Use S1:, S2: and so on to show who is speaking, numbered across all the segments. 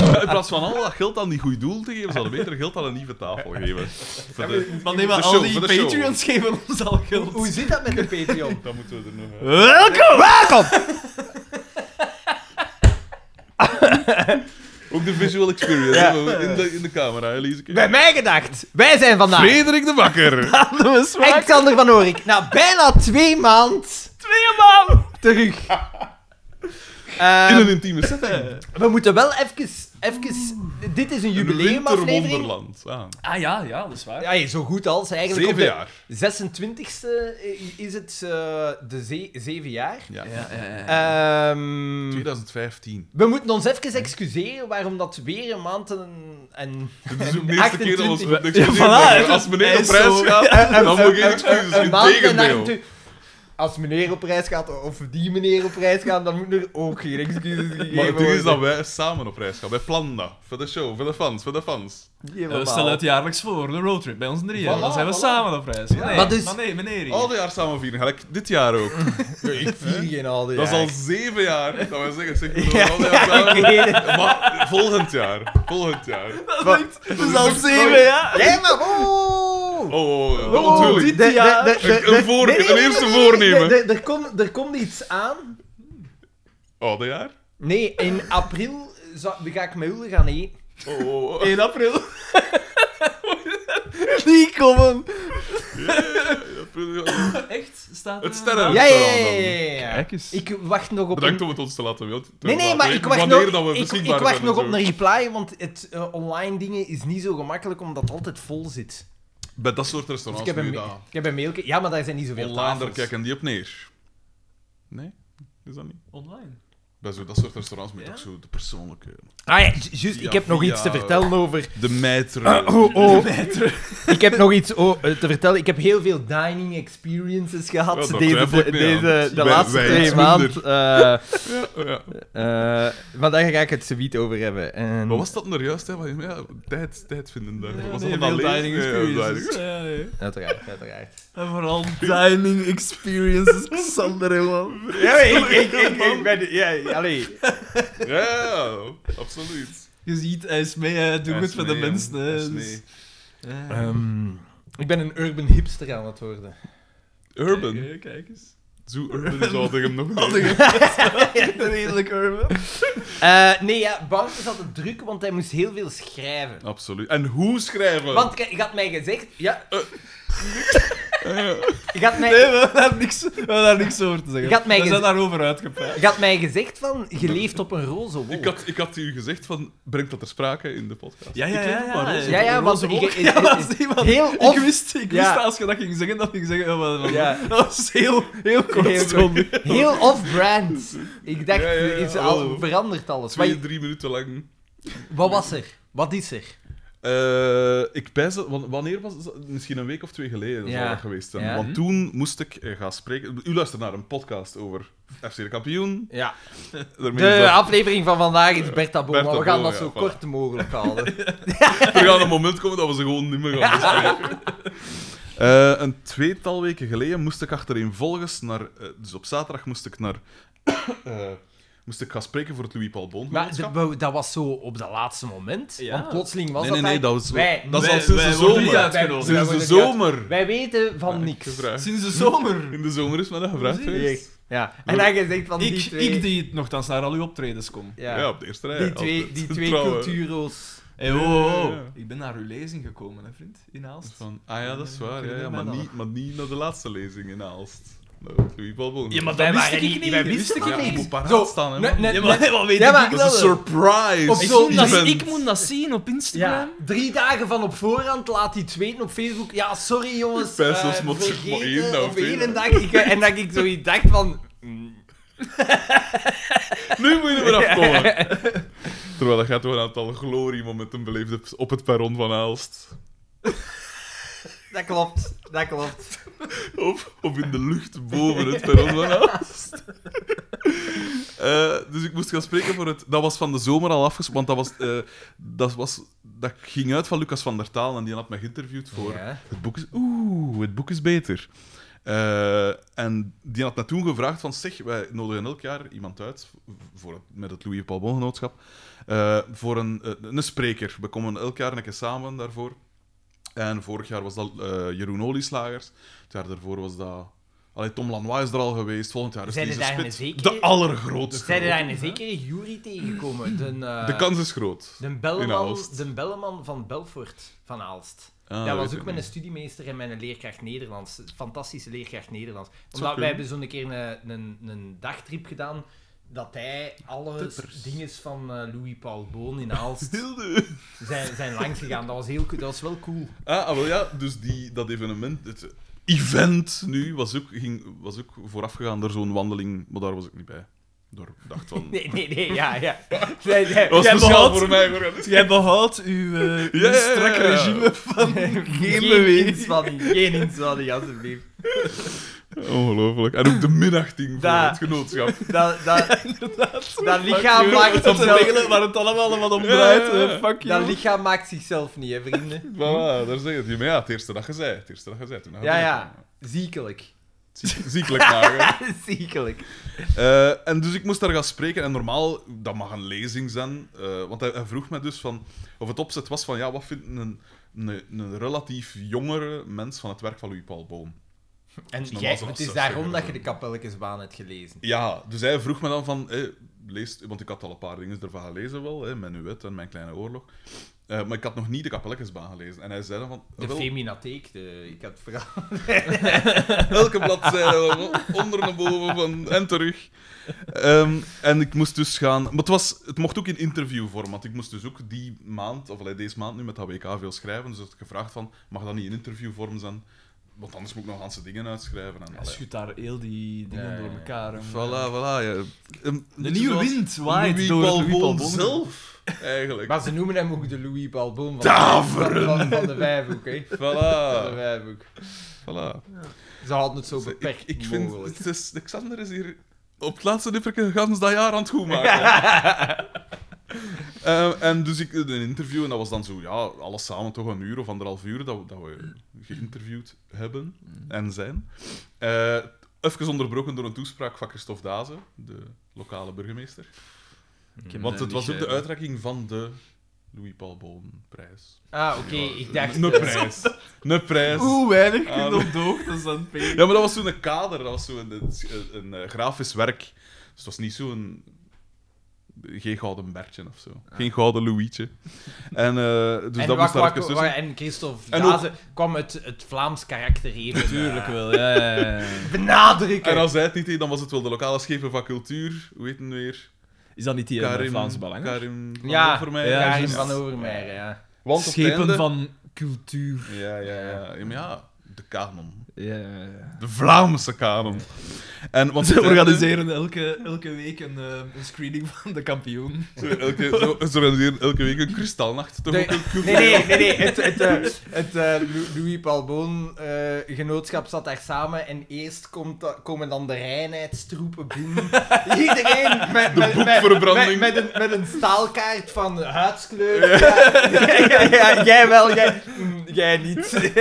S1: aan al oh, dat geld aan die goede doel te geven, zouden we beter geld aan een nieuwe tafel geven. Voor de-
S2: Maar nee, maar
S1: voor de show,
S2: al die
S1: voor de show.
S2: Patreons geven ons al geld.
S3: Hoe zit dat met de Patreon?
S1: Dat moeten we er nog uit.
S2: Welkom! Welkom!
S1: Ook de visual experience
S2: Ja.
S1: hè, in, de, in de camera, Elise.
S2: Bij mij gedacht. Wij zijn vandaag...
S1: Frederik de Bakker.
S2: Alexander van Orik. Na bijna twee maand... Twee maand! Terug.
S1: In
S2: Ehm,
S1: een intieme setting.
S2: we moeten wel even... even dit is een jubileumaflevering.
S1: Winterwonderland. Ah,
S3: Ah ja, ja, dat is waar.
S2: Ja, zo goed als. Eigenlijk
S1: zeven
S2: op
S1: jaar.
S2: de 26e is het eh, de ze- zeven jaar.
S1: Ja.
S3: Ja, ja, ja.
S2: Ehm,
S1: 2015.
S2: we moeten ons even excuseren waarom dat weer een maand en... en
S1: Dit is ook de eerste keer dat we
S2: 28.
S1: niks
S2: Ja,
S1: gezien
S2: voilà,
S1: hebben.
S2: hè.
S1: Als meneer
S2: Hij
S1: op
S2: is
S1: prijs
S2: zo-
S1: gaat,
S2: Een-
S1: dan
S2: een-
S1: moet ik
S2: een-
S1: excuses.
S2: een maand en
S1: Integendeel.
S2: 28 Als meneer op reis gaat, of die meneer op reis gaat, dan moeten er ook geen excuses gegeven
S1: Maar het ding is dat
S2: worden.
S1: wij samen op reis gaan. Wij plannen dat. Voor de show, voor de fans, voor de fans.
S2: Helemaal.
S3: Ja, we stellen het jaarlijks voor, de roadtrip bij ons drieën.
S1: Voilà,
S3: dan zijn we
S1: voilà.
S3: samen op reis. Maar nee,
S2: Maar dus-
S3: maar nee meneer. hier.
S1: Al die jaar samen vieren. Gelijk dit jaar ook.
S2: Ik vier geen oude
S1: Dat is al
S2: jaar.
S1: zeven jaar. Dat wij zeggen, zeg, we
S2: Ja,
S1: doen al die jaar
S2: ja,
S1: samen.
S2: ik weet het.
S1: Maar volgend jaar. Volgend jaar. Oh,
S2: Wat?
S3: Het
S1: is
S3: is al
S1: ook-
S3: zeven, ja.
S2: Ja, maar... oh.
S1: Oh, oh, oh,
S2: Oh,
S1: natuurlijk.
S2: de- de-
S3: jaar.
S2: de- de-
S1: Een- een
S2: de-
S1: voor-
S2: nee, nee,
S1: een
S2: nee,
S1: eerste
S2: nee, nee,
S1: voornemen.
S2: nee, nee, Er komt- er komt iets aan.
S1: Oh, dat jaar?
S2: Nee, in april zou- ga ik met Hulde gaan eten.
S1: Oh, oh, oh.
S3: 1 april.
S2: Die komen.
S3: Echt? Staat eh,
S1: Het
S3: er-
S1: sterren.
S2: Ja, ja, ja, ja, ja, ja.
S3: Kijk eens.
S2: Ik wacht nog op
S1: Bedankt
S2: een...
S1: om het ons te laten weten.
S2: Nee, nee, maar ik wacht
S1: Wanneer
S2: nog,
S1: dat we
S2: ik, ik
S1: beschikbaar
S2: wacht
S1: zijn
S2: nog
S1: en
S2: op
S1: zo.
S2: een reply, want het eh, online dingen is niet zo gemakkelijk omdat het altijd vol zit.
S1: Bij dat soort
S2: Dus ik
S1: restaurants
S2: heb,
S1: doe
S2: een,
S1: je
S2: ma-
S1: dat.
S2: ik heb een mailje... Ja, maar daar zijn niet zoveel
S1: Online, daar
S2: tafels.
S1: kijken die op neer. Nee? Is dat niet?
S3: Online.
S1: Bij zo, dat soort restaurants moet
S3: Ja?
S1: ook zo de persoonlijke...
S2: Ah ja, ju- juist,
S1: Via-
S2: ik heb nog
S1: via,
S2: iets te
S1: eh,
S2: vertellen over...
S1: De maître.
S2: oh, oh. ik heb nog iets oh, eh, te vertellen. Ik heb heel veel dining experiences gehad
S1: Ja, dat
S2: deze,
S1: twijfel ik
S2: de,
S1: niet aan.
S2: deze, de
S1: Wij-
S2: laatste
S1: wij
S2: twee
S1: iets
S2: maanden.
S1: Ja, oh ja.
S2: maar daar ga ik het zo niet over hebben. En...
S1: Wat was dat nou juist? Hè? Wat- Ja, tijd, tijd vinden daar.
S3: Ja,
S1: was
S3: nee,
S1: dat dan
S3: veel
S1: leeg?
S3: dining
S1: Ja, ja,
S3: experiences.
S1: dining.
S3: Ja, nee.
S2: Uiteraard, uiteraard.
S3: En vooral dining experiences, Xander, man.
S2: Ja, ik, ik, ik, ik ben... Ja, allee.
S1: Ja, absoluut.
S3: Je ziet, hij is mee, hij doet
S1: Ja,
S3: goed voor de
S1: nee,
S3: mensen.
S1: jong.
S3: hè,
S1: Dat is
S3: dus-
S1: nee.
S3: Ja.
S2: Ehm, ik ben een urban hipster aan het worden.
S1: Urban.
S3: Kijk, kijk eens.
S1: Zo urban zou ik hem nog niet.
S3: Redelijk urban.
S2: Eh, nee, ja, Bart is altijd druk, want hij moest heel veel schrijven.
S1: Absoluut. En hoe schrijven?
S2: Want kijk, je had mij gezegd... Ja,
S1: Eh,
S2: je had mij...
S3: Nee, we hebben daar niks, we hebben daar niks over te zeggen.
S2: Je had mij
S3: we zijn
S2: gez-
S3: daarover uitgepraat.
S2: Je had mij gezegd van, je leeft op een roze wolk.
S1: ik, had, ik had u gezegd van, breng dat ter sprake in de podcast.
S3: Ja, ja,
S1: Ik
S3: ja.
S1: leef maar
S3: Ja,
S1: roze.
S2: Ja, ja,
S3: Roze
S2: want
S3: wolk.
S2: ik- ik-
S3: Ja,
S2: ik-
S3: was die, want
S2: heel
S3: ik
S2: of-
S3: wist, ik
S2: Ja.
S3: wist als je dat ging zeggen, dat ging zeggen... oh, wat- wat-
S2: Ja.
S3: Dat was heel, heel kortstondig.
S2: Heel, heel off-brand. Ik dacht,
S1: Ja, ja, ja,
S2: is al,
S1: oh.
S2: verandert alles.
S1: Twee,
S2: Wat,
S1: drie minuten lang.
S2: wat was er? Wat is er?
S1: Eh, ik pijs dat- want wanneer was dat? Misschien een week of twee geleden
S2: Ja.
S1: zou dat geweest zijn.
S2: Ja.
S1: Want toen moest ik eh, gaan spreken. U luistert naar een podcast over FC de kampioen.
S2: Ja.
S1: Daarmee is
S2: De
S1: dat-
S2: aflevering van vandaag is Bertha Boom,
S1: Bertha
S2: maar we gaan
S1: Boom,
S2: dat
S1: ja,
S2: zo
S1: voilà.
S2: kort mogelijk houden.
S1: Er gaat een moment komen dat we ze gewoon niet meer gaan bespreken. Eh, een tweetal weken geleden moest ik achtereenvolgens naar... eh, dus op zaterdag moest ik naar... eh, moest ik gaan spreken voor het Louis Paul Bond.
S2: Maar de- wou- dat was zo op dat laatste moment.
S3: Ja.
S2: Want plotseling was
S1: Nee,
S2: dat...
S1: nee, nee,
S2: daar-
S1: dat was...
S2: Wij-
S1: dat is al
S3: wij-
S1: sinds
S3: wij
S1: de
S3: worden niet
S1: zomer. Sinds
S3: uitgenodigd.
S2: Wij
S1: de
S2: worden niet
S1: zomer.
S2: Wij weten van
S1: Ja,
S2: niks.
S1: gevraagd.
S3: Sinds de zomer.
S1: In de zomer is mij dat gevraagd
S3: Precies.
S1: geweest.
S2: Ja. En dan gezegd van
S3: Ik,
S2: die twee...
S3: ik die het nogthans naar al uw optredens kom.
S2: ja.
S1: Ja, op de eerste rij.
S2: die twee,
S1: altijd.
S2: die twee
S1: Trouwen.
S2: cultuuro's.
S3: Hey, oh, oh, oh.
S1: Ja.
S3: Ik ben naar uw lezing gekomen, hè, vriend. In Aalst.
S1: Van, ah ja, dat is waar. Ja,
S3: Kunnen
S1: ja,
S3: wij
S1: maar,
S3: dat
S1: niet, maar niet naar de laatste lezing in Aalst. Nou, Louis Babbel.
S2: wij
S3: wist
S2: waren
S3: ik niet,
S2: Wij
S3: dat wist
S2: wisten
S3: ik
S2: van
S1: ja,
S3: niet.
S1: ik
S2: niks.
S1: moet paraat
S2: Zo,
S1: staan, hè,
S2: net-
S1: man.
S2: net-
S3: Ja, maar,
S2: net-
S3: wat weet
S2: Ja,
S3: ik
S2: maar-
S3: wel?
S1: Dat is een surprise!
S2: Op
S3: Ik
S2: zo'n
S3: moet dat-
S1: event.
S3: ik moet dat zien op Instagram.
S2: Ja, drie dagen van op voorhand laat hij het weten op Facebook. Ja, sorry jongens.
S1: Bij
S2: eh,
S1: zo'n smotje,
S2: vergeten
S1: maar één dag of
S2: op
S1: twee
S2: één dag.
S1: dagen.
S2: Ik, eh, en dat ik zoiets dacht van... mm,
S1: Nu moet je er weer afkomen. Terwijl dat gaat wel een aantal gloriemomenten beleefd op het perron van Aalst.
S2: Dat klopt, dat klopt.
S1: Of, of in de lucht boven het perron van Aalst. Eh, dus ik moest gaan spreken voor het... Dat was van de zomer al afgesproken, want dat was, eh, dat was... Dat ging uit van Lucas van der Taal en die had mij geïnterviewd voor...
S2: Ja.
S1: Het boek is... Oeh, het boek is beter. Eh, en die had me toen gevraagd van, zeg, wij nodigen elk jaar iemand uit, voor het- met het Louis Palbon Genootschap, eh, voor een, eh, een spreker. We komen elk jaar een keer samen daarvoor. En vorig jaar was dat eh, Jeroen Olieslagers. Het jaar daarvoor was dat... Allee, Tom Lanois is er al geweest. Volgend jaar is
S2: Zijn er
S1: Lise
S2: daar
S1: Spit.
S2: een zekere-
S1: De allergrootste.
S2: Zijn er daar een zekere Jury tegengekomen? De, eh,
S1: De kans is groot.
S2: de,
S1: in
S2: Belleman,
S1: Aalst.
S2: de Belleman van Belfort van Aalst.
S1: Ah,
S2: dat
S1: weet
S2: was
S1: ik
S2: ook mijn
S1: niet.
S2: studiemeester en mijn leerkracht Nederlands. Fantastische leerkracht Nederlands.
S1: zou
S2: Omdat wij
S1: kunnen.
S2: hebben zo'n keer een, een, een dagtrip gedaan dat hij alle
S1: Tippers.
S2: dingen van eh, Louis Paul Boon in Aalst zijn, zijn langs gegaan. Dat was, heel, co- dat was wel cool.
S1: Ah, ah, wel ja, dus die, dat evenement, het event nu, was ook, ging, was ook voorafgegaan door zo'n wandeling, maar daar was ik niet bij. Door, ik dacht van...
S2: Nee, nee, nee, ja, ja. Nee, nee.
S1: Dat was dus speciaal
S3: Jij behoudt-
S1: voor mij georganiseerd.
S3: Jij behoudt uw eh, uw
S1: Ja, ja, ja,
S3: strak
S1: ja.
S3: regime van
S2: Geen,
S3: beweging.
S2: inspanning, geen inspanning, alsjeblieft.
S1: Ongelooflijk. En ook de minachting voor
S2: Da.
S1: het genootschap.
S2: Dat, dat, dat lichaam maakt
S3: dat
S2: zichzelf...
S3: regelen waar het allemaal wat om draait.
S1: Ja, ja, ja.
S3: eh, fuck
S2: Dat
S3: you.
S2: lichaam maakt zichzelf niet, hè, vrienden.
S1: Voilà, daar zeg je het. hier. Maar ja, het eerste dat je zei. Het eerste dat je zei. Toen had
S2: Ja,
S1: ik-
S2: ja. Ziekelijk.
S1: Ziek- Ziekelijk maken.
S2: Ziekelijk.
S1: Eh, en dus ik moest daar gaan spreken. En normaal, dat mag een lezing zijn. eh, want hij, hij vroeg me dus van, of het opzet was van... Ja, wat vindt een, een, een relatief jongere mens van het werk van Louis Paul Boom?
S2: En
S1: Dus normaal
S2: jij,
S1: zo'n
S2: het is
S1: afzucht
S2: daarom
S1: zeggen, eh,
S2: dat je
S1: hè.
S2: de kapelletjesbaan hebt gelezen.
S1: Ja, dus hij vroeg me dan van... eh, lees, want ik had al een paar dingen ervan gelezen wel. hè, mijn Nuet en Mijn Kleine Oorlog. Eh, maar ik had nog niet de Kapelletjesbaan gelezen. En hij zei dan van...
S2: De
S1: wel,
S2: Feminatheek, de, ik had vooral...
S1: Elke bladzijde was onder naar boven van en terug. Ehm, en ik moest dus gaan. Maar het, was, het mocht ook in interviewvorm, want ik moest dus ook die maand, of allee, deze maand nu met HWK veel schrijven. Dus had ik gevraagd van, mag dat niet in interviewvorm zijn? Want anders moet ik nog ganse dingen uitschrijven. En,
S3: Hij
S1: allee.
S3: schudt daar heel die dingen
S2: Ja, ja, ja.
S3: door elkaar. hè, man.
S1: Voilà, voilà. Ja. Ehm,
S3: De
S1: dit
S3: nieuwe
S1: was
S3: wind waait
S1: Louis
S3: door het
S1: Paul
S3: Louis Paul
S1: Boon
S3: Boon.
S1: zelf, eigenlijk.
S2: Maar ze noemen hem ook de Louis Balboom van,
S1: Daveren!
S2: van, van de Wijfhoek, hè. Van de
S1: Voilà,
S2: Wijfhoek.
S1: voilà.
S2: Ze hadden het zo
S1: Dus
S2: beperkt
S1: ik, ik vind,
S2: mogelijk.
S1: het is- Alexander is hier op het laatste nipperke gans dat jaar aan het goed maken. Eh, en dus ik een interview, en dat was dan zo, ja, alles samen toch een uur of anderhalf uur dat we, dat we geïnterviewd hebben
S3: Mm.
S1: en zijn. Eh, even onderbroken door een toespraak van Christophe Daze, de lokale burgemeester.
S3: Ik heb
S1: Want het
S3: niet
S1: was ook de
S3: gegeven.
S1: uitreiking van de Louis Paul Boon-prijs.
S2: Ah, oké, ik dacht...
S1: Een
S2: eh,
S1: prijs. Een prijs.
S3: Hoe weinig
S1: Ah,
S3: kunt op de hoogte zijn, Peter.
S1: Ja, maar dat was zo'n kader, dat was zo'n een, een, eh, grafisch werk. Dus het was niet zo'n. Geen gouden Bertje of zo. Geen gouden Louietje. En eh, dus
S2: en,
S1: dat
S2: wat-
S1: moest daar
S2: wat-
S1: even tussen.
S2: wat- en Christophe
S1: En
S2: Daze kwam het, het Vlaams karakter even
S3: Tuurlijk wel, ja, ja, ja.
S2: eh, benadrukken.
S1: En als hij het niet deed, dan was het wel de lokale schepen van cultuur. Hoe heet het nu weer?
S3: Is dat niet die eh, Vlaams Belang?
S1: Karim van
S2: ja,
S1: Overmeijer.
S2: ja,
S3: Ja,
S2: Karin
S3: juist.
S2: van Overmeijer, ja.
S1: Want op het einde-
S3: Schepen van cultuur.
S1: Ja, ja, ja. ja, maar ja, de kanon.
S3: Ja, ja, ja.
S1: De Vlaamse kanon. En, want
S3: Ze
S1: op het einde-
S3: organiseren elke, elke week een, eh, een screening van de kampioen.
S1: Ze elke, ze- ze organiseren elke week een kristalnacht. Toch
S2: De-
S1: ook een cultuur.
S2: Nee, nee, nee, nee. Het, het, eh, het eh, Lou- Louis Palboon eh, genootschap zat daar samen en eerst komt, da- komen dan de reinheidstroepen binnen. Iedereen met, met,
S1: boekverbranding.
S2: met, met, een, met een staalkaart van huidskleur. Ja, ja, ja, ja, jij wel, jij, mm, jij niet.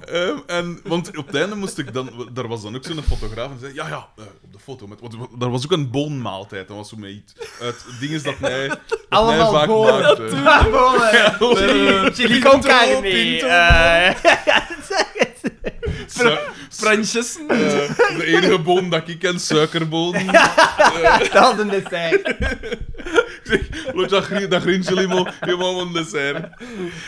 S1: Ehm, en, want op het einde moest ik dan... Daar was dan ook zo'n fotograaf en die zei... Ja, ja, eh, op de foto. Met, want daar was ook een boonmaaltijd. Dat was zo met iets... Uit dingen dat mij, dat mij
S2: Allemaal
S1: vaak eh,
S2: bonen, Ah,
S1: maakte.
S2: Chili- Chili con carne.
S3: pinto.
S2: eh,
S1: Su-
S3: Fransjes.
S1: eh, de enige boon dat ik ken, suikerboon. Ik
S2: Dat is een dessert.
S1: zeg, "Wat dat, gri- dat grinje limo, helemaal een dessert.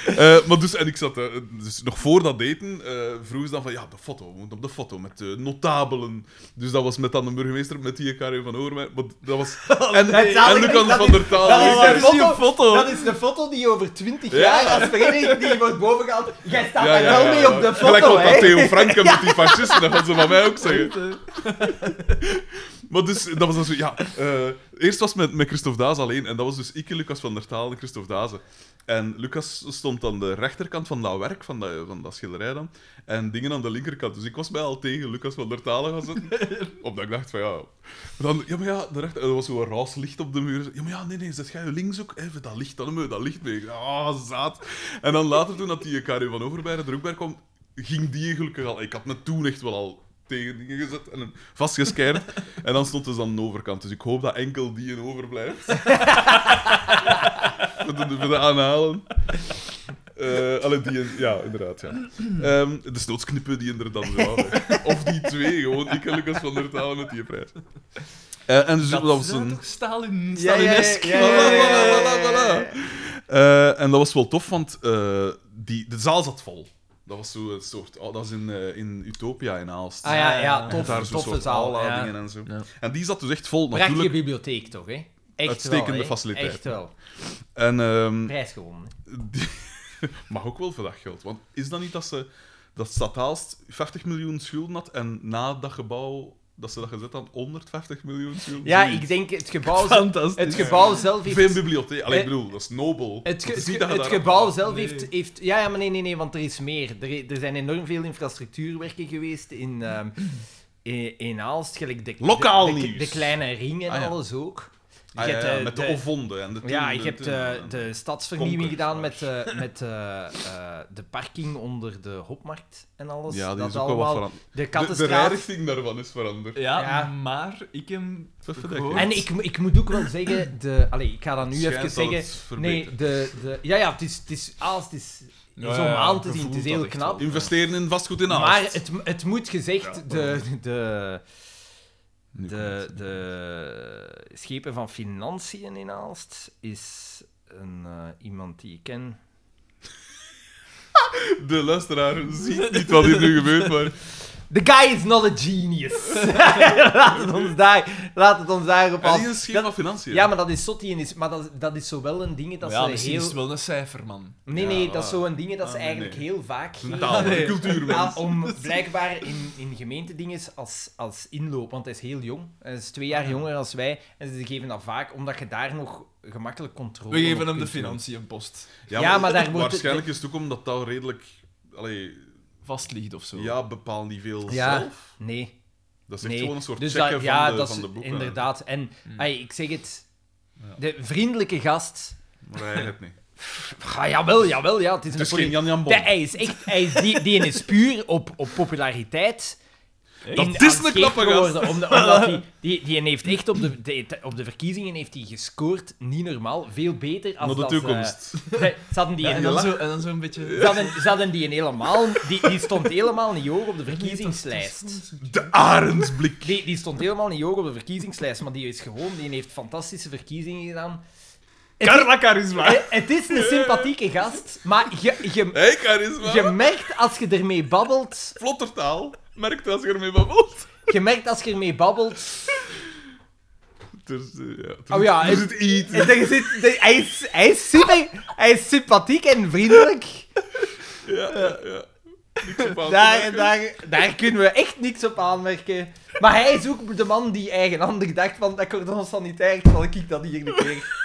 S1: Eh, maar dus, en ik zat... eh, dus nog voor dat eten eh vroeg ze dan van... Ja, de foto. We moeten op de foto met eh, notabelen. Dus dat was met dan de burgemeester, met die Karin van Oormijn. Maar dat was... En,
S2: Het zalige
S1: en
S2: is,
S1: Lucas
S2: dat
S1: van
S2: is-
S1: der Taal.
S2: dat
S1: was
S3: Oh,
S2: is
S1: daar.
S2: een foto-
S3: foto.
S2: Dat is de foto die over 20
S1: Ja.
S2: jaar als vereniging die wordt bovengehaald. Jij staat daar wel mee op de
S1: Gelijk
S2: foto,
S1: wat dat
S2: hè?
S1: Theo Franken met die fascisten, dat gaan ze van mij ook zeggen. Maar dus, dat was dan zo, ja... eh, eerst was het met, met Christophe Daas alleen, en dat was dus ik, Lucas van der Taal en Christophe Dazen. En Lucas stond aan de rechterkant van dat werk, van dat, van dat schilderij dan, en dingen aan de linkerkant. Dus ik was mij al tegen Lucas van der Taal gaan zitten, omdat ik dacht van, ja... Dan, ja, maar ja, de rechter, er was zo'n raas licht op de muur. Ja, maar ja, nee, nee, zet jij je links ook? Even dat licht, dan hebben we dat licht mee. Ah, zaad. En dan later, toen dat die Karin van Overbeiren er ook bij kwam, ging die gelukkig al. Ik had me toen echt wel al tegen dingen gezet en een- vastgeskeerd. en dan stond dus aan de overkant. Dus ik hoop dat enkel die een overblijft. voor, de, voor de aanhalen. Eh allee, die een- ja, inderdaad. Ja. Ehm dus noodsknippen die er dan zo aan. Of die twee, gewoon ik en Lucas van der Touwen met die prijs. Eh, en dus dat was
S3: zou
S1: een.
S3: toch Stalin,
S2: Ja, ja, ja,
S3: Stalinesk.
S2: ja, ja, ja, ja, ja, ja, ja, ja.
S1: Eh, en dat was wel tof, want eh, die, de zaal zat vol. Dat was zo een soort. Oh, dat is in, eh, in Utopia in Aalst.
S2: Ah ja, ja,
S1: Met
S2: tof,
S1: daar zo'n
S2: toffe
S1: soort
S2: zaal. Ja.
S1: aanladingen en zo.
S3: Ja.
S1: En die zat dus echt vol,
S2: Prachtige
S1: natuurlijk.
S2: bibliotheek toch, hè? Echt
S1: Uitstekende
S2: wel, hè?
S1: faciliteit.
S2: Echt wel.
S1: En, ehm
S2: Prijs gewonnen.
S1: die... mag ook wel voor dat geld. Want is dat niet dat ze. Dat Stad Aalst 50 miljoen schulden had en na dat gebouw. dat ze dat gezet had, 150 miljoen schulden?
S2: Ja,
S1: Zoiets.
S2: ik denk het gebouw, zelf-
S3: Fantastisch.
S2: het gebouw zelf heeft...
S1: Veel bibliotheek. Allee, ik
S2: Eh,
S1: bedoel, dat is nobel.
S2: Het, ge-
S1: Het is niet
S2: het,
S1: dat je
S2: het
S1: daar-
S2: gebouw zelf
S3: Nee.
S2: heeft, heeft... Ja, ja, maar nee, nee, nee, want er is meer. Er, er zijn enorm veel infrastructuurwerken geweest in, ehm in, in Aalst. Gelijk de,
S1: Lokaal
S2: de, de-
S1: nieuws.
S2: De, kleine ring en
S1: Ah, ja.
S2: alles ook. Je
S1: Ah, ja,
S2: hebt,
S1: ja,
S2: eh,
S1: met de, ovonden en de
S2: Ja,
S1: toen- eh,
S2: ik heb
S1: toen-
S2: de, de stadsvernieuwing
S1: Conquest,
S2: gedaan met, eh, met eh, eh, de parking onder de Hopmarkt en alles.
S1: Ja, die
S2: dat
S1: is ook wel wat
S2: allemaal.
S1: veranderd.
S2: de
S1: De, de
S2: Kattenstraat.
S1: rijrichting daarvan is veranderd.
S3: Ja,
S2: Ja.
S3: maar ik heb
S1: Dat vind ik
S3: gehoord-
S1: wel.
S2: en ik, mo- ik moet ook wel zeggen... De, allee, ik ga dat nu
S1: Schijnt
S2: even
S1: dat
S2: zeggen.
S1: het
S2: Nee,
S1: verbetert.
S2: de, de, ja, ja, het is, het is, alles, het is
S3: Ja,
S2: zo'n
S3: ja,
S2: maand te
S3: je
S2: zien. Het is
S3: voelt
S2: heel
S3: dat echt
S2: knap.
S3: wel.
S1: Investeren in vastgoed in Aalst.
S2: Maar het, het moet gezegd,
S1: Nou, Ja.
S2: de, de,
S1: Nu
S2: de,
S1: komt
S2: de schepen van financiën in Aalst is een, eh, iemand die ik ken.
S1: het. De luisteraar ziet niet wat hier nu gebeurt, maar...
S2: The guy is not a genius. laat, het ons daar, laat het ons daarop
S1: En die
S2: af.
S1: is schema financiën.
S2: Ja, maar dat is zot, die is, maar dat, dat is zo wel een ding dat
S3: ja,
S2: ze
S3: misschien
S2: heel...
S3: is het wel een cijfer, man.
S2: Nee,
S1: Ja,
S2: nee,
S1: ah.
S2: dat is zo'n ding dat
S1: Ah,
S2: ze
S1: nee,
S2: eigenlijk
S1: nee.
S2: heel vaak
S1: Een
S2: geven.
S1: taal,
S3: Nee.
S1: een cultuurmens.
S2: Ja, om blijkbaar in, in gemeentedingen als, als inloop, want hij is heel jong. Hij is twee jaar jonger dan wij. En ze geven dat vaak omdat je daar nog gemakkelijk controle
S3: We
S2: op
S3: geven hem de
S2: kunt
S3: financiënpost.
S1: Ja,
S2: Ja, maar daar wordt het-
S1: Waarschijnlijk is het ook omdat dat redelijk... Allee,
S3: Vast ligt of zo.
S1: ja, bepaal niet veel
S2: doen. Ja,
S1: zelf.
S2: nee.
S1: Dat is echt
S2: nee.
S1: gewoon een soort
S2: Dus
S1: checken
S2: dat- ja,
S1: van, de,
S2: dat
S1: van
S2: is
S1: de boeken. Mm.
S2: Inderdaad. En ai, ik zeg het,
S1: Ja.
S2: de vriendelijke gast.
S1: Maar hij het niet.
S2: Ah, jawel, jawel, ja. Het is,
S1: Het
S2: een
S1: is geen
S2: poli-
S1: Jan-Jan Bon.
S2: De- hij is echt, hij is, die, die is puur op, op populariteit.
S1: Dat
S2: in-
S1: is
S2: aan
S1: een
S2: scheef
S1: knappe gast.
S2: geworden, Omdat, omdat die, die, die heeft echt op de, de- op de verkiezingen heeft hij gescoord, niet normaal, veel beter als
S1: Naar de
S2: dat, eh,
S1: toekomst.
S2: ze- ze hadden die,
S3: Ja, en,
S2: ze
S3: dan zo, en dan zo'n beetje...
S2: hadden, ze hadden die helemaal, die, die stond helemaal niet hoog op de verkiezingslijst.
S1: De arendsblik.
S2: Die, die stond helemaal niet hoog op de verkiezingslijst, maar die is gewoon, die heeft fantastische verkiezingen gedaan.
S3: Carla Charisma.
S2: Eh, Het is een sympathieke gast, maar je, je,
S1: Hé, charisma.
S2: je merkt als je ermee babbelt,
S1: Vlottertaal. Merk dat als je ermee babbelt.
S2: je merkt als je ermee babbelt,
S1: Dus, eh, ja. Er
S2: Oh ja,
S1: zit- er
S2: het-
S1: zit iets.
S2: En dat je zit- dat- hij, is, hij, is super, hij is sympathiek en vriendelijk.
S1: Ja, ja, ja. Niks op aan te
S2: Daar,
S1: merken.
S2: daar, daar kunnen we echt niks op aanmerken. Maar hij is ook de man die eigenhandig dacht van dat cordon sanitair, terwijl ik dat hier niet kreeg.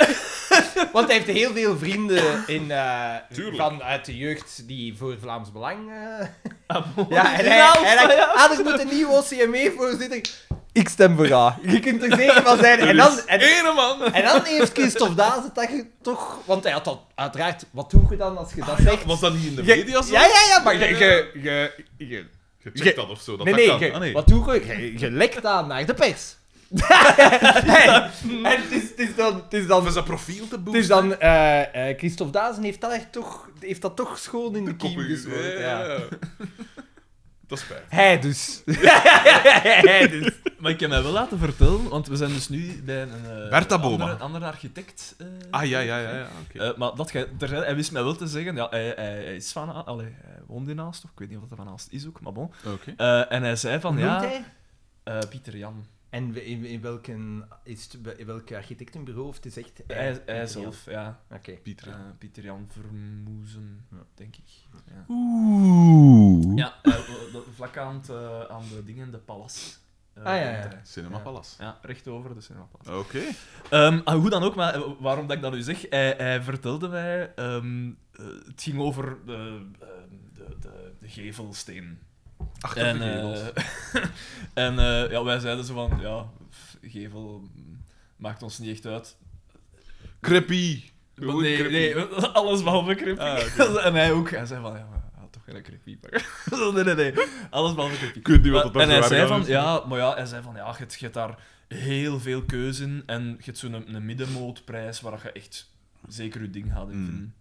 S2: Want hij heeft heel veel vrienden in, eh,
S1: Tuurlijk.
S2: van, uit de jeugd die voor Vlaams Belang... eh,
S3: Ah,
S2: ja, en hij,
S3: Ja,
S2: hij dacht,
S3: ja.
S2: ah, er moet een nieuwe OCME-voorzitter... Ik stem voor A. Je kunt er zeker van zijn.
S1: Er
S2: En dan,
S1: is
S2: en,
S1: ene man.
S2: En dan heeft Christophe Dazen dat je toch... Want hij had dat uiteraard... Wat doe je dan als je dat zegt?
S1: Was dat niet in de
S2: Je-
S1: media? zo?
S2: ja, ja, ja, maar je...
S1: Ja,
S2: je, je, je-
S1: Je
S2: Je-
S1: checkt dat of zo. Dat
S2: nee,
S1: dat
S2: nee,
S1: kan.
S2: je-
S1: Ah, nee.
S2: Wat doe je? je? Je lekt aan naar de pers. en het is, het is dan... Het is dan,
S1: Om zijn profiel te
S2: het
S1: boosten.
S2: is dan eh, eh, Christophe Dazen heeft dat, echt toch, heeft dat toch schoon in de, kiem
S1: Koppen-
S2: gesmoord.
S1: ja,
S2: Ja.
S1: ja, ja. Dat is spijt.
S2: Hij dus. Hij dus.
S3: Maar ik heb mij wel laten vertellen, want we zijn dus nu bij een eh,
S1: Bertha Boma.
S3: andere, andere architect. eh,
S1: Ah, ja, ja, ja. ja oké.
S3: eh, maar dat gij, terzijde, hij wist mij wel te zeggen, ja, hij, hij, hij is van, A- allee, hij woont in Aalst, of ik weet niet of dat van Aalst is ook, maar bon.
S1: Oké.
S3: Eh, en hij zei van,
S2: Noemt
S3: ja,
S2: hij?
S3: eh, Pieter Jan,
S2: En we- in, in, welke, is het, bij- in welk architectenbureau? Of het is echt...
S3: hij, hij zelf, ja.
S2: Oké.
S1: Pieter.
S3: Eh, Pieter Jan Vermoezen,
S2: Ja.
S3: denk ik. Ja,
S1: Oeh.
S3: ja eh, wel- dat- vlak aan, het, eh, aan de dingen, de Palas. Eh,
S2: Ah, ja, ja.
S3: in Terrein.
S1: Cinema
S3: Ja.
S1: Palace.
S3: Ja, rechtover de Cinemapalas.
S1: Oké.
S3: Ehm, ah, hoe dan ook, maar eh, waarom dat ik dat nu zeg, hij, hij vertelde mij, ehm, eh, het ging over eh, ehm, de, de, de gevelsteen.
S1: Achter de
S3: eh,
S1: gevels.
S3: en eh, ja, wij zeiden zo van, ja, f- gevel mm, maakt ons niet echt uit.
S1: Creppy.
S3: nee, eh, nee, alles behalve krip.
S1: Ah,
S3: en hij ook, hij zei van, ja, maar, ja, toch geen creepypasta. nee, nee, nee. Alles behalve creepy.
S1: Ik weet niet wat dat
S3: Maar- En
S1: daar zo
S3: hij zei
S1: erg aan
S3: van,
S1: is.
S3: ja, maar ja, hij zei van, ja, je hebt- je hebt daar heel veel keuze in en je hebt zo'n een middenmootprijs waar je echt zeker je ding gaat in
S1: Mm.
S3: vinden.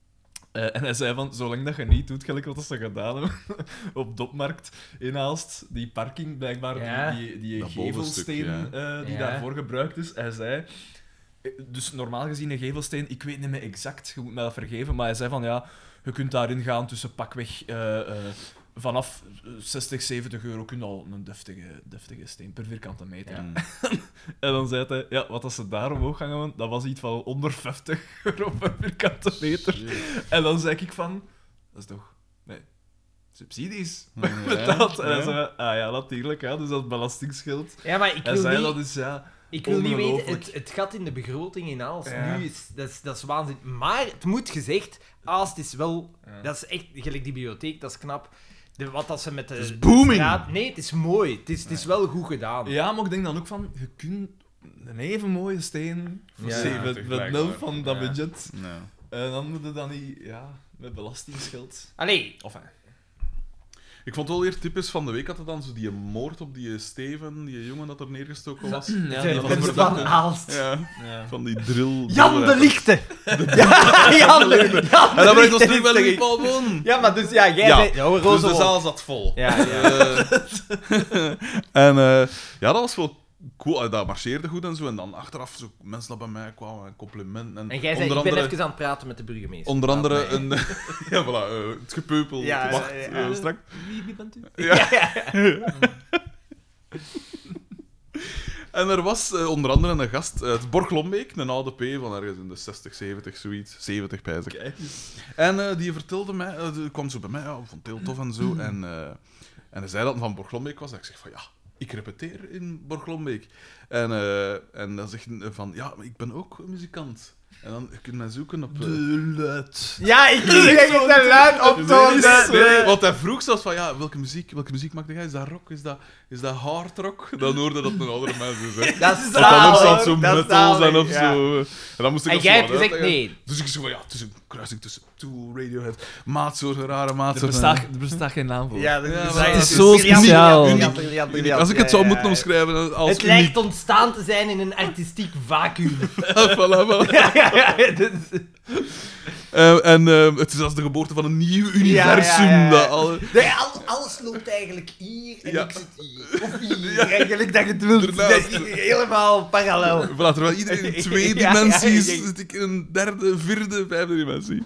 S3: Eh, en hij zei van, zolang dat je niet doet, gelijk wat ze gedaan hebben, op Dopmarkt inhaalst, die parking, blijkbaar
S2: Ja.
S3: die, die, die
S1: Dat
S3: gevelsteen
S1: bovenstuk,
S3: eh, die
S2: Ja.
S3: daarvoor gebruikt is. Hij zei, eh, dus normaal gezien een gevelsteen, ik weet niet meer exact, je moet mij dat vergeven, maar hij zei van, ja, je kunt daarin gaan tussen pakweg... eh, eh, Vanaf eh, 60, 70 euro kun je al een deftige, deftige steen per vierkante meter.
S2: Ja.
S1: Mm.
S3: En dan zei hij, ja, wat als ze daar omhoog gaan doen, dat was iets van onder 50 euro per vierkante meter. En dan zei ik van, dat is toch... Nee, subsidies betaald. En hij zei, ah ja, natuurlijk, ja, dus dat is belastingsgeld.
S2: Ja, maar ik
S3: Hij
S2: wil
S3: zei,
S2: niet...
S3: dat is ja...
S2: Ik wil niet weten,
S3: Ongelooflijk.
S2: het, het gat in de begroting in Aalst
S3: Ja.
S2: nu is, dat is, dat is waanzin. Maar het moet gezegd, Aalst is wel, dat is echt, gelijk die bibliotheek, dat is knap. De, wat dat ze met de.
S1: Het is booming.
S2: de straat- nee, het is mooi. Het is, het is wel goed gedaan.
S3: Ja, maar ik denk dan ook van, je kunt een even mooie steen voor
S2: Ja.
S3: zeven- met, met nul van dat
S2: Ja.
S3: budget.
S1: Nee.
S3: En dan moet je dan niet, ja, met belastingsgeld...
S2: Allee,
S3: Of
S1: Ik vond wel weer typisch van de week hadden dan zo die moord op die Steven, die jongen dat er neergestoken was.
S3: ja,
S2: de-
S3: die
S2: de-
S3: was
S2: de-
S3: inderdaad-
S2: van Aalst.
S1: Ja,
S3: Ja.
S1: van die drill.
S2: Jan de
S1: Licht.
S2: Lichte! Ja, Jan de Jan
S1: En
S2: de
S1: dan brengt ons
S2: Lichte
S1: terug bij
S2: heeft
S1: Louis
S2: er-
S1: Paul Boon.
S2: Ja, maar dus ja, jij
S1: Ja.
S2: bent... hoor,
S1: Dus de
S2: Rozenwolf.
S1: zaal zat vol.
S2: Ja, ja.
S1: Eh, en eh, ja, dat was wel cool. Eh, Dat marcheerde goed en zo. En dan achteraf zo mensen dat bij mij kwamen en complimenten. En,
S2: En jij zei,
S1: onder
S2: ik ben
S1: andere,
S2: even aan het praten met de burgemeester.
S1: onder andere
S2: Laat mij.
S1: een... ja, voilà. eh, het gepeupel.
S2: Ja,
S1: wacht,
S2: ja, ja.
S1: eh, strak.
S3: Wie, wie bent u?
S1: Ja. en er was eh, onder andere een gast uit Borglombeek, een oude P van ergens in de 60, 70, zoiets. 70 pijs ik.
S3: Kijk eens.
S1: En eh, die vertelde mij, eh, die kwam zo bij mij, ja, vond het heel tof en zo. En, eh, en hij zei dat het van Borglombeek was. En ik zeg van ja, ik repeteer in Borglombeek. En, eh, en dan zegt hij van ja, maar ik ben ook muzikant. En dan je kunt mij zoeken op. eh,
S3: De luid.
S2: Ja, ik zeg het te luid op
S1: Nee,
S2: toon.
S1: nee, Want hij vroeg zelfs van, ja, welke muziek, welke muziek maakte jij? Is dat rock? Is dat, is dat hard rock? Dan hoorde dat een andere mensen zeggen.
S2: Dat is
S1: Want dan
S2: zalig,
S1: op zat zo
S2: dat is
S1: metals en
S2: zalig,
S1: op
S2: ja.
S1: zo... En dan moest ik
S2: En
S1: ook
S2: jij
S1: zo
S2: hebt
S1: wat
S2: gezegd
S1: uitleggen.
S2: nee.
S1: Dus ik zeg van, ja, het is een kruising tussen Tool, Radiohead, maatsoorten, rare
S3: Er
S1: maatsoorten.
S3: bestaat, er bestaat geen naam voor.
S2: dat
S1: Ja,
S2: dat
S1: maar
S3: het is zo speciaal.
S2: briljant,
S1: Uniek.
S2: briljant,
S1: Uniek.
S2: briljant.
S1: Als ik het
S2: Ja,
S1: zou
S2: ja,
S1: moeten
S2: ja.
S1: omschrijven dan als
S2: Het lijkt ontstaan te zijn in een artistiek vacuüm.
S1: uniek. Voilà, voilà.
S2: ja, ja, ja, dus-
S1: Eh, en eh, het is als de geboorte van een nieuw universum.
S2: Ja, ja, ja.
S1: dat al-
S2: Nee, al- alles loopt eigenlijk hier en
S1: Ja.
S2: ik zit hier. Of hier, eigenlijk dat je het wilt.
S1: Inderdaad.
S2: Dat is helemaal parallel.
S1: Voilà, terwijl iedereen in twee
S2: Ja, ja,
S1: dimensies
S2: ja, ja.
S1: zit ik in een derde, vierde, vijfde dimensie.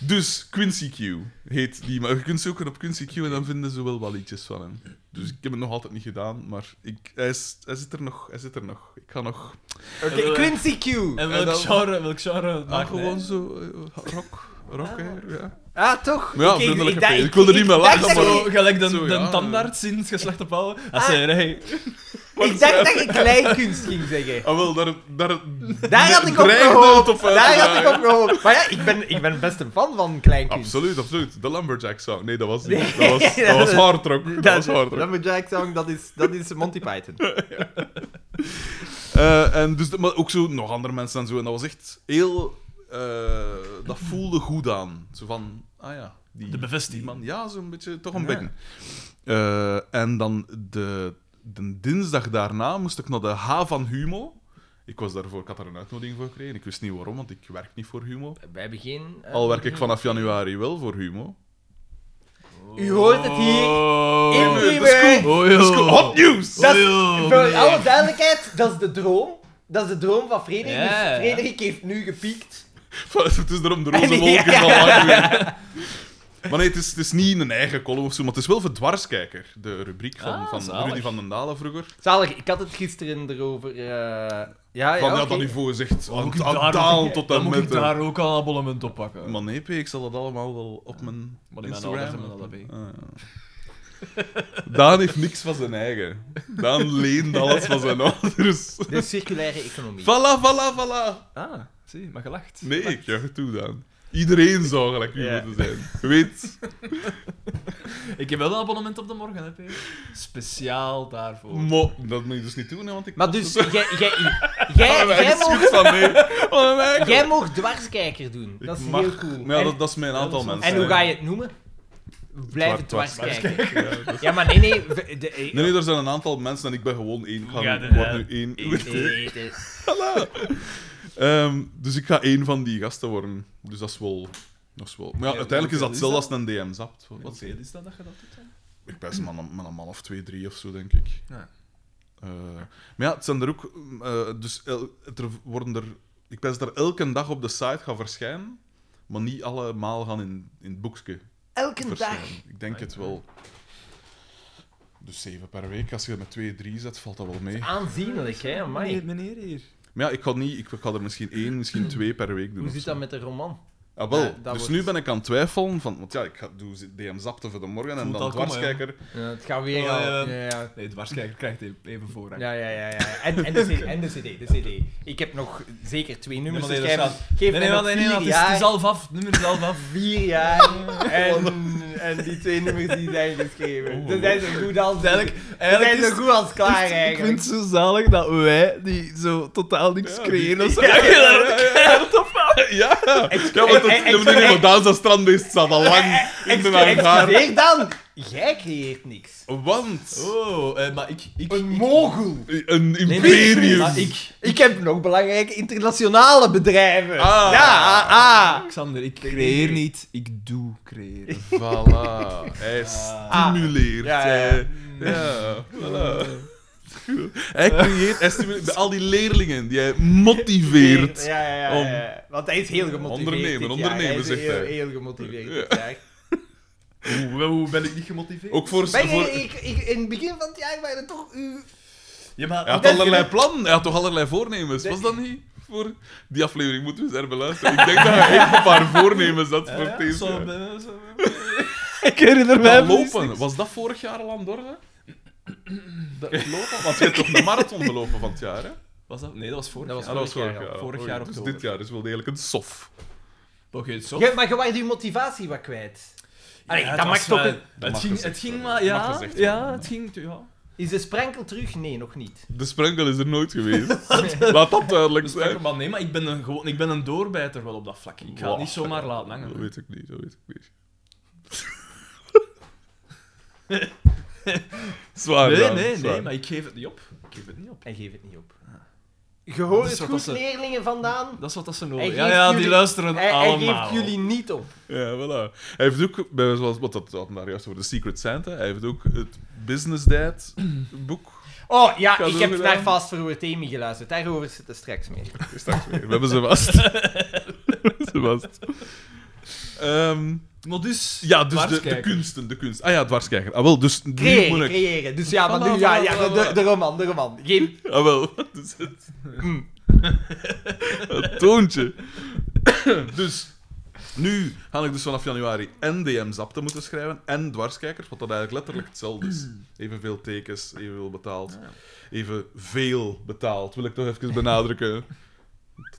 S1: Dus Quincy Q heet die. Maar je kunt zoeken op Quincy Q en dan vinden ze wel wat liedjes van hem. Dus ik heb het nog altijd niet gedaan, maar ik, hij, is, hij zit er nog. Hij zit er nog. Ik ga nog.
S2: Oké,
S3: Eh,
S2: Quincy Q.
S3: En
S1: En
S3: welk
S1: dan-
S3: genre, welk genre
S1: Ah,
S3: maakt hij?
S1: gewoon zo eh, rock. Rock, hè? Ja.
S2: Ah, toch?
S1: Maar ja,
S2: Ik- ik-
S1: vriendelijke
S2: dacht-
S1: P. Ik wilde niet meer
S2: dacht
S1: lachen,
S2: dat
S1: maar-
S3: Zo, gelijk de,
S1: Zo,
S3: de
S1: ja.
S3: tandarts in het geslacht opbouwen. Hij
S2: Ah.
S3: zei, hey,
S2: Ik, ik dacht dat je kleinkunst ging zeggen.
S1: Ah, wel, daar, daar,
S2: Daar had ik op
S1: dreigde
S2: gehoopt.
S1: het op uit te
S2: Daar had ik
S1: dragen.
S2: op gehoopt. Maar ja, ik ben, ik ben best een fan van kleinkunst.
S1: Absoluut, absoluut. De Lumberjack song. Nee, dat was
S2: Nee,
S1: niet. Dat was, dat
S2: dat
S1: was
S2: is-
S1: hard rock. Dat, was hard rock.
S2: Lumberjack Song, dat is, dat is Monty Python.
S1: Eh, en dus, maar ook zo nog andere mensen en zo. En dat was echt heel... eh, dat voelde goed aan. Zo van, ah ja. Die,
S3: De bevestiging.
S1: die man, ja, zo'n beetje, toch een
S3: Ja.
S1: beetje. Eh, en dan de, de dinsdag daarna moest ik naar de H van Humo. Ik was daarvoor, ik had daar een uitnodiging voor gekregen. Ik wist niet waarom, want ik werk niet voor Humo.
S2: Wij beginnen.
S1: Al werk ik vanaf januari wel voor Humo.
S2: U hoort het hier. In
S1: de
S2: Nieuwe-
S1: scoop.
S3: Oh,
S1: de scoop. Dus Hot news!
S2: Dat is-
S3: Oh,
S2: voor
S3: nee.
S2: alle duidelijkheid, dat is de droom. Dat is de droom van Frederik.
S3: Ja,
S2: Dus
S3: ja.
S2: Frederik heeft nu gepiekt.
S1: Het is daarom de roze
S2: Ja.
S1: wolken van lang weer. Maar nee, het is, het is niet een eigen column of zo, maar het is wel voor Dwarskijker, de rubriek van,
S3: Ah,
S1: van
S3: zalig.
S1: Rudy van den Dalen vroeger.
S2: Zalig, ik had het gisteren erover. eh, Ja, ja,
S1: Van ja,
S2: oké.
S1: dat niveau is echt aan
S3: moet
S1: het
S3: ik
S1: aan
S3: daar
S1: het dalen
S3: ook-
S1: tot
S3: dan
S1: en
S3: moet ik
S1: met.
S3: daar ook al een abonnement op pakken.
S1: Maar nee, P, ik zal dat allemaal wel op mijn
S3: Maar die
S1: Instagram...
S3: mijn ouders hebben dat
S1: Ah, ja. Daan heeft niks van zijn eigen. Daan leent alles van zijn ouders.
S2: De circulaire economie.
S1: Voilà, voilà, voilà.
S3: Ah, zie, maar gelacht.
S1: Nee, ik juich het toe, Daan. Iedereen zou gelijk u
S2: Ja.
S1: moeten zijn. Je Weet...
S3: Ik heb wel een abonnement op de morgen, hè, Peter. Speciaal daarvoor.
S1: Mo, dat moet je dus niet doen, hè, want ik...
S2: Maar dus, jij- jij-
S1: Ah,
S2: jij-
S1: Mijn
S2: jij
S1: excuus
S2: mocht-
S1: van nee. Oh, mijn eigen-
S2: jij mocht dwarskijker doen. Dat is
S1: Ik mag-
S2: heel cool.
S1: Maar ja,
S2: En-
S1: dat, dat is eh, mijn aantal
S3: dat is-
S1: mensen.
S2: En hoe
S1: hè.
S2: ga je het noemen? blijven
S1: Dwars-
S2: dwars,
S1: dwars
S2: kijken.
S1: Ja, dat-
S2: Ja, maar nee, nee. we- de- eh,
S1: Nee, nee, er zijn een aantal mensen en ik ben gewoon één. Ik ga
S3: Ja,
S1: nu-
S3: de-
S1: word nu één.
S2: Nee, het is-
S1: Ehm, dus ik ga één van die gasten worden. Dus dat is wel... Dat is wel... Maar ja,
S3: Ja,
S1: uiteindelijk is dat
S3: hoeveel
S1: hetzelfde
S3: is
S1: als een DM, zapt.
S3: Wat
S1: Wat
S3: zei is dat dat je dat doet? dan?
S1: Ik ben met een, met een man of twee, drie of zo, denk ik.
S3: Ja.
S1: Eh, maar ja, het zijn er ook... eh, dus el- het er worden er... Ik ben dat er elke dag op de site gaan verschijnen, maar niet allemaal gaan in, in het boekje
S2: Elke dag.
S1: verschijnen. Ik denk het wel. Dus zeven per week. Als je met twee, drie zet, valt dat wel mee.
S2: Aanzienlijk, hè,
S3: Meneer,
S2: amai.
S3: meneer hier.
S1: Maar ja, ik ga, niet, ik ga er misschien één, misschien twee per week doen.
S2: Hoe
S1: of
S2: zit
S1: zo.
S2: dat met de roman?
S1: Ah, wel.
S2: Ja, dat
S1: dus
S2: wordt-
S1: nu ben ik aan het twijfelen van... Want ja, ik ga, doe DM zapten voor de morgen en
S3: Voelt
S1: dan
S3: al komen,
S1: dwarskijker.
S2: Ja, het gaat weer
S3: Oh,
S2: al.
S3: ja.
S2: Ja, ja.
S3: Nee, dwarskijker krijgt even voorrang.
S2: Ja, ja, ja. ja. En, en, de CD, en de CD, de CD. Ik heb nog zeker twee nummers
S3: Nee,
S2: te
S3: maar nee,
S2: schrijven.
S3: dat Nee,
S2: Geef mij
S3: nee,
S2: nog
S3: nee, nee, nee,
S2: vier
S3: het, is,
S2: jaar. Oh,
S3: het is half af. Het nummer is half af.
S2: Vier jaar. En, en die twee nummers die zijn geschreven.
S1: Oh.
S2: Ze zijn zo goed als...
S3: Eigenlijk,
S2: Ze
S3: eigenlijk
S2: zijn
S3: is
S2: zo
S3: het-
S2: goed als klaar,
S3: Ik vind
S2: eigenlijk.
S3: het zo zalig dat wij, die zo totaal niks
S1: Ja,
S3: creëren,
S1: die-
S3: of zo,
S2: Ja,
S3: dat je daar ook keihard op
S1: Ja, ja.
S2: Ex-
S1: ja want het,
S2: ex-
S1: ik bedoel,
S2: ex-
S1: het Daanse strandbeest staat al lang in mijn haar.
S2: Excuseer dan. Jij creëert niks.
S1: Want
S3: Oh, eh, maar ik... ik
S2: Een
S3: ik-
S2: mogel.
S1: een
S3: Nee,
S1: imperium...
S3: maar ik...
S2: Ik heb nog belangrijke internationale bedrijven.
S1: Ah.
S2: Ja, ah, ah.
S3: Xander, ik creëer niet, ik doe creëren.
S1: Voilà. Hij
S2: Ah.
S1: stimuleert.
S2: Ja, ja, ja.
S1: hij-
S3: eh,
S1: ja, voilà. Hij creëert... Hij stimuleert bij al die leerlingen die hij motiveert.
S2: Ja, ja, ja, ja, ja. Want hij is heel gemotiveerd.
S1: Ondernemen,
S2: dit jaar.
S1: ondernemen,
S2: hij is
S1: zegt
S2: heel,
S1: hij.
S2: heel gemotiveerd. dit jaar.
S3: Hoe, hoe ben ik niet gemotiveerd?
S1: Ook voor...
S2: Ben
S1: voor
S2: je, ik, ik, in het begin van het jaar waren er toch uw...
S3: Ja, maar...
S1: Hij had
S2: denk-
S1: allerlei plannen, hij had toch allerlei voornemens. Was dat niet? Voor die aflevering moeten we eens even luisteren. Ik denk dat hij echt een paar voornemens had
S3: Ja,
S1: voor
S3: ja,
S1: het eerst.
S3: zo,
S1: Ja.
S3: ben- zo- ik herinner mij
S1: Dat
S3: precies
S1: lopen,
S3: niks.
S1: was dat vorig jaar al aan Dorde? Dat lopen? Want je hebt toch de marathon gelopen van het jaar, hè? Ja,
S3: Was dat? Nee, dat was vorig
S2: Dat was
S1: dat
S3: jaar.
S1: was
S2: Vorig
S1: vorig
S2: jaar
S1: jaar.
S2: al.
S3: Vorig
S1: Oei,
S3: jaar
S1: Dus
S3: oktober.
S1: dit jaar is wel degelijk een sof.
S3: Oké, zo.
S2: Je, maar je waard je motivatie wat kwijt. Allee,
S3: Ja, was
S2: dat mag toch...
S3: wel-
S2: een-
S1: dat
S3: Het
S1: mag
S3: ging,
S1: gezegd
S3: het ging
S1: worden.
S3: maar...
S1: Dat mag
S3: Ja,
S1: gezegd
S3: ja,
S1: worden.
S3: het ging... Ja.
S2: Is de sprenkel terug? Nee, nog niet.
S1: De sprenkel is er nooit geweest. Laat dat duidelijk
S3: Dus
S1: zijn.
S3: maar nee, maar ik ben, een, gewoon, ik ben een doorbijter wel op dat vlak. Ik ga het niet zomaar laten
S1: Dat
S3: hangen.
S1: weet ik niet, dat weet ik niet. Zwaar
S3: Nee,
S1: gedaan,
S3: nee,
S1: zwaar.
S3: nee, maar ik geef het niet op. Ik geef het niet op.
S2: En geef het niet op. Je hoort
S3: Ah. Dat is
S2: het
S3: wat
S2: goed,
S3: dat ze-
S2: leerlingen vandaan.
S3: Dat is wat dat ze
S2: Hij
S3: nodig
S2: geeft
S3: Ja, ja, die
S2: jullie-
S3: luisteren
S2: Hij, hij
S3: allemaal.
S2: geeft jullie niet op.
S1: Ja, voilà. Hij heeft ook, bij- zoals wat dat we hadden daar juist over de Secret Santa, hij heeft ook het Business Dad boek.
S2: Oh ja,
S1: Cadeau
S2: ik heb
S1: gedaan.
S2: naar Fast Forward Amy geluisterd. Daarover zit het straks mee.
S1: Straks weer. We hebben ze vast. We hebben ze vast. Ehm,
S3: Maar dus...
S1: ja, dus de, de
S3: dwarskijker.
S1: kunsten, de kunst. Ah ja, dwarskijker. Ah wel, dus nu moet
S2: Creëren,
S1: ik...
S2: creëren. Dus ja, maar
S3: Voilà,
S2: nu, ja,
S3: voilà,
S2: ja
S3: voilà,
S2: de,
S3: voilà.
S2: de roman, de roman. Geef...
S1: Ah wel, dus het... het toontje. dus, nu ga ik dus vanaf januari en DM-zapte moeten schrijven en dwarskijkers, wat dat eigenlijk letterlijk hetzelfde is. Evenveel tekens, evenveel betaald. Evenveel betaald, wil ik toch even benadrukken.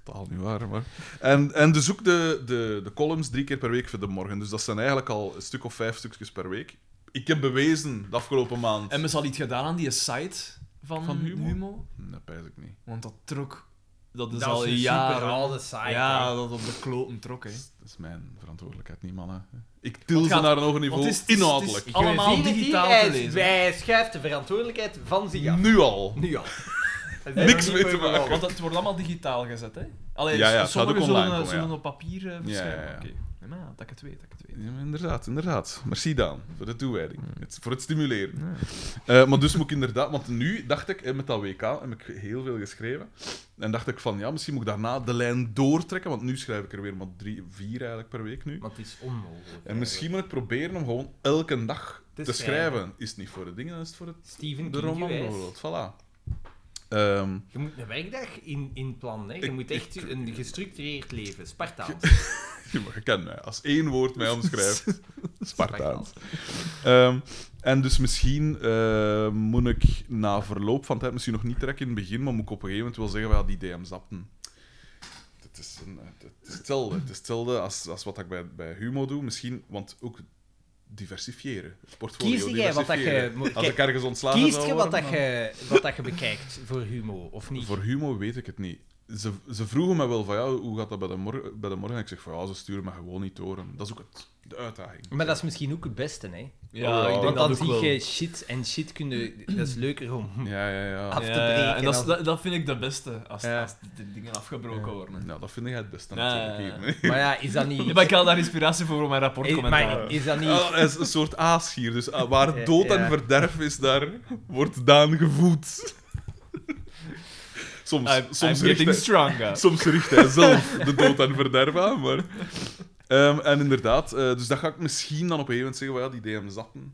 S1: Totaal niet waar, maar... En, en dus ook de, de, de columns drie keer per week voor de morgen. Dus dat zijn eigenlijk al een stuk of vijf stukjes per week. Ik heb bewezen de afgelopen maand...
S3: En we zal iets gedaan aan die site van,
S1: Van Humo?
S3: Humo.
S1: Dat pijs ik niet.
S3: Want dat trok... Dat is
S2: Dat
S3: al
S2: is een
S3: jaren...
S2: super oude site,
S3: Ja,
S2: hè.
S3: dat op de kloten trok, hè.
S1: Dat is mijn verantwoordelijkheid, niet mannen. Ik til
S3: Wat
S1: ze
S3: gaat-
S1: naar een hoger
S3: wat
S1: niveau,
S3: is- het is-
S1: inhoudelijk.
S3: het Allemaal
S2: Je ziet het hier,
S3: digitaal
S2: hij,
S3: te lezen.
S2: Hij schuift de verantwoordelijkheid van zich af.
S1: Nu al.
S2: Nu al.
S1: Niks mee te maken.
S3: Want het wordt allemaal digitaal gezet, hè. Alleen
S1: Oh. Ja, ja, het gaat
S3: sommigen
S1: ook online
S3: zullen,
S1: komen, ja.
S3: zullen op papier eh, verschijnen.
S1: ja, ja.
S3: Oké. Nee, maar ja, dat ik het weet, dat ik het weet.
S1: Ja, maar inderdaad, inderdaad. Merci Daan, voor de toewijding. Het, voor het stimuleren. Eh, maar dus moet ik inderdaad... Want nu dacht ik, eh, met dat WK heb ik heel veel geschreven. En dacht ik van, ja, misschien moet ik daarna de lijn doortrekken. Want nu schrijf ik er weer maar drie, vier eigenlijk per week nu.
S2: Maar het is onmogelijk.
S1: En misschien moet ik proberen om gewoon elke dag
S2: Te
S1: te
S2: schrijven.
S1: schrijven. Is het niet voor de dingen, dan is het voor het,
S2: Steven
S1: de
S2: King
S1: roman bijvoorbeeld. Voilà. Ehm,
S2: Je moet een werkdag in, in plannen. Hè. Je
S1: Ik-
S2: moet echt
S1: ik-
S2: een gestructureerd leven. Spartaans.
S1: Ja, maar je kent mij. Als één woord mij omschrijft. Spartaans.
S2: Spartaans.
S1: Ehm, en dus misschien eh, moet ik na verloop van tijd, misschien nog niet direct in het begin, maar moet ik op een gegeven moment wel zeggen, ja, die DM zapten. Het is, een, eh, het is hetzelfde, het is hetzelfde als, als wat ik bij, bij Humo doe. Misschien, want ook diversifiëren. Het portfolio
S2: Kies jij wat dat je
S1: diversifiëren.
S2: moet-
S1: Als ik ergens ontslagen
S2: Kiest
S1: zou
S2: je wat,
S1: worden,
S2: dat
S1: dan-
S2: je wat dat je bekijkt voor Humo, of niet?
S1: Voor Humo weet ik het niet. ze, ze vroegen me wel van, ja, hoe gaat dat bij de, mor- bij de morgen? Ik zeg van, ja, ze sturen me gewoon niet door. En dat is ook het, de uitdaging.
S2: Maar dat is misschien ook het beste, hè?
S1: Oh, ja.
S3: ik denk
S1: Want
S2: Want
S3: dat
S2: dan
S3: ook wel.
S2: zie je shit en shit kunnen. Dat is leuker om.
S1: Ja, ja, ja.
S2: af te
S3: Ja, ja, ja. En
S2: breken
S3: dat, is-
S2: als-
S3: dat, dat vind ik de beste, als,
S2: Ja.
S3: als de dingen afgebroken worden.
S1: Nou, dat vind jij het beste
S3: Ja, ja,
S1: natuurlijk.
S3: ja.
S1: hier, hè.
S2: Maar ja, is dat niet.
S3: Ja, maar ik haal daar inspiratie voor om mijn rapport
S2: Eh, maar is dat
S1: Ja,
S2: niet.
S1: hij is een soort aas hier, dus ah, waar
S2: Ja,
S1: dood en
S2: ja.
S1: verderf is, daar wordt Daan gevoed. Soms,
S3: I'm,
S1: soms,
S3: I'm
S1: richt
S3: getting
S1: hij,
S3: stronger.
S1: soms richt hij zelf de dood en verderf aan, maar... Ehm, en inderdaad, eh, dus dat ga ik misschien dan op een gegeven moment zeggen, van, ja, die DM zatten.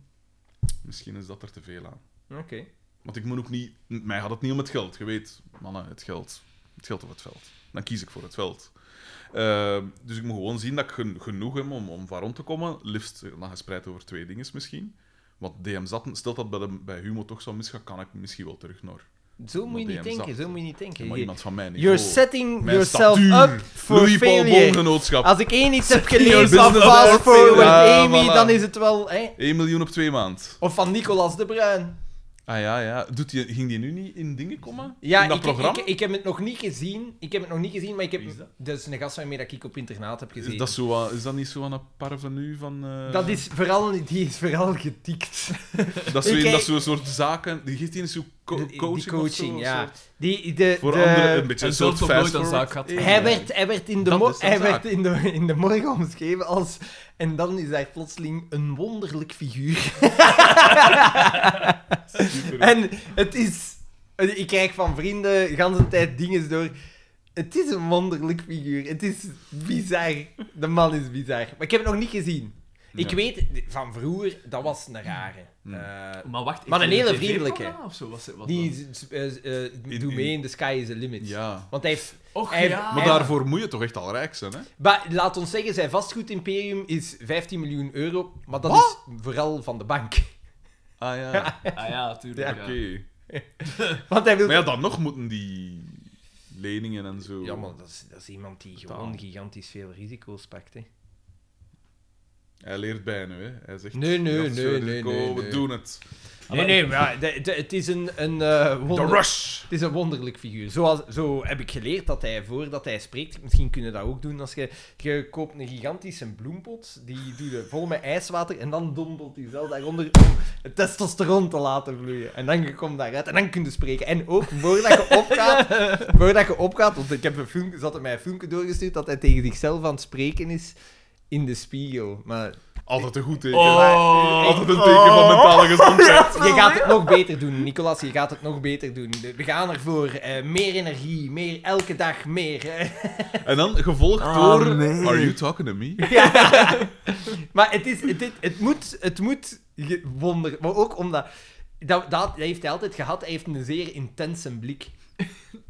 S1: Misschien is dat er te veel aan.
S2: Oké.
S1: Want ik moet ook niet... Mij gaat het niet om het geld, je weet. Mannen, het geld. Het geld of het veld. Dan kies ik voor het veld. Ehm, dus ik moet gewoon zien dat ik gen- genoeg heb om, om van rond te komen. Liefst eh, dan gespreid over twee dingen misschien. Want DM zat, stelt dat bij, de, bij Humo toch zo misgaat, kan ik misschien wel terug naar.
S2: Zo moet je
S1: Maar
S2: niet
S1: die hem
S2: denken,
S1: zacht.
S2: zo moet je niet denken.
S1: Maar
S2: Je-
S1: iemand van mij niet.
S2: You're setting
S1: Mijn
S2: yourself
S1: statuur.
S2: up for
S1: Louis Paul
S2: failure.
S1: Bongenootschap.
S2: Als ik één iets heb geleerd
S1: yourself
S2: van
S1: up
S2: Fast
S1: for
S2: Forward
S1: failure.
S2: Amy,
S1: Ja, voilà.
S2: dan is het wel... Hè?
S1: 1 miljoen op twee maand.
S2: Of van Nicolas de Bruin.
S1: Ah ja, ja. Doet die, ging die nu niet in dingen komen?
S2: Ja,
S1: in dat
S2: ik, ik,
S1: programma?
S2: ik heb het nog niet gezien. Ik heb het nog niet gezien, maar ik heb...
S3: Wie is dat?
S2: is een gast van mij dat ik op internaat heb gezien.
S1: is, dat zo, wat- is dat niet zo aan een parvenu van... eh,
S2: Dat is vooral, die is vooral getikt.
S1: Dat is zo
S2: Ik-
S1: een- dat is zo'n soort zaken. Die geeft die een soort co-
S2: Die-
S1: coaching.
S2: die
S1: of zo,
S2: coaching,
S1: een
S2: ja.
S1: soort-
S2: Die, de,
S1: Voor
S2: de-
S1: anderen een beetje
S3: En
S1: een
S3: zelfs
S1: soort
S3: nog nooit
S1: fast
S3: een zaak
S1: forward.
S3: gehad.
S2: Hij werd, hij werd, in, de
S1: Dat
S2: mor-
S1: is een
S2: hij
S1: zaak.
S2: werd in, de, in de morgen omschreven als... En dan is hij plotseling een wonderlijk figuur.
S1: Super.
S2: En het is... Ik krijg van vrienden de hele tijd dingen door. Het is een wonderlijk figuur. Het is bizar. De man is bizar. Maar ik heb het nog niet gezien. Ik
S1: Ja.
S2: weet, van vroeger, dat was een rare.
S1: Hmm.
S2: Eh,
S3: Maar wacht,
S2: Maar
S3: heeft
S2: een
S3: hij
S2: hele vriendelijke.
S3: TV-programma Of zo, was het, wat
S2: die
S3: dan?
S2: is- eh, eh,
S1: In-
S2: doe
S1: in-
S2: mee in The Sky is the Limit.
S1: Ja.
S2: Want hij heeft...
S3: Och,
S2: hij-
S3: ja.
S1: Maar
S2: hij-
S1: daarvoor moet je toch echt al rijk zijn, hè?
S2: Maar laat ons zeggen, zijn vastgoedimperium is 15 miljoen euro. Maar dat is vooral van de bank.
S1: Ah ja,
S3: Ah ja, tuurlijk.
S1: oké.
S3: ja.
S2: Want hij wil...
S1: Maar ja, dan nog moeten die leningen en zo...
S2: Ja, maar dat is, dat is iemand die gewoon gigantisch veel risico's pakt, hè.
S1: Hij leert bij nu, hè? Hij zegt...
S2: Nee, nee,
S1: "Ja, het is
S2: nee,
S1: veel
S2: nee,
S1: risico,
S2: nee,
S1: We
S2: nee.
S1: doen het.
S2: Nee, nee, maar de- de- het is een, een, eh,
S1: The
S2: wonder-
S1: rush!
S2: het is een wonderlijk figuur. Zoals, zo heb ik geleerd dat hij, voordat hij spreekt, misschien kunnen we dat ook doen, als je, je koopt een gigantische bloempot, die doe je vol met ijswater, en dan dompelt hij zelf daaronder om het testosteron te laten vloeien. En dan je komt daaruit, en dan kun je spreken. En ook voordat je opgaat, voordat je opgaat want ik heb een filmpje, ze hadden mij een filmpje doorgestuurd, dat hij tegen zichzelf aan het spreken is in de spiegel. Maar
S1: Altijd een goed teken.
S3: Oh,
S1: Altijd een teken van mentale gezondheid.
S2: Je gaat het nog beter doen, Nicolas. Je gaat het nog beter doen. We gaan ervoor. Eh, meer energie, meer, elke dag meer. eh.
S1: En dan gevolgd
S3: Ah,
S1: door...
S3: nee.
S1: Are you talking to me?
S2: Maar het, is, het, het- het moet, het moet ge- wonder. Maar ook omdat. Dat, dat, dat heeft hij altijd gehad. Hij heeft een zeer intense blik.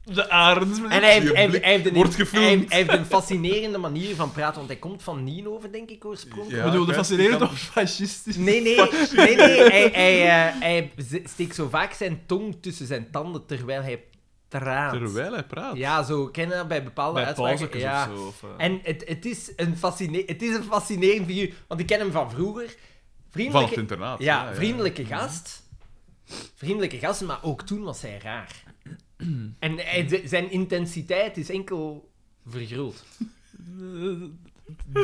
S3: de arend.
S2: En hij heeft,
S1: Je
S2: hij, heeft-
S1: blik
S2: hij heeft een,
S1: wordt
S2: hij,
S1: gefilmd.
S2: heeft- hij heeft een fascinerende manier van praten. Want hij komt van Nienhoven, denk ik, oorspronkelijk.
S1: Ja,
S3: bedoel, de
S1: kijk,
S3: fascinerend
S1: die
S3: of fascistisch?
S2: Nee, nee, nee, nee. Hij, hij, eh, hij z- steekt zo vaak zijn tong tussen zijn tanden terwijl hij praat.
S1: Terwijl hij praat.
S2: Ja, zo kennen dat bij bepaalde
S3: Bij
S2: uitspraken.
S3: pauzekes
S2: Ja.
S3: of zo. Of, eh.
S2: En het, het, is een fascine- het is een fascinerend figuur, want ik ken hem van vroeger.
S1: Van het
S2: Vriendelijke,
S1: internaat.
S2: ja, vriendelijke gast. Vriendelijke gast, maar ook toen was hij raar. En hij- z- zijn intensiteit is enkel vergroot.
S3: Eh,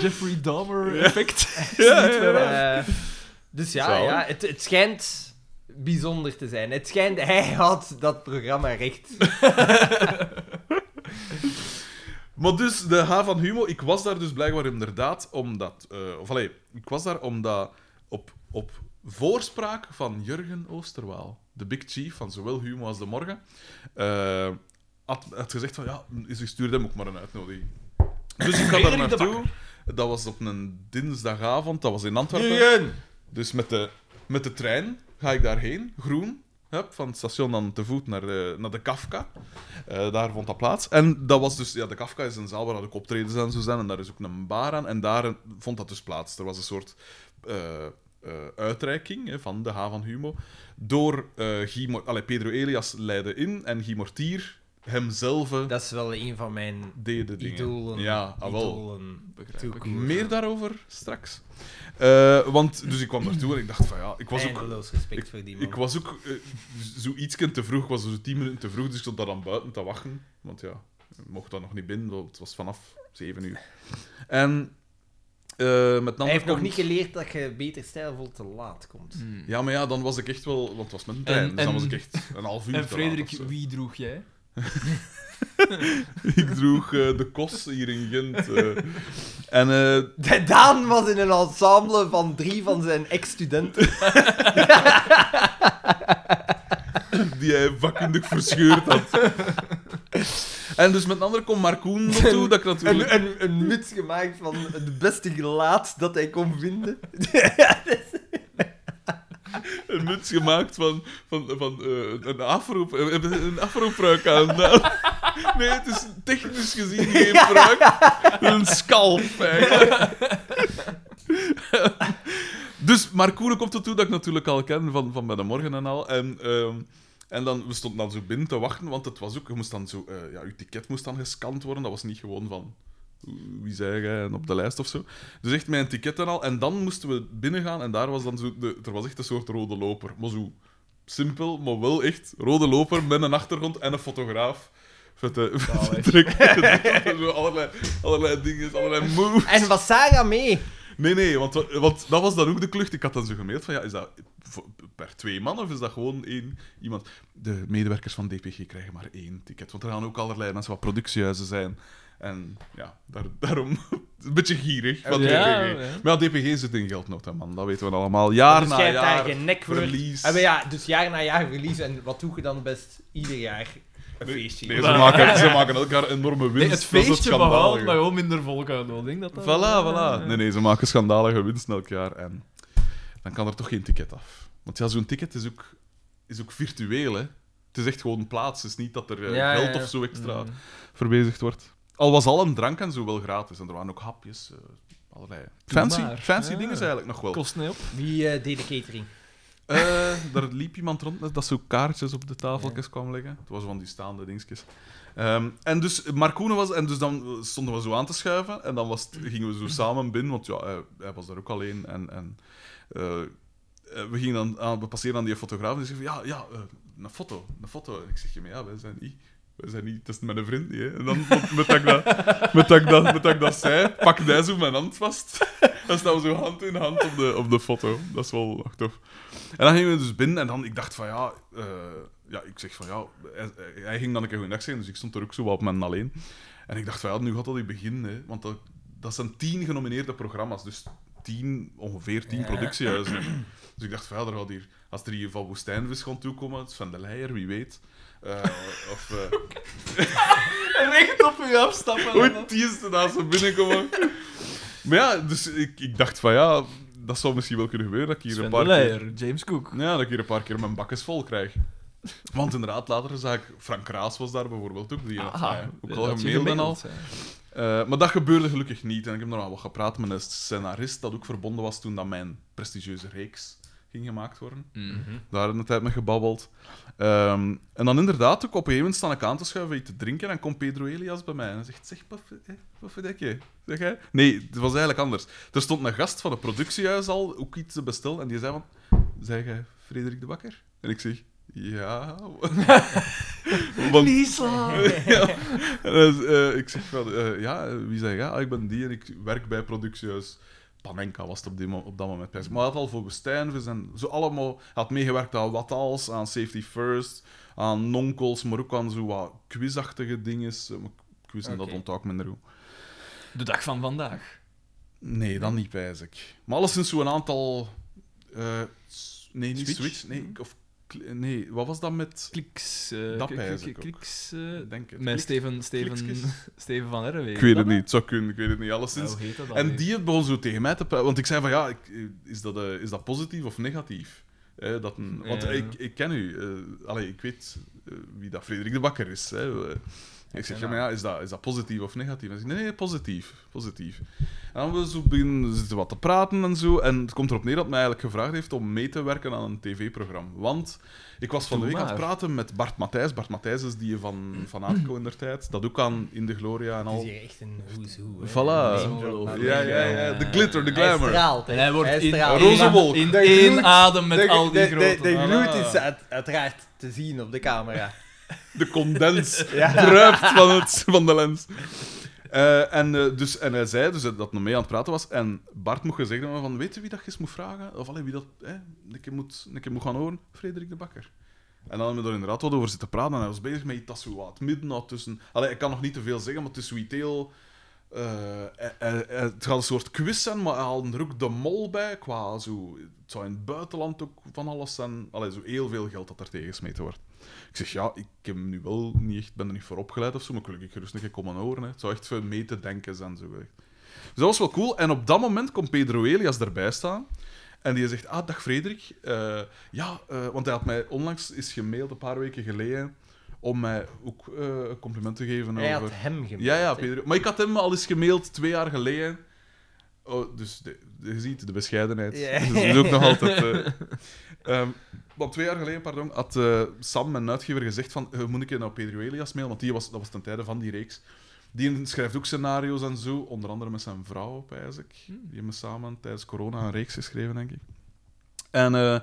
S3: Jeffrey Dahmer effect.
S1: Ja,
S3: Niet
S1: ja,
S3: meer
S1: ja.
S3: waar.
S2: Eh, dus ja,
S1: Zalig.
S2: ja het, het schijnt bijzonder te zijn. Het schijnt, hij had dat programma recht.
S1: Maar dus, de H van Humo, ik was daar dus blijkbaar inderdaad omdat... eh, of allee, ik was daar omdat op, op voorspraak van Jurgen Oosterwaal, de big chief van zowel Humo als De Morgen, eh, had, had gezegd van, ja, ze stuurde hem ook maar een uitnodiging. Dus ik ga daar
S3: Frederik de
S1: naartoe. Dat was op een dinsdagavond, dat was in Antwerpen. Dus met de, met de trein ga ik daarheen, groen. Hup, van het station dan te voet naar, eh, naar de Kafka. Eh, daar vond dat plaats. En dat was dus, ja, de Kafka is een zaal waar ook optredens en zo zijn. En daar is ook een bar aan. En daar eh, vond dat dus plaats. Er was een soort eh, eh, uitreiking hè, van de H van Humo. Door eh Guy Mor- Allee, Pedro Elias leidde in en Guy Mortier hemzelf eh,
S2: Dat is wel een van mijn
S1: deed de dingen.
S2: idolen.
S1: ja, ah, wel.
S2: idolen.
S3: Begrijp
S2: Too
S3: ik.
S2: cool.
S1: Meer daarover straks. Eh, want, dus ik kwam daartoe en ik dacht van ja, ik was ook...
S2: Eindeloos respect voor die man.
S1: Ik was ook eh, zo iets te vroeg, ik was zo tien minuten te vroeg, dus ik stond daar dan buiten te wachten. Want ja, mocht dat nog niet binnen, dat- het was vanaf 7 uur. En eh, met
S2: Hij
S1: name
S2: heeft nog
S1: komt-
S2: niet geleerd dat je beter stijlvol te laat komt.
S1: Ja, maar ja, dan was ik echt wel... Want het was met een
S3: En-
S1: trein, dus
S3: en-
S1: dan was ik echt een half uur te
S3: En
S1: laat
S3: Frederik,
S1: of zo.
S3: wie droeg jij?
S1: Ik droeg eh, de kos hier in Gent. eh. en eh,
S2: De Daan was in een ensemble van drie van zijn ex-studenten.
S1: die hij vakkundig verscheurd had. En dus met een andere kon Marcoen naartoe, dat ik natuurlijk...
S2: Een, een, een muts gemaakt van het beste gelaat dat hij kon vinden.
S1: een muts gemaakt van, van, van eh, een afroep, een, een afroepruik aan. Nee, het is technisch gezien geen pruik. Een scalp, eigenlijk. Dus Marcoene komt ertoe dat ik natuurlijk al ken van, van bij de morgen en al. En, ehm, en dan, we stonden dan zo binnen te wachten, want het was ook, je moest dan zo, eh, ja, je ticket moest dan gescand worden. Dat was niet gewoon van, wie zei jij, en op de lijst of zo. Dus echt mijn ticket en al. En dan moesten we binnengaan en daar was dan zo... De, er was echt een soort rode loper. Maar zo simpel, maar wel echt rode loper met een achtergrond en een fotograaf. Vette, vette druk. Zo allerlei, allerlei dingen, allerlei moves.
S2: En was Sarah mee?
S1: Nee, nee, want, wa- want dat was dan ook de klucht. Ik had dan zo gemaild van, ja, is dat voor- per twee man of is dat gewoon één iemand? De medewerkers van DPG krijgen maar één ticket, want er gaan ook allerlei mensen wat productiehuizen zijn. En ja, daar, daarom een beetje gierig van
S3: Ja,
S1: DPG.
S3: ja.
S1: Maar ja, DPG zit in geldnood, hè, man. Dat weten we allemaal. Jaar
S2: dus
S1: na
S2: jij hebt
S1: jaar.
S2: daar geen nek voor.
S1: verlies.
S2: Ah, maar ja, dus jaar na jaar verlies. En wat doe je dan best ieder jaar? Een
S1: Nee,
S2: feestje.
S1: nee, ze, maken, ze maken elkaar enorme winst.
S3: Nee, het feestje
S1: dat is het
S3: behaald,
S1: schandalige.
S3: maar gewoon minder volk aan. Ik denk dat dat... eh,
S1: Voilà, voilà. Nee, nee, ze maken schandalige winst elk jaar en dan kan er toch geen ticket af. Want ja, zo'n ticket is ook, is ook virtueel, hè. Het is echt gewoon plaats, het is niet dat er eh,
S2: Ja, ja,
S1: geld
S2: ja.
S1: of zo extra
S3: Mm.
S1: verbezigd wordt. Al was al een drank en zo wel gratis en er waren ook hapjes, eh, allerlei fancy,
S3: maar.
S1: fancy
S3: Ja.
S1: dingen eigenlijk nog wel.
S3: Kost niet op.
S2: Wie eh, deed de catering?
S1: Eh, daar liep iemand rond met dat zo kaartjes op de tafeltjes kwam leggen. Het was van die staande dingetjes. Ehm, en dus Marcoene was, en dus dan stonden we zo aan te schuiven. En dan was het- gingen we zo samen binnen, want ja, hij, hij was daar ook alleen. En, en eh, eh, we gingen dan aan, we passeerden aan die fotograaf en die zei van, ja, ja, eh, een foto, een foto. En ik zeg hem, ja, wij zijn niet, wij zijn niet, het is mijn vriend niet, hè. En dan, met, met, dat ik dat, met, dat ik dat, met dat ik dat zei, pakte hij zo mijn hand vast. Dan staan we zo hand in hand op de, op de foto. Dat is wel echt tof. En dan gingen we dus binnen en dan, ik dacht van ja, eh, ja ik zeg van ja, hij, hij ging dan een keer goedendag zeggen, dus ik stond er ook zo wat op mijn alleen. En ik dacht van ja, nu gaat dat weer beginnen, hè, want dat, dat zijn tien genomineerde programma's, dus tien, ongeveer tien
S2: Ja.
S1: productiehuizen. Dus ik dacht van ja, er gaat hier, als er hier van Woestijnvis gaat toekomen, Sven de Leijer, wie weet. Eh, of... eh,
S3: Recht op u afstappen.
S1: Hoe tiesten naast ze binnenkomen. maar ja, dus ik, ik dacht van ja, dat zou misschien wel kunnen gebeuren. Dat ik hier
S3: Sven
S1: een
S3: de
S1: paar keer,
S3: Leijer, James Cook.
S1: ja, dat ik hier een paar keer mijn bakjes vol krijg. Want inderdaad, later zag ik Frank Raas was daar bijvoorbeeld ook. Die had
S3: Ah,
S1: mij ook al
S3: had je
S1: gemaild en al.
S3: gemaild,
S1: Eh, maar dat gebeurde gelukkig niet. En ik heb nog wel wat gepraat met een scenarist dat ook verbonden was toen dat mijn prestigieuze reeks ging gemaakt worden.
S3: ja.
S1: Daar een tijd mee gebabbeld. Ehm, en dan inderdaad, ook op een gegeven moment staan ik aan te schuiven, iets te drinken. En dan komt Pedro Elias bij mij en hij zegt: Zeg, paf- eh, Paffedekje. Zeg jij? Nee, het was eigenlijk anders. Er stond een gast van het productiehuis al ook iets te bestellen. En die zei: van, Zeg jij Frederik de Bakker? En ik zeg: Ja. Want
S3: Lisa!
S1: ja. En hij z- eh, ik zeg van, eh, ja, eh, wie zei ja? Ah, ik ben die en ik werk bij productiehuis. Panenka was het op, die mo- op dat moment. Maar hij had al voor Woestijnvis en zo allemaal... Hij had meegewerkt aan Wat Als, aan Safety First, aan Nonkels, maar ook aan zo wat quizachtige dingen. Eh, maar Quiz en dat
S2: Oké.
S1: onthoud ik minder goed.
S3: De dag van vandaag.
S1: Nee, dan niet, wijs ik. Maar alleszins zo'n aantal... eh, s- nee, niet
S3: Switch?
S1: Switch. nee, of, kli- nee, wat was dat met...
S3: Kliks. eh,
S1: Dat
S3: klik-
S1: pijs
S3: klik-
S1: ik ook.
S3: Kliks. eh,
S1: Ik Denk het.
S3: Met
S1: Klik-
S3: Steven, Steven,
S1: klikskis.
S3: Steven van Herrenwegen.
S1: Ik weet
S3: Dat
S1: het niet, het zou kunnen, ik weet het niet. Alleszins...
S3: Hoe heet dat dan
S1: En
S3: weer?
S1: die begon zo tegen mij te praten. Want ik zei van ja, ik, is, dat, eh, is dat positief of negatief? Eh, dat een, want
S3: Ja.
S1: ik, ik ken u. eh, allee, ik weet eh, wie dat Frederik de Bakker is. Hè. Eh, ik zeg, ja, maar ja, is dat, is dat positief of negatief? En ze nee, nee, positief. positief. En dan we zo beginnen we zitten wat te praten en zo. En het komt erop neer dat mij eigenlijk gevraagd heeft om mee te werken aan een tv-programma. Want ik was van de
S3: Doe
S1: week aan het
S3: maar.
S1: praten met Bart Matthijs. Bart Matthijs is die van, van Aardco in der tijd. Dat ook aan In de Gloria en
S3: Nou.
S2: Het is
S1: al.
S2: hier echt een who's who. hè.
S1: Voilà.
S2: Name drop.
S3: Ja,
S1: Ja, ja, ja. De glitter, de
S2: Hij
S1: glamour.
S2: straalt. hè.
S3: En hij wordt in
S2: straalt.
S1: roze
S2: Ja.
S1: wolk.
S3: In
S2: De
S3: één
S2: gloed.
S3: adem met
S2: de,
S3: al die
S2: de, de,
S3: grote.
S2: de
S1: Ah.
S2: gloed is uit- uiteraard te zien op de camera.
S1: de condens
S2: Ja.
S1: druipt van, het, van de lens. Eh, en, eh, dus, en hij zei dus dat hij nog mee aan het praten was. En Bart mocht gezegd hebben van, weet je wie dat je eens moet vragen? Of allee, wie dat hè, een, keer moet, een keer moet gaan horen? Frederik de Bakker. En dan hebben we er inderdaad wat over zitten praten. En hij was bezig met iets dat zo wat midden tussen... Allee, ik kan nog niet te veel zeggen, maar het is zoiets heel... eh, eh, eh, het gaat een soort quiz zijn, maar hij haalde er ook de mol bij. Qua zo, het zou in het buitenland ook van alles zijn. Allee, zo heel veel geld dat er tegengesmeten wordt. Ik zeg, ja, ik heb nu wel niet echt, ben er niet voor opgeleid of zo, maar ik wil ik gerust een keer komen horen. Hè. Het zou echt veel mee te denken zijn. Zo. echt. Dus dat was wel cool. En op dat moment komt Pedro Elias erbij staan. En die zegt, ah, dag Frederik. Eh, ja, eh, want hij had mij onlangs is gemaild, een paar weken geleden, om mij ook eh, een compliment te geven
S2: Hij
S1: over...
S2: had hem gemeld.
S1: Ja, ja,
S2: hè.
S1: Pedro. Maar ik had hem al eens gemaild twee jaar geleden. Oh, dus de, de- je ziet de bescheidenheid.
S2: Ja.
S1: Dus dat is ook nog altijd. eh. Ehm, want twee jaar geleden, pardon, had eh, Sam, mijn uitgever, gezegd van eh, moet ik je nou Pedro Elias mailen? Want die was, dat was ten tijde van die reeks. Die schrijft ook scenario's en zo, onder andere met zijn vrouw op Isaac. Die hebben samen tijdens corona een reeks geschreven, denk ik. En, eh,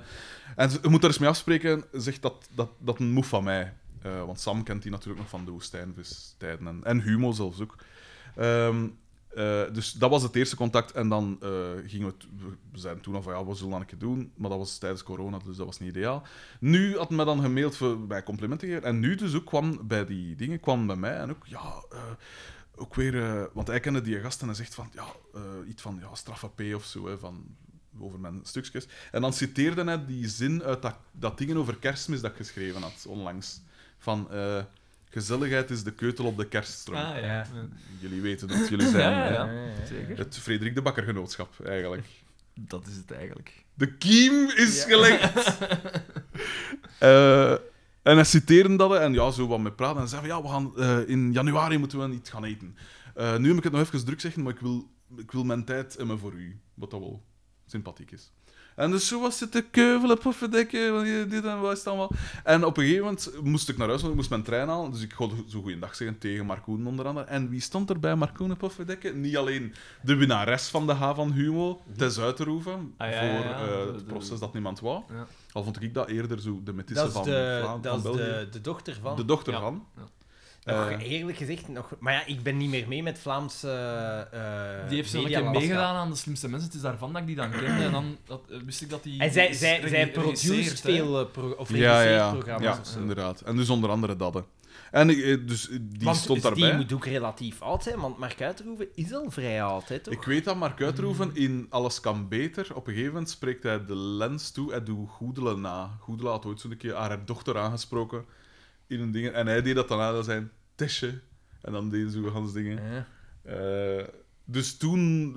S1: en ze- je moet daar eens mee afspreken, zegt dat, dat, dat een moef van mij. Eh, want Sam kent die natuurlijk nog van de woestijnvistijden en, en Humo zelfs ook. Ehm, eh, dus dat was het eerste contact. En dan eh, gingen we... t- we- We zijn toen al van, ja, we zullen dat een keer doen. Maar dat was tijdens corona, dus dat was niet ideaal. Nu had men dan gemaild voor mij complimenten gegeven. En nu dus ook kwam bij die dingen, kwam bij mij en ook, ja... eh, ook weer, eh, want hij kende die gast en hij zegt van, ja, eh, iets van, ja, straffe P of zo, hè, van, over mijn stukjes. En dan citeerde hij die zin uit dat, dat ding over kerstmis dat ik geschreven had, onlangs. Van, eh, gezelligheid is de keutel op de kerststrom.
S3: Ah, ja.
S1: Jullie weten dat jullie zijn.
S3: Ja,
S1: hè.
S3: ja. Zeker.
S1: Het Frederik de Bakker genootschap, eigenlijk.
S3: Dat is het eigenlijk.
S1: De kiem is gelegd. Eh, en hij citeerde dat en ja, zo wat met praten. En zei van, ja, we gaan, eh, in januari moeten we iets gaan eten. Eh, nu heb ik het nog even druk zeggen, maar ik wil, ik wil mijn tijd hebben voor u. Wat dat wel sympathiek is. En dus zo was het te keuvelen, poffendekken, want je- dit en wat is het allemaal. En op een gegeven moment moest ik naar huis, want ik moest mijn trein halen. Dus ik kon zo goeiedag zeggen tegen Marcoen onder andere. En wie stond er bij Marcoen en poffendekken? Niet alleen de winnares van de H van Humo, Tess Uiterhoeven,
S3: Ah, ja,
S1: voor eh,
S3: ja, ja. De-
S1: het
S3: de-
S1: proces dat niemand wou.
S3: Ja.
S1: Al vond ik dat eerder zo de metisse
S2: Dat is,
S1: van,
S2: de,
S1: Vla-
S2: dat is
S1: van België.
S2: de, de dochter van.
S1: De dochter
S3: Ja.
S1: van.
S2: Nog
S1: eh,
S2: eerlijk gezegd, nog, maar ja, ik ben niet meer mee met Vlaamse. eh, eh,
S3: Die heeft zo'n
S2: media
S3: keer
S2: landschap.
S3: meegedaan aan de slimste mensen. Het is daarvan dat ik die dan kende. En dan dat, eh, wist ik dat die.
S2: En zij,
S3: is
S2: zij, zij
S3: rege-
S2: produceert
S3: regisseert, hè.
S2: veel eh, pro- of
S1: Ja,
S2: regisseert
S1: ja, ja.
S2: programma's.
S1: ja
S2: of zo.
S1: inderdaad. En dus onder andere dat. hè. En eh, dus, eh, die
S2: Want
S1: stond
S2: die
S1: daarbij.
S2: moet ook relatief oud zijn, want Mark Uiterhoeven is al vrij oud, hè, toch? Mm.
S1: Ik weet dat Mark Uitroeven in Alles kan beter. Op een gegeven moment spreekt hij de lens toe. Hij doet Goedele na. Goedele had ooit zo'n keer haar, haar dochter aangesproken in een ding. En hij deed dat dan aan dat zijn Tesje. En dan deden ze gans dingen.
S2: Ja.
S1: Eh, dus toen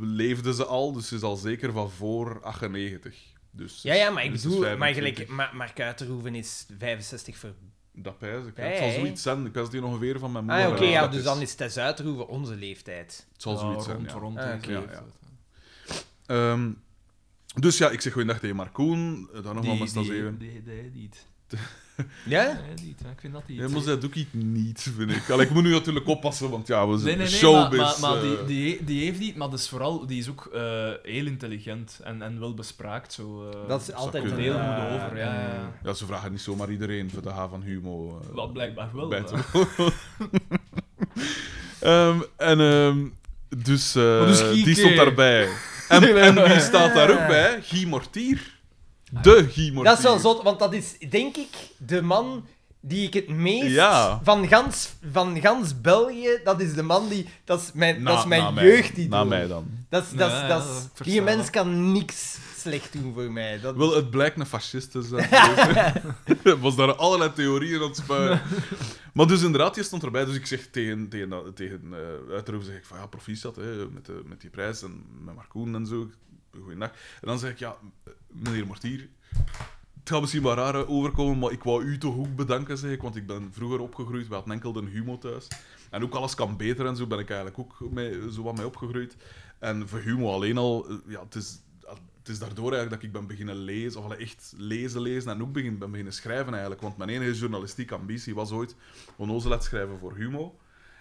S1: leefde ze al, dus ze is al zeker van voor 98. Dus,
S2: Ja, ja, maar ik
S1: dus is
S2: bedoel, maar gelijk,
S1: 25.
S2: maar Mark Uiterhoeven is 65 voor...
S1: Dat pijs ik.
S2: Ja,
S1: het zal
S2: ja, ja.
S1: zoiets zijn. Ik was die ongeveer van mijn
S2: Ah,
S1: moeder.
S2: oké,
S1: eh,
S2: ja,
S1: dat
S2: dus dan is Tess Uiterhoeven onze leeftijd.
S1: Het zal zoiets
S3: Ja,
S1: zijn,
S3: rond,
S1: ja.
S3: rond.
S2: Ah,
S3: hè,
S2: oké.
S3: zoiets.
S1: Ja, Ehm, dus ja, ik zeg goeiedag tegen Marcoen. Eh, Daar nog wel
S3: Die,
S1: met staan
S3: die,
S1: zeven.
S3: die, die, die niet.
S2: Ja?
S3: Nee, niet. hè. Ik vind dat die.
S1: Ja, maar zij doet iets niet, vind ik. Allee, ik moet nu natuurlijk oppassen, want ja, we zijn
S3: Nee, nee, nee,
S1: showbiz.
S3: maar, maar, maar die,
S1: eh.
S3: die, die heeft niet, maar dus vooral, die is ook eh, heel intelligent en, en wel bespraakt. Zo, eh,
S2: Dat is
S1: zou
S2: altijd
S1: kunnen.
S2: een
S3: heel
S2: eh,
S3: goed over, ja, ja, ja.
S1: Ja, ze vragen niet zomaar iedereen voor de H van Humo.
S2: Mm.
S1: eh,
S3: Wat blijkbaar wel.
S1: bij te
S3: eh.
S1: wonen. Ehm, en ehm, dus, eh,
S3: Maar dus Guy
S1: die stond
S3: Kee.
S1: daarbij. En, en wie staat daar ook bij? Guy Mortier. De Guy Mortier.
S2: Dat is wel zot, want dat is denk ik de man die ik het meest
S1: Ja.
S2: van, gans, van gans België, dat is de man die. Dat is mijn,
S1: Na-
S2: dat is
S1: na
S2: mijn
S1: mij.
S2: jeugd.
S1: Na mij dan.
S2: Dat is,
S3: Ja,
S2: dat is,
S3: ja,
S2: dat is-
S3: dat verstaan
S2: die
S3: we.
S2: mens kan niks slecht doen voor mij. Dat,
S1: Wel, het blijkt een fascist te zijn. geweest. Er was daar allerlei theorieën aan het spuien. Maar dus inderdaad, je stond erbij. Dus ik zeg tegen, tegen, dat- tegen eh, Uiterhoeven, zeg ik van ja, proficiat hè, met, de- met die prijs en met Marcoen en zo. Goeiedag. En dan zeg ik, ja, eh, meneer Mortier, het gaat misschien wel raar eh, overkomen, maar ik wou u toch ook bedanken, zeg ik. Want ik ben vroeger opgegroeid, we hadden enkel de humo thuis. En ook alles kan beter en zo ben ik eigenlijk ook mee, zo wat mee opgegroeid. En voor humo alleen al, eh, ja, het is, het is daardoor eigenlijk dat ik ben beginnen lezen, of allee, echt lezen, lezen en ook begin, ben beginnen schrijven eigenlijk. Want mijn enige journalistieke ambitie was ooit onnozelheid schrijven voor humo.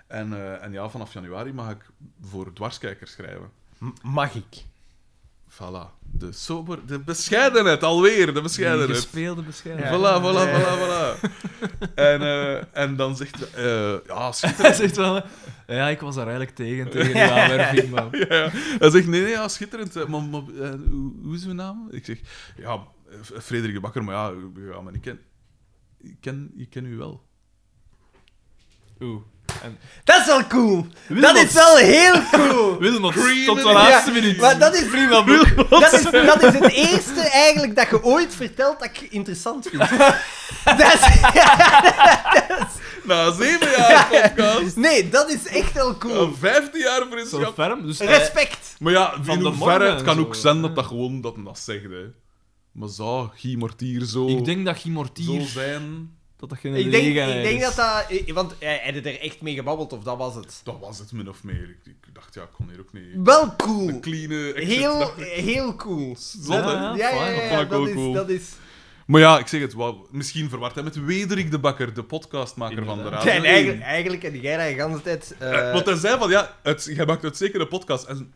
S1: En, eh, en ja, vanaf januari mag ik voor dwarskijkers schrijven.
S2: M- Mag ik?
S1: Voilà. De sober... De bescheidenheid alweer. De
S3: Die
S1: bescheidenheid.
S3: gespeelde bescheidenheid.
S1: Voilà, voilà,
S2: Ja.
S1: voilà, voilà. En, eh, en dan zegt... de- eh, ja, schitterend.
S3: Hij zegt wel, ja, ik was daar eigenlijk tegen, tegen die aanwerving, man.
S1: Ja, ja. Hij zegt, nee, nee, ja, schitterend. eh, Maar, maar, eh, hoe, hoe is uw naam? Ik zeg, ja, eh, F- Frederik de Bakker, maar ja, we gaan me niet kennen. Ik ken, ik ken u wel.
S3: Oeh.
S2: Dat is wel cool.
S3: Wilmot.
S2: Dat is wel heel cool.
S3: Wilmot,
S1: Green
S3: tot de
S1: in-
S3: laatste
S2: Ja,
S3: minuut.
S2: Maar dat is,
S3: Prima boek.
S2: dat, is, dat is het eerste eigenlijk dat je ooit vertelt dat ik interessant vind. Dat is,
S1: Na zeven jaar podcast,
S2: nee, dat is echt wel cool.
S1: na vijftien jaar
S3: Zo
S1: vriendschap.
S3: ferm. Dus hij-
S2: Respect.
S1: Maar ja,
S3: Van
S1: in
S3: de
S1: hoeverre,
S3: morgen
S1: het kan
S3: en
S1: ook
S3: zo,
S1: zijn
S3: hè.
S1: dat dat gewoon dat hem dat zegt, hè. Maar zo, Guy Mortier, zo,
S3: ik denk dat
S1: zo
S3: Gimortier...
S1: zijn...
S3: Dat dat geen
S2: Ik denk, ik
S3: gelegenheid
S2: denk
S3: is.
S2: dat dat... eh, Want hij hij had er echt mee gebabbeld, of dat was het?
S1: Dat was het min of meer. Ik, ik dacht, ja, ik kon hier ook niet...
S2: Wel
S1: Een
S2: cool.
S1: clean eh, exit.
S2: Heel,
S1: dacht ik.
S2: heel cool.
S1: Zot, hè?
S3: Ja,
S2: Ja, ja,
S3: fijn.
S1: Ah, Dat
S2: ja,
S1: vond ik
S2: dat,
S1: ook
S2: is,
S1: cool.
S2: dat is...
S1: Maar ja, ik zeg het, wauw, misschien verward hij met Wederik de Bakker, de podcastmaker van de
S3: Inderdaad.
S1: radio.
S2: En
S1: één.
S2: eigenlijk, eigenlijk heb jij daar de hele tijd... eh,
S1: Eh, Want hij zei van, ja, het, jij maakt het zeker een podcast. En...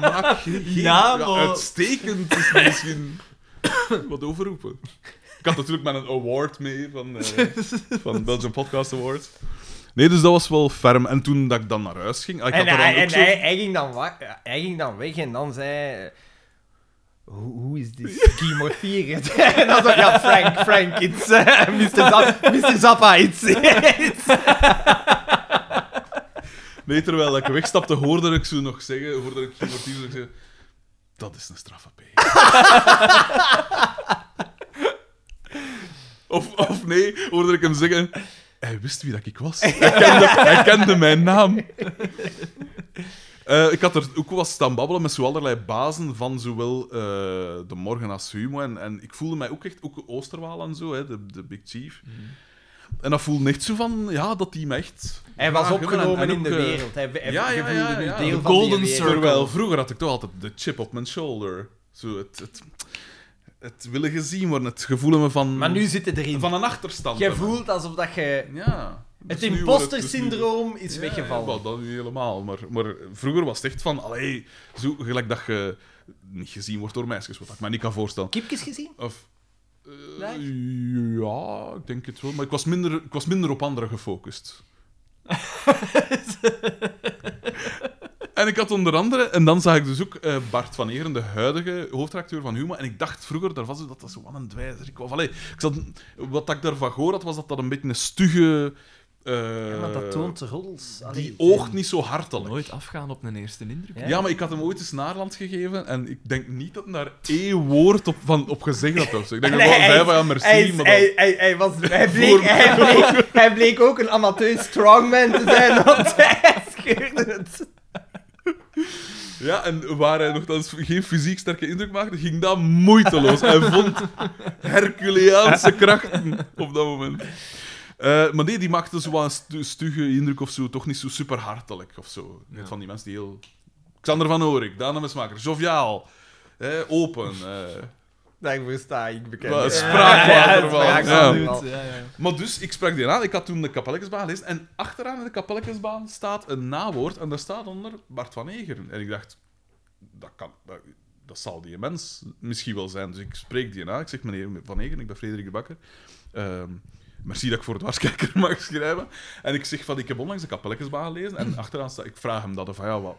S1: Maak geen, geen-
S3: Ja, maar-
S1: uitstekend is misschien wat overroepen. Ik had natuurlijk maar een award mee van, eh van Belgian Podcast Award. Nee, dus dat was wel ferm. En toen dat ik dan naar huis ging, ah, ik had
S2: en
S1: er dan
S2: hij,
S1: ook
S2: en
S1: zo...
S2: hij, hij ging dan wa- hij ging dan weg en dan zei... eh, Hoe, hoe is dit Guy Mortier? en dan zei ja, Frank, Frank, it's eh, Mr. Zappa, Mr. Zappa, it's...
S1: Nee, terwijl ik wegstapte, hoorde ik ze nog zeggen, hoorde ik Guy Mortier zo zeggen, dat is een straffe P. of, of nee, hoorde ik hem zeggen, hij wist wie dat ik was. Hij kende, hij kende mijn naam. Eh, ik had er ook wel staan babbelen met zo allerlei bazen van zowel eh, De Morgen als Humo. En, en ik voelde mij ook echt, ook Oosterwaal en zo, hè, de, de Big Chief. En dat voelde echt zo van, ja, dat die me echt...
S2: Hij was
S1: graag hebben. En-
S2: opgenomen
S1: en
S2: in
S1: ook,
S2: de
S1: eh,
S2: wereld. Hij, hij
S1: ja, ja,
S2: hij
S1: ja,
S2: voelde nu
S1: ja.
S2: deel
S3: De
S2: van die
S3: golden
S2: wereld.
S3: circle.
S1: Terwijl vroeger had ik toch altijd de chip op mijn shoulder. Zo het, het, het willen gezien worden, het gevoel me van,
S2: Maar nu zit het erin.
S1: van een achterstand.
S2: Jij
S1: hebben.
S2: voelt alsof dat je...
S1: Ja.
S2: Het
S1: Dus nu
S2: imposter
S1: wordt het dus nu-
S2: syndroom is
S1: Ja,
S2: weggevallen.
S1: Ja, wel, dat nu helemaal. Maar, maar vroeger was het echt van, allee, zo gelijk dat je niet gezien wordt door meisjes, wat ik me niet kan voorstellen.
S2: Kipjes gezien?
S1: Of, eh,
S2: Daar?
S1: ja, ik denk het wel. Maar ik was minder, ik was minder op anderen gefocust. en ik had onder andere, en dan zag ik dus ook eh, Bart van Eeren, de huidige hoofdacteur van Huma. En ik dacht vroeger, daar was zo dat dat zo wat een dwijzerik was. Allee, ik zat, wat ik daarvan gehoord had, was dat dat een beetje een stugge. eh,
S2: ja, maar dat toont de roddels. Allee,
S1: die oogt niet zo hartelijk.
S3: Nooit afgaan op een eerste indruk.
S2: Ja.
S1: Ja, maar ik had hem ooit eens naar Nederland gegeven en ik denk niet dat hij daar één woord op, van, op gezegd had. Of zo. Ik denk dat
S2: Nee,
S1: hij gewoon
S2: hij
S1: zei
S2: is-
S1: van ja,
S2: Hij,
S1: merci,
S2: is-
S1: maar dan...
S2: hij, hij, hij, was, hij, bleek, hij, bleek, hij bleek ook een amateur strongman te zijn, want hij scheurde het.
S1: Ja, en waar hij nogthans geen fysiek sterke indruk maakte, ging dat moeiteloos. Hij vond Herculeaanse krachten op dat moment. Eh, maar nee, die maakte zo wel een stu- stugge indruk of zo, toch niet zo super hartelijk of zo. Net
S3: Ja.
S1: Van die mensen die heel... Xander van Oorik, Dana Mesmaker, joviaal, eh, open... eh.
S2: Daarvoor sta ik bekend.
S1: Wel,
S2: Ja,
S1: spraakwater wel.
S2: ja,
S1: Ja.
S2: spraakwater wel.
S3: Ja, ja.
S1: Maar dus, ik sprak die aan. Ik had toen de Kapelletjesbaan gelezen. En achteraan in de Kapelletjesbaan staat een nawoord. En daar staat onder Bart van Egeren. En ik dacht, dat, kan, dat, dat zal die mens misschien wel zijn. Dus ik spreek die aan. Ik zeg, meneer Van Egeren, ik ben Frederik de Bakker. Ehm, merci dat ik voor het dwarskijker mag schrijven. En ik zeg van, ik heb onlangs de Kapelletjesbaan gelezen. En achteraan staat, ik vraag hem dat. Van, ja, wat,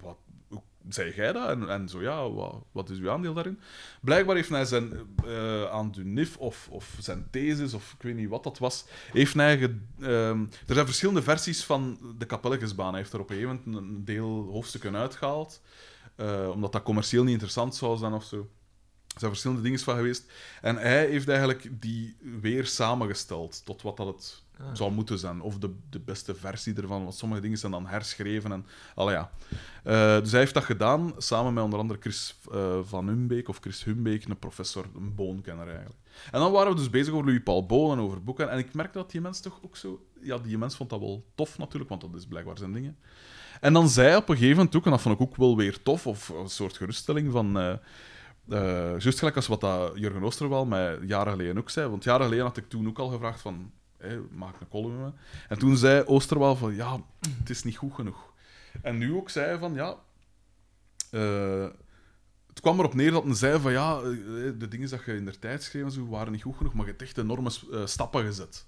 S1: wat, hoe zei jij dat? En, en zo, ja, wat, wat is uw aandeel daarin? Blijkbaar heeft hij zijn eh, aan Dunif of, of zijn thesis, of ik weet niet wat dat was, heeft hij... ge- ehm, er zijn verschillende versies van de Kapelletjesbaan. Hij heeft er op een gegeven moment een deel hoofdstukken uitgehaald, eh, omdat dat commercieel niet interessant zou zijn of zo. Er zijn verschillende dingen van geweest. En hij heeft eigenlijk die weer samengesteld tot wat dat het
S3: Ah.
S1: zou moeten zijn. Of de, de beste versie ervan, want sommige dingen zijn dan herschreven. En, allee, ja. Eh, dus hij heeft dat gedaan samen met onder andere Chris eh, van Humbeek of Chris Humbeek, een professor, een boonkenner eigenlijk. En dan waren we dus bezig over Louis Paul Boon en over boeken. En ik merkte dat die mens toch ook zo... Ja, die mens vond dat wel tof natuurlijk, want dat is blijkbaar zijn dingen. En dan zei hij op een gegeven moment ook, en dat vond ik ook wel weer tof, of een soort geruststelling van... eh eh, Juist gelijk als wat dat Jurgen Oosterwal mij jaren geleden ook zei. Want jaren geleden had ik toen ook al gevraagd van... hé, maak een column. hè. En toen zei Oosterwal van... Ja, het is niet goed genoeg. En nu ook zei hij van... Ja, eh, het kwam erop neer dat men zei van ja, eh, de dingen dat je in de tijd schreef en zo waren niet goed genoeg, maar je hebt echt enorme eh, stappen gezet.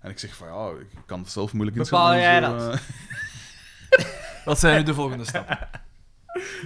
S1: En ik zeg van ja, ik kan het zelf moeilijk
S2: Bepaal
S1: inschatten en
S2: jij
S1: zo,
S2: dat?
S1: eh.
S3: Wat zijn nu de volgende stappen?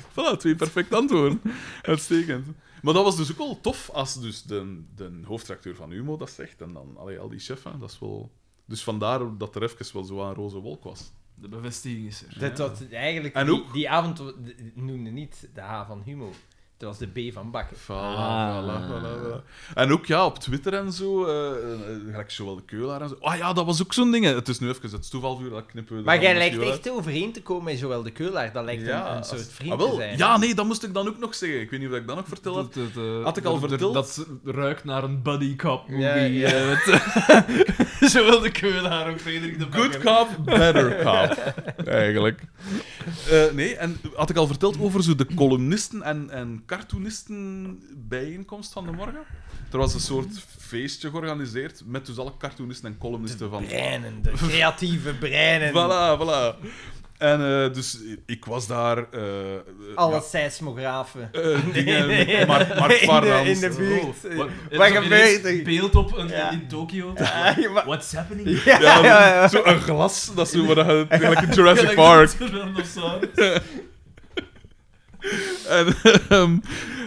S1: Voilà, twee perfect antwoorden. Uitstekend. Maar dat was dus ook wel tof als dus de, de hoofdtracteur van Humo dat zegt. En dan allee, al die chef, hè, dat is wel... Dus vandaar dat er even wel zo aan roze wolk was.
S3: De bevestiging is er.
S2: Dat, dat, eigenlijk,
S1: En
S2: die,
S1: ook-
S2: die avond wa- d- noemde niet de H van Humo. Het was de B van Bakken.
S1: Voilà,
S3: Ah.
S1: voilà, voilà, voilà. En ook ja, op Twitter en zo, eh, eh, eh, gelijk Joël de Keulaar en zo. Ah ja, dat was ook zo'n ding. hè. Het is nu even het toevalvuur, dat knippen we er
S2: Maar
S1: dan
S2: jij
S1: misschien
S2: lijkt
S1: wel uit.
S2: echt overeen te komen met Joël de Keulaar. Dat lijkt
S1: Ja,
S2: een, een
S1: als-
S2: soort vriend
S1: Ah, wel.
S2: te zijn.
S1: Ja, nee, dat moest ik dan ook nog zeggen. Ik weet niet of ik dat nog vertel heb.
S3: Dat- dat, eh,
S1: Had ik al
S3: dat- dat-
S1: verteld?
S3: Dat ruikt naar een buddy cop movie.
S2: Ja, ja.
S3: eh, met- Zowel de Keulaar en Frederik de
S1: Good
S3: Bakker.
S1: cop, better cop. Eigenlijk. Eh, nee, en had ik al verteld over zo de columnisten en, en cartoonisten bijeenkomst van de morgen? Er was een soort feestje georganiseerd met dus alle cartoonisten en columnisten van...
S2: Breinen, de creatieve breinen.
S1: Voilà, voilà. En eh, dus ik was daar... eh, eh,
S2: Alle
S1: ja,
S2: seismografen.
S1: eh, dingen,
S2: Nee, nee.
S1: Mark, Mark
S2: In de-
S1: Varnans.
S2: in de buurt.
S3: Oh, wat-
S2: Wat
S3: er is
S2: gebeurt er?
S3: een beeld op een,
S2: Ja.
S3: in Tokio.
S2: Ah, je ma-
S3: What's happening?
S2: Ja,
S1: Ja,
S2: ja, ja.
S1: zo een glas, dat is zo wat je- gelijk in Jurassic Park. En, ehm,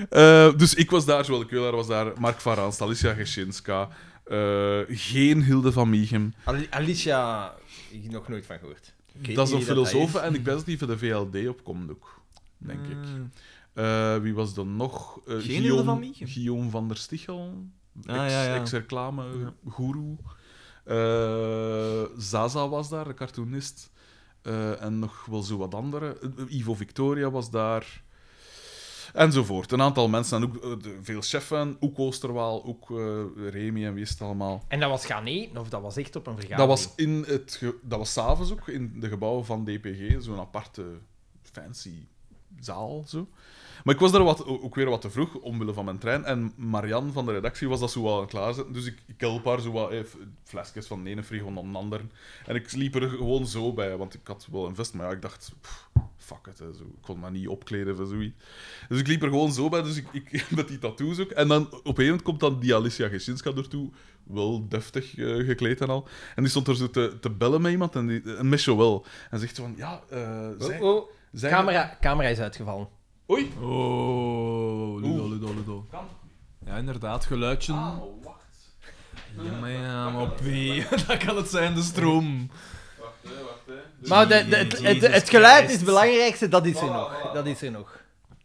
S1: eh, dus ik was daar, Joël de Keulaar was daar, Mark Varans, Alicia Geschinska, eh, geen Hilde van Mieghem.
S2: Ali- Alicia, ik heb nog nooit van gehoord. Ik weet
S1: Dat is
S2: niet
S1: een
S2: wie dat
S1: filosoof
S2: is.
S1: en ik ben dat die van de VLD opkomt ook, denk ik. Eh, wie was er nog? Eh,
S3: Geen Hilde
S1: Guillaume,
S3: van Mieghem?
S1: Guillaume van der Stichel,
S3: Ah, ja, ja.
S1: ex-reclame,
S3: Ja.
S1: guru. Eh, Zaza was daar, de cartoonist. Eh, en nog wel zo wat andere. Eh, Ivo Victoria was daar. Enzovoort. Een aantal mensen. En ook eh, de- veel cheffen. Ook Oosterwaal, ook eh, Remy en wie is het allemaal.
S2: En dat was gaan eten, of dat was echt op een
S1: dat
S2: vergadering?
S1: was, in het ge- dat was s'avonds ook, in de gebouwen van DPG. Zo'n aparte, fancy zaal. Zo. Maar ik was daar wat, ook weer wat te vroeg, omwille van mijn trein. En Marianne van de redactie was dat zo wel aan het klaarzetten. Dus ik, ik help haar zo wat eh, f- flesjes van de ene frigo naar de andere. En ik liep er gewoon zo bij, want ik had wel een vest. Maar ja, ik dacht, pff, fuck it. Hè, zo. Ik kon me niet opkleden voor zoiets. Dus ik liep er gewoon zo bij, dus ik, ik, met die tattoos ook. En dan op een gegeven moment komt dan die Alicia Gesinska ertoe. Wel deftig eh, gekleed en al. En die stond er zo te, te bellen met iemand, en, die, en met Joël. En zegt zo van, ja, eh zij...
S2: Oh, oh,
S1: zij-
S2: camera, camera is uitgevallen.
S1: Oei.
S3: Oh, ludo,
S1: Oeh.
S3: ludo, ludo.
S1: Kan.
S3: Ja, inderdaad, geluidje.
S1: Ah, maar wacht.
S3: Ja, maar ja, maar op wie? Dat kan het zijn, de stroom.
S1: Wacht, hè, wacht, hè. Dus-
S2: Maar de, de- het, het, het geluid is het belangrijkste, dat is er
S1: Voilà,
S2: nog.
S1: voilà.
S2: Dat is er nog.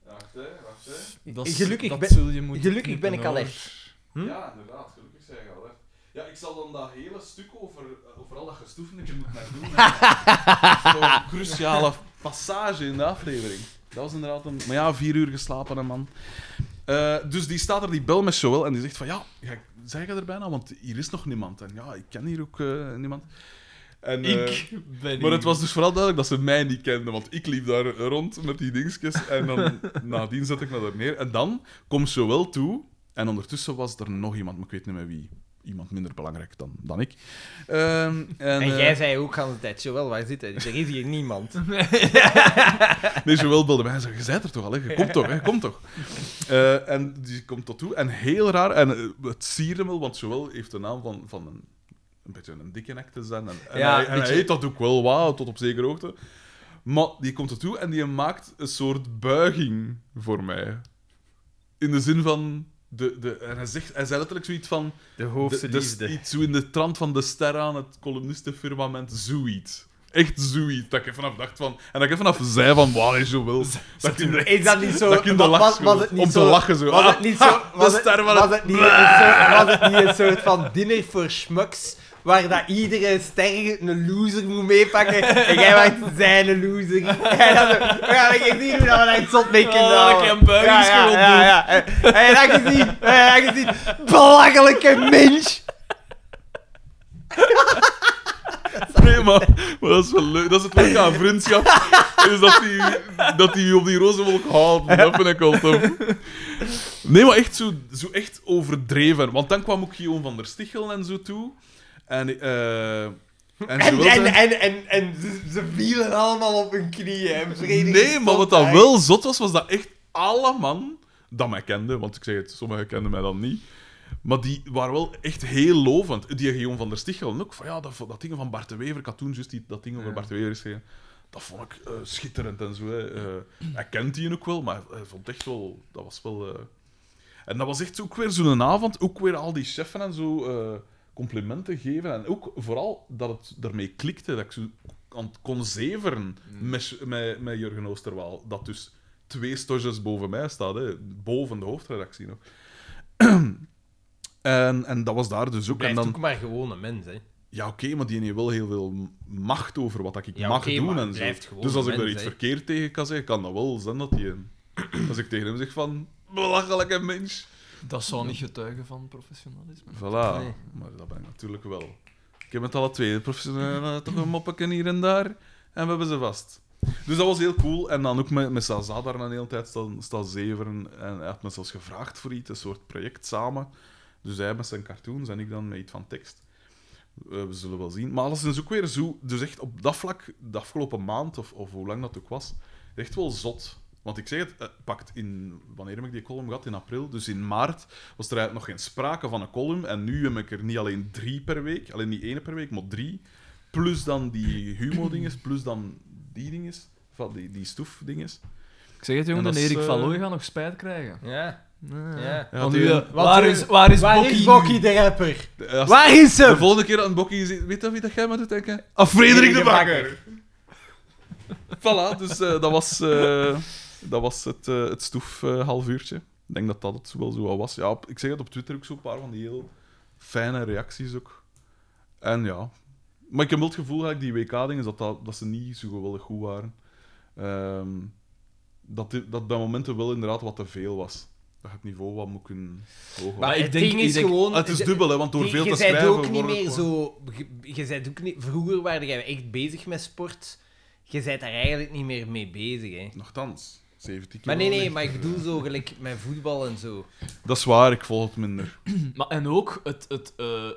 S1: Wacht, hè, wacht, hè.
S3: Dat is-
S2: Gelukkig
S3: dat
S2: ben-
S3: zul je moeten
S2: Gelukkig ben
S3: knippen,
S2: ik
S3: hoor.
S2: alert. Hm?
S1: Ja, inderdaad, gelukkig zei je al. Hè. Ja, ik zal dan dat hele stuk over, eh, over al dat gestoefnetje moeten naar doen. hè. Zo'n cruciale passage in de aflevering. Dat was inderdaad een... Maar ja, vier uur geslapen, hè, man. Eh, dus die staat er, die bel met Joël en die zegt van ja, ja, zeg je er bijna, want hier is nog niemand. En ja, ik ken hier ook eh, niemand. En, eh,
S3: Ik ben
S1: maar het
S3: hier.
S1: was dus vooral duidelijk dat ze mij niet kenden, want ik liep daar rond met die dingetjes en dan nadien zet ik me daar neer. En dan komt ze wel toe en ondertussen was er nog iemand, maar ik weet niet meer wie. Iemand minder belangrijk dan, dan ik. Ehm, en,
S2: En
S1: eh,
S2: jij zei ook aan de tijd, Joël, waar zit hij? Er is hier niemand.
S1: Nee, Joël belde mij en zei, je bent er toch al, hè? je komt toch, hè? je komt toch. Eh, en die komt tot toe. En heel raar, en eh, het sierde hem wel, want Joël heeft de naam van, van een, een beetje een dikke nek te zijn. En, en
S2: Ja,
S1: hij, en
S2: beetje-
S1: hij heet dat ook wel, wauw, tot op zekere hoogte. Maar die komt er toe en die maakt een soort buiging voor mij. In de zin van... De, de, en hij, zegt, hij zei letterlijk zoiets van...
S2: De
S1: De, de- iets zo in de trant van de ster aan het columnistenfirmament, zoiets. Echt zoiets. Dat ik even vanaf dacht van... En dat ik even vanaf zei van, wauw, is zo wel. Dat ik
S2: Is dat niet zo...
S1: dat ik in de
S2: wa-
S1: lach
S2: was,
S1: schoot.
S2: was het niet
S1: Om te
S2: zo,
S1: lachen zo.
S2: Was
S1: Ah,
S2: het niet zo...
S1: de
S2: Was het,
S1: ster van
S2: was
S1: het-
S2: het niet een soort, was het niet een soort van dinner voor schmucks, waar dat iedere ster een loser moet meepakken en jij maakt zijn een loser. En dan zo, we gaan echt zien hoe dat we daar iets op mee kunnen
S3: Oh,
S2: houden.
S3: ik heb een buigingsgewoel
S2: Ja, ja, ja, ja. En- En dan gezien, en dan gezien, belachelijke mens.
S1: Nee, maar, maar dat is wel leuk. Dat is het leuke aan vriendschap. Is dat die, dat die je op die roze wolk houdt. Dat vind ik wel tof. Nee, maar echt zo, zo echt overdreven. Want dan kwam ook Guillaume van der Stichel en zo toe. En eh, En ze
S2: En,
S1: wil
S2: en,
S1: zijn-
S2: en, en, en ze, ze vielen allemaal op hun knieën. En vredig
S1: Nee, maar wat dat
S2: stond
S1: wel zot was, was dat echt alle man dat mij kende, want ik zeg het, sommigen kenden mij dan niet, maar die waren wel echt heel lovend. Die Guillaume van der Stichel ook, van ja, dat, dat ding van Bart de Wever, ik had toen juist die, dat ding over Bart de Wever geschreven, dat vond ik eh, schitterend en zo. Hè. Eh, hij kent die ook wel, maar hij vond echt wel, dat was wel... eh, En dat was echt ook weer zo'n avond, ook weer al die cheffen en zo eh, complimenten geven. En ook vooral dat het ermee klikte, dat ik zo aan het kon zeveren
S2: Mm.
S1: met, met, met Jurgen Oosterwaal. Dat dus twee stosjes boven mij staat, hè, boven de hoofdredactie nog. en, en dat was daar dus ook. En
S2: Blijft
S1: dan,
S2: ook maar gewoon een mens, hè.
S1: ja, oké, maar die heeft wel heel veel macht over wat ik
S2: Ja,
S1: mag
S2: oké,
S1: doen
S2: maar
S1: en zo.
S2: blijft gewoon
S1: Dus als ik
S2: mens,
S1: daar iets
S2: hè.
S1: verkeerd tegen kan zeggen, kan dat wel zijn dat die... Als ik tegen hem zeg van... Belachelijke mens.
S3: Dat zou niet getuigen van professionalisme.
S1: Voilà.
S2: Nee.
S1: Maar dat ben ik natuurlijk wel. Ik heb met alle twee de professionele eh, toch een moppeken hier en daar. En we hebben ze vast. Dus dat was heel cool. En dan ook met, met Saza daar een hele tijd staan, staan zeveren. En hij had me zelfs gevraagd voor iets, een soort project samen. Dus hij met zijn cartoons en ik dan met iets van tekst. Eh, we zullen wel zien. Maar alles is ook weer zo. Dus echt op dat vlak, de afgelopen maand, of, of hoe lang dat ook was, echt wel zot. Want ik zeg het, eh, pakt in, wanneer heb ik die column gehad? In april. Dus in maart was er eigenlijk nog geen sprake van een column. En nu heb ik er niet alleen drie per week, alleen niet één per week, maar drie. Plus dan die humo-dinges, plus dan die dinges, van die, die stoef-dinges.
S3: Ik zeg het, jongen,
S1: En
S3: en
S1: dat is,
S3: Erik
S1: eh,
S3: van Looy gaat nog spijt krijgen.
S2: Ja,
S3: Nee.
S2: ja.
S1: Ja,
S3: Want
S1: die-
S3: nu, eh,
S1: Want
S3: waar,
S2: die-
S3: is, waar is
S2: Waar
S3: Bokkie?
S2: is Bokkie de rapper?
S1: eh, Als-
S2: Waar is
S1: de
S2: hem?
S1: volgende keer dat een bokkie zit, weet dat wie dat jij maar doet denken? Ah, Frederik de Bakker! voilà, dus eh, dat was, eh, dat was het, eh, het stoef eh, half uurtje. Ik denk dat dat het wel zo wat was. Ja, op- ik zeg het op Twitter ook zo'n paar van die heel fijne reacties ook. En ja. Maar ik heb wel het gevoel eigenlijk, die WK-dingen, dat, dat, dat ze niet zo geweldig goed waren. Ehm, dat, dit- dat dat momenten wel inderdaad wat te veel was. Dat je het niveau wat moet kunnen hoger.
S3: Maar
S2: Maar
S3: ik
S2: het
S3: denk-
S2: ding
S3: ik
S2: is
S3: denk-
S2: gewoon...
S1: Ah, het is
S2: de-
S1: dubbel, hè, want door
S2: die-
S1: veel
S2: je
S1: te
S2: zijt
S1: schrijven...
S2: ook niet
S1: wordt het
S2: meer
S1: gewoon-
S2: zo... je- Je bent ook niet... Vroeger waren jij echt bezig met sport. Je bent daar eigenlijk niet meer mee bezig, hè.
S1: Nochtans, 70
S2: Maar nee,
S1: kilo
S2: nee, maar
S1: lichter.
S2: ik bedoel zo gelijk met voetbal en zo.
S1: Dat is waar, ik volg het minder.
S3: Maar, en ook, het, het, eh,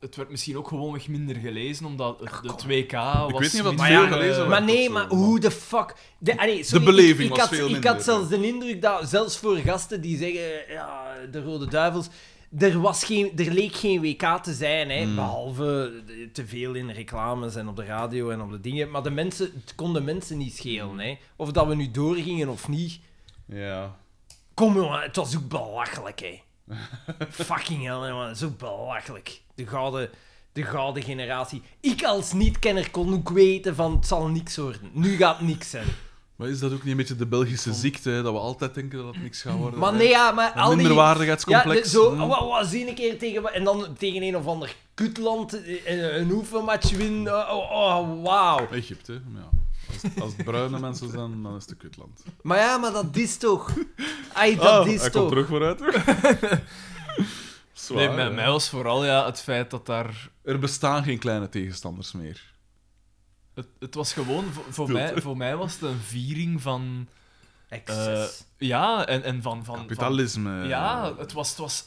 S3: het werd misschien ook gewoonweg minder gelezen, omdat het, het WK was...
S1: weet niet of dat
S3: minder,
S1: veel
S3: eh,
S1: gelezen werd.
S2: Maar
S1: dat
S2: nee,
S1: zo,
S2: maar
S1: man.
S2: hoe de fuck... De, ah, nee, sorry,
S1: De beleving
S2: ik, ik
S1: was
S2: had,
S1: veel
S2: Ik
S1: minder,
S2: had zelfs de indruk dat, zelfs voor gasten die zeggen, eh, ja, de Rode Duivels, er, was geen, er leek geen WK te zijn,
S1: Hmm.
S2: hè, behalve de- te veel in reclames en op de radio en op de dingen. Maar de mensen, het kon de mensen niet schelen, hè. Of dat we nu doorgingen of niet.
S1: Ja.
S2: Kom, jongen, het was ook belachelijk, hè. Fucking hell, jongen, zo belachelijk. De gouden, de gouden generatie. Ik als niet-kenner kon ook weten van, het zal niks worden. Nu gaat niks zijn.
S1: Maar is dat ook niet een beetje de Belgische ziekte, hè, dat we altijd denken dat het niks gaat worden?
S2: Maar nee, ja, maar
S1: Een
S2: al die...
S1: minderwaardigheidscomplex.
S2: Ja, de- zo,
S1: Mm.
S2: wat, wat zie ik een keer tegen... En dan tegen een of ander kutland eh, eh, een oefenmatch winnen. Oh, oh, oh, wauw.
S1: Egypte, maar ja. Als, het- als het bruine mensen zijn, dan is het een kutland.
S2: Maar ja, maar dat is toch... Ai, dat
S1: Oh,
S2: is
S1: hij komt
S2: toch...
S1: terug vooruit. hoor. Zwaar,
S3: nee,
S1: hè.
S3: met mij was vooral ja, het feit dat daar...
S1: Er bestaan geen kleine tegenstanders meer.
S3: Het, het was gewoon, voor, voor,
S1: Stilte.
S3: mij, voor mij was het een viering van...
S1: Eh,
S3: eh,
S2: Excess.
S3: Ja, en, en van... van van-
S1: Kapitalisme.
S3: Ja, het was, het was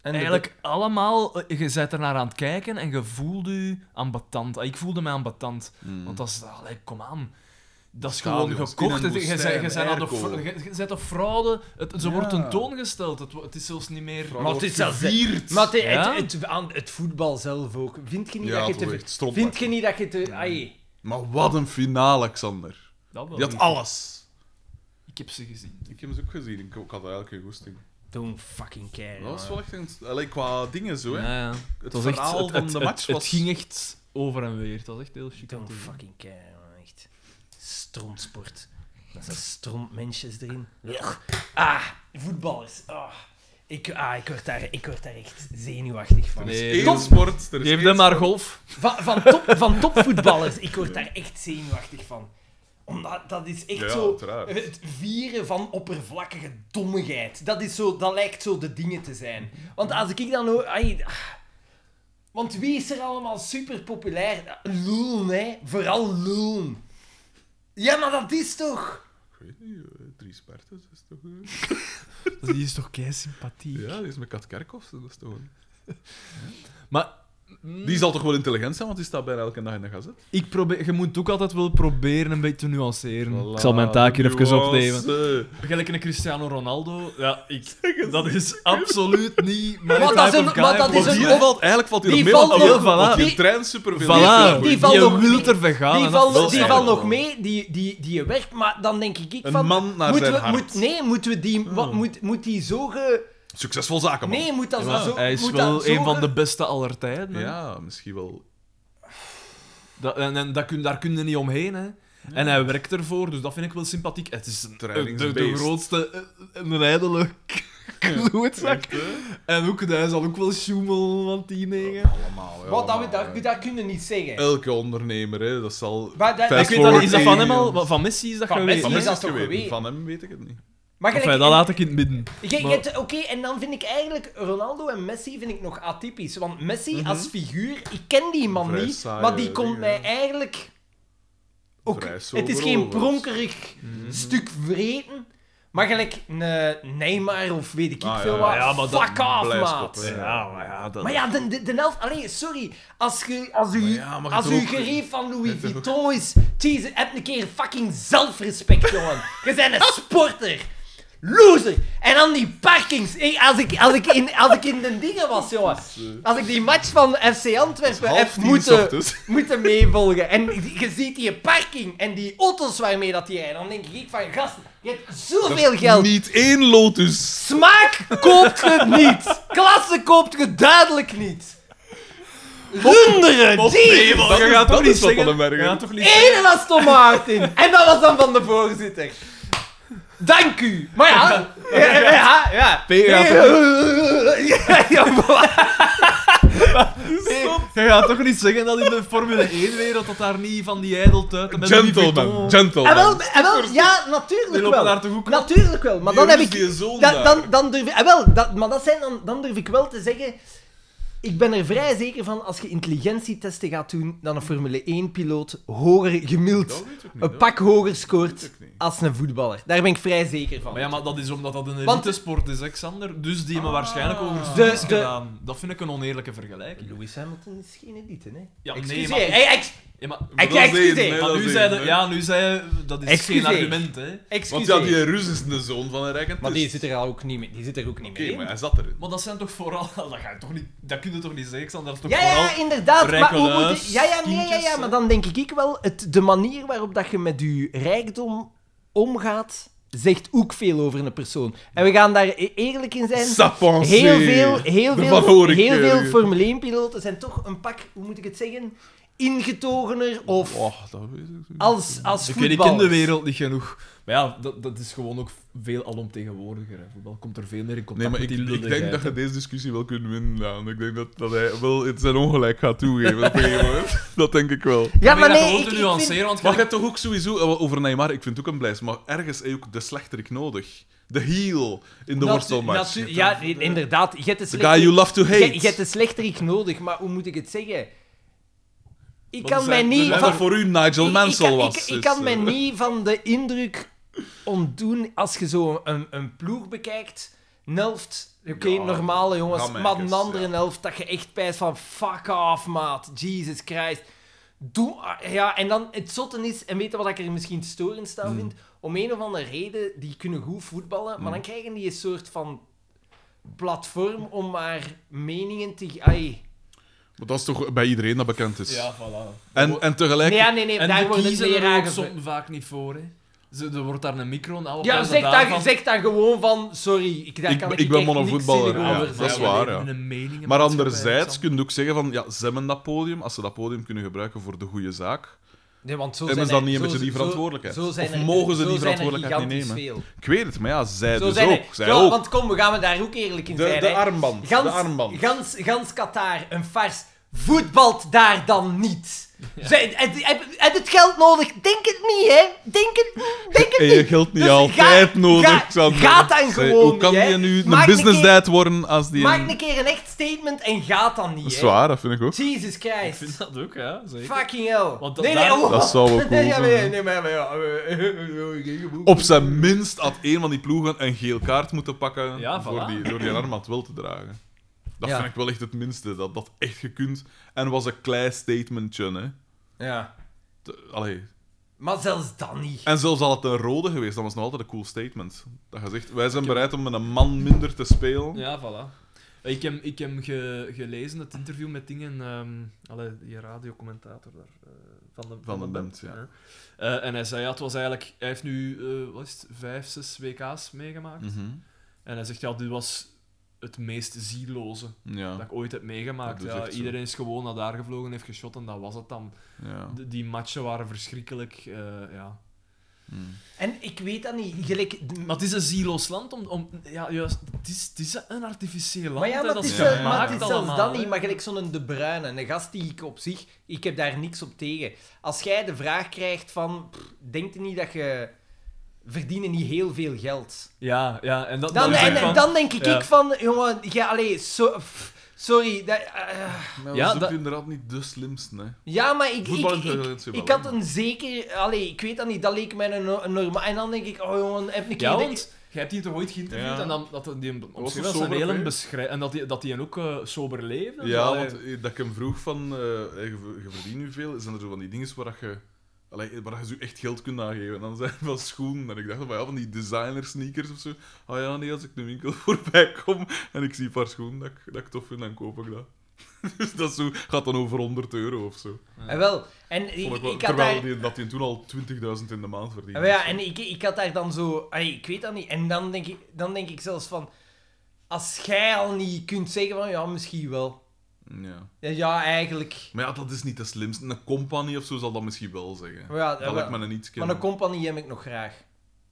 S2: en de-
S3: eigenlijk allemaal... eh, Je zet er naar aan het kijken en je voelde je ambetant. Ah, Ik voelde mij ambetant.
S1: Mm.
S3: Want dat is... allee, kom aan. Dat is
S1: Stadions,
S3: gewoon
S1: in
S3: gekocht.
S1: een
S3: Het- Je
S1: woestijn,
S3: bent- je bent aan de
S1: airco.
S3: fr- je- je bent op fraude. Het, ze wordt
S1: Ja.
S3: tentoongesteld. Het, wo- het is zelfs niet meer...
S1: Fraude
S2: Maar het
S1: wordt
S2: is zelfs-
S1: gevierd.
S2: Maar het,
S3: Ja?
S2: het, het- aan het voetbal zelf ook. Vind je niet
S1: Ja,
S2: dat je
S1: het was
S2: te...
S1: echt stront.
S2: Vind je niet dat je te... Ai,
S1: Maar wat een finale, Alexander.
S3: Dat wel.
S1: Je had alles.
S3: Ik heb ze gezien.
S1: Ik heb ze ook gezien. Ik, ik had eigenlijk een goesting.
S2: don't fucking care.
S1: Dat was
S2: man.
S1: wel echt een... Allee, qua dingen zo, hè.
S3: Ja, ja.
S1: Het,
S3: was echt-
S1: verhaal
S3: het-
S1: van
S3: het-
S1: de
S3: het-
S1: match
S3: het,
S1: was...
S3: ging echt over en weer. Het was echt heel chic. om
S2: Don't
S3: te zien.
S2: fucking care, man. Echt. Strontsport. Dat zijn strontmensjes erin. Ugh. Ah, voetballers. Ah, Ik, ah, ik, word daar, ik word daar echt zenuwachtig van.
S1: Er is
S3: Nee,
S1: één
S3: Tom.
S1: sport, er is
S3: Geef
S1: één
S3: hem maar
S1: sport.
S3: golf.
S2: Van, van, top, van topvoetballers. Ik word daar echt zenuwachtig van. Omdat dat is echt
S1: Ja,
S2: zo...
S1: uiteraard.
S2: Het vieren van oppervlakkige dommigheid. Dat, is zo, dat lijkt zo de dingen te zijn. Want als ik dan hoor... ai, ah. want wie is er allemaal super populair? Loon, hè. Vooral Loon. Ja, maar dat is toch...
S1: Ik weet niet, eh, drie Spartans, dat is toch... eh,
S3: Die is toch kei sympathiek.
S1: Ja, die is met Kat Kerkhoff, dat is toch...
S3: Maar
S1: Die zal toch wel intelligent zijn, want die staat bijna elke dag in de gazet.
S3: Ik probeer, je moet ook altijd wel proberen een beetje te nuanceren. Ik zal mijn taak hier even opnemen. Gelijk een Cristiano Ronaldo, ja, ik, dat is absoluut niet mijn
S2: Maar dat
S3: type
S2: is
S3: of
S2: een- maar
S3: guy,
S2: dat is
S1: Want
S2: een-
S1: hier
S2: op-
S1: valt, eigenlijk valt hier
S2: die
S1: nog mee,
S2: valt
S1: want,
S3: nog-
S1: heel- want
S3: voilà.
S1: die treint superveel.
S3: Voilà,
S2: Die
S3: die,
S2: valt nog-
S3: wilt er vegan.
S2: die
S3: en
S2: valt
S3: dat-
S2: nog- die
S1: wel
S2: valt
S1: wel.
S2: nog mee, die, die, die werkt, maar dan denk ik
S1: Een
S2: van...
S1: man naar
S2: moeten
S1: zijn
S2: we,
S1: hart.
S2: moet, Nee, moeten we die... Wat, moet, moet die zo ge...
S1: Succesvol zakenman.
S2: Nee, moet dat
S3: Ja,
S2: zo...
S3: hij is
S2: moet
S3: wel
S2: dat zo
S3: een van
S2: ge-
S3: de beste aller tijden. hè.
S1: Ja, misschien wel.
S3: Dat, en en dat kun, daar kun je niet omheen. Hè. En hij werkt ervoor, dus dat vind ik wel sympathiek. Het is een, de, de
S1: Trainingsbeest.
S3: grootste, eh, een ijdele klootzak. En ook, hij zal ook wel schoemel van 10 negen.
S1: Allemaal, ja,
S2: Wat, dat, we,
S1: allemaal,
S2: dat,
S1: ja.
S2: dat kunnen we niet zeggen.
S1: Elke ondernemer, hè, dat zal.
S2: Maar dat-
S1: fast
S3: Ik weet dat niet, is dat van
S1: forward
S3: hem al?
S1: tegen-
S3: Wat, Van Messi is dat
S2: Van
S3: geweest?
S1: Van
S2: Messi is
S1: Messi
S2: dat
S1: is
S2: toch
S1: geweten.
S2: geweten?
S1: Van hem weet ik het niet.
S2: Maar
S3: Enfin,
S2: gelijk-
S3: dat laat ik in het midden.
S2: Je- je
S3: Maar-
S2: hebt- Oké, en dan vind ik eigenlijk Ronaldo en Messi vind ik nog atypisch. Want Messi
S3: Mhm.
S2: als figuur, ik ken die man
S1: Vrij
S2: niet,
S1: saaie
S2: maar
S3: eh,
S2: die komt
S1: dingen,
S2: mij
S1: hè.
S2: eigenlijk. Ook,
S1: Vrij
S2: het
S1: sober
S2: is geen
S1: overigens.
S2: pronkerig
S3: Mhm.
S2: stuk vreten, maar gelijk een Neymar of weet ik
S1: Ah, ja,
S2: veel
S1: ja,
S2: wat.
S3: ja, maar dat-
S2: Fuck off,
S1: blijskoppen,
S2: maat.
S1: hè.
S3: Ja, maar ja, dat...
S2: Maar ja, de, de, de helft... Allee, sorry. Als je als u,
S1: Maar ja, maar je
S2: als
S1: hebt
S2: u
S1: ook-
S2: gerief van Louis
S1: hebt ook-
S2: Vuitton is... Jezus, heb een keer fucking zelfrespect, jongen. Je bent een sporter. Loser. En dan die parkings. Ik- als, ik, als, ik in, als ik in de dingen was, jongen. Als ik die match van FC Antwerpen
S1: Half
S2: heb
S1: tien
S2: moeten,
S1: ochtends.
S2: moeten meevolgen. En je ziet die parking en die auto's waarmee dat die rijden. Dan denk ik van, gast, je hebt zoveel geld.
S1: Niet één Lotus.
S2: Smaak koopt je niet. Klasse koopt je duidelijk niet. Runderen, die.
S3: Hemel,
S1: Dat
S3: je
S1: is-
S3: gaat
S1: dat
S3: toch niet
S1: is wat
S3: zeggen...
S1: van den Bergen.
S3: Je gaat toch niet
S2: Ene was Tom Martin. En dat was dan van de voorzitter. Dank u. Maar ja, ja, ja. ja.
S3: P gaat
S2: Ja, ja, maar-
S3: Je gaat toch niet zeggen dat in de Formule 1-wereld dat daar niet van die ijdeltuiten met Louis
S1: Gentleman,
S3: Vuitton-
S2: En Ah, wel,
S1: gentleman.
S2: en wel, ja,
S3: Die
S2: natuurlijk
S3: lopen
S2: wel.
S3: daar toch ook
S2: Natuurlijk wel, maar dan heb ik...
S1: Die zoon
S2: Dan,
S1: daar.
S2: dan, dan durf ik, ah, wel, dat, maar dat zijn dan, dan durf ik wel te zeggen. Ik ben er vrij zeker van als je intelligentietesten gaat doen, dan een Formule 1-piloot hoger
S1: Dat
S2: gemiddeld
S1: weet ik niet,
S2: een
S1: hoor.
S2: pak hoger scoort
S1: weet ik niet.
S2: als een voetballer. Daar ben ik vrij zeker van.
S3: Maar ja, maar dat is omdat dat een
S2: Want-
S3: elite sport is, Alexander. Dus die hebben
S1: Ah.
S3: waarschijnlijk over
S1: De-
S3: de,
S2: de-
S3: gedaan. Dat vind ik een oneerlijke vergelijking.
S2: Lewis Hamilton is geen elite, hè?
S3: Ja, nee,
S2: Excuseer.
S3: maar-
S2: Hey, ex-
S3: Ja, maar,
S1: Maar
S2: Ik-
S1: dat is
S2: excuseer.
S1: één, hè,
S3: maar
S1: dat
S3: nu
S1: is
S3: zei
S1: één,
S3: de-
S1: hè.
S3: ja, nu zei je- dat is
S2: Excuseer.
S3: geen argument, hè.
S1: Want
S2: excuseer.
S1: ja, die Rus is de zoon van een regent.
S2: Maar die zit er ook niet mee. Die zit er ook niet
S1: Oké,
S2: mee. in.
S1: maar hij zat erin.
S3: eh, dus- Maar dat zijn toch vooral... Dat, ga je toch niet, dat kun je toch niet zeggen, Alexander? Dat is
S2: Ja,
S3: toch
S2: ja,
S3: vooral...
S2: ja, inderdaad.
S3: rijke
S2: Maar hoe moet
S3: luis,
S2: je- ja, ja, nee, ja,
S3: kindjes,
S2: ja,
S3: hè?
S2: maar dan denk ik wel, het, de manier waarop dat je met je rijkdom omgaat, zegt ook veel over een persoon. En we gaan daar e- eerlijk in zijn.
S1: Sapensé.
S2: Heel veel, heel
S1: De Van
S2: veel,
S1: Horekeurige.
S2: heel
S3: eh,
S2: veel Formule 1-piloten zijn toch een pak, hoe moet ik het zeggen, ingetogener of
S1: Oh, dat weet ik niet.
S2: als, als
S3: Ik weet, ik ken de
S2: voetballers.
S3: wereld niet genoeg. Maar ja, dat, dat is gewoon ook veel alomtegenwoordiger. Hè. Voetbal komt er veel meer
S1: Nee,
S3: in contact
S1: maar ik,
S3: met die
S1: ik
S3: lulligheid.
S1: denk dat je deze discussie wel kunt winnen, Daan. Ik denk dat, dat hij wel het zijn ongelijk gaat toegeven op een gegeven moment. Dat denk ik wel.
S2: Ja, maar
S3: Probeer dat
S2: nee,
S3: gewoon
S2: ik,
S3: te
S2: ik
S3: nuanceren,
S2: vind...
S3: want
S1: Maar je
S3: gelijk-
S1: hebt toch ook sowieso, eh, wel, over Neymar, ik vind het ook een blijs, maar ergens heb je ook de slechterik nodig. De heel in de
S2: Natu-
S1: worstelmatch.
S2: natu- Ja, i- inderdaad. Je hebt de
S1: The guy
S2: slechterik,
S1: you love to
S2: je, je
S1: hate.
S2: hebt de slechterik nodig, maar hoe moet ik het zeggen? Ik
S3: Want
S2: kan
S3: er
S2: mij
S3: zijn-
S2: niet...
S3: er
S1: Wat
S2: van-
S1: dat voor u Nigel
S2: Ik-
S1: Mansell
S2: ik,
S1: was.
S2: Ik, ik,
S3: dus,
S1: is,
S2: kan
S1: eh,
S2: mij niet van de indruk ontdoen als je zo een, een ploeg bekijkt. Een helft, oké,
S1: Ja,
S2: normale jongens,
S1: gammakers,
S2: maar een andere
S1: ja.
S2: helft dat je echt pijst van fuck off, maat. Jesus Christ. Doe, ah, ja, en dan het zotte is, en weet je wat ik er misschien storend
S3: Hmm.
S2: aan vind? Om een of andere reden, die kunnen goed voetballen, maar dan krijgen die een soort van platform om maar meningen te... ge- Ai.
S1: Maar dat is toch bij iedereen dat bekend is.
S3: Ja, voilà.
S1: En, en tegelijk...
S2: Nee, ja, nee, nee,
S3: En
S2: daar
S3: die
S2: wordt het
S3: kiezen
S2: meer
S3: er ook
S2: aangevoerd.
S3: soms vaak niet voor, hè. Ze, er wordt daar een micro nou,
S2: Ja, zeg dan, zeg dan gewoon van, sorry, ik, daar
S1: Ik-
S2: kan ik,
S1: ik ben
S2: echt
S1: maar een
S2: niks
S1: voetballer,
S2: zinnig
S1: ja,
S2: over
S1: dat is
S2: zeggen.
S1: waar, ja. Maar anderzijds
S3: anderzijds
S1: kun je ook zeggen van, ja, ze hebben dat podium, als ze dat podium kunnen gebruiken voor de goede zaak.
S2: Nee, want zo
S1: Hebben
S2: zijn
S1: ze dan niet
S2: er-
S1: een beetje
S2: zo-
S1: die
S2: zo-
S1: verantwoordelijkheid?
S2: zo zijn
S1: Of
S2: er-
S1: mogen ze
S2: zo
S1: die
S2: zijn er
S1: verantwoordelijkheid niet
S2: gigantisch veel.
S1: Ik weet het, maar ja, zij
S2: Zo
S1: dus
S2: zijn er-
S1: ook. Zij
S2: ja,
S1: ook.
S2: Want kom, we gaan we daar ook eerlijk in zijn. hè.
S1: armband.
S2: gans, Gans, gans Qatar, een fars. Voetbalt daar dan niet. Zij- heb, heb, heb het geld nodig? Denk het niet, hè? Denk het, denk het
S1: En
S2: niet.
S1: je geld niet
S2: Dus
S1: altijd
S2: ga-
S1: nodig,
S2: ga-
S1: Xander.
S2: ga dan
S1: Zij,
S2: gewoon
S1: Hoe kan
S2: niet, hè?
S1: die nu een
S2: Maak een
S1: business
S2: keer-
S1: dad worden als die...
S2: Maak
S1: een-
S2: een keer een echt statement en gaat dan niet,
S1: Dat is
S2: hè?
S1: waar, dat vind ik ook.
S2: Jesus
S3: Ik
S2: Christ.
S3: vind dat ook, ja, zeker.
S2: Fucking hell.
S3: Want dat- daar-
S2: oh.
S1: Dat zou wel cool
S2: nee, ja,
S1: zijn,
S2: nee,
S1: hè.
S2: nee, maar, maar ja, eh,
S1: Op zijn minst had één van die ploegen een geel kaart moeten pakken
S3: Ja,
S1: voor
S3: voilà.
S1: die, door die armband wel te dragen. Dat
S2: Ja.
S1: vind ik wel echt het minste, dat dat echt gekund. En was een klein statementje, hè.
S2: Ja.
S1: Te- Allee.
S2: Maar zelfs dan niet.
S1: En zelfs al het een rode geweest, dan was het nog altijd een cool statement. Dat je zegt, wij zijn bereid om met een man minder te spelen.
S3: Ja, voilà. Ik heb, ik heb ge- gelezen het interview met dingen, ehm allee, die radiocommentator daar, eh, van de
S1: Van den
S3: den
S1: Bent, ja.
S3: Eh, en hij zei, ja, het was eigenlijk, hij heeft nu, eh, wat is het, vijf, zes WK's meegemaakt.
S1: Mhm.
S3: En hij zegt, ja, dit was het meest zieloze dat
S1: ja.
S3: ik ooit heb meegemaakt.
S1: Dat is
S3: Ja,
S1: echt zo.
S3: iedereen is gewoon naar daar gevlogen, heeft geschot en dat was het dan.
S1: ja.
S3: D- die matchen waren verschrikkelijk, eh, ja.
S1: Mm.
S2: En ik weet dat niet. Gelijk...
S3: Maar het is een zieloos land om... om ja, juist, het is, het is een artificieel land,
S2: Maar ja,
S3: hè,
S2: maar
S3: dat
S2: het
S1: is
S2: is, wel-
S1: gemaakt
S2: maar het is zelfs
S3: allemaal,
S2: dat
S3: hè.
S2: niet. Maar gelijk zo'n De Bruyne, een gast die ik op zich... Ik heb daar niks op tegen. Als jij de vraag krijgt van... pff, Denkt u niet dat je... Verdienen niet heel veel geld.
S3: Ja, ja, en dat...
S2: Dan,
S3: dat is
S2: en,
S3: ook van-
S2: dan denk ik,
S3: ja.
S2: ik van... Jongen, ja, allee, so- pff, sorry. Dat, eh,
S1: Maar dat
S3: Ja,
S1: is ook
S3: dat-
S1: inderdaad niet de slimste, hè.
S2: ja, maar ik...
S1: Voetbal
S2: ik,
S1: is wel
S2: ik,
S1: iets heel
S2: ik
S1: wel,
S2: had
S1: hè.
S2: een zeker... Allee, ik weet dat niet. Dat leek mij een, no- een normaal... En dan denk ik, oh jongen, heb ik
S3: Ja, want jij hebt die toch ooit geïnterviewd
S1: Ja.
S3: en dan, dat die hem
S1: was
S3: omschreef
S1: een
S3: als een
S1: sober
S3: hele
S1: vent.
S3: beschrij... En dat die, dat die ook eh, sober leefde.
S1: Ja,
S3: Allee.
S1: want eh, dat ik hem vroeg van, eh, je, je verdient nu veel, zijn er zo van die dingen waar dat je, allee, waar dat je zo echt geld kunt aangeven. En dan zijn het van schoenen. En ik dacht van, ja, van die designer sneakers of zo. Ah ja, nee, als ik de winkel voorbij kom en ik zie een paar schoenen dat ik, dat ik tof vind, dan koop ik dat. Dus dat is zo, gaat dan over 100 euro of zo.
S2: En Ah, wel. En
S1: Vond ik
S2: ik,
S1: wel-
S2: ik had
S1: terwijl
S2: daar...
S1: die, dat hij toen al 20.000 in de maand verdiende.
S2: Ja, maar ja, en ik, ik had daar dan zo... allee, ik weet dat niet. En dan denk, ik, dan denk ik zelfs van... Als jij al niet kunt zeggen van... Ja, misschien wel.
S1: Ja.
S2: Ja, Ja, eigenlijk.
S1: Maar ja, dat is niet de slimste. Een company of zo zal dat misschien wel zeggen.
S2: Maar, ja,
S1: dat
S2: wel.
S1: ik me een iets ken.
S2: maar een compagnie heb ik nog graag.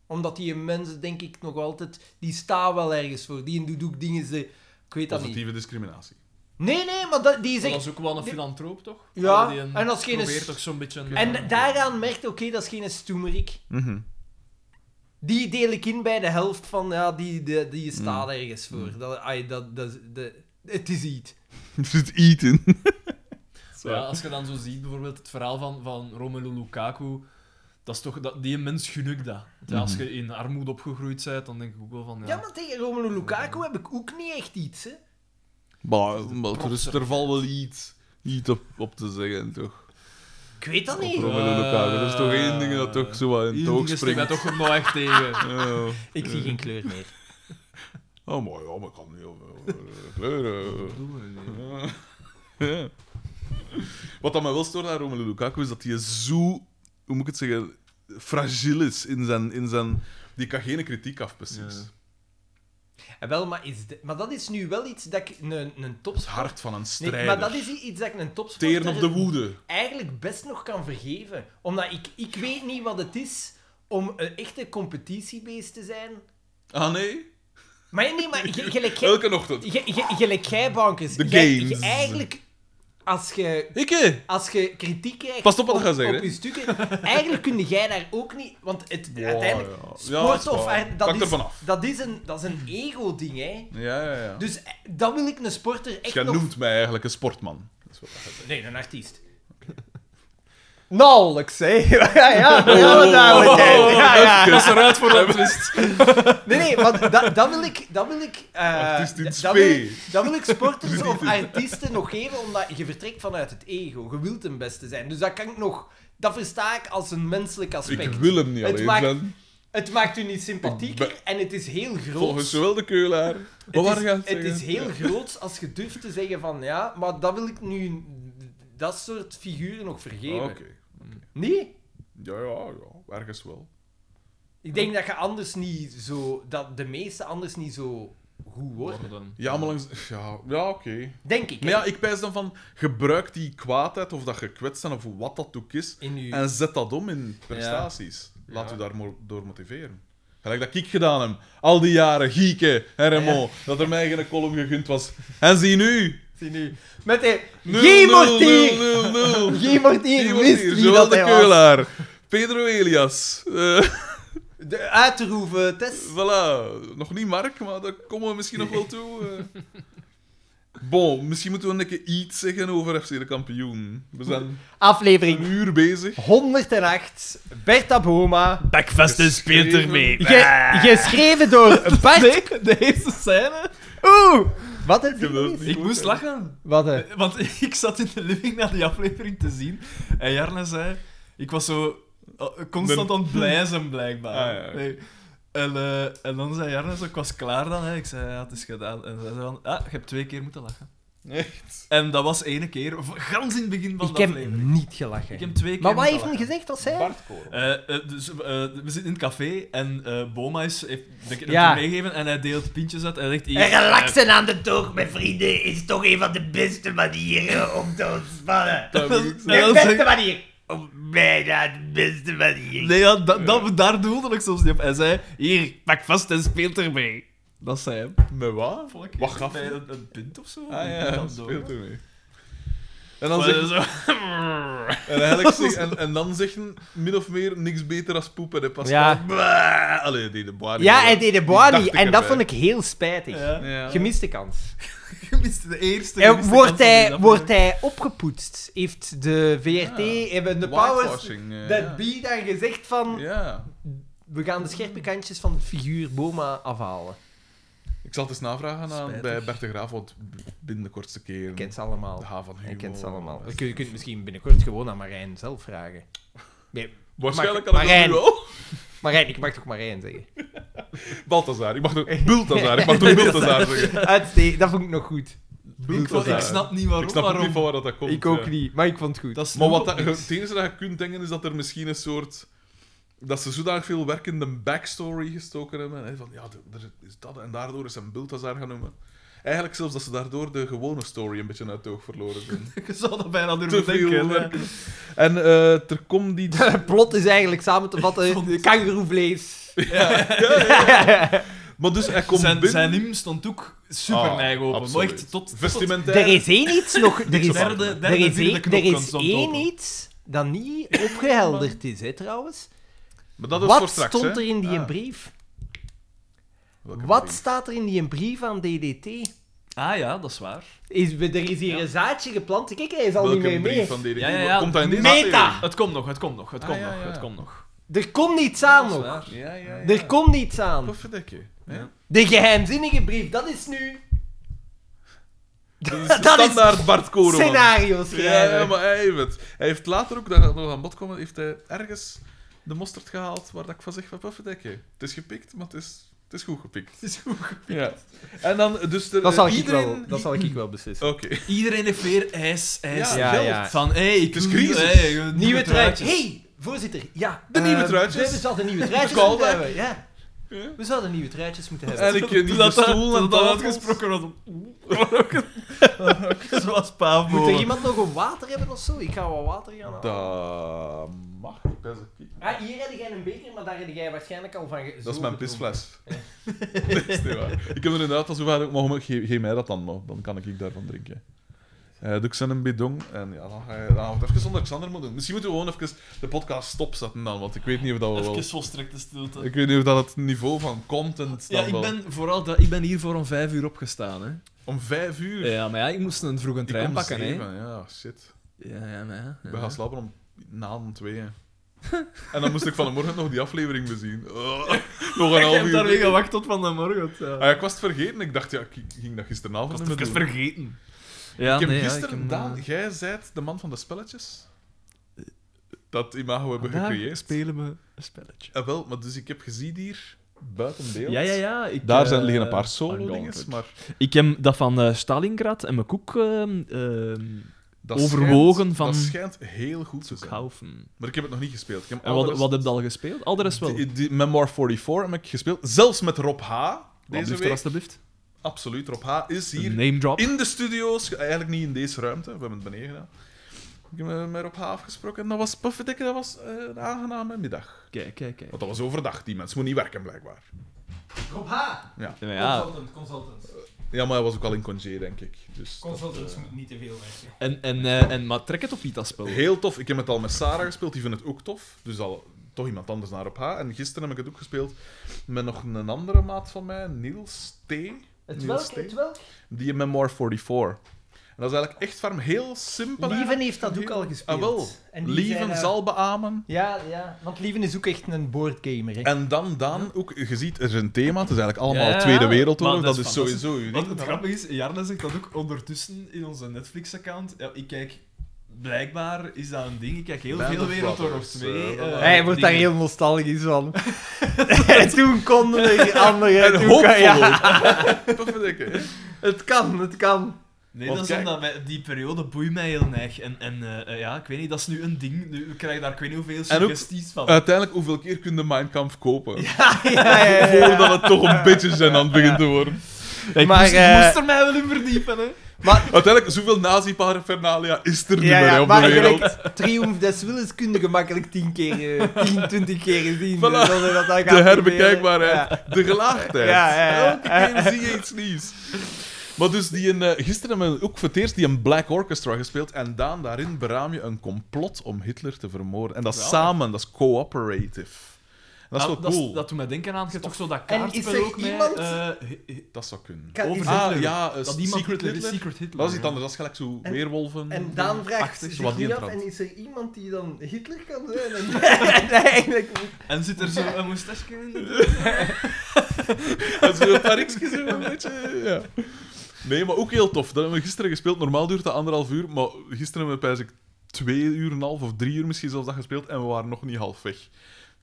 S2: Omdat die mensen, denk ik, nog altijd... Die staan wel ergens voor. Die doet ook dingen... Ze, ik weet dat niet.
S1: Positieve discriminatie.
S2: Nee, nee, maar dat, die
S3: Maar
S2: zegt...
S3: dat is ook wel een
S2: die-
S3: filantroop, toch?
S2: Ja,
S3: Allee, die
S2: en als geen-
S3: probeert toch zo'n beetje... een-
S2: En daaraan merkt, oké, dat is geen stoemerik. Die deel ik in bij de helft van... Ja, die, die, die
S1: Mm.
S2: staat ergens voor. Dat, ai, dat, dat, dat, het is iets.
S1: Er zit eten.
S3: Ja, als je dan zo ziet, bijvoorbeeld het verhaal van, van Romelu Lukaku, dat is toch, dat, die mens gun ik dat. Ja, als je in armoede opgegroeid bent, dan denk ik ook wel van, ja...
S2: Ja, maar tegen Romelu Lukaku heb ik ook niet echt iets, hè.
S1: Maar, maar er, is,
S3: protser.
S1: er valt wel iets, iets op, op te zeggen, toch?
S2: Ik weet dat
S1: Op
S2: niet.
S1: Romelu Lukaku. Dat is toch één ding dat toch zo wat in het
S3: Hier
S1: oog
S3: dingen steken wij
S1: springt.
S3: toch nog echt tegen.
S1: Ja.
S2: Ik zie geen kleur meer.
S1: Oh, mooi, ja, maar ik kan niet over over kleuren.
S3: Oh,
S1: Ja. Ja. Wat dat mij wel stoort aan Romelu Lukaku is dat hij zo, hoe moet ik het zeggen, fragiel is in zijn... In zijn die kan geen kritiek af, precies.
S3: Ja.
S2: En Eh, wel, maar, is de- maar dat is nu wel iets dat ik een, een
S1: Het
S2: topsporter...
S1: hart van een
S2: Nee,
S1: strijder.
S2: maar dat is iets dat ik een topsporter
S1: Teren op de woede.
S2: eigenlijk best nog kan vergeven. Omdat ik, ik weet niet wat het is om een echte competitiebeest te zijn.
S1: Ah, nee?
S2: Maar nee, maar ge- gelijk jij...
S1: Elke ochtend.
S2: ge- ge- Gelijk jij, Bankers.
S1: De
S2: Jij-
S1: games.
S2: je- Eigenlijk, als je
S1: Ik, hè?
S2: Als je kritiek krijgt
S1: Pas op wat
S2: op,
S1: je gaat zeggen,
S2: op
S1: hè.
S2: je stukken, eigenlijk kun jij daar ook niet... Want het,
S1: Ja,
S2: uiteindelijk,
S1: ja. Ja,
S2: sport
S1: dat is
S2: of...
S1: waar.
S2: art, dat
S1: Pak er
S2: is,
S1: vanaf.
S2: dat is een, dat is een ego-ding, hè.
S1: Ja, ja, ja.
S2: Dus eh, dat wil ik een sporter echt
S1: Jij
S2: nog...
S1: noemt mij eigenlijk een sportman. Dat is wat dat gaat
S2: Nee, een artiest. Nauwelijks, hè. Ja, ja, ja,
S1: oh,
S2: duidelijkheid.
S1: oh,
S2: Ja, ja.
S3: Dat is eruit voor een twist.
S2: Nee, nee, want dat, dat wil ik... Dat wil ik eh,
S1: Artiest in
S2: dat-
S1: spe.
S2: dat, wil ik dat wil ik sporters of artiesten nog geven, omdat je vertrekt vanuit het ego. Je wilt een beste zijn. Dus dat kan ik nog... Dat versta ik als een menselijk aspect.
S1: Ik wil hem niet
S2: Het
S1: alleen
S2: maakt-
S1: zijn.
S2: Het maakt u niet sympathieker en het is heel groot.
S1: Volgens zowel de keulaar. Wat
S2: het
S1: waren
S2: is,
S1: je aan het
S2: het is
S1: zeggen?
S2: heel groot als je durft te zeggen van ja, maar dat wil ik nu dat soort figuren nog vergeven.
S1: Ah, Oké.
S2: Nee?
S1: Ja, ja, ja. Ergens wel.
S2: Ik denk dat je anders niet zo dat de meeste anders niet zo goed worden.
S1: Ja, maar langs... Ja, ja oké.
S2: Denk ik.
S1: Maar
S2: hè,
S1: ja, ik pijs dan van... Gebruik die kwaadheid, of dat gekwetst zijn, of wat dat ook is,
S2: in uw...
S1: en zet dat om in prestaties. Laat
S2: Ja.
S1: u daar mo- door motiveren. Gelijk dat ik gedaan heb. Al die jaren gieken en Remo. Dat er mij geen column gegund was. En zie nu...
S2: Zie nu. Met de
S1: Nul,
S2: Guy
S1: nul,
S2: Mortier!
S1: nul, nul, nul.
S2: Guy Mortier
S1: Iemand
S2: wist
S1: hier,
S2: wie
S1: Joël
S2: dat
S1: de
S2: hij was.
S1: Keulaar, Pedro Elias. eh,
S2: De uitroeven, Tess.
S1: voilà. Nog niet Mark, maar daar komen we misschien nog wel toe. eh. Bon, misschien moeten we een keer iets zeggen over FC de kampioen. We zijn
S2: Aflevering
S1: een uur bezig.
S2: 108. Bertha Boma.
S3: Backfesten
S1: speelt ermee.
S2: Ge- geschreven door Bart
S3: Deze scène?
S2: Oeh! Wat is
S1: heb dat
S2: dit?
S1: niet-
S3: Ik moest lachen,
S2: Wat hè?
S3: eh, want ik zat in de living naar die aflevering te zien. En Jarne zei... Ik was zo eh, constant aan het blijzen, blijkbaar.
S1: Ah, ja, oké.
S3: Nee. En, eh, en dan zei Jarne zo, ik was klaar dan. Hè. Ik zei, ja, het is gedaan. En zij zei van, ah, je hebt twee keer moeten lachen.
S1: Echt?
S3: En dat was één keer, v- gans in het begin van
S2: Ik
S3: de
S2: heb
S3: aflevering.
S2: niet gelachen.
S3: Ik heb twee keer
S2: maar wat
S3: moeten
S2: heeft
S3: lachen.
S2: hij gezegd dat zij?
S1: Bartkoren.
S3: Eh, eh, dus, eh, we zitten in het café en eh, Boma is, heeft de keer
S2: Ja.
S3: meegegeven en hij deelt pintjes uit en hij zegt... hier,
S4: En
S3: eh,
S4: relaxen aan de toog, mijn vrienden, is toch een van de beste manieren om te ontspannen.
S3: en dan- en
S4: De
S3: dan
S4: beste
S3: zegt-
S4: manier. Om bijna de beste manier.
S3: Nee, ja, da- da- daar doelde ik soms niet op. Hij zei, hier, pak vast en speel ermee. Dat zei hem.
S1: Met wat? Wat gaf
S3: hij?
S1: hij?
S3: Een, een pint of zo?
S1: Ah ja,
S3: Een
S1: dat
S3: pint of zo.
S1: speelt er mee. En dan,
S3: Maar
S1: zegt,
S3: zo-
S1: en, eigenlijk zeg- en, en dan zeggen min of meer niks beter als poep en de Pascal.
S2: Ja.
S1: Bwah! Allee, die de boar.
S2: Ja, hij deed de boa
S1: dacht
S2: niet.
S1: ik
S2: En dat
S1: erbij.
S2: vond ik heel spijtig.
S3: Ja.
S2: Gemiste kans.
S3: Gemist de eerste.
S2: En
S3: gemiste
S2: wordt
S3: kans van
S2: hij,
S3: die
S2: wordt hij opgepoetst? Heeft de VRT,
S1: Ja.
S2: hebben de powers
S1: Whitewashing, eh,
S2: dat
S1: ja.
S2: B dan gezegd van...
S1: Ja.
S2: We gaan de scherpe kantjes van het figuur Boma afhalen.
S1: Ik zal het eens navragen aan,
S3: Spijtig.
S1: bij Bert de Graaf, want binnen de kortste keer...
S2: Ik ken ze
S1: De
S2: allemaal.
S1: H van Hugo.
S2: Ik ken ze allemaal. Je kunt, je kunt misschien binnenkort gewoon aan Marijn zelf vragen. Nee,
S1: Waarschijnlijk
S2: Maar-
S1: kan ik dat nu
S2: Marijn.
S1: wel.
S2: Marijn, ik mag toch Marijn zeggen?
S1: Balthazar. Ik mag toch... Bulthazar. Ik mag toch Bulthazar zeggen?
S2: Uitste- Ah, dat vond ik nog goed.
S3: Ik, vond- ik snap niet waarom.
S1: Ik snap ook
S3: waarom.
S1: niet van waar dat, dat komt.
S2: ik ook
S1: ja.
S2: niet, maar ik vond het goed.
S3: Dat is
S1: Maar wat dat,
S3: dat,
S1: het enige dat je kunt denken is dat er misschien een soort. Dat ze zodanig veel werk in de backstory gestoken hebben. Hè, van ja, d- er is dat en daardoor is een Bulthazar gaan noemen. Eigenlijk zelfs dat ze daardoor de gewone story een beetje uit het oog verloren zijn.
S3: Je zou dat bijna
S1: Te
S3: durven
S1: veel
S3: denken.
S1: werk.
S3: hè.
S1: En eh, er komt die.
S2: Het plot is eigenlijk samen te
S3: Ik
S2: vatten:
S3: vond
S2: de
S3: het-
S2: kangeroevlees.
S1: Maar dus hij komt
S3: Zijn,
S1: binnen.
S3: zijn hymn stond ook super
S1: Ah,
S3: neig open. Maar
S1: absoluut.
S3: echt tot... tot-
S1: Vestimentair.
S2: Er is één iets nog. Er is,
S3: Derde-
S2: er
S3: derde,
S2: is,
S3: vierde
S2: één,
S3: knop
S2: er
S3: kan
S2: is
S3: stond
S2: één
S3: open.
S2: iets dat niet opgehelderd is, hè, trouwens.
S1: Maar dat is voor
S2: Wat
S1: straks.
S2: stond
S1: hè.
S2: er in die
S1: Ah,
S2: brief?
S1: welke
S2: Wat
S1: brief?
S2: staat er in die brief aan DDT?
S3: Ah ja, dat is waar.
S2: Is, er is hier een zaadje geplant. Kijk, hij is al
S1: Welke
S2: niet meer
S1: brief
S2: mee.
S1: van DDT?
S3: Ja, ja, ja.
S1: Komt hij in deze
S2: Meta!
S1: aflevering?
S3: Het komt nog, het komt nog, het
S1: Ah,
S3: komt
S1: ja,
S3: nog,
S1: ja.
S3: het komt nog.
S2: Er komt niets aan
S3: Dat is
S2: nog.
S3: waar.
S1: Ja, ja, ja.
S2: Er komt niets aan.
S1: Pofferdekje, hè?
S3: Ja.
S2: De geheimzinnige brief, dat is nu
S1: Dat is
S2: Dat is
S1: standaard Bart Koren.
S2: scenario
S1: Ja,
S2: schrijven.
S1: ja, maar hij heeft het. Hij heeft later ook, dat gaat nog aan bod komen, heeft hij ergens de mosterd gehaald waar dat ik van zeg van puffendekje. Het is gepikt, maar het is, het is goed gepikt.
S3: Het is goed.
S1: Ja. En dan, dus er,
S2: Dat zal,
S1: iedereen... Eh,
S2: ik wel, dat zal ik wel beslissen.
S1: Oké.
S3: Iedereen heeft weer ijs, ijs.
S1: Ja,
S2: Ja,
S1: geld.
S2: ja.
S3: Van, hé, hey, ik
S1: Het is
S3: doe-
S1: crisis.
S3: hey, nieuwe,
S2: Nieuwe truitjes.
S3: truitjes.
S2: Hey, voorzitter, ja.
S1: De nieuwe
S2: eh,
S1: truitjes.
S2: We hebben zelf de nieuwe truitjes
S1: Callback.
S2: moeten hebben. Ja.
S1: Ja.
S2: We zouden nieuwe truitjes moeten hebben.
S1: En ik eh, niet
S3: dat
S1: de stoel en
S3: dat, dat
S1: tafels.
S3: uitgesproken wordt. Zoals Paaf
S2: Moet er iemand nog een water hebben of zo? Ik ga wat water gaan halen.
S1: Dat mag ik best een keer.
S2: Ah, hier heb jij een beker, maar daar heb jij waarschijnlijk al van... ge-
S1: Dat is
S2: zo
S1: mijn
S2: gedronken.
S1: pisfles. dat is niet waar. Ik heb er inderdaad al zo vaak ook, maar ge- geef, mij dat dan, maar dan kan ik daarvan drinken. Eh doe ik zijn een bidon en ja, dan ga je dan gaan we het even zonder Xander moeten doen. Misschien moeten we gewoon even de podcast stopzetten dan, want ik weet niet of dat we wel...
S3: Even volstrekte stilte.
S1: Ik weet niet of dat het niveau van content dan
S3: ja, ik
S1: wel-
S3: ben, vooral dat, ik ben hiervoor om vijf uur opgestaan. Hè.
S1: Om vijf uur...
S3: Ja, maar ja, ik moest een vroeg een
S1: ik
S3: Eh, trein
S1: kom
S3: pakken. Hè.
S1: zeven, Ja, shit.
S3: Ja, ja, maar ja.
S1: Ik ben gaan slapen om na om tweeën. en dan moest ik vanmorgen nog die aflevering bezien. Oh, nog een
S3: Ik
S1: half
S3: heb
S1: uur.
S3: daarmee gewacht tot van de morgen. Ja.
S1: Ah, ja, ik was het vergeten. Ik dacht, ja, ik ging dat gisteravond
S3: Ik was
S1: niet meer
S3: het even
S1: doen.
S3: vergeten. Ja,
S1: ik heb
S3: nee, ja,
S1: gisteren,
S3: heb,
S1: Daan,
S3: eh,
S1: jij zijt de man van de spelletjes. Dat imago hebben
S3: vandaag
S1: gecreëerd.
S3: spelen we een spelletje.
S1: Ah, wel, maar dus ik heb gezien hier, buiten beeld.
S3: Ja, ja, ja. Ik,
S1: Daar
S3: eh,
S1: zijn, liggen een paar
S3: Van
S1: solo-dinges,
S3: Gauntlet.
S1: maar...
S3: Ik heb dat van eh, Stalingrad en mijn koek ehm, ehm,
S1: Dat
S3: Overwogen
S1: schijnt,
S3: van-
S1: Dat schijnt heel goed te
S3: te
S1: zijn.
S3: kaufen.
S1: Maar ik heb het nog niet gespeeld. Ik heb
S3: En
S1: alle
S3: wat,
S1: rest-
S3: wat heb je al gespeeld? Al de rest wel.
S1: Die, die Memoir 44 heb ik gespeeld. Zelfs met Rob H. Deze
S3: Alsjeblieft,
S1: week.
S3: alsjeblieft.
S1: Absoluut, Rob H. is hier
S3: Name drop.
S1: in de studio's. Eigenlijk niet in deze ruimte. We hebben het beneden gedaan. Ik heb eh, met Rob H. afgesproken. En dat was, pufferdikke, dat was eh, een aangename middag.
S3: Kijk, kijk, kijk.
S1: Want dat was overdag, die mensen moeten niet werken blijkbaar.
S2: Rob H.
S3: Ja, maar ja.
S2: Consultant, consultant.
S1: Ja, maar hij was ook al in congé, denk ik. Dus dat,
S2: Consultants
S1: eh,
S2: moeten niet te veel
S3: En,
S2: werken.
S3: en, eh, en, maar trek het op niet, dat spel.
S1: heel tof. Ik heb het al met Sarah gespeeld, die vindt het ook tof. Dus al toch iemand anders naar op H. En gisteren heb ik het ook gespeeld met nog een andere maat van mij, Niels T.
S2: Het
S1: Niels
S2: welke,
S1: T.
S2: het welke?
S1: Die in Memoir 44. En dat is eigenlijk echt farm heel simpel.
S2: Lieven
S1: eigenlijk.
S2: heeft dat ook al gespeeld.
S1: Ah, wel.
S2: En die zei
S1: Lieven
S2: daar-
S1: zal beamen.
S2: Ja, ja, want Lieven is ook echt een boardgamer. hè.
S1: En dan, dan ook, je ziet, er is een thema. Het is eigenlijk allemaal
S3: Ja, ja.
S1: Tweede Wereldoorlog.
S3: Maar
S1: Dat,
S3: dat is
S1: is
S3: fantastisch.
S1: sowieso uniek.
S3: Want het grappige is, Jarne zegt dat ook ondertussen in onze Netflix-account. Ja, ik kijk, blijkbaar is dat een ding. Ik kijk heel
S1: Band
S3: veel
S1: of
S3: Wereldoorlog
S1: Brothers,
S3: 2.
S1: eh,
S3: eh,
S2: Hij wordt daar
S3: dingen.
S2: heel nostalgisch van. en toen konden er anderen...
S1: En
S2: toen kon-
S1: hoopvol
S2: ja,
S1: ook. Dat vind ik, hè.
S2: Het kan, het kan.
S3: Nee,
S1: Want
S3: dat is
S1: kijk-
S3: omdat mij- die periode boeit mij heel neig. En, en eh, eh, ja, ik weet niet, dat is nu een ding. Nu krijg je daar ik weet niet hoeveel
S1: En ook- Eh,
S3: suggesties van.
S1: Uiteindelijk, hoeveel keer kun je Mein Kampf kopen?
S2: Ja, ja, ja, ja.
S1: Voordat het toch een beetje zijn aan het begint te worden.
S3: ik
S2: maar,
S3: moest, ik
S2: eh,
S3: moest er mij wel in verdiepen, hè.
S2: Maar,
S1: Uiteindelijk, zoveel nazi-parafernalia is er niet
S2: ja,
S1: meer
S2: ja,
S1: hè, op de
S2: maar
S1: wereld.
S2: gelijk, Triumph des Willens kun je gemakkelijk 10 keer, eh, 10, 20 keer zien.
S1: Voilà.
S2: zonder dat dat
S1: De
S2: gaat
S1: herbekijkbaarheid, de gelaagdheid.
S2: Ja, ja, ja.
S1: Elke keer zie je iets nieuws. Maar dus die een, eh, gisteren hebben we ook voor het eerst die een Black Orchestra gespeeld. En Daan, daarin beraam je een complot om Hitler te vermoorden. En dat is
S3: Ja.
S1: samen, dat is cooperative. En dat is wel
S3: dat,
S1: cool.
S3: dat doet mij denken aan, je hebt toch zo dat
S2: En is
S3: kaartspel
S2: er
S3: ook met...
S2: iemand-
S3: eh, hi- hi-
S1: Dat zou kunnen.
S2: Kan-
S3: over
S2: is-
S1: Ah,
S3: Hitler.
S1: ja, eh,
S3: dat iemand
S1: Secret
S3: Hitler is,
S1: Hitler.
S3: Secret Hitler.
S1: Dat is iets
S3: ja.
S1: anders, dat is gelijk zo
S2: En-
S1: weerwolven.
S2: En Daan vraagt
S1: Achtig,
S2: zich
S1: wat die
S2: niet af,
S1: trant.
S2: en is er iemand die dan Hitler kan zijn? En, en eigenlijk niet.
S3: En zit er zo een moustache in?
S1: Dat is een parikje zo, een beetje. Ja. Nee, maar ook heel tof. Dat hebben we gisteren gespeeld. Normaal duurt dat anderhalf uur, maar gisteren hebben we pijs ik twee uur en een half of drie uur misschien zelfs dat gespeeld en we waren nog niet half weg.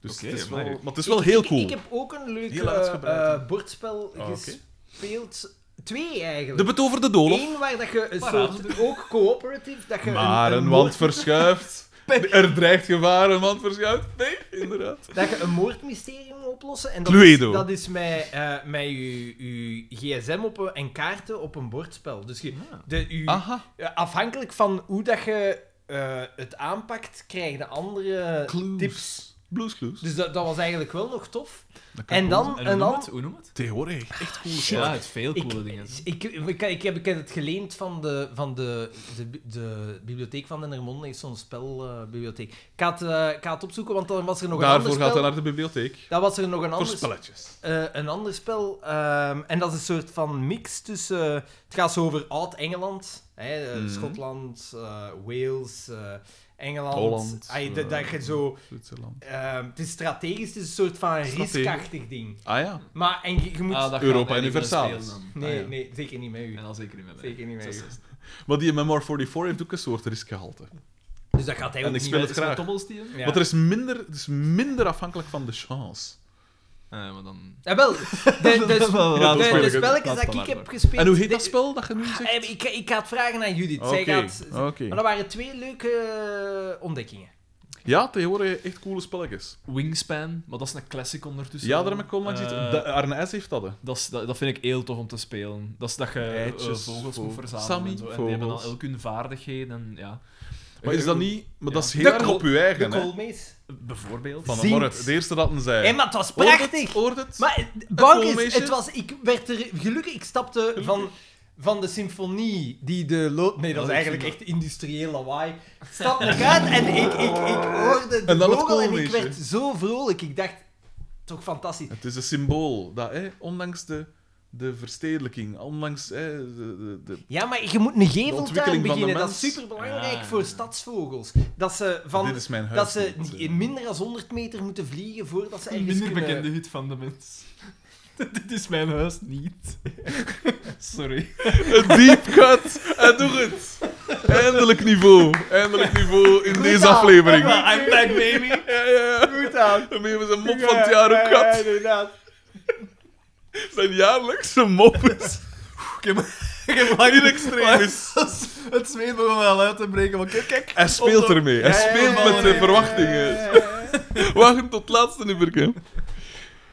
S1: Dus
S3: Oké,
S1: het is wel,
S3: amai.
S1: maar het is wel heel
S2: Ik-
S1: cool.
S2: Ik, heb ook een leuk
S1: Heel
S2: eh,
S1: uitgebreid,
S2: eh, bordspel
S1: Ah, oké.
S2: gespeeld. Twee eigenlijk.
S1: De betoverde doolhof.
S2: Eén waar dat je een
S3: Parade.
S2: soort, ook coöperatief, dat je een-
S1: Maar
S2: een,
S1: een
S2: moord-
S1: wand verschuift. Er dreigt gevaar, een wand verschuift. Nee, inderdaad.
S2: dat je een moordmysterie moet oplossen. En dat
S1: Cluedo.
S2: is, dat is met, eh met je, je gsm op een, en kaarten op een bordspel.
S3: Ah.
S2: Dus je, de, je-
S1: Aha.
S2: eh, afhankelijk van hoe dat je eh, het aanpakt, krijgen de andere
S1: Clues.
S2: tips.
S1: Blues Clues.
S2: Dus dat, dat was eigenlijk wel nog tof.
S1: Dat kan
S2: En
S1: cool
S2: dan,
S3: En
S2: en
S3: hoe noem
S2: dan
S3: het? Hoe noem het?
S1: Tegenwoordig echt cool.
S3: Ja, het is veel
S2: Ik-
S3: coole dingen. Ah, hè.
S2: Dus Ik, ik, ik, heb, ik heb het geleend van de, van de, de, de bibliotheek van Den Hermonde, is zo'n spelbibliotheek. ik, ga het, eh, ik ga het opzoeken, want dan was er nog een
S1: Daarvoor
S2: ander
S1: gaat hij
S2: spel.
S1: naar de bibliotheek.
S2: Dan was er nog een
S1: Voor
S2: ander,
S1: spelletjes.
S2: eh, een ander spel. ehm, en dat is een soort van mix tussen... eh, het gaat zo over Oud-Engeland. hè, eh,
S1: Mhm.
S2: Schotland, eh, Wales, eh, Engeland.
S1: Holland,
S2: Ah, je- dat-
S1: eh,
S2: dat je zo...
S1: Zwitserland.
S2: ehm, het is strategisch, het is een soort van
S1: Strategisch.
S2: riskachtig ding.
S1: Ah ja.
S2: Maar en je, je moet...
S3: Ah, dat
S1: Europa
S3: gaat mij niet meer
S1: Universalis.
S3: spelen dan.
S2: nee,
S1: ah, ja.
S2: nee, zeker niet met u.
S3: En dan zeker niet met mij.
S2: Zeker niet met
S3: Dat is-
S2: u.
S1: Maar die Memoir 44 heeft ook een soort riskgehalte.
S2: Dus dat gaat
S1: En
S2: hij ook
S1: ik
S2: niet
S1: speel
S2: meer-
S1: het
S3: Is het
S1: graag.
S3: met dobbels die hem?
S2: Ja.
S1: Want er is minder, het is minder afhankelijk van de chance.
S3: Ah, maar dan...
S2: Ja, wel. De, de, de,
S1: laten we
S2: de- de
S1: het
S3: laten
S2: spelletjes dat
S3: we
S2: ik
S3: maar.
S2: heb gespeeld...
S1: En hoe heet dat
S2: de-
S1: spel dat je nu
S2: Ah,
S1: zegt?
S2: eh, ik, ik ga het vragen aan Judith. Zij
S1: Oké,
S2: gaat...
S1: oké.
S2: Maar dat waren twee leuke eh, ontdekkingen.
S1: Ja, tegenwoordig echt coole spelletjes.
S3: Wingspan, maar dat is een classic ondertussen.
S1: Ja,
S3: al.
S1: daar heb ik al langs
S3: Eh,
S1: iets- Da- Arne S. heeft dat. hè.
S3: dat, is- dat, dat vind ik heel tof om te spelen. Dat is dat je eh,
S1: Eitjes,
S3: vogels moet
S1: vogels.
S3: verzamelen
S1: Sammy,
S3: en zo. En die hebben dan
S1: vogels.
S3: elk hun vaardigheden. En, ja.
S1: Maar is dat niet... Maar dat is
S3: Ja.
S1: heel
S2: De
S1: erg
S2: kool-
S1: op je eigen,
S2: de
S1: hè.
S2: koolmees.
S3: Bijvoorbeeld.
S1: Van de
S2: Zingt.
S1: Morret, de eerste dat een zei.
S2: Hé, maar het was
S1: Hoort het?
S2: prachtig.
S1: Hoort het?
S2: Maar eh, Bank is,
S1: koolmeesje?
S2: het was, ik werd er gelukkig, ik stapte van, van de symfonie die de lood. Nee, dat is
S3: Oh, ik
S2: eigenlijk
S3: zie
S2: echt industrieel lawaai. Ik stapte eruit en ik, ik, ik hoorde de
S1: En dan het
S2: vogel en ik
S1: koolmeesje.
S2: werd zo vrolijk. Ik dacht, toch fantastisch.
S1: Het is een symbool. Dat, hè, ondanks de, de verstedelijking, ondanks hè, de, de, de-
S2: Ja, maar je moet een geveltuin
S1: ontwikkeling van de
S2: beginnen. Dat is
S1: mens.
S2: superbelangrijk
S3: Ja.
S2: voor stadsvogels. Dat ze,
S1: Dit
S2: van,
S1: is mijn huis. eh,
S2: dat ze
S1: niet,
S2: in minder dan 100 meter moeten vliegen voordat ze
S3: Een
S2: ergens
S3: minder
S2: kunnen...
S3: bekende hit van de mens. Dit is mijn huis niet. Sorry.
S1: Een deep cut. En doe het. Eindelijk niveau. Eindelijk niveau in
S2: Goed
S1: deze
S2: aan,
S1: aflevering.
S2: Emma.
S3: I'm back, baby.
S1: Ja, ja.
S2: Goed aan.
S1: Dan hebben ze een mop van het jaar ook
S2: Ja, ja,
S1: gehad.
S2: inderdaad.
S1: Zijn jaarlijkse mop is
S3: Ik heb, ik heb lang
S1: heel extreem is.
S3: Het zweet begon wel uit te breken, maar kijk, kijk.
S1: Hij speelt ermee. Hij
S2: Ja, ja, ja,
S1: speelt
S3: ja,
S1: met
S3: ja,
S1: de
S3: ja, ja,
S1: verwachtingen. Wagen tot het laatste nummerke.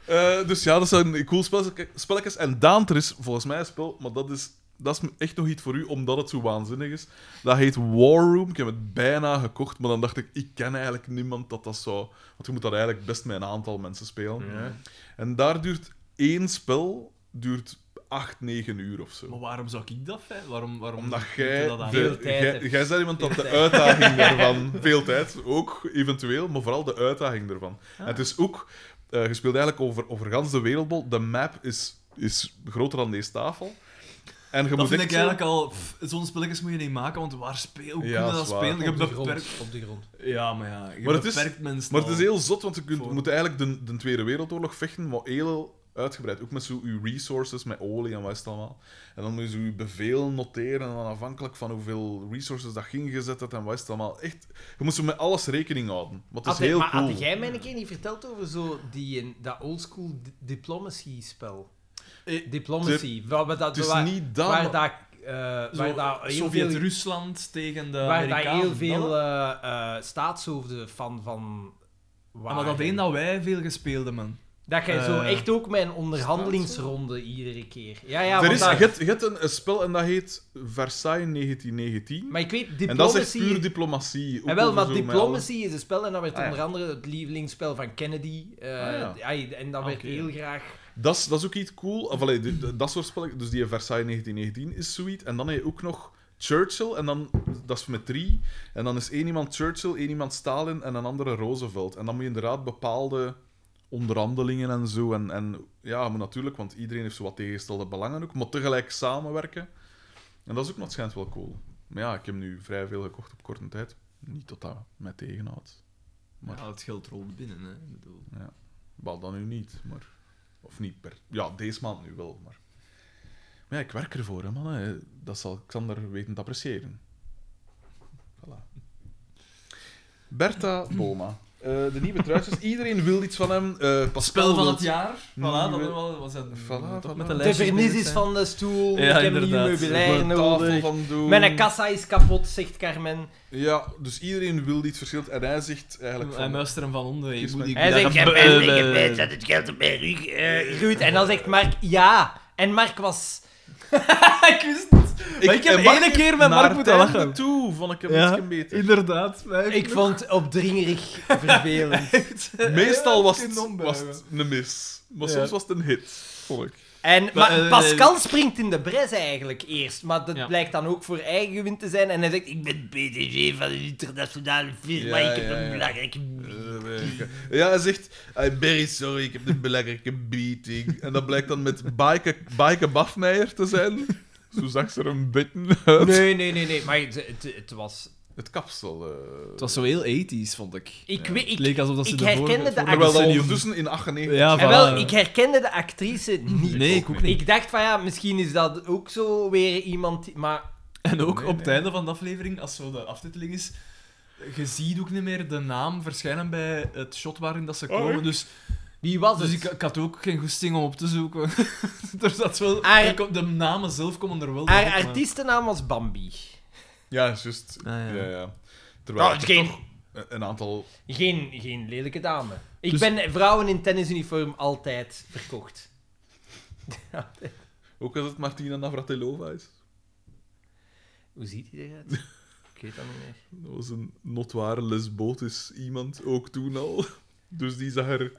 S1: Eh dus ja, dat zijn cool spelletjes- spelletjes. En Daanter is volgens mij een spel, maar dat is, dat is echt nog iets voor u, omdat het zo waanzinnig is. Dat heet War Room. Ik heb het bijna gekocht, maar dan dacht ik, ik ken eigenlijk niemand dat dat zou... Want je moet dat eigenlijk best met een aantal mensen spelen. En daar duurt één spel, duurt 8, 9 uur of zo
S3: Maar waarom zou ik dat? Hè? Waarom, waarom
S1: omdat
S3: doet
S1: jij...
S3: dat aan?
S1: de-
S2: Veel tijd
S1: jij-
S2: hebt.
S1: Jij bent iemand dat
S2: Veel
S1: de uitdaging daarvan... Veel tijd, ook eventueel, maar vooral de uitdaging daarvan.
S3: Ah.
S1: En het is ook... eh je speelt eigenlijk over, over gans de wereldbol. De map is, is groter dan deze tafel. En je
S3: Dat
S1: moet
S3: vind ik
S1: echt zo-
S3: eigenlijk al... pff, Zo'n spelletjes moet je niet maken, want waar speel Hoe
S1: Ja,
S3: kunnen
S1: dat
S3: dat
S1: is waar.
S3: spelen? Je
S5: Op de,
S3: beperkt...
S5: grond, op de grond.
S3: Ja, maar ja. Je
S1: Maar het is-
S3: beperkt mensen
S1: Maar het is
S3: al.
S1: heel zot, want je kunt,
S3: Voor-
S1: moet eigenlijk de, de Tweede Wereldoorlog vechten, maar heel uitgebreid. Ook met zo uw resources, met olie en wat is het allemaal. En dan moet je zo je bevel noteren, en dan afhankelijk van hoeveel resources dat je ingezet hebt en wat is het allemaal. Echt, je moet zo met alles rekening houden. Wat is
S2: Had hij-
S1: heel
S2: maar
S1: cool.
S2: had jij mij een keer niet verteld over zo die, een- dat oldschool di- diplomacy-spel?
S3: Eh,
S2: Diplomacy. Waar, we dat,
S1: Het is
S2: waar,
S1: niet dat,
S2: waar,
S1: maar-
S2: dat, eh, waar dat
S3: Zo,
S2: heel veel
S3: Sovjet-Rusland tegen de
S2: waar daar
S3: Amerikanen,
S2: heel
S3: dat
S2: veel
S3: wel.
S2: eh, eh, staatshoofden van, van
S3: Ja, Ah, maar dat
S2: waren.
S3: één dat wij veel gespeelden, man.
S2: Dat jij zo
S3: eh,
S2: echt ook met een onderhandelingsronde iedere keer. Ja, ja,
S1: er
S2: want
S1: is,
S2: daar-
S1: je hebt- je hebt een, een spel en dat heet Versailles 1919.
S2: Maar ik weet,
S1: en dat is echt
S2: diplomacy...
S1: puur diplomatie. ook
S2: En wel,
S1: over
S2: maar
S1: zo met alles.
S2: diplomacy is een spel en dat werd
S1: Ah, ja.
S2: onder andere het lievelingsspel van Kennedy. eh,
S1: Ah,
S2: ja, En dat
S3: Ah,
S2: werd
S3: oké.
S2: heel graag...
S1: Dat is, dat is ook iets cool. Of, allee, d- d- dat soort spellen. Dus die Versailles 1919 is zoiets. En dan heb je ook nog Churchill. En dan, dat is met drie. En dan is één iemand Churchill, één iemand Stalin en een andere Roosevelt. En dan moet je inderdaad bepaalde onderhandelingen en zo. En, en ja, maar natuurlijk, want iedereen heeft zo wat tegengestelde belangen ook. Maar tegelijk samenwerken. En dat is ook nog schijnt wel cool. Maar ja, ik heb nu vrij veel gekocht op korte tijd. Niet tot dat mij tegenhoudt. Maar-
S3: Maar ja, het geld rolt binnen, hè. Ik bedoel.
S1: Wel dan nu niet, maar... Of niet per... Ja, deze maand nu wel, maar... Maar ja, ik werk ervoor, hè, man. Hè. Dat zal Xander weten te appreciëren. Voilà. Bertha Boma. Eh, de nieuwe truitjes. Iedereen wil iets van hem. Eh Pascal
S3: Spel van
S1: wil-
S3: het jaar. Voilà, dat
S1: Nieuwe-
S3: wel- was dat
S1: Voilà,
S3: toch
S1: voilà.
S3: met de
S2: De
S3: lijstjes
S2: vernis
S3: bezig
S2: is
S3: zijn.
S2: van de stoel,
S3: Ja,
S2: ik heb een nieuw
S3: inderdaad.
S2: meubilair
S1: Een tafel
S2: nodig.
S1: van doen.
S2: Mijn kassa is kapot, zegt Carmen.
S1: Ja, dus iedereen wil iets verschilt. En hij zegt eigenlijk
S3: Hij
S1: van...
S3: muist er hem van onder. Je
S1: Kies
S3: moet
S1: maar.
S3: die
S2: Hij zegt,
S4: Ik heb
S3: Eh,
S4: eigenlijk
S3: eh,
S4: een beetje dat het geld op mijn rug. eh,
S2: Ruud, en dan zegt Mark ja. En Mark was...
S3: ik wist het. Maar ik heb
S1: en Mark
S3: ene
S1: heeft
S3: keer met Mark
S1: naar
S3: moeten
S1: het
S3: lachen.
S1: einde toe vond ik hem
S3: Ja,
S1: ietsje beter.
S3: Inderdaad.
S2: Ik vond het opdringerig vervelend.
S1: Meestal was
S3: het
S1: het, was het een mis. Maar
S3: Ja.
S1: soms was het een hit, vond ik.
S2: En, maar
S3: eh,
S2: Pascal springt in de bres eigenlijk eerst, maar dat
S3: Ja.
S2: blijkt dan ook voor eigen gewin te zijn. En hij zegt, ik
S4: Ik
S2: ben...
S4: ben PDG van de internationale firma.
S1: Ja,
S4: ik heb
S1: ja, ja.
S4: een belangrijke.
S1: Ja, hij zegt, I'm very sorry, ik heb een belangrijke meeting. En dat blijkt dan met Baaike Baaike Bafmeijer te zijn. Zo zag ze er een beetje uit.
S2: Nee, nee, nee, nee, maar het, het, het was...
S1: Het kapsel. eh
S3: Het was zo heel 80s, vond ik.
S2: Ik, weet, ik,
S3: het leek alsof dat ze
S2: ik
S3: de
S2: herkende
S3: voorbeeld-
S2: de
S1: Terwijl dat
S3: voorbeeld-
S1: ondertussen in 98...
S3: Ja,
S2: En
S3: voilà.
S2: wel, ik herkende de actrice niet.
S3: eh. Nee, ik ook niet.
S2: Ik dacht van ja, misschien is dat ook zo weer iemand die... Maar
S3: En ook
S1: Nee,
S3: op het
S1: nee.
S3: einde van de aflevering, als zo de aftiteling is, je ziet ook niet meer de naam verschijnen bij het shot waarin dat ze
S1: Oh.
S3: komen. dus
S2: wie was
S3: dus
S2: het?
S3: ik, ik had ook geen goesting om op te zoeken. er zat wel,
S2: Haar-
S3: er kom- de namen zelf komen er wel
S2: Haar
S3: nog op, maar-
S2: artiestennaam was Bambi.
S1: Ja, juist.
S3: Ah, ja.
S1: ja. Ja, Terwijl
S4: Oh,
S1: er
S4: geen-
S1: toch een aantal...
S2: Ah, Geen, geen lelijke dame. Ik
S3: Dus-
S2: ben vrouwen in tennisuniform altijd verkocht.
S1: Ook als het Martina Navratilova is.
S2: Hoe ziet hij eruit? Ik weet dat niet meer.
S1: Dat was een notwaar lesbotisch iemand, ook toen al. Dus die zag er...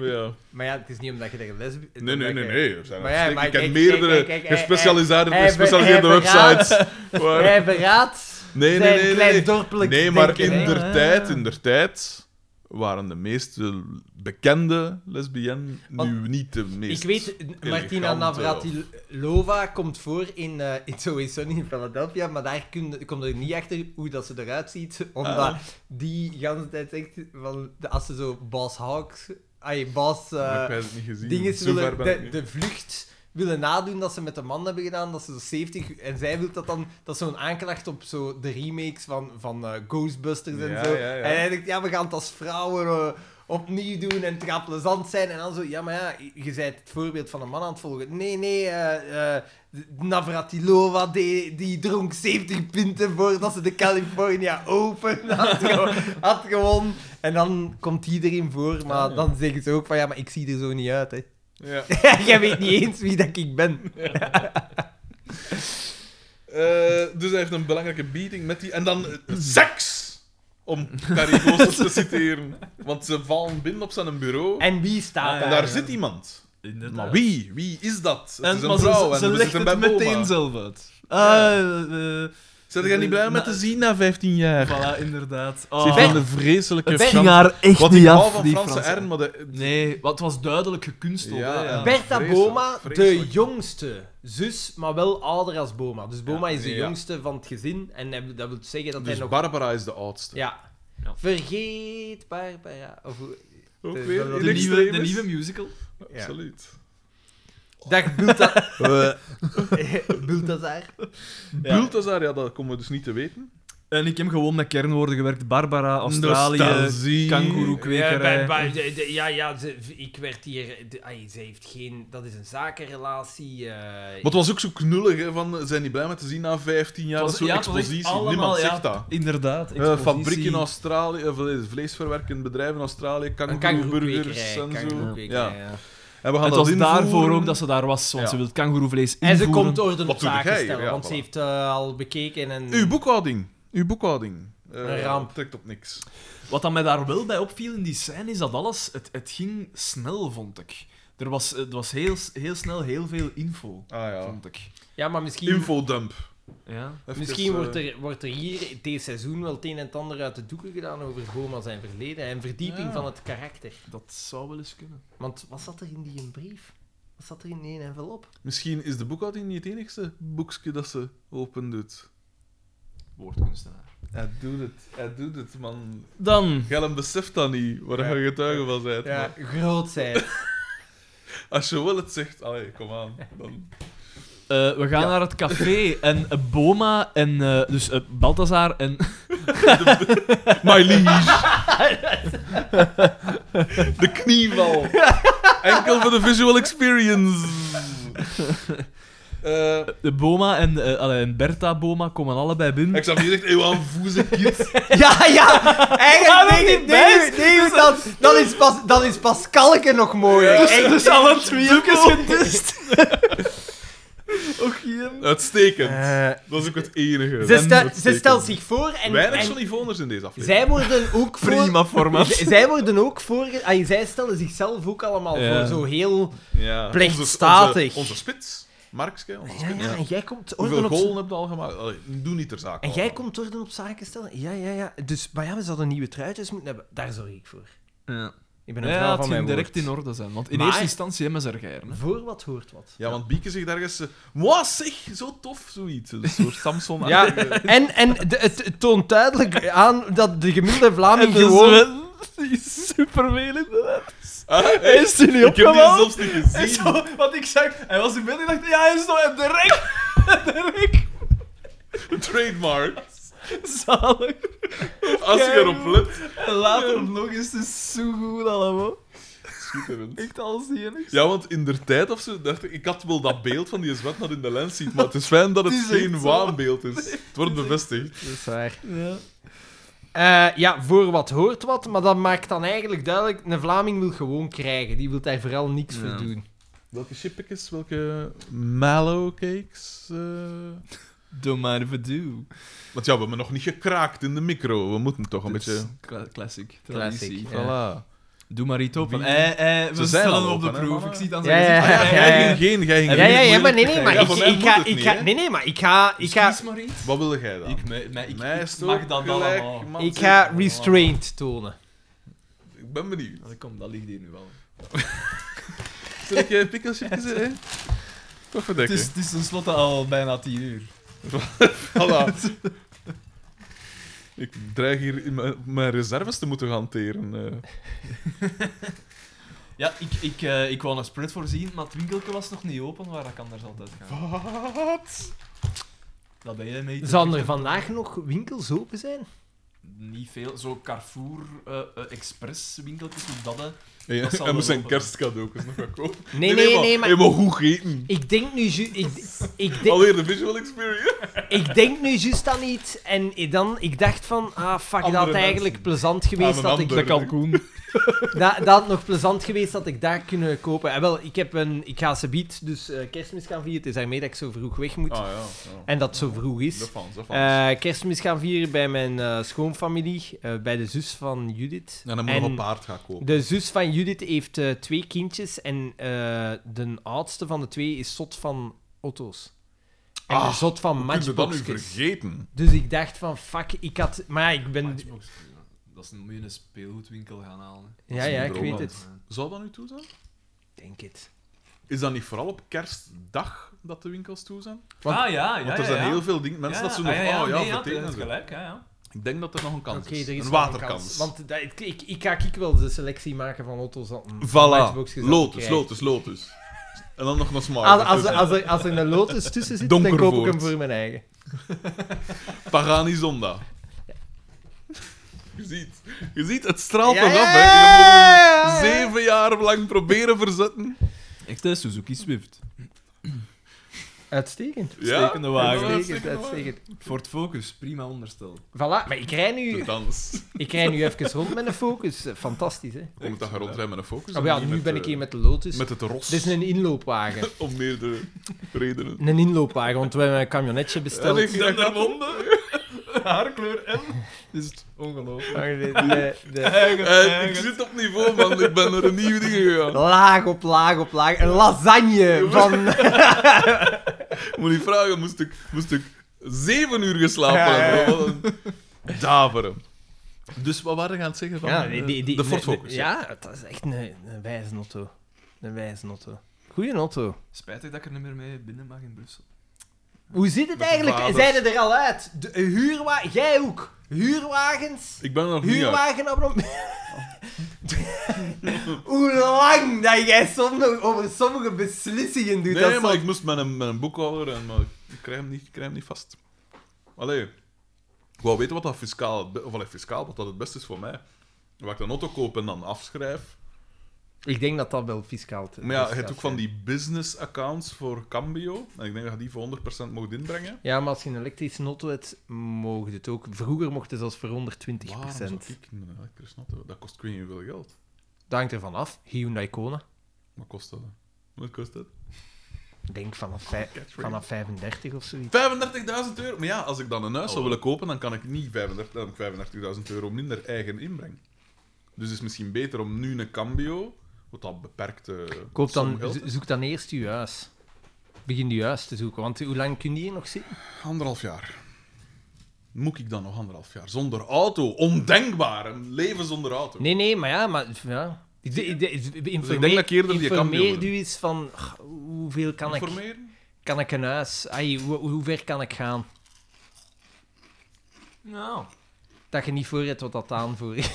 S1: Ja...
S2: Maar ja, het is niet omdat je tegen lesb...
S1: Nee, nee, nee, nee. Er zijn
S2: Maar ja,
S1: er-
S2: maar
S1: ik ken
S2: kijk,
S1: meerdere
S2: kijk, kijk, eh, kijk,
S1: gespecialiseerde,
S2: hij- hij-
S1: gespecialiseerde
S2: hij verraadt-
S1: websites. waar-
S2: Hij verraadt
S1: Nee, nee,
S2: zijn
S1: nee, nee.
S2: kleindorpelijk
S1: Nee, maar
S2: eh, denken, hè.
S1: in der
S3: Ja,
S1: tijd,
S3: ja.
S1: in der tijd waren de meeste bekende lesbiennes nu
S2: Want
S1: niet de meest.
S2: Ik weet, Martina
S1: elegante
S2: Navratilova komt voor in eh It's Always Sunny in Philadelphia, maar daar kun- komt er niet achter hoe dat ze eruit ziet, omdat
S1: Ah.
S2: die ganse tijd zegt, van, de- als ze zo Bas Hawks, ay, Bas eh,
S1: Maar ik heb het niet gezien.
S2: dinges
S1: Zo ver
S2: willen,
S1: ben ik
S2: de,
S1: niet.
S2: de vlucht willen nadoen dat ze met de man hebben gedaan, dat ze zo 70, en zij wil dat dan, dat is zo'n aanklacht op zo de remakes van, van eh, Ghostbusters en
S1: Ja,
S2: zo.
S1: ja, ja.
S2: En hij denkt, ja, we gaan het als vrouwen... eh, opnieuw doen en het gaat plezant zijn. En dan zo, ja, maar ja, je bent het voorbeeld van een man aan het volgen. Nee, nee, eh, eh, Navratilova, die, die dronk 70 punten voordat ze de California Open had, ge- had gewonnen. En dan komt die erin voor,
S1: Ah,
S2: maar dan zeggen ze ook van, ja, maar ik zie er zo niet uit, hè.
S1: Ja.
S2: Jij weet niet eens wie dat ik ben.
S1: Eh, dus hij heeft een belangrijke beating met die. En dan eh, seks! Om Carrie Goossens te citeren. Want ze vallen binnen op zijn bureau. En,
S2: En wie staat
S3: Ah,
S2: daar?
S1: daar
S3: ja.
S1: zit iemand.
S3: Inderdaad.
S1: Maar wie? Wie is dat? Het
S3: En,
S1: is een
S3: maar
S1: vrouw.
S3: ze,
S1: en
S3: ze
S1: we
S3: legt
S1: zitten bij
S3: het meteen
S1: Boma.
S3: zelf uit. Ah,
S1: Ja.
S3: eh, eh,
S1: Zijn jij niet blij om het te zien na 15 jaar?
S3: Voilà, inderdaad.
S1: Ze
S3: Oh.
S1: heeft een vreselijke
S3: Het ging
S1: Frans-
S3: haar echt
S1: Wat ik
S3: niet
S1: hou
S3: af,
S1: van
S3: die
S1: Franse
S3: Franse
S1: R, maar de...
S3: Nee, want het was duidelijk gekunsteld.
S1: Ja,
S3: hè,
S1: ja.
S2: Bertha
S1: vreselijk,
S2: Boma, de
S1: vreselijk.
S2: jongste zus, maar wel ouder als Boma. Dus Boma is de
S1: nee, ja.
S2: jongste van het gezin en hij- dat wil zeggen dat hij
S1: Dus
S2: nog...
S1: Barbara is de oudste.
S2: Ja.
S3: Ja.
S2: Vergeet Barbara. Of, hoe-
S1: Ook
S2: Dus
S1: weer
S2: dat-
S1: in
S3: De, nieuwe, de
S1: extremis.
S3: nieuwe musical.
S2: Ja.
S1: Absoluut.
S2: Dag Bulta-
S1: Eh,
S2: Bultazar.
S1: Bulthazar, ja, dat komen we dus niet te weten.
S3: En ik heb gewoon met kernwoorden gewerkt. Barbara, Australië,
S1: Nostalgie.
S2: Ja,
S1: eh.
S2: bij-
S3: kangoeroekwekerij.
S2: bij- de- de- ja, ja, ze- ik werd hier... de- ai, ze heeft geen... Dat is een zakenrelatie. eh,
S1: Maar het was ook zo knullig, hè, van, eh, zijn niet blij met te zien na 15 jaar, dat is zo'n
S3: ja, het was echt
S1: expositie.
S3: allemaal,
S1: Niemand
S3: ja,
S1: zegt dat.
S3: Inderdaad.
S1: Eh
S3: expositie.
S1: fabriek in Australië, of, eh, vleesverwerkend bedrijf in Australië,
S2: een
S1: kangoeroeburgers
S2: kangoeroeburgers
S1: en zo.
S2: Ja.
S1: Ja. En we gaan
S3: Het
S1: dat
S3: was
S1: invoeren.
S3: daarvoor ook dat ze daar was, want
S1: Ja.
S3: ze wil kangoeroevlees
S2: En
S3: invoeren.
S2: ze komt orde op
S1: Wat doe
S2: zaken
S1: jij?
S2: stellen,
S1: Ja,
S2: want ze
S1: voilà.
S2: heeft eh, al bekeken en...
S1: Uw boekhouding. Uw boekhouding. Eh,
S2: Een ramp.
S1: Trekt op niks.
S3: Wat dat mij daar wel bij opviel in die scène is dat alles, het, het ging snel, vond ik. Er was, het was heel, heel snel heel veel info,
S1: Ah ja.
S3: vond ik.
S2: Ja, maar misschien...
S1: Infodump.
S3: Ja.
S1: Even,
S2: Misschien
S1: eh,
S2: wordt, er, wordt er hier dit seizoen wel het een en het ander uit de doeken gedaan over Boma zijn verleden en verdieping
S1: Ja.
S2: van het karakter.
S3: Dat zou wel eens kunnen.
S2: Want wat zat er in die een brief? Wat zat er in die envelop?
S1: Misschien is de boekhouding niet het enigste boekje dat ze open doet.
S3: Woordkunstenaar.
S1: Hij doet het. Hij doet het, man.
S3: Dan.
S1: Gellem beseft dat niet, waar
S2: Ja.
S1: je getuige van bent. maar
S2: groot zijn.
S1: Als je wel het zegt, allee, kom aan. Dan...
S3: eh, we gaan naar het café en eh, Boma en eh, dus eh, Balthazar en
S1: My liege! de knieval. Enkel voor de visual experience. Eh
S3: de Boma en, eh, allee, en Bertha Boma komen allebei binnen.
S1: Xavier zegt, eeuw, aan voeze, kind.
S2: ja, ja!
S3: Ja, maar
S2: Eigenlijk, nee,
S3: die
S2: nee,
S3: best-
S2: nee, dat, dat, is pas, dat is Pascalke nog mooier.
S3: Dus, dus alle twee getest. Och, Jim.
S1: Uitstekend.
S2: Eh,
S1: dat is ook het enige.
S2: ze, stel- ze
S1: Uitstekend.
S2: stelt zich voor en,
S1: Weinig
S2: en
S1: Johnny Voners in deze aflevering.
S2: zij worden ook voor...
S3: Prima format.
S2: Z- Zij worden ook voor... ah, zij stellen zichzelf ook allemaal
S3: Ja.
S2: voor zo heel...
S1: Ja.
S2: Plechtstatig.
S1: Onze, onze, onze spits. Markske, onze
S2: Ja,
S1: spits.
S2: ja, en jij komt orde
S1: Hoeveel
S2: op
S1: golen heb je al gemaakt? Allee, doe niet ter zake.
S2: En jij
S3: Oh.
S2: komt orde op zaken stellen? Ja, ja, ja. Dus, maar ja, we zouden nieuwe truitjes moeten hebben. Daar zorg ik voor.
S3: Ja,
S2: Ik ben een vrouw
S3: ja het
S2: van mijn
S3: ging direct
S2: woord.
S3: in orde zijn. Want in
S2: Maar-
S3: eerste instantie hebben ze er geir, hè.
S2: Voor wat hoort wat.
S1: Ja, want Bieke zegt ergens... eh, Mwah, zeg, zo tof, zoiets. Een soort samson
S2: Ja, en, en de- het het toont duidelijk aan dat de gemiddelde Vlaming
S3: En dus
S2: gewoon...
S3: wel- Die is supervelend.
S1: Hij
S3: Hij is er niet
S1: Ik heb die
S3: opgevallen.
S1: zelfs niet
S3: En
S1: gezien.
S3: zo, wat ik zag, hij was in bed en dacht, ja, hij is nog in de rek. De rek.
S1: Trademark.
S3: Zalig.
S1: Als je erop let.
S3: En later nog eens, het is zo goed allemaal.
S1: Schitterend.
S3: Echt alles enig.
S1: Ja, want in der tijd of zo dacht ik... Ik had wel dat beeld van die zwet dat in de lens ziet, maar het is fijn dat het,
S3: Het is echt
S1: geen
S3: zo.
S1: waanbeeld is. Het wordt bevestigd.
S2: Dat is waar.
S3: Ja.
S2: Eh, ja, voor wat hoort wat, maar dat maakt dan eigenlijk duidelijk... Een Vlaming wil gewoon krijgen. Die wil daar vooral niks
S3: Ja.
S2: voor doen.
S1: Welke chippetjes, welke mallowcakes? eh
S3: Doe maar even doe.
S1: Want ja, we hebben nog niet gekraakt in de micro. We moeten toch een
S3: Dit is
S1: beetje...
S3: cla- classic.
S2: Classic.
S3: Traditie.
S2: Ja.
S1: Voilà.
S3: Doe maar iets open.
S1: Wie-
S3: Eh, eh, we
S1: Ze zijn
S3: stellen
S1: al
S3: op de
S1: open, hè,
S3: proef.
S1: mannen?
S3: Ik zie het aan
S2: Ja,
S3: zijn
S2: ja,
S3: gezicht.
S1: Ah,
S3: Ah,
S1: ja,
S2: ja,
S1: jij
S2: ja.
S1: ging geen, jij ging
S3: Ja,
S2: Ja,
S1: geen.
S2: ja, ja,
S3: moeilijk
S2: maar nee, nee,
S3: krijgen.
S2: maar
S1: Ja,
S2: ik,
S1: voor mij
S2: ik
S1: moet
S2: ga...
S1: het
S2: Ik
S1: niet,
S2: ga
S1: hè.
S2: nee, nee, maar ik ga... Ik ga,
S3: Excuus, Marie.
S1: Wat wilde jij dan?
S3: Ik, me- me- ik,
S1: Mij
S3: ik
S1: is het
S3: mag
S1: ook
S3: dat
S1: gelijk,
S3: allemaal.
S1: man.
S2: ik ga restraint tonen.
S1: Ik ben benieuwd.
S3: Ah, Kom, dat ligt hier nu wel.
S1: Zal ik je pikkelchipjes hè? Toch
S3: Het
S1: verdekken.
S3: is, het is tenslotte al bijna tien uur.
S1: Voilà. Ik dreig hier in mijn, mijn reserves te moeten hanteren. eh.
S3: Ja, ik, ik, eh, ik wou een spread voorzien, maar het winkeltje was nog niet open, waar ik anders altijd ga.
S1: Wat?
S3: Dat ben jij mee. te
S2: Zouden er
S3: vechten.
S2: vandaag nog winkels open zijn?
S3: Niet veel. Zo Carrefour eh eh, Express winkeltjes, hoe dat hè.
S1: Hey,
S3: Dat zal
S1: hij moet
S3: wel
S1: zijn
S3: open.
S1: kerstcadeautjes nog gaan kopen.
S2: Nee, nee, nee, maar
S1: Je mag goed eten.
S2: ik denk nu ju- ik, ik, denk,
S1: Alweer de visual experience.
S2: ik denk nu juist aan iets en ik dan, ik dacht van, ah fuck,
S1: Andere
S2: dat had
S1: mensen.
S2: eigenlijk plezant geweest
S1: Aan
S2: dat
S1: een
S2: ik...
S1: ander.
S2: Dat,
S1: De kalkoen.
S2: dat had nog plezant geweest dat ik daar kunnen kopen. En wel, ik, heb een, ik ga ze biedt, dus eh, kerstmis gaan vieren. Het is daarmee dat ik zo vroeg weg moet.
S1: Ah ja, ja.
S2: En dat het zo vroeg
S1: De
S2: is.
S1: fans, de fans.
S2: Eh, kerstmis gaan vieren bij mijn eh, schoonfamilie, eh, bij de zus van Judith.
S1: en dan moet je nog een paard gaan kopen.
S2: De zus van Judith heeft eh, twee kindjes en eh, de oudste van de twee is zot van auto's. En
S1: Ah,
S2: zot
S1: Kun
S2: van
S1: je dat nu
S2: matchboxjes.
S1: vergeten?
S2: Dus ik dacht van, fuck, ik had... Maar ik ben...
S3: Matchbox. Dat is een, moet je een speelgoedwinkel gaan halen. hè.
S2: Ja,
S1: is
S2: ja,
S1: een
S2: ik weet
S1: droom.
S2: het.
S1: Zou dat nu toe zijn?
S2: Denk het.
S1: Is dat niet vooral op kerstdag dat de winkels toe zijn?
S2: Want-
S3: ah, ja, ja.
S1: Want er
S3: ja,
S1: zijn
S3: ja.
S1: heel veel dingen, mensen
S3: Ja,
S1: dat zo
S3: ja,
S1: nog,
S3: ah, ja,
S1: oh ja,
S3: nee, ja,
S1: verteren
S3: dat
S1: en
S3: is
S1: zo.
S3: gelijk, ja, ja.
S1: Ik denk dat er nog een kans
S2: Oké,
S1: is.
S2: er is
S1: een
S2: wel
S1: waterkans.
S2: kans. Want dat, ik, ik, ik ga ik wel de selectie maken van Otto's dat een
S1: Voilà,
S2: matchboxjes dat
S1: Lotus,
S2: krijgen.
S1: Lotus, Lotus. En dan nog een smart.
S2: Als, als, als, er, als er een lotus tussen zit, dan koop ik
S1: Donkervoort.
S2: hem voor mijn eigen.
S1: Pagani Zonda. Je ziet, je ziet, het straalt
S2: Ja,
S1: eraf,
S2: ja,
S1: hè.
S2: ja,
S1: Je
S2: ja,
S1: moet
S2: ja.
S1: hem zeven jaar lang proberen verzetten.
S3: Echt, hè, Suzuki Swift.
S2: Uitstekend.
S3: Uitstekende
S1: Ah,
S3: wagen.
S2: Uitstekend, uitstekend.
S3: Ford Focus, prima onderstel.
S2: Voilà, maar ik rij
S1: De
S2: nu,
S1: dans.
S2: ik rij nu even rond met een Focus. Eh, Fantastisch, hè?
S1: Je moet dat gaan rondrijden met een focus.
S2: Oh,
S1: en
S2: ja,
S1: niet
S2: nu ben
S1: eh,
S2: ik hier met de Lotus.
S1: Met het ros.
S2: Dit is een inloopwagen.
S1: Om meerdere redenen.
S2: Een inloopwagen, want we hebben een camionetje besteld.
S1: Ja, nee, dat gaat om.
S3: Haarkleur en... Is het ongelooflijk.
S2: Maar Oh, de- de- de-
S3: Eigen,
S1: Eh, ik zit op niveau, man. Ik ben naar een nieuwe ding gegaan.
S2: Laag op laag op laag. Een lasagne van...
S1: Moet niet vragen, moest ik, moest ik zeven uur geslapen
S2: Ja, ja, ja.
S1: hebben. Wat een Daveren. Dus wat waren we gaan zeggen van
S2: Ja,
S1: eh,
S2: die, die, die-
S1: de Ford
S2: de- de-
S1: Focus? ja.
S2: Ja, dat is echt een, een wijze auto. Een wijze auto. Goeie auto.
S3: Spijtig dat ik er niet meer mee binnen mag in Brussel.
S2: Hoe zit het
S1: Met
S2: eigenlijk?
S1: vaders.
S2: Zijn er al uit? De, huurwa Jij ook. Huurwagens.
S1: Ik ben er nog niet uit.
S2: Huurwagenabonnement. Hoe lang dat jij soms over sommige beslissingen doet. dat
S1: Nee,
S2: is
S1: maar
S2: zo-
S1: ik moest met een, met een boekhouder en maar ik krijg hem niet, ik krijg hem niet vast. Allee, ik wou weten wat dat fiscaal, het be- of allee, fiscaal wat dat het beste is voor mij. Wat ik een auto koop en dan afschrijf.
S2: Ik denk dat dat wel fiscaal te-
S1: Maar ja, je
S2: fiscaal
S1: hebt ook van
S2: zijn.
S1: die business accounts voor Cambio. En ik denk dat je die voor 100% mocht inbrengen.
S2: Ja, maar als je een elektrische auto hebt, mogen het ook. Vroeger mochten ze zelfs voor 120
S1: Waarom zou ik een elektrische auto? Dat kost ik weet niet hoeveel geld.
S2: Dat hangt ervan af. Hyundai Kona.
S1: Wat kost dat? dan? Wat kost dat?
S2: Ik denk vanaf, vij-
S1: Oh,
S2: vanaf 35 of zoiets.
S1: 35.000 euro. Maar ja, als ik dan een huis
S2: Oh.
S1: zou willen kopen, dan kan ik niet 35 dan heb ik 35.000 euro minder eigen inbreng. Dus het is misschien beter om nu een cambio, wat dat beperkte.
S2: Koop dan,
S1: som geld
S2: zo-
S1: is.
S2: zoek dan eerst je huis. Begin je huis te zoeken, want hoe lang kun je hier nog zitten?
S1: Anderhalf jaar. Moet ik dan nog anderhalf jaar? Zonder auto. Ondenkbaar. Een leven zonder auto.
S2: Nee, nee, maar ja, maar... Ja. Ik- ik- ik- informeer-
S1: dat ik eerder die Cambio
S2: informeer
S1: wil.
S2: u eens van ach, hoeveel kan ik,
S1: Informeren?
S2: kan ik een huis? Ai, hoe, hoe ver kan ik gaan?
S3: Nou.
S2: Dat je niet voor hebt wat dat aanvoer is.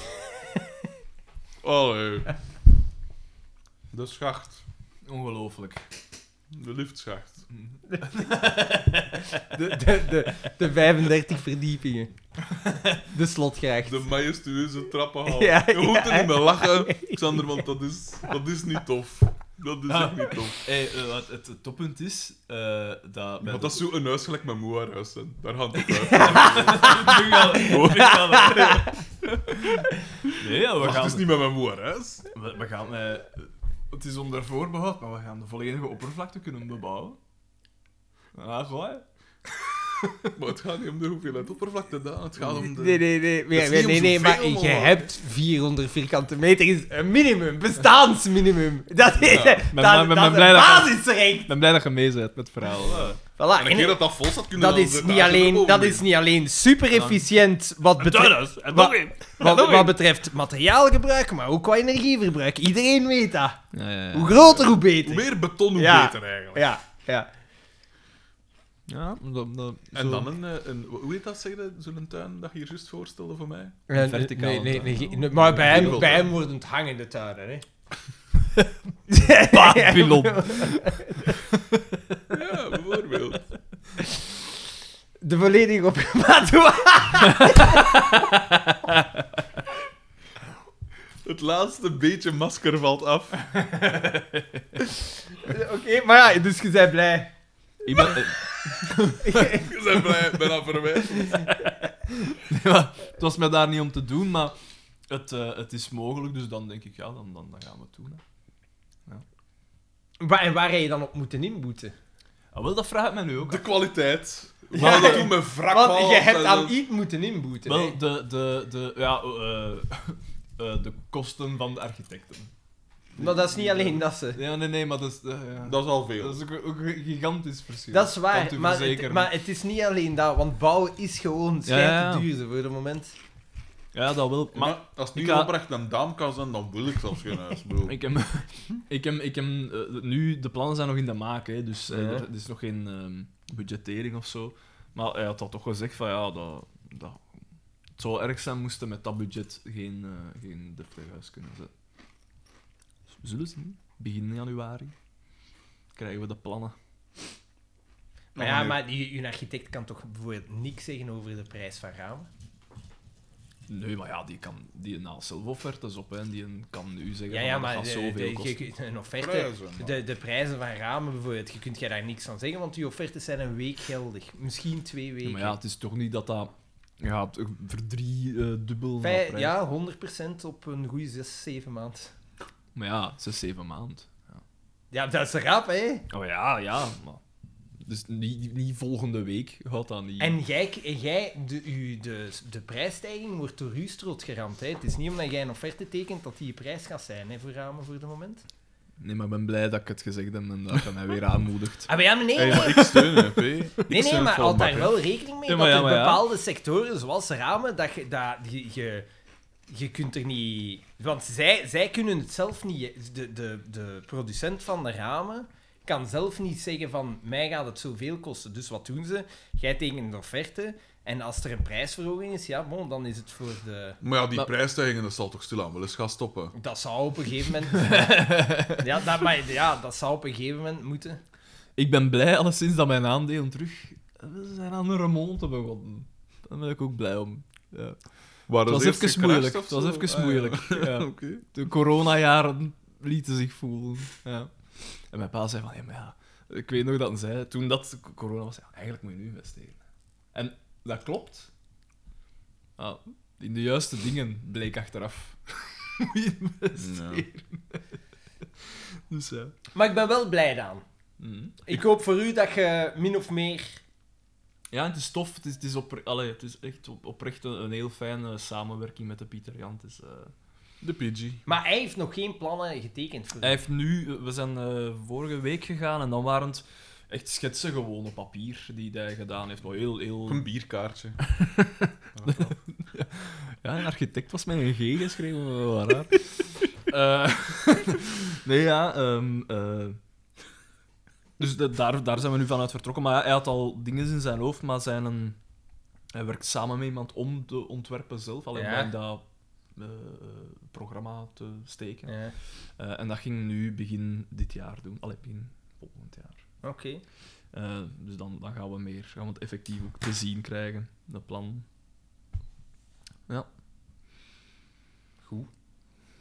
S1: Allee. De schacht.
S3: Ongelooflijk.
S1: De liftschacht.
S2: De, de, de, de 35 verdiepingen. De slotgracht.
S1: De majestueuze trappenhal.
S2: Ja,
S1: Je moet
S2: ja.
S1: er niet meer lachen, Xander, want dat is, dat is niet tof. Dat is echt niet tof.
S3: Hey, eh, wat het, het toppunt is eh, dat...
S1: Want
S3: bij
S1: dat is
S3: de-
S1: zo een huis gelijk met moe haar huis. hè. Daar gaat het uit.
S3: Nu gaan we- nu gaan we- Nee, ja, we
S1: Wacht,
S3: gaan...
S1: het is niet met mijn moe haar huis.
S3: We, we gaan, eh, dus het is onder voorbehoud, maar we gaan de volledige oppervlakte kunnen bebouwen. Ah, Ja, gewoon. hè.
S1: Maar het gaat niet om de hoeveelheid oppervlakte daar. Het gaat om de...
S2: Nee, nee, nee.
S1: is
S2: Nee,
S1: niet
S2: nee,
S1: om
S2: nee, nee, maar
S1: zoveel
S2: je
S1: mogelijk.
S2: hebt 400 vierkante meter is een minimum, bestaansminimum. Dat is,
S3: ben-
S2: dat,
S3: ben- ben
S2: dat is
S3: blij
S2: een
S3: dat je-
S2: basisrecht.
S3: Ik ben blij dat je mee bent met het verhaal.
S2: Voilà,
S1: En een
S2: en-
S1: keer dat dat vol staat, kunnen
S2: dat is, niet alleen, dat is niet alleen super efficiënt wat, betreft,
S3: Donuts, en
S2: nog
S3: in.
S2: wat, wat betreft materiaalgebruik, maar ook qua energieverbruik. Iedereen weet dat.
S3: Ja, ja,
S2: Hoe groter, hoe
S1: Hoe
S2: beter.
S1: meer beton, hoe
S2: Ja.
S1: beter eigenlijk.
S2: Ja, ja.
S1: En dan een, eh, een... Hoe heet dat, zeg je? Zo'n tuin dat je hier juist voorstelde voor mij?
S2: Nee, nee,
S3: verticale
S2: nee, nee,
S3: tuin.
S2: nee, nee, maar bij hem,
S1: Wiebel
S2: bij
S1: tuin.
S2: hem worden het hangende tuinen, hè.
S3: Babylon.
S1: Ja, bijvoorbeeld.
S2: De volledige op maar doe-
S1: Het laatste beetje masker valt af.
S2: Eh, Oké, maar ja, dus je bent blij.
S3: Iemand, eh,
S1: Ik ben blij, ik ben aan verwijs.
S3: ja, het was mij daar niet om te doen, maar het, eh, het is mogelijk, dus dan denk ik, ja, dan, dan, dan gaan we het doen. Hè.
S2: Waar, en waar heb je dan op moeten inboeten?
S3: Ah, wel, dat vraagt mij nu ook.
S1: De
S3: af.
S1: kwaliteit. We
S2: Ja.
S1: gaan dat doen met wrak
S2: Want je hebt
S1: eh,
S2: aan iets moeten inboeten. hè.
S3: Wel, de, de, de, ja, eh, eh, de kosten van de architecten.
S2: Maar dat is niet alleen dat ze.
S3: Ja, nee, nee, maar dat is... eh, ja.
S1: Dat is al veel.
S3: Dat is ook, ook een gigantisch verschil.
S2: Dat is
S3: Kan
S2: waar,
S3: u
S2: maar het,
S3: verzekeren.
S2: maar het is niet alleen dat, want bouwen is gewoon
S3: Ja, ja,
S2: schijt
S3: ja.
S2: te duurder voor het moment.
S3: Ja, dat wil...
S1: Maar als het
S3: ik
S1: niet
S3: ga-
S1: opbrengt en daam kan zijn, dan wil ik zelfs geen huis, bro.
S3: Ik heb, ik heb, ik heb eh, nu, de plannen zijn nog in de maak, hè, dus eh,
S2: Ja.
S3: er, er is nog geen ehm, budgettering of zo. Maar hij had al toch gezegd van ja, dat, dat het zou erg zijn moesten met dat budget geen, eh geen deftig huis kunnen zetten. Dus we zullen zien. Begin januari krijgen we de plannen.
S2: Maar
S1: Oh,
S2: ja,
S1: nee.
S2: maar je, je architect kan toch bijvoorbeeld niks zeggen over de prijs van ramen?
S3: Nee, maar ja, die kan die haalt zelf offertes op hè, en die kan nu zeggen
S2: Ja,
S3: van,
S2: ja,
S3: dat
S2: maar eh,
S3: gaat
S2: de,
S3: zoveel
S2: de-
S3: kosten.
S2: je- een offerte,
S1: Prijzen, maar.
S2: de, de prijzen van ramen bijvoorbeeld, je kunt jij daar niks van zeggen, want die offertes zijn een week geldig. Misschien twee
S3: Ja,
S2: weken.
S3: maar ja, het is toch niet dat dat ja, verdrie eh dubbel
S2: Vij-
S3: prijs.
S2: ja, 100% op een goede 6, 7 maanden.
S3: Maar ja, zes, zeven maand.
S2: Ja, dat is rap, hè?
S3: Oh ja, ja. Maar... Dus niet, niet volgende week gaat dat niet.
S2: En jij, en jij de, u, de, de prijsstijging wordt door u strot geramd. Hè? Het is niet omdat jij een offerte tekent dat die je prijs gaat zijn hè, voor ramen voor de moment.
S3: Nee, maar ik ben blij dat ik het gezegd heb en dat je mij weer aanmoedigt.
S2: Ah, maar ja, maar nee.
S1: Hey, maar ik steun hè, P. Ik
S2: nee,
S1: steun
S2: nee,
S1: het
S2: maar
S1: wel,
S2: houd daar
S1: hè.
S2: wel rekening mee
S3: Ja, maar
S2: dat
S3: ja,
S2: er
S3: maar ja.
S2: bepaalde sectoren, zoals ramen, dat je, dat, je, je, je kunt er niet... Want zij, zij kunnen het zelf niet... De, de, de producent van de ramen kan zelf niet zeggen van mij gaat het zoveel kosten. Dus wat doen ze? Jij tekent een offerte en als er een prijsverhoging is, ja, bon, dan is het voor de...
S1: Maar ja, die
S3: Maar-
S1: prijsstijgingen, dat zal toch stilaan wel eens gaan stoppen.
S2: Dat zou op een gegeven moment... ja, dat, maar, ja, dat zou op een gegeven moment moeten.
S3: Ik ben blij alleszins dat mijn aandelen terug we zijn aan een remonte begonnen. Daar ben ik ook blij om. Ja.
S1: Maar
S3: Het was
S1: eerst
S3: even
S1: gecrashed
S3: moeilijk.
S1: of
S3: Het was
S1: zo? Ah,
S3: even
S1: ja.
S3: moeilijk. Ja.
S1: Oké.
S3: De coronajaren lieten zich voelen. Ja. En mijn pa zei van, ja, maar ja, ik weet nog dat hij zei, toen dat corona was, ja, eigenlijk moet je nu investeren. En dat klopt. Ah, in de juiste dingen bleek achteraf. moet je investeren. Dus ja.
S2: Maar ik ben wel blij dan.
S3: Mhm.
S2: Ik hoop voor u dat je min of meer...
S3: Ja, het is tof. Het is, het is, opre- Allee, het is echt op, oprecht een, een heel fijne samenwerking met de Pieter Jan. Het is, eh,
S1: De PG.
S2: Maar hij heeft nog geen plannen getekend voor
S3: Hij heeft nu, we zijn eh, vorige week gegaan en dan waren het echt schetsen gewoon op papier die hij gedaan heeft. Maar heel, heel...
S1: Op een bierkaartje.
S3: Ja, een architect was met een G geschreven, maar wel raar. Eh, nee, ja. ehm, eh, dus dat- daar, daar zijn we nu vanuit vertrokken. Maar ja, hij had al dingen in zijn hoofd, maar zijn een, hij werkt samen met iemand om te ontwerpen zelf, alleen
S2: Ja.
S3: om dat eh, eh, programma te steken.
S2: Ja,
S3: Eh, en dat ging nu begin dit jaar doen. Allee, begin volgend jaar.
S2: oké.
S3: Eh, dus dan, dan gaan we meer, gaan we het effectief ook te zien krijgen, dat plan. Ja. Goed.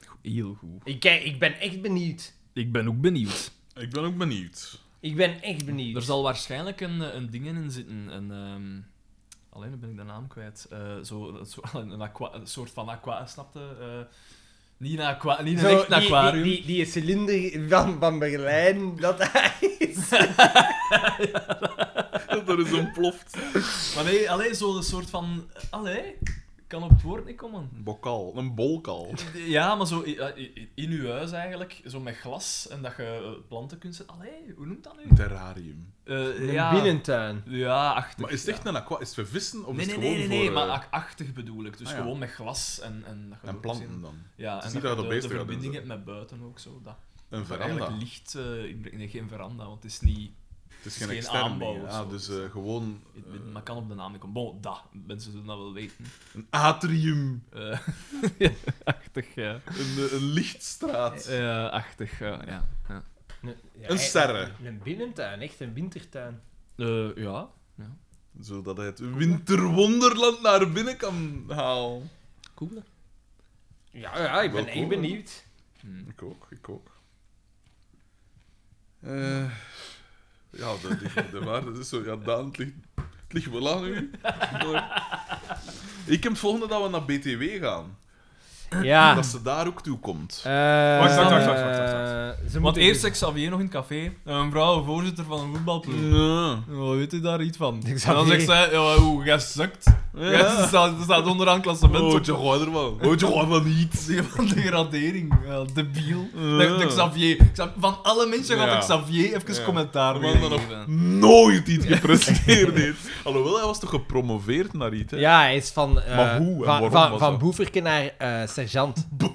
S3: Goed, Heel goed.
S2: Ik, kijk, ik ben echt benieuwd.
S3: Ik ben ook benieuwd.
S1: Ik ben ook benieuwd.
S2: Ik ben echt benieuwd.
S3: Er zal waarschijnlijk een, eh, een ding in zitten. Een, ehm, alleen nu ben ik de naam kwijt. Eh, zo, zo, een, aqua, een soort van aqua, snapte? Eh, niet een, aqua, niet een
S2: Zo,
S3: echt
S2: die-
S3: aquarium.
S2: Die, die, die, cilinder van, van Berlijn, dat hij is.
S1: er is een ploft.
S3: Maar nee, alleen zo'n soort van. Allee, ik kan op het woord niet komen.
S1: Een bokal. Een bolkal.
S3: Ja, maar zo i- i- i- in uw huis eigenlijk, zo met glas en dat je eh, planten kunt zetten. Allee, hoe noemt dat nu?
S1: Een terrarium.
S3: Eh,
S2: Een
S3: ja,
S2: binnentuin.
S3: Ja, achtig.
S1: Maar is het
S3: ja.
S1: echt een aqua? Is het voor vissen of is
S3: Nee, nee,
S1: het
S3: nee,
S1: gewoon
S3: nee, nee,
S1: voor...
S3: maar
S1: eh,
S3: ach- achtig bedoel ik. Dus
S1: Ah, ja.
S3: gewoon met glas en, en, dat je
S1: en
S3: ook
S1: planten
S3: zin-
S1: dan.
S3: Ja, en
S1: is
S3: dat
S1: niet
S3: je
S1: dat
S3: de,
S1: er
S3: de
S1: beesten gaan
S3: verbinding hebt
S1: doen,
S3: met buiten ook zo. Dat,
S1: Een
S3: dat je
S1: veranda.
S3: eigenlijk licht eh, inbrengt. Nee, geen veranda, want het is niet...
S1: Het is
S3: is
S1: geen
S3: geen
S1: externe
S3: aanbouw
S1: ding,
S3: of
S1: ja.
S3: zo.
S1: dus eh, gewoon...
S3: het-
S1: eh,
S3: maar kan op de naam niet komen. Bon, dat. Mensen zullen dat wel weten.
S1: een atrium.
S3: Eh, achtig, ja.
S1: Een, eh, een lichtstraat.
S3: Eh, achtig, ja, ja. ja.
S2: Een, ja,
S1: Een
S2: hij-
S1: sterren.
S2: Een binnentuin, echt een wintertuin.
S3: Eh, ja.
S1: Zodat hij het winterwonderland naar binnen kan halen.
S3: Cool, hè?
S2: Ja, ja, ik ben
S1: Wel
S2: echt
S1: cool, hè?
S2: benieuwd.
S3: Hmm.
S1: Ik ook, ik ook. Eh, ja, dat ligt de waarde is zo. Ja, Daan, het ligt, het ligt wel aan u. Maar- Ik heb het volgende dat we naar BTW gaan.
S2: Ja.
S1: Dat ze daar ook toe komt.
S3: Wacht, wacht, wacht, wacht, wacht,
S2: Eh, Ze
S3: Want
S2: moeten dus-
S3: eerst zag ik Xavier nog in het café. En een vrouw,
S1: Eh.
S3: voorzitter van een voetbalploeg.
S1: Nee.
S3: Oh, Eh, weet u daar iets van?
S2: Ik
S3: En
S2: zag
S3: dan
S2: die-
S3: zegt zij, ja, hoe, jij zakt. Ja, ze staat, ze staat onderaan klassement.
S1: Oh,
S3: op-
S1: je gewoon er wel. Oh, je gewoon wel niet.
S3: Zee van degradering. Ja, debiel. De, de Xavier. Xav- Van alle mensen gaat
S1: Ja.
S3: de Xavier even
S1: Ja.
S3: commentaar
S1: De man
S3: mee
S1: dat nog
S3: geven.
S1: nooit iets gepresteerd heeft. Alhoewel, hij was toch gepromoveerd naar iets, hè?
S2: Ja, hij is van, eh,
S1: Maar hoe en
S2: van,
S1: waarom
S2: van,
S1: was
S2: van
S1: dat?
S2: boeverke naar eh, sergeant.
S3: Ah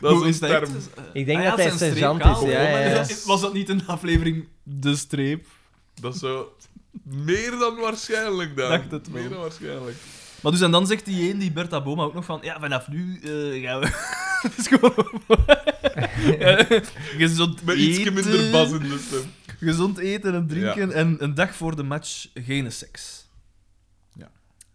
S1: Dat
S3: Hoe
S1: is een term.
S3: echt?
S2: Ik denk
S3: Ah ja,
S2: dat hij
S3: zijn streep
S2: sergeant
S3: kaal.
S2: is. Ja, ja, ja.
S3: Was dat niet een aflevering De Streep?
S1: Dat zou meer dan waarschijnlijk dan.
S3: Dacht het wel.
S1: Meer dan waarschijnlijk.
S3: Maar dus, en dan zegt die een, die Bertha Boma, ook nog van... Ja, vanaf nu eh, gaan we... Het is gewoon... Eh, gezond
S1: Met iets
S3: eten,
S1: minder bas in de stem.
S3: Gezond eten en drinken
S1: Ja.
S3: en een dag voor de match geen seks.
S1: Ja.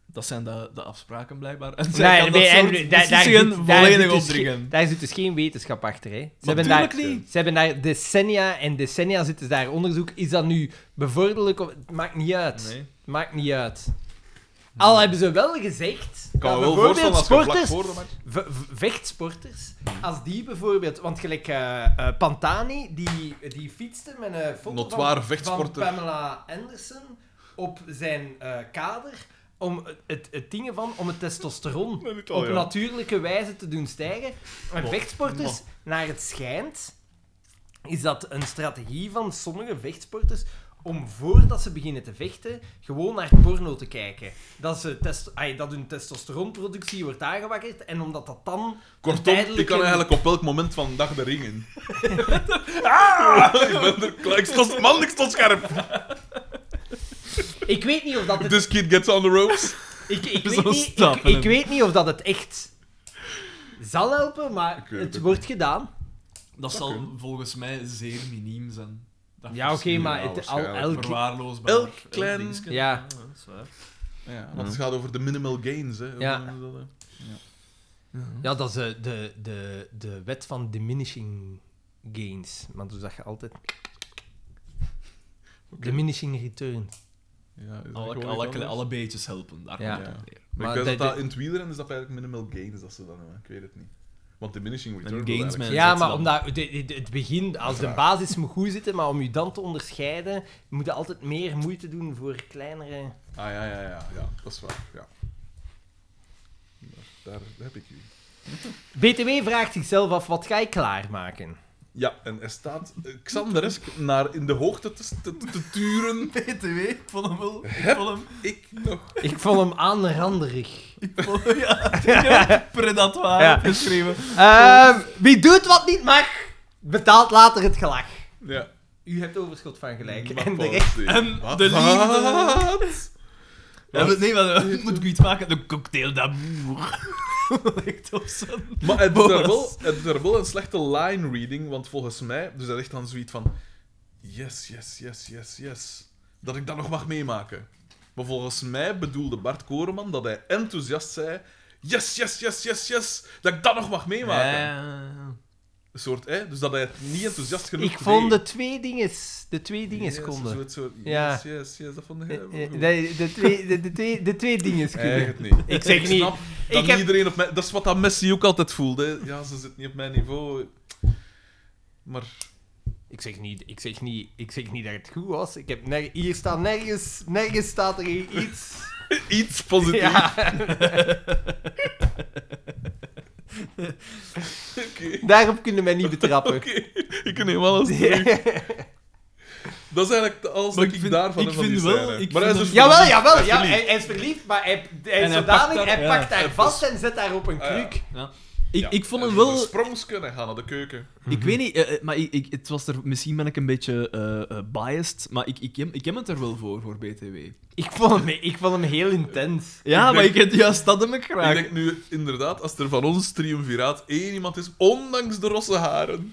S3: Dat zijn de, de afspraken, blijkbaar. En zij
S2: Nee,
S3: kan dat
S2: nee, en
S3: soort
S2: daar- daar
S3: beslissingen
S2: zit- daar
S3: volledig
S2: zit dus
S3: opdringen.
S2: geen- Daar zit dus geen wetenschap achter. Hè. Ze, hebben daar,
S3: Natuurlijk niet.
S2: ze hebben daar decennia en decennia zitten ze daar onderzoek. Is dat nu bevorderlijk of... Het maakt niet uit.
S3: Nee.
S2: Maakt niet uit. Al hebben ze wel gezegd...
S1: Ik kan
S2: dat
S1: me wel
S2: bijvoorbeeld
S1: voorstellen als je vlak
S2: sporters-
S1: voor de match...
S2: V- v- vechtsporters, als die bijvoorbeeld, want gelijk eh, eh, Pantani, die, die fietste met een foto
S1: Notwaar
S2: van, van
S1: vechtsporter.
S2: Pamela Anderson op zijn eh, kader om het, het, het ding van om het testosteron
S1: Nee, niet al,
S2: op
S1: ja.
S2: natuurlijke wijze te doen stijgen. Maar
S1: Mo-
S2: vechtsporters, naar het schijnt, is dat een strategie van sommige vechtsporters om voordat ze beginnen te vechten, gewoon naar porno te kijken. Dat, ze test, ai, dat hun testosteronproductie wordt aangewakkerd en omdat dat dan...
S1: Kortom,
S2: tijdelijke-
S1: ik kan eigenlijk op elk moment van de dag de ring in. ah! Ik ben er klaar. Ik stond, man, ik stond scherp.
S2: Ik weet niet of dat het...
S1: This kid gets on the ropes.
S2: Ik, ik,
S3: Zo
S2: weet, niet,
S3: stappen
S2: ik, ik
S3: hem.
S2: weet niet of dat het echt zal helpen, maar
S1: Ik weet
S2: het
S1: het
S2: wordt gedaan.
S3: Dat zal volgens mij zeer miniem zijn. Dat
S2: Ja, oké,
S3: verschil.
S2: maar het, al,
S1: waarschijnlijk.
S2: elke...
S3: Verwaarloosbaar. eh,
S1: elk klein-
S3: dingetje.
S2: Ja.
S3: dat is waar.
S1: Ja, want het gaat over de minimal gains, hè.
S2: Ja.
S1: Hoe noemen ze dat, hè?
S2: Ja, dat is eh, de, de, de wet van diminishing gains. Maar dus dat je altijd... Diminishing return.
S1: Ja, is dat
S3: Alle,
S1: gewoon
S3: alle,
S1: iets
S3: alle,
S1: anders?
S3: beetjes helpen. Daar
S2: Ja.
S3: komt het op neer.
S1: Maar
S2: Maar
S1: ik
S2: dat-
S1: weet dat, dat in het wielrennen is dat eigenlijk minimal gains dat ze dat noemen. Ik weet het niet. Want diminishing return wil
S3: gains
S1: eigenlijk
S3: En
S2: Ja,
S3: zet ze
S2: maar
S3: dan-
S2: omdat de- de- de- het begin, als de
S1: Uiteraard.
S2: basis moet goed zitten, maar om je dan te onderscheiden, moet je altijd meer moeite doen voor kleinere.
S1: zeggen- Ah ja, ja, ja, ja, dat is waar. Ja. Daar, daar heb ik u.
S2: BTW vraagt zichzelf af: wat ga ik klaarmaken?
S1: Ja, en er staat eh, Xanderesk naar in de hoogte te, te, te turen.
S3: BTW, ik vond hem wel. Ik vond hem.
S1: Ik nog.
S2: Ik vond hem aanranderig.
S3: Ik vond hem ja, ik heb het predatoire
S2: Ja.
S3: opgeschreven.
S2: Ehm, wie doet wat niet mag, betaalt later het gelach.
S1: Ja.
S2: U hebt overschot van gelijk.
S1: Maar
S2: En de
S1: pas,
S2: rest.
S1: nee.
S3: En
S1: Wat?
S3: de liefde.
S1: Wat?
S3: Ja, maar nee, maar eh, moet ik u iets maken? De cocktail d'amour. Ligt op zijn.
S1: Maar het is, daar wel,
S3: Boas.
S1: het is daar wel een slechte line reading, want volgens mij, dus dat is echt dan zoiets van: yes, yes, yes, yes, yes. Dat ik dat nog mag meemaken. Maar volgens mij bedoelde Bart Koreman dat hij enthousiast zei: yes, yes, yes, yes, yes, dat ik dat nog mag meemaken.
S3: Ja.
S1: Een soort, hè? Dus dat hij het niet enthousiast genoeg
S2: Ik vond
S1: deed.
S2: de twee dinges. De twee dinges
S1: Yes,
S2: konden.
S1: zoiets soort,
S2: Ja.
S1: Yes, yes, yes, dat vond ik
S2: Eh,
S1: helemaal
S2: eh,
S1: goed.
S2: De, de, twee, de, de twee, de twee dinges konden.
S1: Eigenlijk niet.
S2: Ik zeg niet.
S1: snap dat
S2: Ik heb-
S1: iedereen op mij... Dat is wat dat Messi ook altijd voelde. hè. Ja, ze zit niet op mijn niveau. Maar
S2: Ik zeg, niet, ik, zeg niet, ik zeg niet dat het goed was. Ik heb nerg- hier staat nergens, nergens staat er hier iets.
S1: iets positiefs.
S2: Ja,
S1: Oké.
S2: daarop kunnen wij niet betrappen.
S1: Oké. Ik neem alles terug. Dat is eigenlijk alles
S3: Maar
S1: wat
S3: ik
S1: ik,
S3: vind-
S1: daarvan
S3: ik
S1: heb van
S3: vind
S1: die
S3: wel-
S1: scène.
S3: ik
S1: Maar hij is
S3: vind
S1: dus
S3: hem-
S2: Jawel, jawel.
S1: Hij is
S2: Ja,
S1: verliefd.
S2: hij, hij is verliefd, maar hij, hij
S3: En
S2: is
S3: hij
S2: zodanig,
S3: pakt daar-
S2: hij
S3: ja.
S2: pakt daar
S1: Hij
S2: vast en zet daar op een
S1: Ah, Ja.
S2: kruk.
S3: Ik,
S1: Ja,
S3: ik vond
S1: hij
S3: hem
S1: is
S3: wel.
S1: een sprongs kunnen gaan naar de keuken.
S3: Ik weet niet, eh, eh, maar ik, ik, het was er, misschien ben ik een beetje eh, eh, biased, maar ik, ik, heb- ik heb het er wel voor, voor BTW.
S2: Ik, vond hem, ik vond hem heel intens.
S3: Ja,
S1: denk-
S3: maar ik heb juist dat hem ik graag.
S1: Ik denk nu, inderdaad, als er van ons triumviraat één iemand is, ondanks de rosse haren,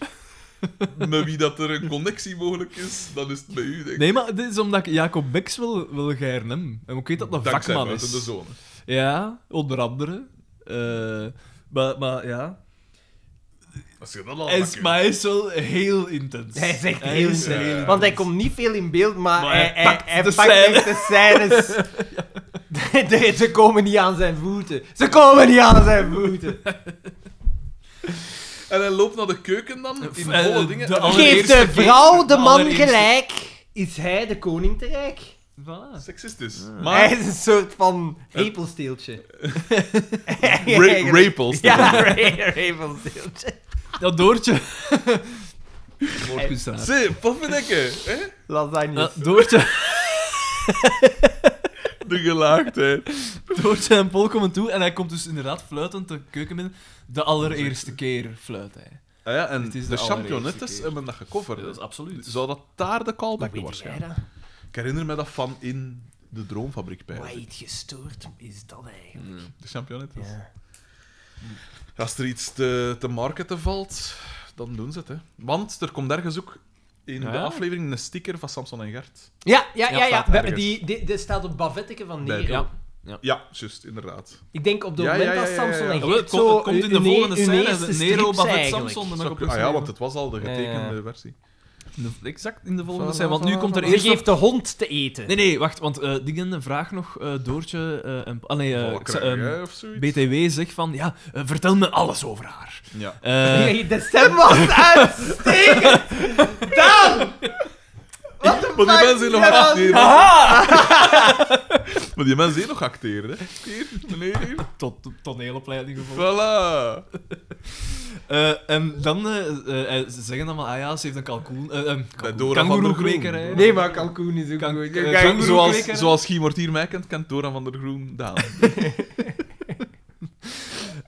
S1: met wie dat er een connectie mogelijk is, dan is het bij u, denk ik.
S3: Nee, maar dit is omdat ik Jacob Beks wil, wil geiren hem. En ik weet dat dat een
S1: Dankzij
S3: vakman
S1: buiten de
S3: is.
S1: zone.
S3: Ja, onder andere. Eh, maar, maar ja.
S1: Als je dat al
S3: Hij
S1: mag
S3: is,
S1: doen.
S3: maar hij is wel heel intens.
S2: Hij is echt heel
S3: is
S1: intens.
S3: heel
S2: Want hij komt niet veel in beeld, maar,
S3: Maar
S2: hij,
S3: hij
S2: hij,
S3: pakt
S2: hij
S3: de
S2: pakt
S3: scène.
S2: echt de scènes. De- Ze komen niet aan zijn voeten. Ze komen niet aan zijn voeten.
S1: En hij loopt naar de keuken dan, in
S3: Eh,
S1: volle dingen.
S3: de
S1: en dan-
S3: alle-
S2: Geeft
S3: Allereerste
S2: de vrouw de man
S3: allereerste-
S2: gelijk, is hij de koning te rijk.
S3: Voilà.
S1: Sexistisch.
S2: Hij
S1: Maar
S2: is een soort van repelsteeltje.
S1: ra rapels.
S2: Ja, re- repelsteeltje.
S3: Dat Doortje. Moordkunstenaar.
S1: Zie, pofferdekken. hè?
S2: Lasagne.
S3: Ja, Doortje,
S1: De gelaagdheid.
S3: Doortje en Paul komen toe en hij komt dus inderdaad fluitend de keuken binnen. De allereerste keer fluit hij.
S1: Ah ja, en
S3: Het is
S1: de,
S3: de allereerste
S1: championettes
S3: keer.
S1: hebben dat gecoverd. hè?
S3: absoluut.
S1: Zou dat daar de callback
S2: Weet
S1: was?
S2: jij dat?
S1: Ik herinner me dat van in de Droomfabriek bij.
S2: Wat iets gestoord is dat eigenlijk.
S1: De championettes.
S2: Ja.
S1: Als er iets te, te marketen valt, dan doen ze het. Hè. Want er komt ergens ook in de
S3: Ja.
S1: aflevering een sticker van Samson en Gert.
S2: Ja, ja,
S3: Ja,
S2: ja. ja,
S3: staat
S2: We hebben
S3: ergens.
S2: Die, die, dit staat op bavetteke van
S1: Bij
S2: Nero.
S3: Ja.
S1: Ja, juist, inderdaad.
S2: Ik denk op het
S1: Ja,
S2: moment
S1: ja, ja,
S2: dat
S1: ja,
S2: Samson
S1: ja.
S2: en
S3: Jawel, het
S2: Gert
S3: komt,
S2: zo
S3: het komt in de
S2: hun-
S3: volgende
S2: hun
S3: scène.
S2: eerste
S3: Nero
S2: strips
S3: Bavet
S2: eigenlijk.
S3: Samson. dan
S1: Zou
S3: mag ik
S1: kun-
S3: ook
S1: ah ja,
S3: zeggen.
S1: want het was al de getekende
S2: Ja.
S1: versie.
S3: In de- Exact, in de volgende
S1: Voilà,
S3: scène. Want nu
S1: voilà,
S3: komt er
S1: voilà.
S2: Ze
S3: eerst nog...
S2: geeft de hond te eten.
S3: Nee, nee, wacht. Want eh dingen, een vraag nog. eh, Doortje eh, en... Ah, nee, eh,
S1: Vallen
S3: ik zei,
S1: krijgen,
S3: ehm,
S1: hè, of zoiets.
S3: BTW zegt van... Ja, eh, vertel me alles over haar.
S1: Ja.
S3: Eh,
S2: Nee, de stem was uitstekend! Dan! Wat de
S1: Maar die mensen zien nog acteren. Maar die mensen zien nog acteren. Hè. Hier, meneer hier.
S3: tot toneelopleiding gevolgd.
S1: Voilà.
S3: Eh, en dan eh, eh, eh, ze zeggen dan maar, ah ja, ze heeft een kalkoen... eh, eh,
S1: Bij
S3: kalkoen
S1: Dora van der Groen.
S3: kangoeroekwekerij.
S2: Nee, maar kalkoen is ook
S3: Kan-
S2: goed.
S3: eh,
S2: Kijk,
S3: kangoeroe-
S1: Zoals,
S3: kweken, hè?
S1: zoals Guy Mortier mij kent, kent Dora van der Groen Daan.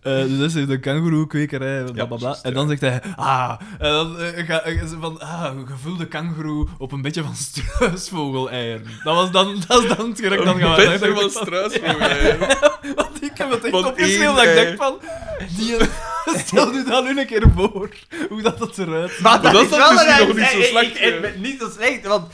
S3: Eh, dus dat is de kangoeroekwekerij, bla bla bla.
S1: precies,
S3: En dan zegt hij, ah, en dan eh, ga- eh, ze van, ah, gevulde kangoeroe op een beetje van struisvogel-eieren. Dat, was dan, dat is dan het gerecht dat gaan
S1: Een
S3: we
S1: beetje van struis voor mij.
S3: Want ik heb het echt
S1: Want
S3: opgeschreven
S1: één
S3: dat ik
S1: ei.
S3: denk van, die, stel nu dan nu een keer voor, hoe dat, dat eruit ziet.
S2: Maar dat,
S1: dat
S2: is
S1: is
S2: wel
S1: misschien
S2: een-
S1: nog niet zo
S2: eh, eh,
S1: slecht,
S2: eh,
S1: eh.
S2: eh, Niet zo slecht, want...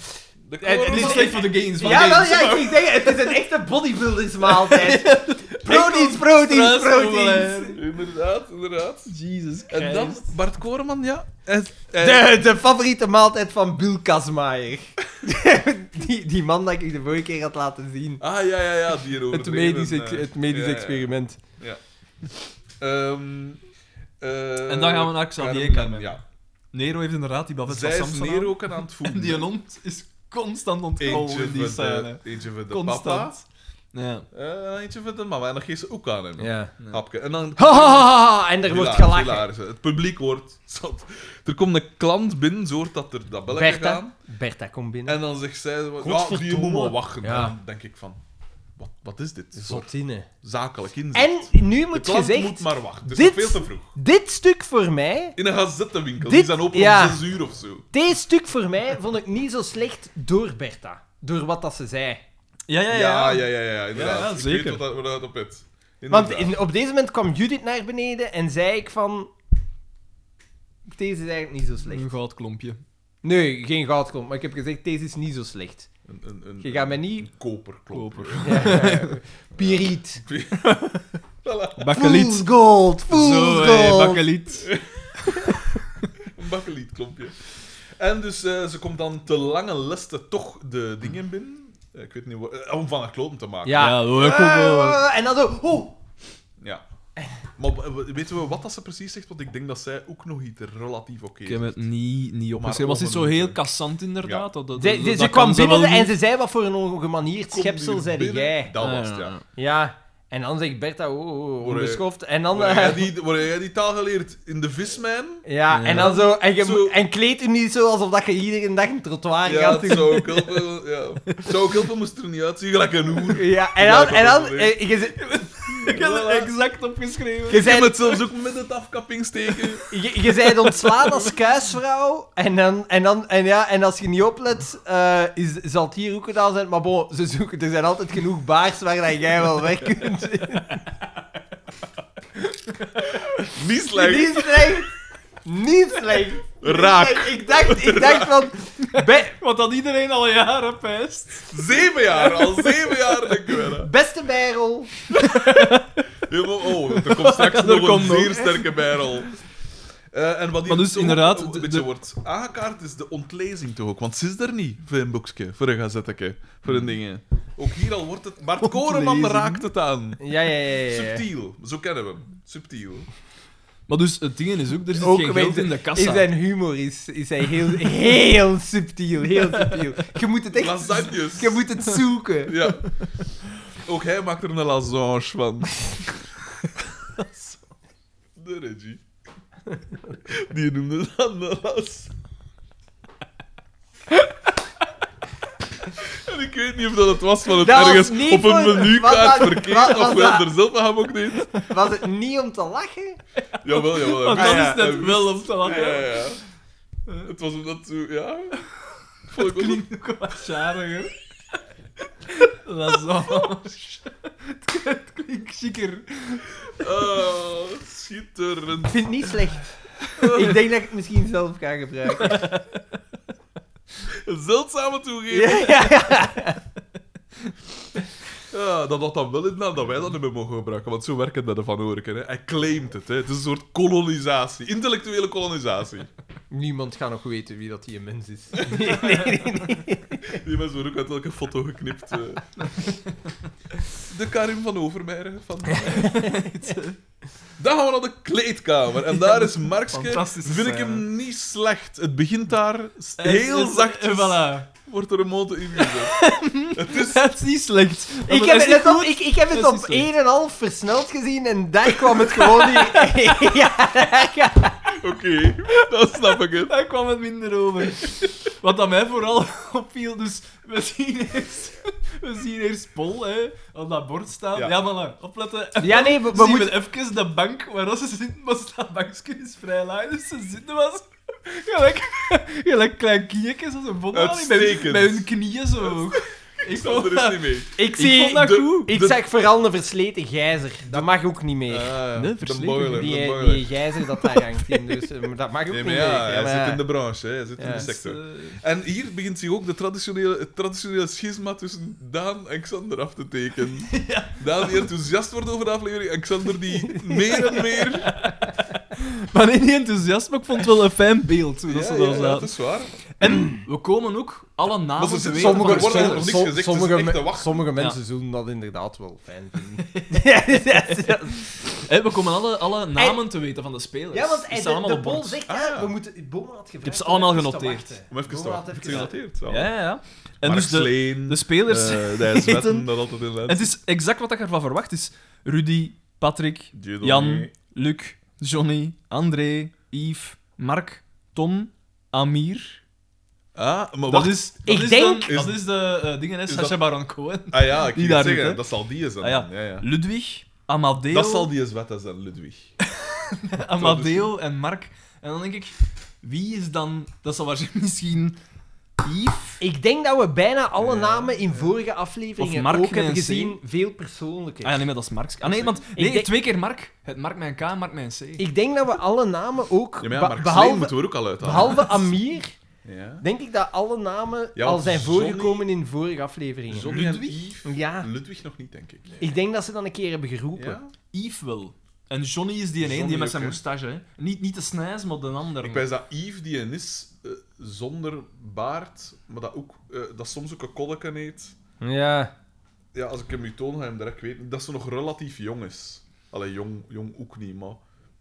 S3: Het
S2: eh,
S3: is
S2: eh,
S3: slecht voor de gains van
S2: Ja, wel,
S3: gains.
S2: ja, ik denk, het is een echte bodybuildersmaaltijd. Proteins, proteins, proteins.
S3: Struisvogel-eieren.
S1: Inderdaad, inderdaad.
S3: Jesus Christ.
S1: En dan Bart Koreman, ja. Hij, hij-
S2: De, de favoriete maaltijd van Bill Kasmaier. die, die man dat ik u de vorige keer had laten zien.
S1: Ah, ja, ja, ja, die erover.
S2: Het medisch, ex-
S1: eh,
S2: het medisch experiment.
S3: En dan gaan we naar Xavier
S1: Ehm,
S3: Carmen.
S1: eh, Ja.
S3: Nero heeft inderdaad die Babette
S1: Zij
S3: van
S1: is
S3: Samson
S1: Nero aan het
S3: aan. En
S1: voeden.
S3: die hond is constant ontkomen
S1: Eentje
S3: in die
S1: voor de,
S3: scène.
S1: eentje voor de papa.
S3: Constant. Ja.
S1: eh, en eentje voor de mama. En dan geeft ze ook aan hem.
S2: Ja.
S1: Hapke. En dan...
S2: Ha, ha, ha, ha, en er wordt
S1: Hilarisch,
S2: gelachen.
S1: hilarisch, hè. dus Het publiek wordt zat. Er komt een klant binnen, ze hoort dat er dat belletje gaan.
S2: Bertha, Bertha komt binnen.
S1: En dan zegt zij... Ja, die
S2: Godverdomme.
S1: moet maar wachten.
S2: Ja.
S1: En dan denk ik van... Wat, wat is dit? voor
S2: Zotine.
S1: zakelijk inzicht.
S2: En nu
S1: de
S2: moet
S1: klant
S2: gezegd,
S1: moet maar wachten. Dus
S2: dit-
S1: nog veel te vroeg.
S2: dit stuk voor mij,
S1: In een gazettenwinkel.
S2: Dit-
S1: Die zijn open
S2: ja.
S1: om zes uur of zo.
S2: dit stuk voor mij vond ik niet zo slecht door Bertha. Door wat dat ze zei.
S3: Ja, ja,
S1: Ja, ja, ja, ja, inderdaad.
S3: Ja, ja,
S1: Ik
S3: zeker.
S1: weet wat dat- waar dat op het.
S2: Want
S1: Inderdaad.
S2: in- op deze moment kwam Judith naar beneden en zei ik van... Deze is eigenlijk niet zo slecht.
S3: Een goud klompje.
S2: Nee, geen goudklomp. Maar ik heb gezegd, deze is niet zo slecht.
S1: Een, een, een,
S2: Je gaat mij niet...
S1: koperklopper.
S2: Piriet.
S1: voilà,
S3: Bakkeliet.
S2: gold, fool's
S3: Zo,
S1: eh,
S3: hé,
S2: gold.
S3: bakkeliet.
S1: een bakkelietklopje. En dus eh, ze komt dan te lange lesten toch de dingen binnen. Eh, ik weet niet wat... eh, om van haar kloten te maken.
S2: Hmm. Ja.
S3: Ja, leuk hoor.
S2: Eh, en dan zo... Oh,
S1: Ja. Maar w- w- weten we wat dat ze precies zegt? Want ik denk dat zij ook nog iets relatief oké
S3: Ik heb het niet, niet
S1: Maar
S3: opgeschreven. Was dit zo
S1: over-
S3: heel kassant, inderdaad? Dat, dat,
S2: ze,
S3: dat-
S2: ze- ze
S3: dat
S2: kwam
S3: kan ze
S2: binnen
S3: wel doen.
S2: en ze zei, wat voor een ongemanierd
S1: Komt
S2: schepsel
S1: hier
S2: zei
S1: binnen?
S2: jij.
S1: Dat
S3: Ah,
S1: was
S3: ja,
S1: het, ja.
S3: ja.
S2: Ja. En dan zegt Bertha, oh, oh, oh,
S1: Hoor, eh,
S2: onbeschoft. En dan...
S1: Waar heb
S2: eh,
S1: jij die- waar heb jij die taal geleerd? In de vismijn?
S2: ja,
S3: Ja.
S2: en dan zo... En, je,
S1: Zo.
S2: moet- en kleed u niet zo alsof dat je iedere dag een trottoir
S1: Ja,
S2: gaat
S1: het zou ook helpen. Ja. Het Zou ook helpen moest er niet uitzien, gelijk een hoer.
S2: Ja, en
S1: Ja,
S2: dan...
S1: ik
S2: en
S1: had
S2: dan
S1: dat wel
S2: eh, je, zit-
S3: Ik heb het exact opgeschreven.
S2: je,
S1: Ik heb
S2: zei,
S1: het zelfs ook met het afkappingsteken.
S2: je, je zijt ontslaan als kuisvrouw. En, dan, en, dan, en, ja, en als je niet oplet, eh, is, zal het hier ook gedaan zijn. Maar bon, ze zoeken, er zijn altijd genoeg baars waar dat jij wel weg kunt.
S1: Niet slecht.
S2: Niet slecht. Niet slecht.
S1: Raak.
S2: Niet slecht. Ik dacht, ik dacht van... be-
S3: Wat dat iedereen al jaren pest.
S1: Zeven jaar, al zeven jaar denk ik wel. hè.
S2: beste bijrol.
S1: Ja, maar- Oh, er komt straks nog een
S3: komt nog.
S1: zeer sterke bijrol. Eh, en wat hier
S3: Maar dus
S1: toch
S3: inderdaad,
S1: ook een
S3: de-
S1: beetje
S3: de-
S1: wordt aangekaart, is de ontlezing toch ook. Want ze is er niet voor een boekje, voor een gazetteke, voor een dingen. Ook hier al wordt het... Bart Koreman
S3: Ontlezing.
S1: raakt het aan.
S2: Eh. Ja, ja, ja. ja, ja.
S1: Subtiel, zo kennen we hem. Subtiel.
S3: Maar dus het ding is ook, er zit
S2: Ook
S3: geen
S2: weet-
S3: geld in de
S2: In
S3: kassa.
S2: zijn humor is, is hij heel, heel subtiel, heel subtiel. Je moet het echt...
S1: Lasagnes.
S2: Je moet het zoeken.
S1: Ja. Ook hij maakt er een lasagne van. De Reggie. Die noemde het ananas. En ik weet niet of dat het was van het
S2: Dat was
S1: ergens
S2: niet
S1: op een
S2: voor-
S1: menukaart
S2: Wat was-
S1: verkeerd
S2: wat
S1: of
S2: was
S1: hij het
S2: dat?
S1: er zelf aan ook deed.
S2: Was het niet om te lachen?
S1: Jawel, jawel.
S3: Want dat
S1: hij wist-
S3: is net
S1: hij wist-
S3: wel om te lachen.
S1: Ja, ja, ja. Het was omdat zo... Ja. Vond ik ook
S3: Klinkt ook wat schariger. Lasagne. Het klinkt chiquer.
S1: Ah, schitterend.
S2: Ik vind het niet slecht. Ik denk dat ik het misschien zelf ga gebruiken.
S1: Een zeldzame toegeven.
S2: Ja, ja, ja.
S1: Ja, dat had dan wel in dat wij dat niet meer mogen gebruiken, want zo werken dat de Van Oorken. Hè. Hij claimt het, hè. Het is een soort kolonisatie, intellectuele kolonisatie.
S2: Niemand gaat nog weten wie dat die mens is.
S1: Die mensen worden ook uit elke foto geknipt. eh. De Karim van Overmeijer. Van... Dan gaan we naar de kleedkamer. En daar is Markske.
S3: Fantastische
S1: Vind ik hem
S3: scène.
S1: niet slecht. Het begint daar s-
S3: En-
S1: heel
S3: en-
S1: zachtjes.
S3: En eh, voilà.
S1: Wordt er een motor ingezet. Het is
S3: Dat is niet slecht.
S2: Ik heb, het net op, ik, ik heb het
S3: Dat is
S2: op
S3: niet slecht.
S2: 1,5 versneld gezien en daar kwam het gewoon hier. Ja, daar ga-
S1: oké. Dan snap ik het.
S3: Daar kwam het minder over. Wat aan mij vooral opviel, dus we zien eerst, we zien eerst Pol hè, aan dat bord staan.
S1: Ja.
S3: Ja, maar lang, opletten. En
S2: ja nee, we,
S3: we
S2: we
S3: zien
S2: moeten...
S3: we even de bank waar ze zitten, maar dat bankje is vrij laag, dus ze zitten was gelijk, gelijk klein kniekjes als een bomba. Met,
S1: Uitstekend.
S3: met hun knieën zo hoog. Ik
S1: Ik
S3: vond
S1: er eens
S3: dat...
S1: niet mee.
S2: Ik
S3: Ik vond
S2: zie...
S3: dat
S1: de-
S3: goed.
S2: Ik
S1: de-
S2: zag vooral een versleten gijzer. Dat mag ook niet meer.
S1: Ah,
S3: Nee,
S1: de
S3: verslepen.
S1: boiler, de
S2: die,
S1: boiler.
S2: die gijzer dat daar hangt in, dus eh, maar dat mag ook
S1: Nee,
S2: niet
S1: maar
S2: meer.
S1: ja,
S2: Ja,
S1: hij
S2: maar
S1: zit
S2: ja.
S1: in de branche, hè. hij zit in de
S2: Ja.
S1: sector.
S3: Dus, eh,
S1: En hier begint zich ook de traditionele, het traditionele schisma tussen Daan en Xander af te tekenen. Daan die enthousiast wordt over de aflevering en Xander die meer en meer...
S3: Maar nee, niet enthousiast, maar ik vond het wel een fijn beeld hoe dat
S1: Ja,
S3: ze
S1: ja,
S3: daar
S1: ja,
S3: zaten.
S1: dat is waar.
S3: En we komen ook alle namen
S1: Maar ze zitten
S3: weten
S1: sommige-
S3: van
S1: wordt
S3: Xander.
S1: eigenlijk niks
S2: som-
S1: gezegd,
S2: sommige,
S1: dus echt
S2: me-
S1: te wachten.
S2: sommige
S3: Ja.
S2: mensen zullen dat inderdaad wel fijn vinden. ja, ja, ja.
S3: Hé, we komen alle, alle namen te weten van de spelers.
S2: Ja, want
S3: Die
S2: hij-
S3: staan
S2: de,
S3: allemaal
S2: de
S3: op
S2: bol
S3: bord.
S2: zegt,
S1: Ah,
S2: ja,
S1: ja.
S2: we moeten, Boma had gevraagd...
S3: heb ze allemaal
S2: even te
S3: genoteerd.
S2: wachten.
S1: Om even te
S2: Boma had
S1: wachten.
S2: gezegd-
S1: Genoteerd, zo.
S3: Ja, ja, ja. En
S1: Mark
S3: dus de,
S1: Sleen,
S3: de spelers...
S1: eh, Dijs
S3: heten-
S1: Wetten, dat altijd in
S3: het is exact wat ik ervan verwacht is. Rudy, Patrick,
S1: Dieudonné.
S3: Jan, Luc, Johnny, André, Yves, Mark, Tom, Amir.
S1: Ah, maar
S3: Dat
S1: wacht.
S3: is, dat
S2: Ik
S3: is
S2: denk-
S3: de, dat is de eh, dingen, hè,
S1: Is
S3: Sacha
S1: dat-
S3: Baron Cohen.
S1: Ah ja, ik
S3: Die
S1: ging
S3: daar
S1: het zeggen,
S3: doet, hè.
S1: dat zal die zijn.
S3: Ah, ja.
S1: ja. ja.
S3: Ludwig, Amadeo,
S1: Dat zal die eens wetten zijn, Ludwig.
S3: Amadeo en Mark. En dan denk ik, wie is dan... Dat zal waarschijnlijk misschien Yves...
S2: Ik denk dat we bijna alle namen in vorige afleveringen
S3: Of Mark
S2: ook
S3: met
S2: hebben
S3: een C.
S2: gezien, veel persoonlijker.
S3: Ah ja, nee, maar dat is Marks. Ah nee, want
S2: Ik
S3: nee,
S2: denk-
S3: twee keer Mark. Het Mark met een K en Mark met een C.
S2: Ik denk dat we alle namen ook,
S1: Ja, maar ja,
S2: be-
S1: Mark Sleen
S2: behalve,
S1: moeten we er ook al uithalen.
S2: behalve Amir,
S1: Ja.
S2: denk ik dat alle namen
S1: Ja,
S2: al
S1: want
S2: zijn
S1: Johnny-
S2: voorgekomen in vorige afleveringen.
S1: Johnny en
S3: Ludwig?
S1: Yves.
S2: Ja,
S1: Ludwig nog niet, denk ik.
S2: ik denk dat ze dan een keer hebben geroepen.
S1: Ja?
S3: Yves wel. En Johnny is die
S1: Johnny
S3: een die met
S1: ook,
S3: zijn
S1: hè.
S3: moustache. Hè. Niet, niet de snijs, maar de ander.
S1: Ik wijs dat Yves die een is eh, zonder baard, maar dat, ook, eh, dat soms ook een kolleken heet.
S2: Ja.
S1: Ja, als ik hem nu toon, ga je hem direct weten dat ze nog relatief jong is. Allee, jong, jong ook niet, maar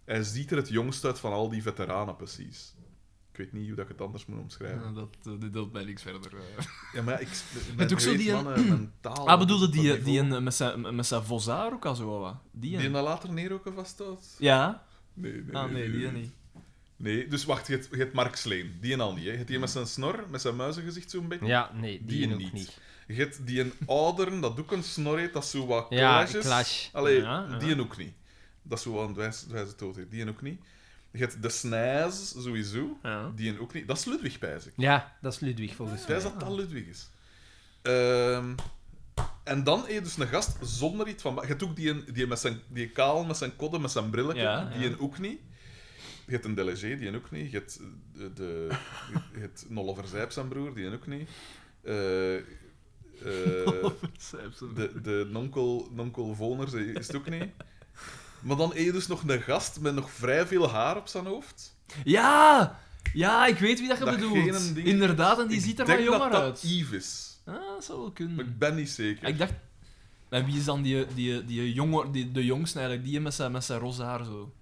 S1: hij ziet er het jongst uit van al die veteranen precies. Ik weet niet hoe dat ik het anders moet omschrijven.
S3: Ja, dat, eh, dit deelt mij niks verder. eh.
S1: Ja, maar ja, ik... mijn
S3: ook zo
S1: weet,
S3: die- eh,
S1: mannen, mijn taal-
S3: Ah, bedoelde die,
S1: dat
S3: eh, die
S1: niveau.
S3: een, eh, met zijn, met zijn vossaar ook al zo wat, wat? Die,
S1: Die
S3: een?
S1: dat later neerroken vasthoudt?
S3: Ja?
S1: Nee, nee,
S3: Ah, nee, die een niet.
S1: Nee, dus wacht, je hebt, je hebt Mark Sleen. Die en al niet, hè. Je hebt die met zijn snor, met zijn muizengezicht zo'n beetje.
S2: Ja, nee, die,
S1: Die
S2: ook
S1: niet.
S2: niet.
S1: Je hebt die een ouderen, dat doet een snor heet, dat is zo wat
S2: Ja,
S1: clashes.
S2: clash.
S1: Allee,
S3: Ja, ja.
S1: die een ook niet. Dat is zo wat een wijze, wijze dood heet. Die een ook niet. Je hebt de Snijs, sowieso.
S3: Ja.
S1: Die een ook niet. Dat is Ludwig, pijs ik.
S2: Ja, dat is Ludwig
S3: Dus
S2: volgens mij.
S1: Pijs dat dat Ludwig is. Ehm, en dan heb je dus een gast zonder iets van... Je hebt ook die, een, die, met zijn, die kaal, met zijn kodden, met zijn brilletje.
S3: Ja,
S1: die
S3: ja.
S1: een ook niet. Je hebt een delegé, die een ook niet. Je hebt, eh, de, de, je hebt Nolle Verzijp, zijn broer, die een ook niet. Eh, eh, de, de nonkel, nonkel Voners is het ook niet. Maar dan eet je dus nog een gast met nog vrij veel haar op zijn hoofd.
S3: Ja! Ja, ik weet wie dat je
S1: Dat gene
S3: bedoelt.
S1: ding-
S3: Inderdaad, en die ziet er
S1: maar
S3: wat jonger
S1: dat
S3: uit.
S1: dat Yves is.
S3: Ah, dat zou wel
S1: Maar
S3: kunnen. Ah,
S1: ik ben niet zeker.
S3: Ik dacht... En wie is dan die, die, die jonge, die, de jongste eigenlijk? Die met zijn, met zijn roze haar zo.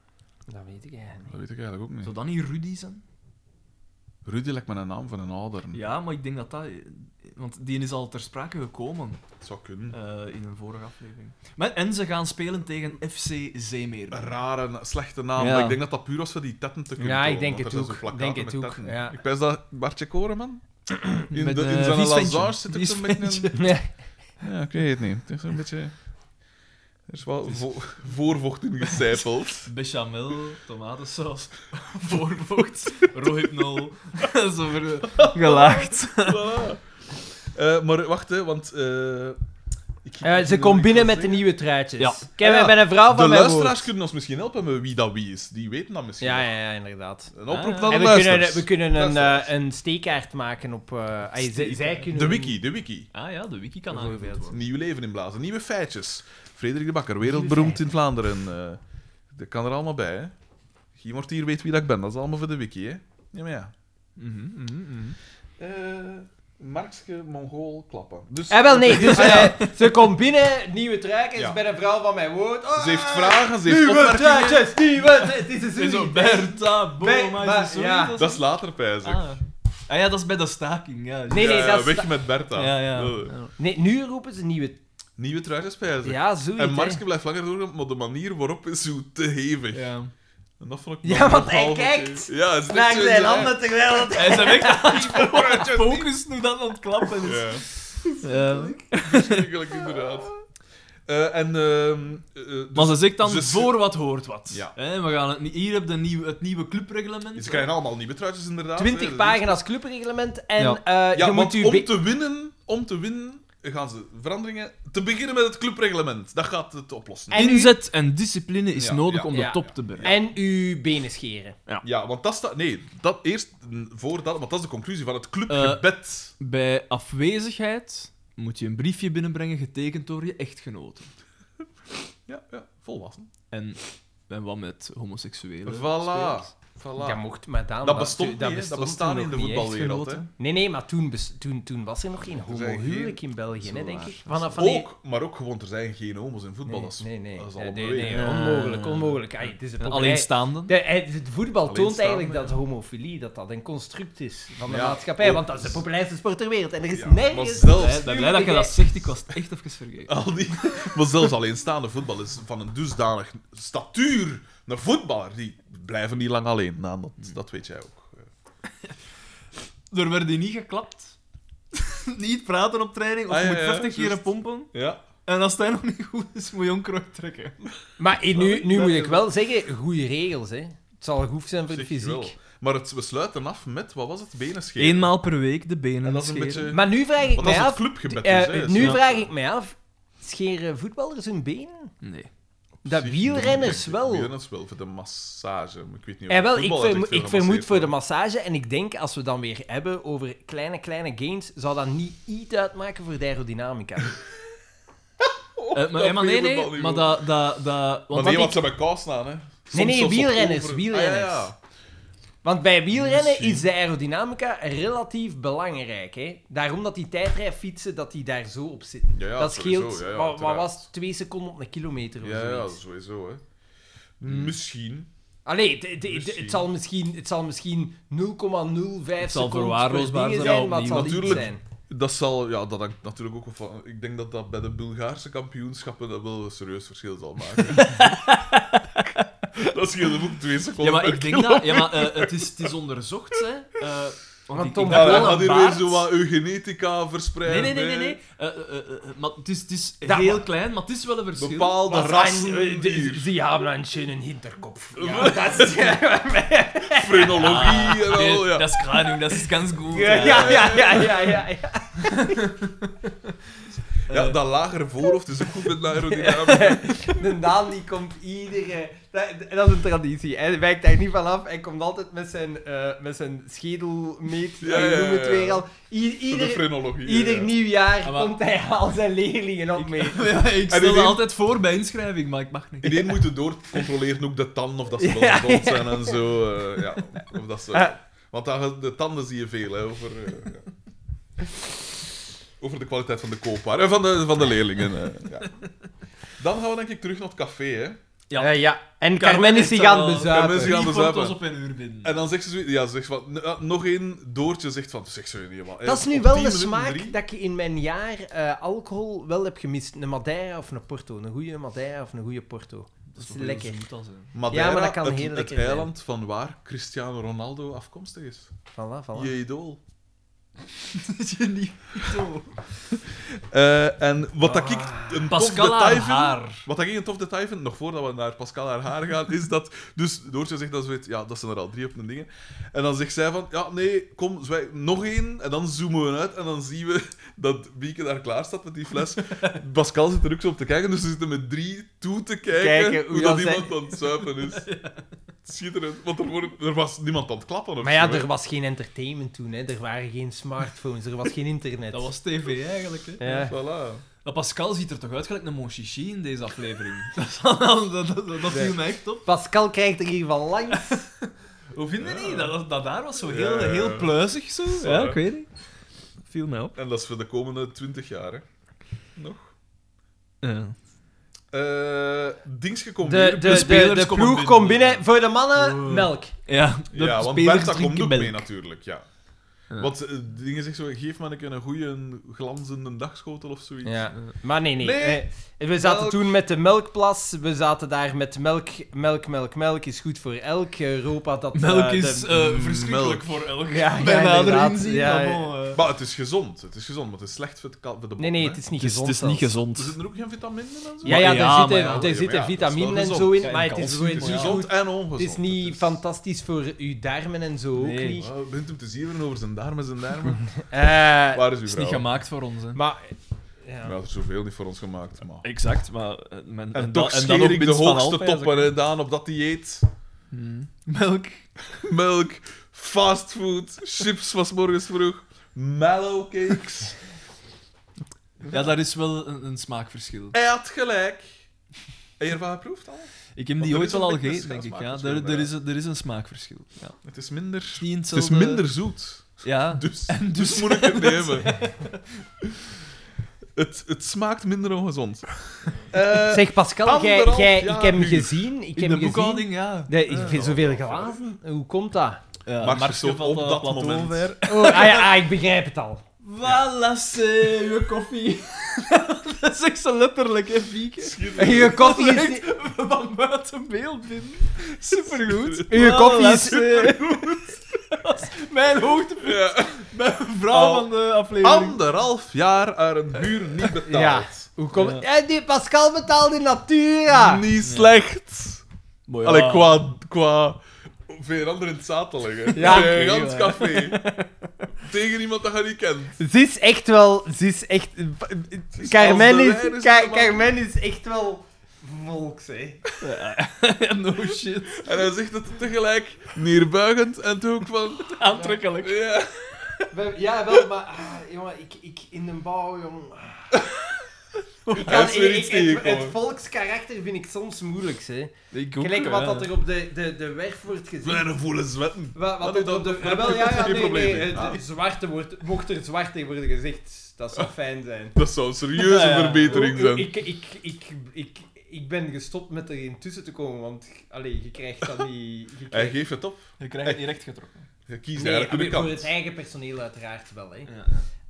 S2: Dat weet ik eigenlijk
S1: Dat weet ik eigenlijk ook
S3: Zou
S1: niet.
S3: dat niet Rudy zijn?
S1: Rudy lijkt me een naam van een ouder.
S3: Ja, maar ik denk dat dat... Want die is al ter sprake gekomen
S1: Het zou kunnen.
S3: eh, in een vorige aflevering. Maar, en ze gaan spelen tegen FC
S1: Een
S3: Zeemeer.
S1: rare, na- slechte naam.
S3: Ja.
S1: maar ik denk dat dat puur was voor die tetten te kunnen
S2: Ja, ik
S1: tonen,
S2: denk
S1: want
S2: het
S1: er zijn
S2: ook.
S1: zo plakkaten
S2: Denk het
S1: met
S2: ook,
S1: tetten.
S2: ja.
S1: Ik pens dat Bartje Koreman in,
S3: Met,
S1: de, in
S3: eh,
S1: zijn
S3: vies ventje.
S1: lazar zit ook
S3: Vies
S1: zo'n beetje...
S3: ventje.
S1: een-
S2: niet. Nee.
S1: Ja, ik weet het niet. Het is een beetje... Er is wel vo- voorvocht in gecijpeld.
S3: Bechamel, tomatensaus, voorvocht, rohypnol. Zo ver- gelaagd.
S1: Voilà. Eh, maar wacht, hè, want... eh, ik-
S2: Eh,
S1: ik-
S2: ze
S1: ik-
S2: komt
S1: ik-
S2: binnen
S1: ik-
S2: met de nieuwe truitjes.
S3: Ja.
S2: Ik heb
S1: Ja.
S2: bij een vrouw
S1: De
S2: van mij
S1: luisteraars kunnen ons misschien helpen met wie dat wie is. Die weten dat misschien
S2: Ja,
S1: wel.
S2: ja, ja, inderdaad.
S1: Een oproep
S3: Ah.
S1: naar de
S2: En we kunnen,
S1: luisteraars.
S2: we kunnen een,
S1: Luisteraars.
S2: eh, een steekkaart maken op... eh, ah, zij, zij kunnen
S1: De wiki, de wiki.
S3: Ah ja, de wiki kan
S2: Bijvoorbeeld.
S3: aangevuld worden.
S1: Nieuw leven inblazen. Nieuwe feitjes. Frederik de Bakker, wereldberoemd in Vlaanderen. eh dat kan er allemaal bij, hè. Guy Mortier weet wie dat ik ben. Dat is allemaal voor de wiki, hè. Ja, maar ja. Eh,
S3: Mhm, mhm, mhm.
S1: Markske, Mongool, klappen. Dus,
S2: Ah, wel, nee. Dus, eh, ze komt binnen, nieuwe truitjes,
S1: Ja.
S2: bij een vrouw van mijn woord. Oh,
S1: Ze heeft vragen, ze heeft
S2: Nieuwe
S1: opmerkingen.
S2: truitjes, nieuwe truitjes. Het is een
S3: En zo,
S2: zoen.
S3: Bertha,
S2: Bij-
S3: Boma,
S2: maar-
S3: is het zo
S2: ja.
S3: niet
S1: Dat is later, pijs ik.
S3: Ah. ah ja, dat is bij de staking. Ja,
S2: Nee, nee,
S1: Ja,
S2: dat is-
S1: Weg met Bertha.
S3: ja, ja.
S1: Eh,
S2: Nee, nu roepen ze nieuwe...
S1: Nieuwe truitjes, pijs ik.
S2: Ja, zoiets.
S1: En
S2: hè.
S1: Markske blijft langer door, maar de manier waarop is zo te hevig.
S3: Ja.
S1: En dat vond ik
S2: Ja,
S1: nog-
S2: want hij
S1: nogal
S2: kijkt
S1: verkeerd. Ja, het is
S2: naar
S1: echt zo-
S2: zijn
S1: ja.
S2: handen terwijl... het-
S3: Hij is hem echt aan het focus nu dat aan het klappen is.
S1: Ja.
S3: Ja.
S1: Verschrikkelijk, inderdaad. Eh, en, ehm, eh, dus-
S3: Maar ze zegt dan,
S1: Ze-
S3: voor wat hoort wat.
S1: Ja.
S3: Hè, we gaan het, niet- hier heb je nieuw, het nieuwe clubreglement.
S1: ze krijgen allemaal nieuwe truitjes, inderdaad. hè,
S2: 20
S1: dus-
S2: pagina's clubreglement en
S3: Ja.
S2: eh,
S1: Ja,
S2: je
S1: want
S2: moet u...
S1: om
S2: be-
S1: te winnen, om te winnen, gaan ze veranderingen... Te beginnen met het clubreglement. Dat gaat het oplossen.
S2: En- u-
S3: Inzet en discipline is
S1: Ja,
S3: nodig
S1: ja,
S3: om
S2: ja,
S3: de top
S1: ja.
S3: te bereiken.
S2: En uw benen scheren.
S1: Ja, want dat staat... Nee, dat eerst mm, voordat... Want dat is de conclusie van het
S2: Eh,
S1: clubgebed.
S3: Bij afwezigheid moet je een briefje binnenbrengen getekend door je echtgenoten.
S1: Ja, ja, volwassen.
S3: En, en wat met homoseksuelen.
S1: Voilà.
S3: spelers?
S1: voilà.
S2: Dat mocht, maar dan...
S1: dat bestond niet, hè. dat
S3: bestond
S1: bestaat niet in de
S3: nog niet,
S1: voetbalwereld. Hè.
S3: echtgenoten.
S2: Nee, nee, maar toen, bes- toen, toen was er nog geen
S1: zijn
S2: homohuwelijk in België,
S3: Zo
S2: hè, denk
S3: waar.
S2: ik. Vanaf van die-
S1: Ook, maar ook gewoon, er zijn geen homo's in voetbal.
S2: Nee,
S1: dat is-
S2: nee, nee.
S1: dat is
S2: Eh,
S1: al
S2: nee,
S1: bewezen.
S2: nee,
S3: Ja.
S2: onmogelijk, onmogelijk. Ai, het is een
S3: En
S2: populair-
S3: Alleenstaanden.
S2: De, eh, het voetbal toont
S1: Alleenstaande,
S2: eigenlijk dat
S1: ja.
S2: homofilie dat dat een construct is van de
S1: Ja.
S2: maatschappij,
S1: Oh.
S2: want dat is de populairste sport ter wereld. En er is
S1: Ja, maar
S2: nergens...
S1: zelfs
S3: Ik ben blij dat je dat zegt, ik was het echt even vergeten.
S1: Al die, maar zelfs alleenstaande voetbal is van een dusdanig statuur. Een voetballer, die blijven niet lang alleen. Nou,
S2: Hmm.
S1: dat, dat weet jij ook.
S3: Er werd hier niet geklapt. niet praten op training, of
S1: Ah,
S3: je
S1: ja,
S3: moet
S1: ja,
S3: 50 keer
S1: juist.
S3: pompen.
S1: Ja.
S3: En als het nog niet goed is, moet je onkruid trekken.
S2: Maar eh, nu, nu
S1: Dat
S2: moet
S1: is-
S2: ik wel zeggen, goede regels, hè. Het zal goed zijn voor de
S1: Zeg je wel.
S2: fysiek.
S1: Maar het, we sluiten af met, wat was het? Benen scheren.
S3: Eenmaal per week de benen
S1: En dat is een
S3: scheren.
S1: beetje...
S2: Maar nu vraag
S1: Want
S2: ik
S1: dat
S2: mij
S1: is het
S2: af...
S1: clubgebed
S2: eh,
S1: dus, hè.
S2: nu
S1: Ja.
S2: vraag ik mij af, scheren voetballers hun benen?
S3: Nee.
S2: Dat
S1: Zich
S2: wielrenners
S1: doen,
S2: wel.
S1: Wielrenners wel, voor de massage. maar Ik weet niet of
S2: Eh, wel, ik,
S1: voetballers
S2: vermo-
S1: echt veel
S2: ik vermoed
S1: gemasseerd
S2: voor de
S1: worden.
S2: massage. En ik denk, als we dan weer hebben over kleine, kleine gains, zal dat niet iets uitmaken voor de aerodynamica.
S3: Eh, maar,
S1: Oh, dat
S3: eh, maar nee,
S1: weet ik
S3: nee,
S1: wel niet,
S3: maar
S1: hoor.
S3: dat... dat, dat
S1: Maar
S3: want
S1: nee,
S3: wat
S1: want
S3: ik-
S1: ze hebben kous aan, hè.
S2: Nee, nee,
S1: zelfs op
S2: wielrenners,
S1: over-
S2: wielrenners.
S1: Ah, ja,
S2: Want bij wielrennen
S1: Misschien.
S2: is de aerodynamica relatief belangrijk. Hè? Daarom dat die tijdrijfietsen, dat die daar zo op zitten.
S1: Ja, ja,
S2: dat
S1: sowieso,
S2: scheelt,
S1: ja, ja,
S2: wat, wat
S1: uiteraard.
S2: was het, twee seconden op een kilometer of
S1: ja. Ja, ja,
S2: zoiets.
S1: sowieso, hè.
S2: Hmm.
S1: Misschien.
S2: Allee, de- de- de-
S1: Misschien.
S2: het zal misschien, het zal misschien 0,05
S3: Het zal
S2: seconden
S3: verwaarloosbaar
S2: dingen
S3: zijn,
S2: zijn, maar het zal niet
S1: natuurlijk.
S2: zijn.
S1: Dat zal, ja, dat hangt natuurlijk ook van. Ik denk dat dat bij de Bulgaarse kampioenschappen dat wel een serieus verschil zal maken. dat scheelt ook twee
S3: Ja,
S1: seconden.
S3: maar
S1: per
S3: ik denk
S1: kilo.
S3: dat... Ja, maar eh, het, is, het is onderzocht, hè. Eh, want
S2: Want
S3: ik,
S2: Tom
S3: ik
S1: Ja,
S3: dacht
S1: hij
S3: wel
S1: gaat
S3: een
S1: hier weer
S3: baard.
S1: zo wat eugenetica verspreiden.
S3: Nee, nee, nee, nee. nee.
S1: hè.
S3: Eh, eh, eh, eh, maar het is, het is
S2: Dat
S3: heel
S2: wa-
S3: klein, maar het is wel een verschil.
S1: Bepaalde
S2: Was
S1: rassen.
S2: ein-
S1: hier.
S2: Sie haben einen schönen Hinterkopf. Ja, das ist ja,
S1: Frenologie en
S3: Nee,
S1: al. Ja.
S3: Dat is Kranium, dat is ganz goed. Eh,
S2: ja,
S3: hè.
S2: ja, ja, ja, ja, ja.
S1: ja,
S3: eh,
S1: dat lagere voorhoofd is ook goed met de aerodynamica.
S2: De Daan die komt iedere... Dat, dat is een traditie. Hij wijkt daar niet van af. Hij komt altijd met zijn, eh, met zijn schedelmeet.
S1: Ja,
S2: ik noem
S1: ja,
S2: het
S1: ja,
S2: weer
S1: ja.
S2: al. I-
S1: Voor de
S2: ieder
S1: frenologie.
S2: ieder
S1: ja.
S2: nieuwjaar
S3: Ah, maar-
S2: komt hij al zijn leerlingen op mee.
S3: Ja,
S1: En
S3: ik stel dat
S1: iedereen-
S3: altijd voor bij inschrijving, maar ik mag niet.
S1: In één moeten doorcontroleren ook de tanden of dat ze wel
S2: Ja,
S1: gezond zijn en zo. eh, ja. of dat ze,
S2: Ah.
S1: Want daar, de tanden zie je veel hè, over, eh, ja. over de eh, kwaliteit van de koopwaar en van de, van de leerlingen. eh, ja. Dan gaan we denk ik terug naar het café. Hè.
S3: Ja.
S2: Eh, ja. En
S3: Carmen
S2: Carmen is
S3: heeft
S2: die
S3: daar
S2: gaan
S3: al-
S1: Carmen
S2: bezuipen.
S1: is die- gaan
S3: Die komt
S1: bezuipen.
S3: ons op een uur binnen.
S1: En dan zegt ze zoiets... Ja, ze zegt van... n- ah, nog één doortje zegt van... Zeg zo niet, man.
S2: Dat is nu
S1: eh, Op
S2: wel
S1: tien
S2: de
S1: minuten
S2: smaak
S1: drie.
S2: dat ik in mijn jaar eh, alcohol wel heb gemist. Een Madeira of een Porto. Een goede Madeira of een goede Porto. Dat is
S3: toch wel
S2: lekker.
S3: zoet als, hè.
S1: Madeira,
S2: Ja, maar dat kan
S1: het,
S2: heel
S1: het
S2: lekker zijn.
S1: eiland van waar Cristiano Ronaldo afkomstig is.
S2: Voilà, voilà.
S1: Je idool.
S3: Dat je niet doet.
S1: Eh, en wat dat ik een
S3: Pascal
S1: tof
S3: haar
S1: detail vind,
S3: haar.
S1: Wat dat ik een tof detail vind, nog voordat we naar Pascal haar haar gaan, is dat... Dus Doortje zegt dat ze weet, ja, dat zijn er al drie op een dingen. En dan zegt zij van, ja, nee, kom, zwij, nog één. En dan zoomen we uit en dan zien we dat Bieke daar klaar staat met die fles. Pascal zit er ook zo op te kijken, dus ze zitten met drie toe te kijken,
S2: Kijken hoe
S1: hoe,
S2: dat
S1: dat
S2: zij-
S1: iemand aan het zuipen is. Schitterend, want er, wordt- er was niemand aan het klappen of
S2: Maar ja,
S1: zo, hè.
S2: er was geen entertainment toen. Hè. Er waren geen smartphones, er was geen internet.
S3: Dat was tv eigenlijk, hè.
S2: Ja.
S1: Voilà.
S3: Dat Pascal ziet er toch uit gelijk een mon chichi in deze aflevering. dat, is allemaal- dat, dat, dat viel mij echt op.
S2: Pascal krijgt er hier van langs.
S3: Hoe vind je niet? Dat, dat, dat daar was zo
S1: Ja,
S3: heel,
S1: ja, ja.
S3: heel pluizig zo.
S1: Ja, ik
S3: weet niet. Viel mij op.
S1: En dat is voor de komende 20 jaar, hè. Nog. Eh Dings
S2: De,
S1: gekomen.
S2: de, de, de,
S3: spelers komen
S2: ploeg
S3: binnen.
S2: komt binnen. Voor de mannen, melk.
S3: Ja,
S1: Ja, want
S3: spelers
S1: Bertha komt
S3: drinken
S1: ook mee
S3: melk.
S1: natuurlijk, ja.
S3: Ja.
S1: Want eh, dingen zegt zo, geef me een keer een goede glanzende dagschotel of zoiets.
S2: Ja. Maar nee, nee.
S1: Nee.
S2: Eh, we zaten
S1: Melk.
S2: toen met de melkplas. We zaten daar met melk, melk, melk, melk is goed voor elk. Europa dat... eh,
S3: Melk
S2: de-
S3: is eh,
S1: Mm,
S3: verschrikkelijk voor elk.
S2: Ja, ja,
S3: Bij nader
S2: inderdaad.
S3: inzien.
S2: Ja,
S3: maar
S2: ja.
S3: bon, eh.
S1: Maar het is gezond, het is gezond, want het is slecht voor, het kal- voor de
S2: Nee,
S1: botten,
S2: nee,
S1: hè.
S2: het is niet
S5: Het is,
S2: gezond
S5: het is niet
S2: zelfs.
S5: gezond.
S1: Er zitten er ook geen vitaminen en zo?
S2: Ja, ja,
S5: Ja,
S2: er zitten,
S5: maar ja,
S1: dat
S2: er
S1: is
S2: zitten
S1: wel
S2: vitaminen en
S1: gezond.
S2: zo in,
S3: Ja, en
S2: maar het is,
S3: calcium,
S2: zo in-
S1: Het is
S2: niet
S1: gezond
S2: goed.
S1: en ongezond.
S2: Het is niet fantastisch voor uw darmen en zo ook
S3: Nee.
S2: niet.
S1: Oh, het begint hem te zieren over zijn darmen, zijn darmen.
S2: Eh,
S1: Waar is uw
S3: is niet
S1: vrouw?
S3: gemaakt voor ons, hè.
S2: maar...
S1: Ja, er is zoveel niet voor ons gemaakt, maar...
S5: Exact, maar... eh, men- dan-
S1: En, toch
S5: en
S1: scheer
S5: nog
S1: ik de
S5: winst van
S1: hoogste
S5: Alpijs,
S1: toppen, hè, Daan, op dat dieet.
S3: Melk.
S1: melk, fastfood, chips was morgens vroeg, mallow cakes.
S3: Ja, daar is wel een, een smaakverschil.
S1: Hij had gelijk. Heb je ervan geproefd al?
S3: Ik heb
S1: Want
S3: die
S1: er
S3: ooit
S1: is
S3: wel
S1: een
S3: al
S1: beetje
S3: gegeten, denk ik. Ja.
S1: smaakverschil,
S3: Er, er,
S1: ja.
S3: is, een- er is een smaakverschil. Ja.
S1: Het is minder...
S3: Het is niet
S1: Het is
S3: hetzelfde-
S1: minder zoet.
S3: Ja.
S1: Dus,
S3: En
S1: dus,
S3: dus-
S1: moet ik het nemen. het, het smaakt minder ongezond. Eh,
S2: Zeg, Pascal, jij,
S1: anderhalf
S2: jij,
S1: jaar
S2: ik heb hem
S1: huur.
S2: gezien.
S3: In
S2: Ik heb
S3: de
S2: hem gezien.
S3: boekhouding, ja.
S2: Nee, ik vind zoveel glazen. Hoe komt dat?
S3: ja
S1: Marx
S3: Marx
S1: stond
S3: valt
S1: op
S3: aan
S1: dat
S3: plateau
S1: moment.
S3: ver.
S2: Oh, ah, ja, ah, ik begrijp het al.
S3: Voilà, c'est je koffie. dat zegt ze letterlijk, hè, Fieke.
S2: Uw koffie is, niet-
S3: Van buiten beeld binnen. Supergoed. Oh,
S2: Uw
S3: Voilà,
S2: koffie is-
S3: c'est- Dat is mijn hoogtepunt.
S1: ja.
S3: Mijn vrouw
S1: Al-
S3: van de aflevering.
S1: Anderhalf jaar aan een buur niet
S2: Ja.
S1: betaald.
S2: Hoe komt... Eh, die Pascal betaalt in Natura.
S1: Niet slecht.
S3: Mooi,
S1: Allee,
S2: ah.
S3: ja.
S1: qua... qua... Veel anderen in het zaten leggen.
S2: Ja,
S1: Bij een
S3: oké,
S1: gans
S3: maar-
S1: café. Tegen iemand dat je niet kent.
S2: Ze is echt wel... Ze is echt...
S1: is
S2: Carmen
S1: als de
S2: is,
S1: wijn is
S2: Car-
S1: het allemaal-
S2: Carmen is echt wel... Volks, hè.
S3: no shit.
S1: En hij zegt het tegelijk neerbuigend en toen ook van...
S3: Aantrekkelijk.
S1: Ja.
S2: We- Ja, wel, maar... ah, jongen, ik, ik... In de bouw, jong... ah. Ik
S1: Hij is weer
S2: ik-
S1: iets
S2: ik- het,
S1: tegengekomen.
S2: het volkskarakter vind ik soms moeilijk, hè.
S3: Ik ook,
S2: Gelijk wat
S3: ja.
S2: dat er op de, de, de werf wordt gezien.
S1: Kleine voelen zwetten.
S2: Wat,
S1: Ah,
S2: wat
S1: nee,
S2: er op
S1: dat-
S2: de...
S1: daar
S2: ah, wel,
S1: heb ik
S2: ja,
S1: geen
S2: ja, nee,
S1: probleem
S2: nee.
S1: mee.
S2: het-
S1: Ah.
S2: Zwarte wordt... Mocht er zwarte worden gezegd, dat zou fijn zijn.
S1: Dat zou een serieuze
S3: Ja, ja.
S1: verbetering zijn.
S2: Ik, ik, ik, ik, ik ben gestopt met erin tussen te komen, want allee, je krijgt dat niet. Je
S1: Hij
S2: krijgt...
S1: geeft het op.
S3: Je krijgt het niet recht getrokken.
S1: Je kiest
S2: Nee,
S1: eigenlijk
S2: allee,
S1: de
S2: voor
S1: kant.
S2: het eigen personeel uiteraard wel. Hè.
S3: Ja.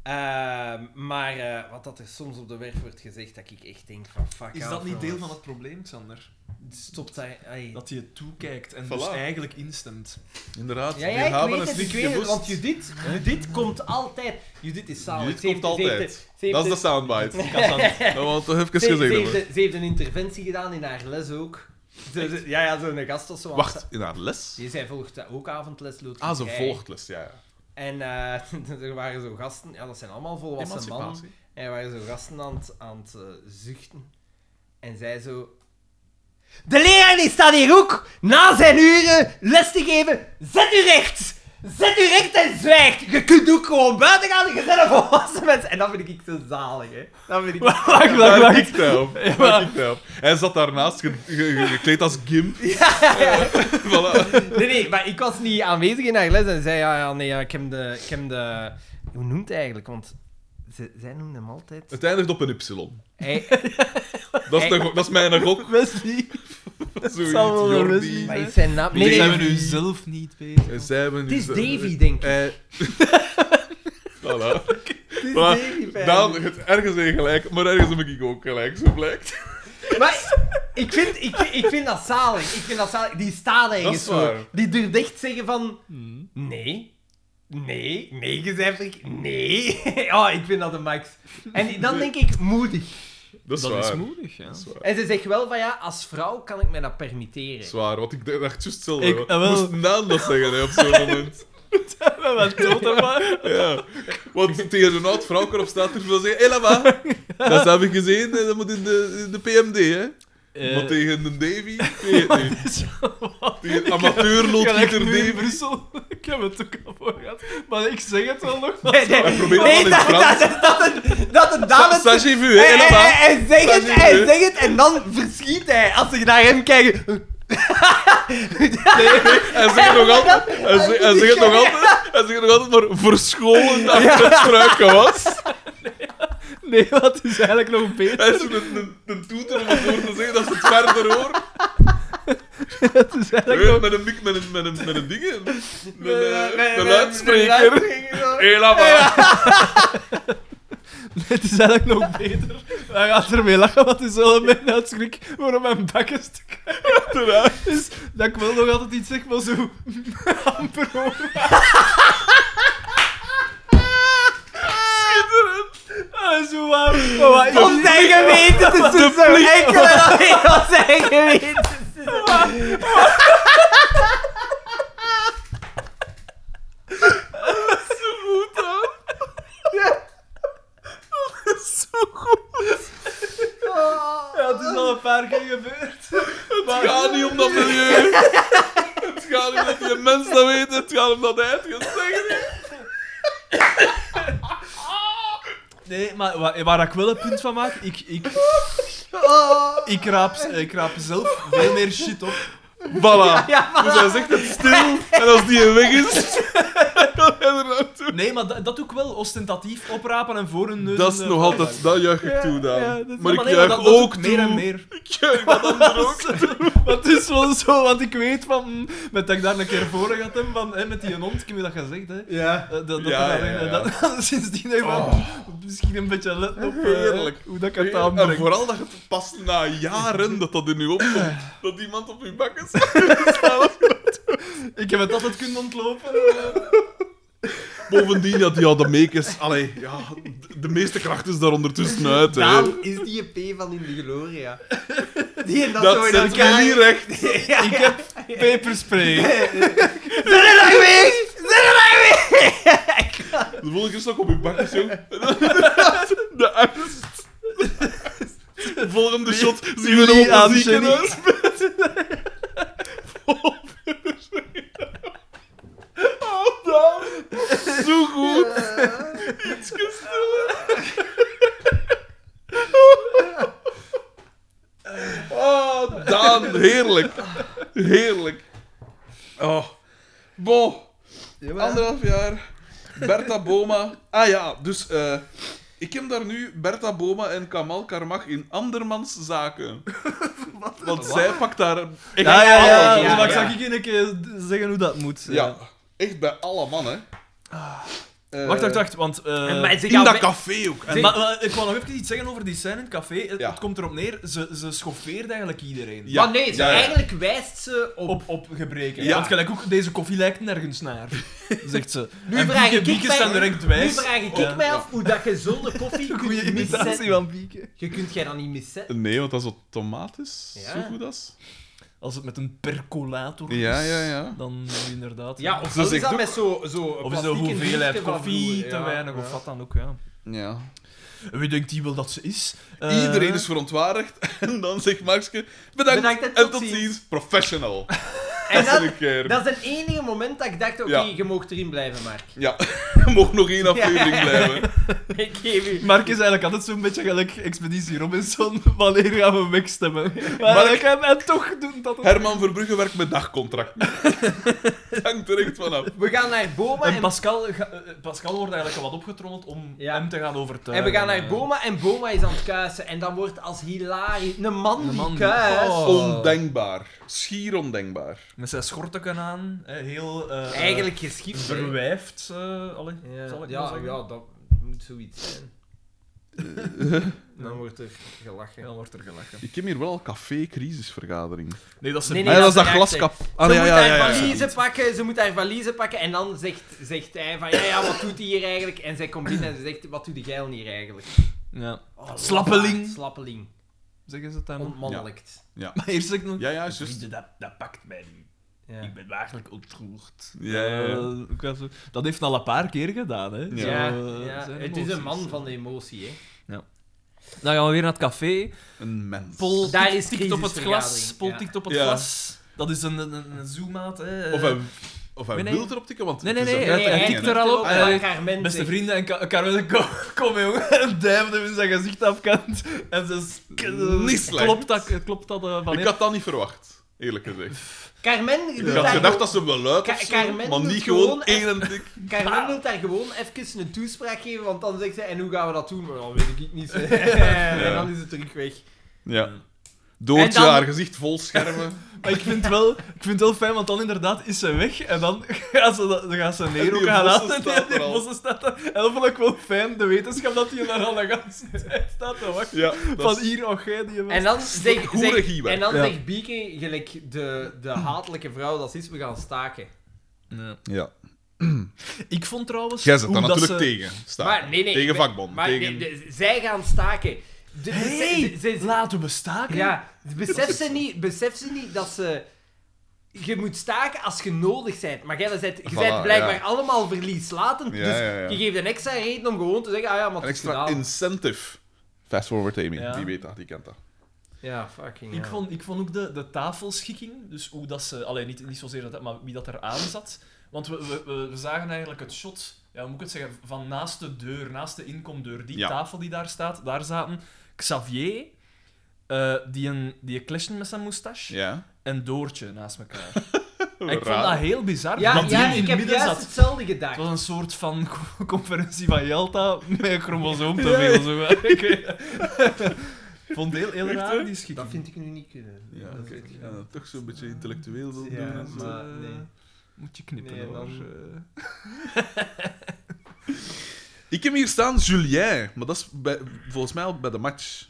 S2: Ehm, maar eh, wat dat er soms op de werf wordt gezegd, dat ik echt denk van fuck
S3: Is dat niet deel van het probleem, Xander?
S2: Stopt daar... allee.
S3: Dat je toekijkt en
S1: Voilà.
S3: dus eigenlijk instemt.
S1: Inderdaad,
S2: Ja,
S1: we
S2: ja, ik
S1: hebben
S2: weet het, ik
S1: sneaky
S2: weet het,
S1: geboost.
S2: want Judith, Judith komt altijd... Judith is zalig.
S1: Judith
S2: Ze heeft-
S1: komt
S2: ze heeft-
S1: altijd.
S2: ze heeft
S1: Dat is de
S2: een-
S1: soundbite.
S3: Ik had dat-
S1: Dat wil ik toch even
S2: ze-
S1: gezegd
S2: ze
S1: hebben.
S2: heeft een- Ze heeft een interventie gedaan in haar les ook. Ze- ze- ja, ja, zo'n gast of zo. aan het-
S1: Wacht, in haar les?
S2: Die zij volgt eh, ook avondles loodgieterij.
S1: Ah, ze volgt les, ja. ja.
S2: En eh, er waren zo gasten, ja, dat zijn allemaal volwassen mannen.
S1: Emancipatie.
S2: En er waren zo gasten aan het, aan het eh, zuchten. En zij zo. De leraar die staat hier ook na zijn uren les te geven. Zet u recht! Zet u recht en zwijgt! Je kunt ook gewoon buiten gaan, je bent een volwassen mens. En dat vind ik zo zalig, hè? Dat vind ik.
S3: Wacht, wacht,
S1: Daar
S3: wacht.
S1: kikt hij op. Daar kikt hij op. Hij zat daarnaast ge- ge- ge- gekleed als gimp. Voilà.
S2: Nee, nee, maar ik was niet aanwezig in haar les en zei, ja, ja nee, ja, ik heb de... Ik heb de... Hoe noemt hij eigenlijk? Want ze, zij noemde hem altijd...
S1: Het eindigt op een Y.
S2: Hij,
S1: Dat is, de go- dat is mijn gok.
S3: Wesley.
S1: Zoiets,
S3: zal wel een
S1: Jordi.
S3: Wesley
S2: Maar
S3: zijn.
S2: is zijn naam...
S1: Nee,
S3: Nee,
S1: nee,
S3: zijn we
S1: nee.
S3: nu zelf niet bezig?
S1: En zij hebben
S2: Het
S1: nu
S2: is
S1: zo-
S2: Davy, denk ik.
S1: Eh, voilà.
S2: Het is
S1: Voilà.
S2: Davy Pijn.
S1: Daan, het ergens ben je gelijk, maar ergens heb ik ook gelijk, zo blijkt.
S2: Maar ik vind, ik, ik vind dat zalig. Ik vind dat zalig. Die staat
S1: Dat
S2: ergens
S1: is
S2: voor.
S1: waar.
S2: Die durft echt zeggen van...
S3: Hmm.
S2: Nee. Nee. Nee, je bent verk- Nee. Oh, ik vind dat de max. En dan denk ik moedig.
S1: Dat is
S3: Dat
S1: waar.
S3: is moedig, ja.
S1: Dat is waar.
S2: En ze zegt wel van ja, als vrouw kan ik mij dat permitteren.
S1: Zwaar, want ik dacht juist hetzelfde.
S3: Ik-
S1: Ik
S3: eh, wel.
S1: moest Daan dat zeggen hè, op zo'n moment.
S3: Ja, maar dood, hè, maar.
S1: Ja. Want tegen zo'n oud vrouwke op straat durf je wel zeggen: Hé, lama, dat heb ik gezien, eh, dat moet in de, in de PMD, hè?
S3: Eh,
S1: Maar tegen een Davy? Nee, nee.
S3: dat is wel wat.
S1: Tegen
S3: Gelijk
S1: amateurloodgieter
S3: nu in
S1: Davy.
S3: Brussel. Ik heb het ook al voor gehad. Maar ik zeg het wel nog.
S2: Nee, nee.
S1: Hij probeert
S2: Nee,
S1: allemaal in
S2: dat,
S1: Frans.
S2: dat, dat, een- dat een dame...
S1: Sachez vu,
S2: Hij-
S1: hè,
S2: hij-
S1: lama.
S2: hij- hij zegt het,
S1: Sachez
S2: hij
S1: vu.
S2: zegt het, en dan verschiet hij. Als ik naar hem kijk...
S1: Hij zegt het nog altijd, hij zegt, hij zegt het nog altijd, hij zegt het nog altijd maar verscholen achter het struikgewas.
S3: Nee, dat is eigenlijk nog beter.
S1: Hij is zo'n een, een, een toeter om het woord te zeggen dat ze het verder hoor.
S3: Dat is eigenlijk nog...
S1: Met een mic, met een, met een, met een ding, een, een, eh,
S2: Met-
S1: een
S2: met- met
S1: luidspreker.
S2: luidspreker, zo.
S1: Hé, lama.
S3: Het is eigenlijk nog beter. Hij gaat ermee lachen, want hij is wel een beetje uit schrik voor om mijn bek eens te krijgen. Dus dat ik wel nog altijd iets zeg, maar zo... amper hoor. Ah, zo waar. Maar wat is
S1: Oh,
S2: Op zijn geweten te zoeken. Enkel en alleen op zijn geweten te
S3: Ja, het is al een paar keer gebeurd.
S1: Het gaat niet om dat milieu. Het gaat niet om dat die mens dat weet, het gaat om dat hij het gaat zeggen.
S3: Nee, maar waar, waar ik wel een punt van maak, ik, ik,
S2: Oh.
S3: ik, raap, ik raap zelf veel meer shit op.
S1: Voilà.
S2: Ja,
S1: Dus hij zegt het stil, en als die weg
S3: Dus
S1: is, dan ga je er naartoe.
S3: Nee, maar dat, dat doe ik wel ostentatief oprapen en voor hun neus.
S1: Dat is
S3: en, eh,
S1: nog
S3: vooruit.
S1: altijd, dat juich ik toe, Daan.
S3: Ja, dat is-
S1: maar ik
S3: nee, dat-
S1: juich
S3: dat doe
S1: ook
S3: ik
S1: toe.
S3: meer en meer.
S1: Ik juich dat ander ook.
S3: Want het is wel zo, want ik weet van... mm, Met dat ik daar een keer voor gehad heb, van, hè, met die hond, ik heb je dat gezegd, hè.
S2: Ja.
S3: Eh, Dat, dat,
S1: Ja,
S3: dat-
S1: ja, ja.
S3: dat- sindsdien denk ik van, misschien een beetje letten op eh,
S1: Heerlijk.
S3: hoe dat ik het
S1: En
S3: aanbreng.
S1: vooral dat het pas na jaren dat dat in u opkomt, dat iemand op uw bak is. gegaan.
S3: Ik heb het altijd kunnen ontlopen. eh.
S1: Bovendien, ja, die hadden meekes. Allee, ja, de- de meeste kracht is daar ondertussen uit. Hè.
S2: Daan is die E P van in de Gloria. Die en dat,
S1: Dat
S2: zo in
S1: zet
S2: elkaar.
S1: me niet recht.
S2: Ja,
S3: Ik heb peperspray.
S2: Zet het daar weg! Zet het daar weg!
S1: De volgende keer sta ik op uw bak, jong. De angst. Volgende shot zien we
S3: Jullie
S1: nog op
S3: aan
S1: een
S3: de
S1: ziekenhuis. Oh, Daan. Zo goed. Ietske stiller. Oh, Daan. Heerlijk. Heerlijk. Oh. Bon. Anderhalf jaar. Bertha Boma. Ah ja, dus eh, ik heb daar nu Bertha Boma en Kamal Karmach in andermans zaken. Want zij pakt daar echt
S3: Ja, ja, ja.
S1: alles
S2: ja,
S1: in.
S3: Maar ik
S2: ja.
S3: zag dus ik een keer zeggen hoe dat moet. eh.
S1: Ja, echt bij alle mannen.
S2: Ah.
S1: Eh,
S3: Wacht, wacht, wacht, want... eh,
S2: En mij- ze
S1: In
S2: gaan
S1: dat
S2: we-
S1: café ook. En
S3: maar, maar ik wil nog even iets zeggen over die scène in het café. Het,
S1: Ja.
S3: het komt erop neer, ze, ze schoffeert eigenlijk iedereen.
S1: Ja,
S2: maar nee, ze-
S1: ja, ja.
S2: eigenlijk wijst ze op...
S3: Op, op gebreken.
S1: Ja.
S3: Want gelijk ook, deze koffie lijkt nergens naar, zegt ze.
S2: Nu
S3: en
S2: vraag
S3: Bieke-
S2: ik
S3: Bieke
S2: mij-
S3: staan direct
S2: Nu
S3: wijs.
S2: vraag ik
S3: Ja.
S2: mij af hoe dat je zo'n koffie
S3: Goeie
S2: kunt
S3: imitatie
S2: miszetten.
S3: van Bieke.
S2: Je kunt jij dat niet miszetten.
S1: Nee, want dat is automatisch.
S2: Ja.
S1: Zo goed als.
S3: Als het met een percolator is,
S1: Ja, ja, ja.
S3: dan inderdaad.
S2: Ja, of
S1: Ze
S2: is
S1: zegt
S2: dat
S1: ook-
S2: met zo'n zo
S3: Of is dat hoeveelheid koffie, te weinig, of wat dan ook, ja.
S1: Ja.
S3: En Wie denkt die wel dat ze is? Eh,
S1: Iedereen is verontwaardigd. En dan zegt Maxke, bedankt,
S2: Bedankt en
S1: en
S2: tot
S1: tot
S2: ziens.
S1: ziens. Professional.
S2: En
S1: Dat is
S2: dat,
S1: een keer.
S2: dat is het enige moment dat ik dacht, oké,
S1: Ja.
S2: je mag erin blijven, Mark.
S1: Ja, mocht nog één aflevering blijven.
S2: Ik geef u...
S3: Mark is eigenlijk altijd zo'n beetje gelijk Expeditie Robinson. Wanneer gaan we wegstemmen? Maar
S1: Mark-
S3: Mark... en, en toch doen dat het...
S1: Herman Verbrugge werkt met dagcontract. Het hangt er echt vanaf.
S2: We gaan naar Boma en,
S3: En Pascal, ga- eh, Pascal wordt eigenlijk al wat opgetrommeld om
S2: Ja.
S3: hem te gaan overtuigen. eh,
S2: en we gaan naar Boma en Boma is aan het kuisen. En dan wordt als hilarisch... Een man
S3: Een man
S2: die
S3: die-
S2: kuist.
S3: Oh.
S1: Ondenkbaar. Schier ondenkbaar.
S3: Met zijn schorteken aan, eh, heel... eh,
S2: Eigenlijk geschikt. hè.
S3: Verwijfd, eh allee,
S2: Ja,
S3: zal ik
S2: ja,
S3: maar zeggen.
S2: ja, dat moet zoiets zijn. dan wordt er gelachen.
S3: Dan wordt er gelachen.
S1: Ik heb hier wel al café-crisisvergadering.
S3: Nee, dat is
S2: Nee,
S1: ah, ja, dat is dat
S2: erachter.
S1: glaskap. Ah,
S2: ze
S1: ja,
S2: moet
S1: ja, ja,
S2: haar
S1: ja, ja.
S2: valiezen pakken, ze moet haar valiezen pakken. En dan zegt, zegt hij van, ja, ja, wat doet hij hier eigenlijk? En zij komt binnen en ze zegt, wat doet de geil hier eigenlijk?
S3: Ja.
S2: Oh,
S3: Slappeling.
S2: Slappeling.
S3: Zeggen ze het dan?
S2: Ontmannelijkt.
S3: Maar eerst zeg ik nog...
S1: Ja, ja, juist.
S3: Vrienden, dat, dat pakt mij nu.
S2: Ja.
S3: Ik ben eigenlijk ontroerd.
S1: Ja, ja, ja.
S3: Eh, ik was zo- dat heeft hij al een paar keer gedaan, hè. Zo,
S2: Ja,
S3: eh,
S2: ja.
S3: zijn
S2: het is een
S3: emoties.
S2: man van de emotie, hè.
S3: Dan gaan we weer naar het café.
S1: Een mens.
S3: Pol
S2: Daar
S3: tikt-
S2: is
S3: tikt op het glas.
S2: crisisvergadering,
S3: Pol
S2: ja.
S3: tikt op het
S1: Ja.
S3: glas. Dat is een, een, een zoomaat, hè.
S1: Of hij, of hij
S3: eh, Nee, nee.
S1: wil erop tikken, want
S3: Nee,
S1: het
S3: nee,
S1: is
S3: nee,
S1: een
S3: nee,
S1: wet
S3: hij
S1: ding,
S3: tikt
S1: hè.
S3: er al op.
S2: En dan
S3: Eh,
S2: Carmen
S3: Beste
S2: zegt-
S3: vrienden, en Ka- Carmen, kom, kom jongen, en duimde hem in zijn gezicht afkant. En ze s-
S1: Niet slecht.
S3: Klopt dat, klopt dat eh, van
S1: Ik had dat niet verwacht, eerlijk gezegd.
S2: Carmen doet
S1: Ik
S2: daar
S1: had gedacht
S2: gewoon-
S1: dat ze wel luid
S2: Ka-
S1: of zo,
S2: Carmen
S1: maar
S2: doet
S1: niet gewoon
S2: gewoon
S1: één en tik.
S2: Carmen wil daar gewoon even een toespraak geven, want dan zegt ze, en hoe gaan we dat doen? Maar dat weet ik niet. en dan is het terug weg.
S1: Ja.
S2: En
S1: Doortje,
S2: dan-
S1: haar gezicht vol schermen.
S3: Maar ik vind, wel, ik vind het wel fijn, want dan inderdaad is ze weg en dan gaat ze, dan gaat ze neer ook
S1: Die
S3: gaan
S1: bossen
S3: laten.
S1: staat
S3: Ja, die
S1: er al.
S3: bossen staat er. En dat vond ik wel fijn, de wetenschap dat hij daar al de ganse tijd staat te wachten.
S1: Ja,
S3: Van
S1: dat is-
S3: hier, och jij die was.
S2: En dan zegt
S1: goede
S2: zeg,
S1: Guy,
S2: en dan
S3: ja.
S2: zegt Bieke, gelijk de, de hatelijke vrouw, dat is, we gaan staken.
S3: Ja.
S1: Ja.
S3: Ik vond trouwens...
S1: Jij zit
S3: hoe
S1: daar
S3: dat eh,
S1: natuurlijk
S3: ze-
S1: tegen. Sta.
S2: Maar nee, nee.
S1: tegen
S2: ik ben-
S1: vakbond.
S2: Maar
S1: tegen...
S2: nee, de- zij gaan staken. De, de-
S3: Hey,
S2: ze- ze- ze-
S3: laten we staken.
S2: ja, beseft ze, niet, beseft ze niet dat ze... Je moet staken als je nodig bent. Maar jij bent, je
S1: Voilà,
S2: bent blijkbaar
S1: ja.
S2: allemaal verlieslatend.
S1: Ja,
S2: dus
S1: ja, ja.
S2: je geeft een extra reden om gewoon te zeggen, ah ja, maar
S1: Een
S2: het is
S1: extra
S2: gedaan.
S1: incentive. Fast forward Amy,
S3: Ja.
S1: die weet dat, die kent dat.
S2: Ja, fucking
S3: Ik
S2: ja.
S3: vond, ik vond ook de, de tafelschikking, dus hoe dat ze, alleen niet, niet zozeer dat, maar wie dat er aan zat. Want we, we, we- we zagen eigenlijk het shot, ja, hoe moet ik het zeggen, van naast de deur, naast de inkomdeur, die
S1: Ja.
S3: tafel die daar staat, daar zaten Xavier, eh, die een, die een clashen met zijn moustache,
S1: Ja.
S3: en Doortje naast elkaar. En ik vond
S1: Raar.
S3: dat heel bizar,
S2: Ja,
S3: dat
S2: ja,
S3: die in
S2: ik
S3: het
S2: heb
S3: midden
S2: juist
S3: zat.
S2: hetzelfde
S3: Het
S2: gedacht.
S3: was een soort van co- conferentie van Jelta met een chromosoom te veel. Zo. hè. Ik vond het heel, heel raar, die schikking.
S2: Dat vind ik nu niet kunnen.
S1: Ja,
S2: Dat
S1: kijk,
S2: vind ik-
S1: ja, toch zo'n beetje intellectueel wil
S2: Ja,
S1: doen. En zo.
S2: maar nee.
S3: Moet je knippen
S2: Nee,
S3: hoor.
S2: dan-
S3: eh.
S1: Ik heb hier staan Julien, maar dat is bij, volgens mij al bij de match.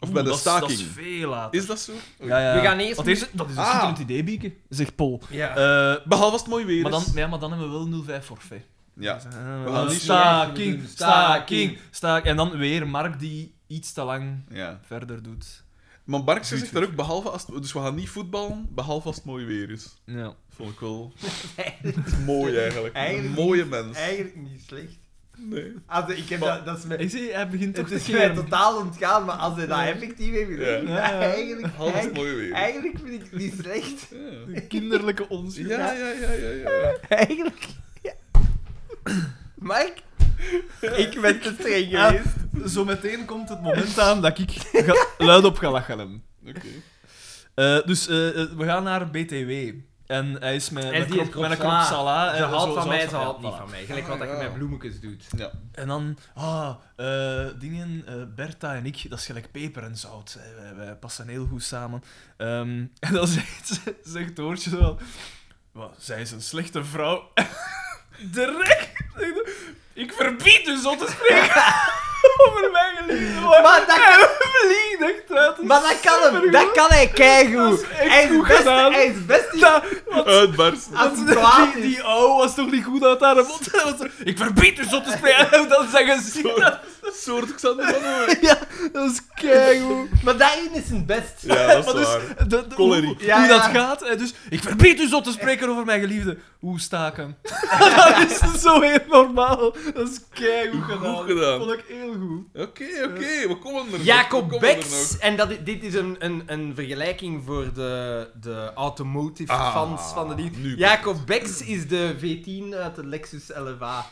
S1: Of bij de
S3: Oeh, dat is-
S1: staking.
S3: Dat is veel later.
S1: Is dat zo?
S3: Ja, ja.
S2: We gaan eerst
S3: Want
S2: met-
S3: eerst- dat is een
S1: Ah.
S3: schitterend idee, Bieke, zegt Paul.
S2: Ja.
S3: Eh,
S1: Behalve als het mooi weer is.
S3: maar, dan, ja, maar dan hebben we wel 0,5 forfait.
S1: Ja.
S3: Dus, eh,
S1: gaan niet
S3: staking,
S2: zo-
S3: staking, staking. En dan weer Mark die iets te lang
S1: ja.
S3: verder doet.
S1: Maar Barkse zegt daar ook, behalve als het, dus we gaan niet voetballen, behalve als het mooi weer is.
S3: Ja.
S1: Vond ik wel mooi eigenlijk.
S2: Eigenlijk-
S1: Een mooie mens.
S2: Eigenlijk niet slecht.
S1: Nee.
S2: Also, ik heb
S1: Maar-
S2: dat, dat is me,
S3: Ik zie, hij begint toch
S2: het
S3: te
S2: is mij
S3: keren.
S2: totaal ontgaan, maar als hij dat effectief heeft gedaan,
S3: Ja. Ja.
S2: eigenlijk,
S1: Behalve als het
S2: eigenlijk,
S1: mooi weer is.
S2: eigenlijk vind ik het niet slecht.
S1: Ja.
S3: De kinderlijke onzin.
S1: Ja, ja, ja, ja, ja.
S2: Eigenlijk. ja. Mike, ik ben te streng
S3: Ja.
S2: geweest.
S3: Zometeen komt het moment aan dat ik ga- luid op ga lachen. hem.
S1: Oké.
S3: Eh, dus eh, eh, we gaan naar BTW. En hij is met,
S2: En
S3: met,
S2: die
S3: krop, met een
S2: krop
S3: krop
S2: sla.
S3: sala.
S2: Ze
S3: en zo-
S2: haalt van
S3: zo-
S2: mij,
S3: ja,
S2: ze haalt
S3: voilà.
S2: niet van mij. Gelijk
S1: Ah,
S2: wat dat je
S1: ja.
S2: met bloemetjes doet.
S1: Ja.
S3: En dan, ah, eh, dingen, eh, Bertha en ik, dat is gelijk peper en zout. hè. Wij, wij passen heel goed samen. Ehm, en dan zegt, zegt Doortje zo wel, "Wat, zij is een slechte vrouw. Direct! zegt ze, Ik verbied u zo te spreken over mijn geliefde.
S2: Maar dat kan-
S3: vliegt echt uit.
S2: Maar dat kan hem,
S3: Supergoed.
S2: dat kan hij
S3: Dat
S2: keigoed.
S3: is echt
S2: Hij is
S3: goed
S2: best,
S3: gedaan.
S2: hij is best niet
S3: Dat-
S1: Uitbarsten.
S2: als
S3: Die-
S2: het kwaad
S3: die,
S2: is.
S3: die ouwe was toch niet goed uit haar mond? Dat was zo, ik verbied u zo te spreken. En dan zeggen ze dat.
S1: soort Xander van Ooi.
S3: Ja, dat is keigoed.
S2: Maar daarin is het best.
S1: Ja, dat is
S3: Maar dus,
S1: waar.
S3: de- de-
S1: Choleriek.
S3: Hoe,
S2: Ja,
S3: hoe
S2: ja.
S3: dat gaat. hè, Dus, ik verbied u zo te spreken over mijn geliefde. Hoe staken? dat is zo heel normaal. Dat is keigoed
S1: Goed
S3: gedaan.
S1: gedaan.
S3: Dat vond ik heel goed.
S1: Oké, oké, we komen er nog. we
S2: Jacob
S1: komen er nog.
S2: Becks. En dat, i- dit is een, een, een vergelijking voor de, de automotive
S1: Ah,
S2: fans van de
S1: nu
S2: lied.
S1: komt
S2: Jacob Becks is de V10 uit de Lexus LFA.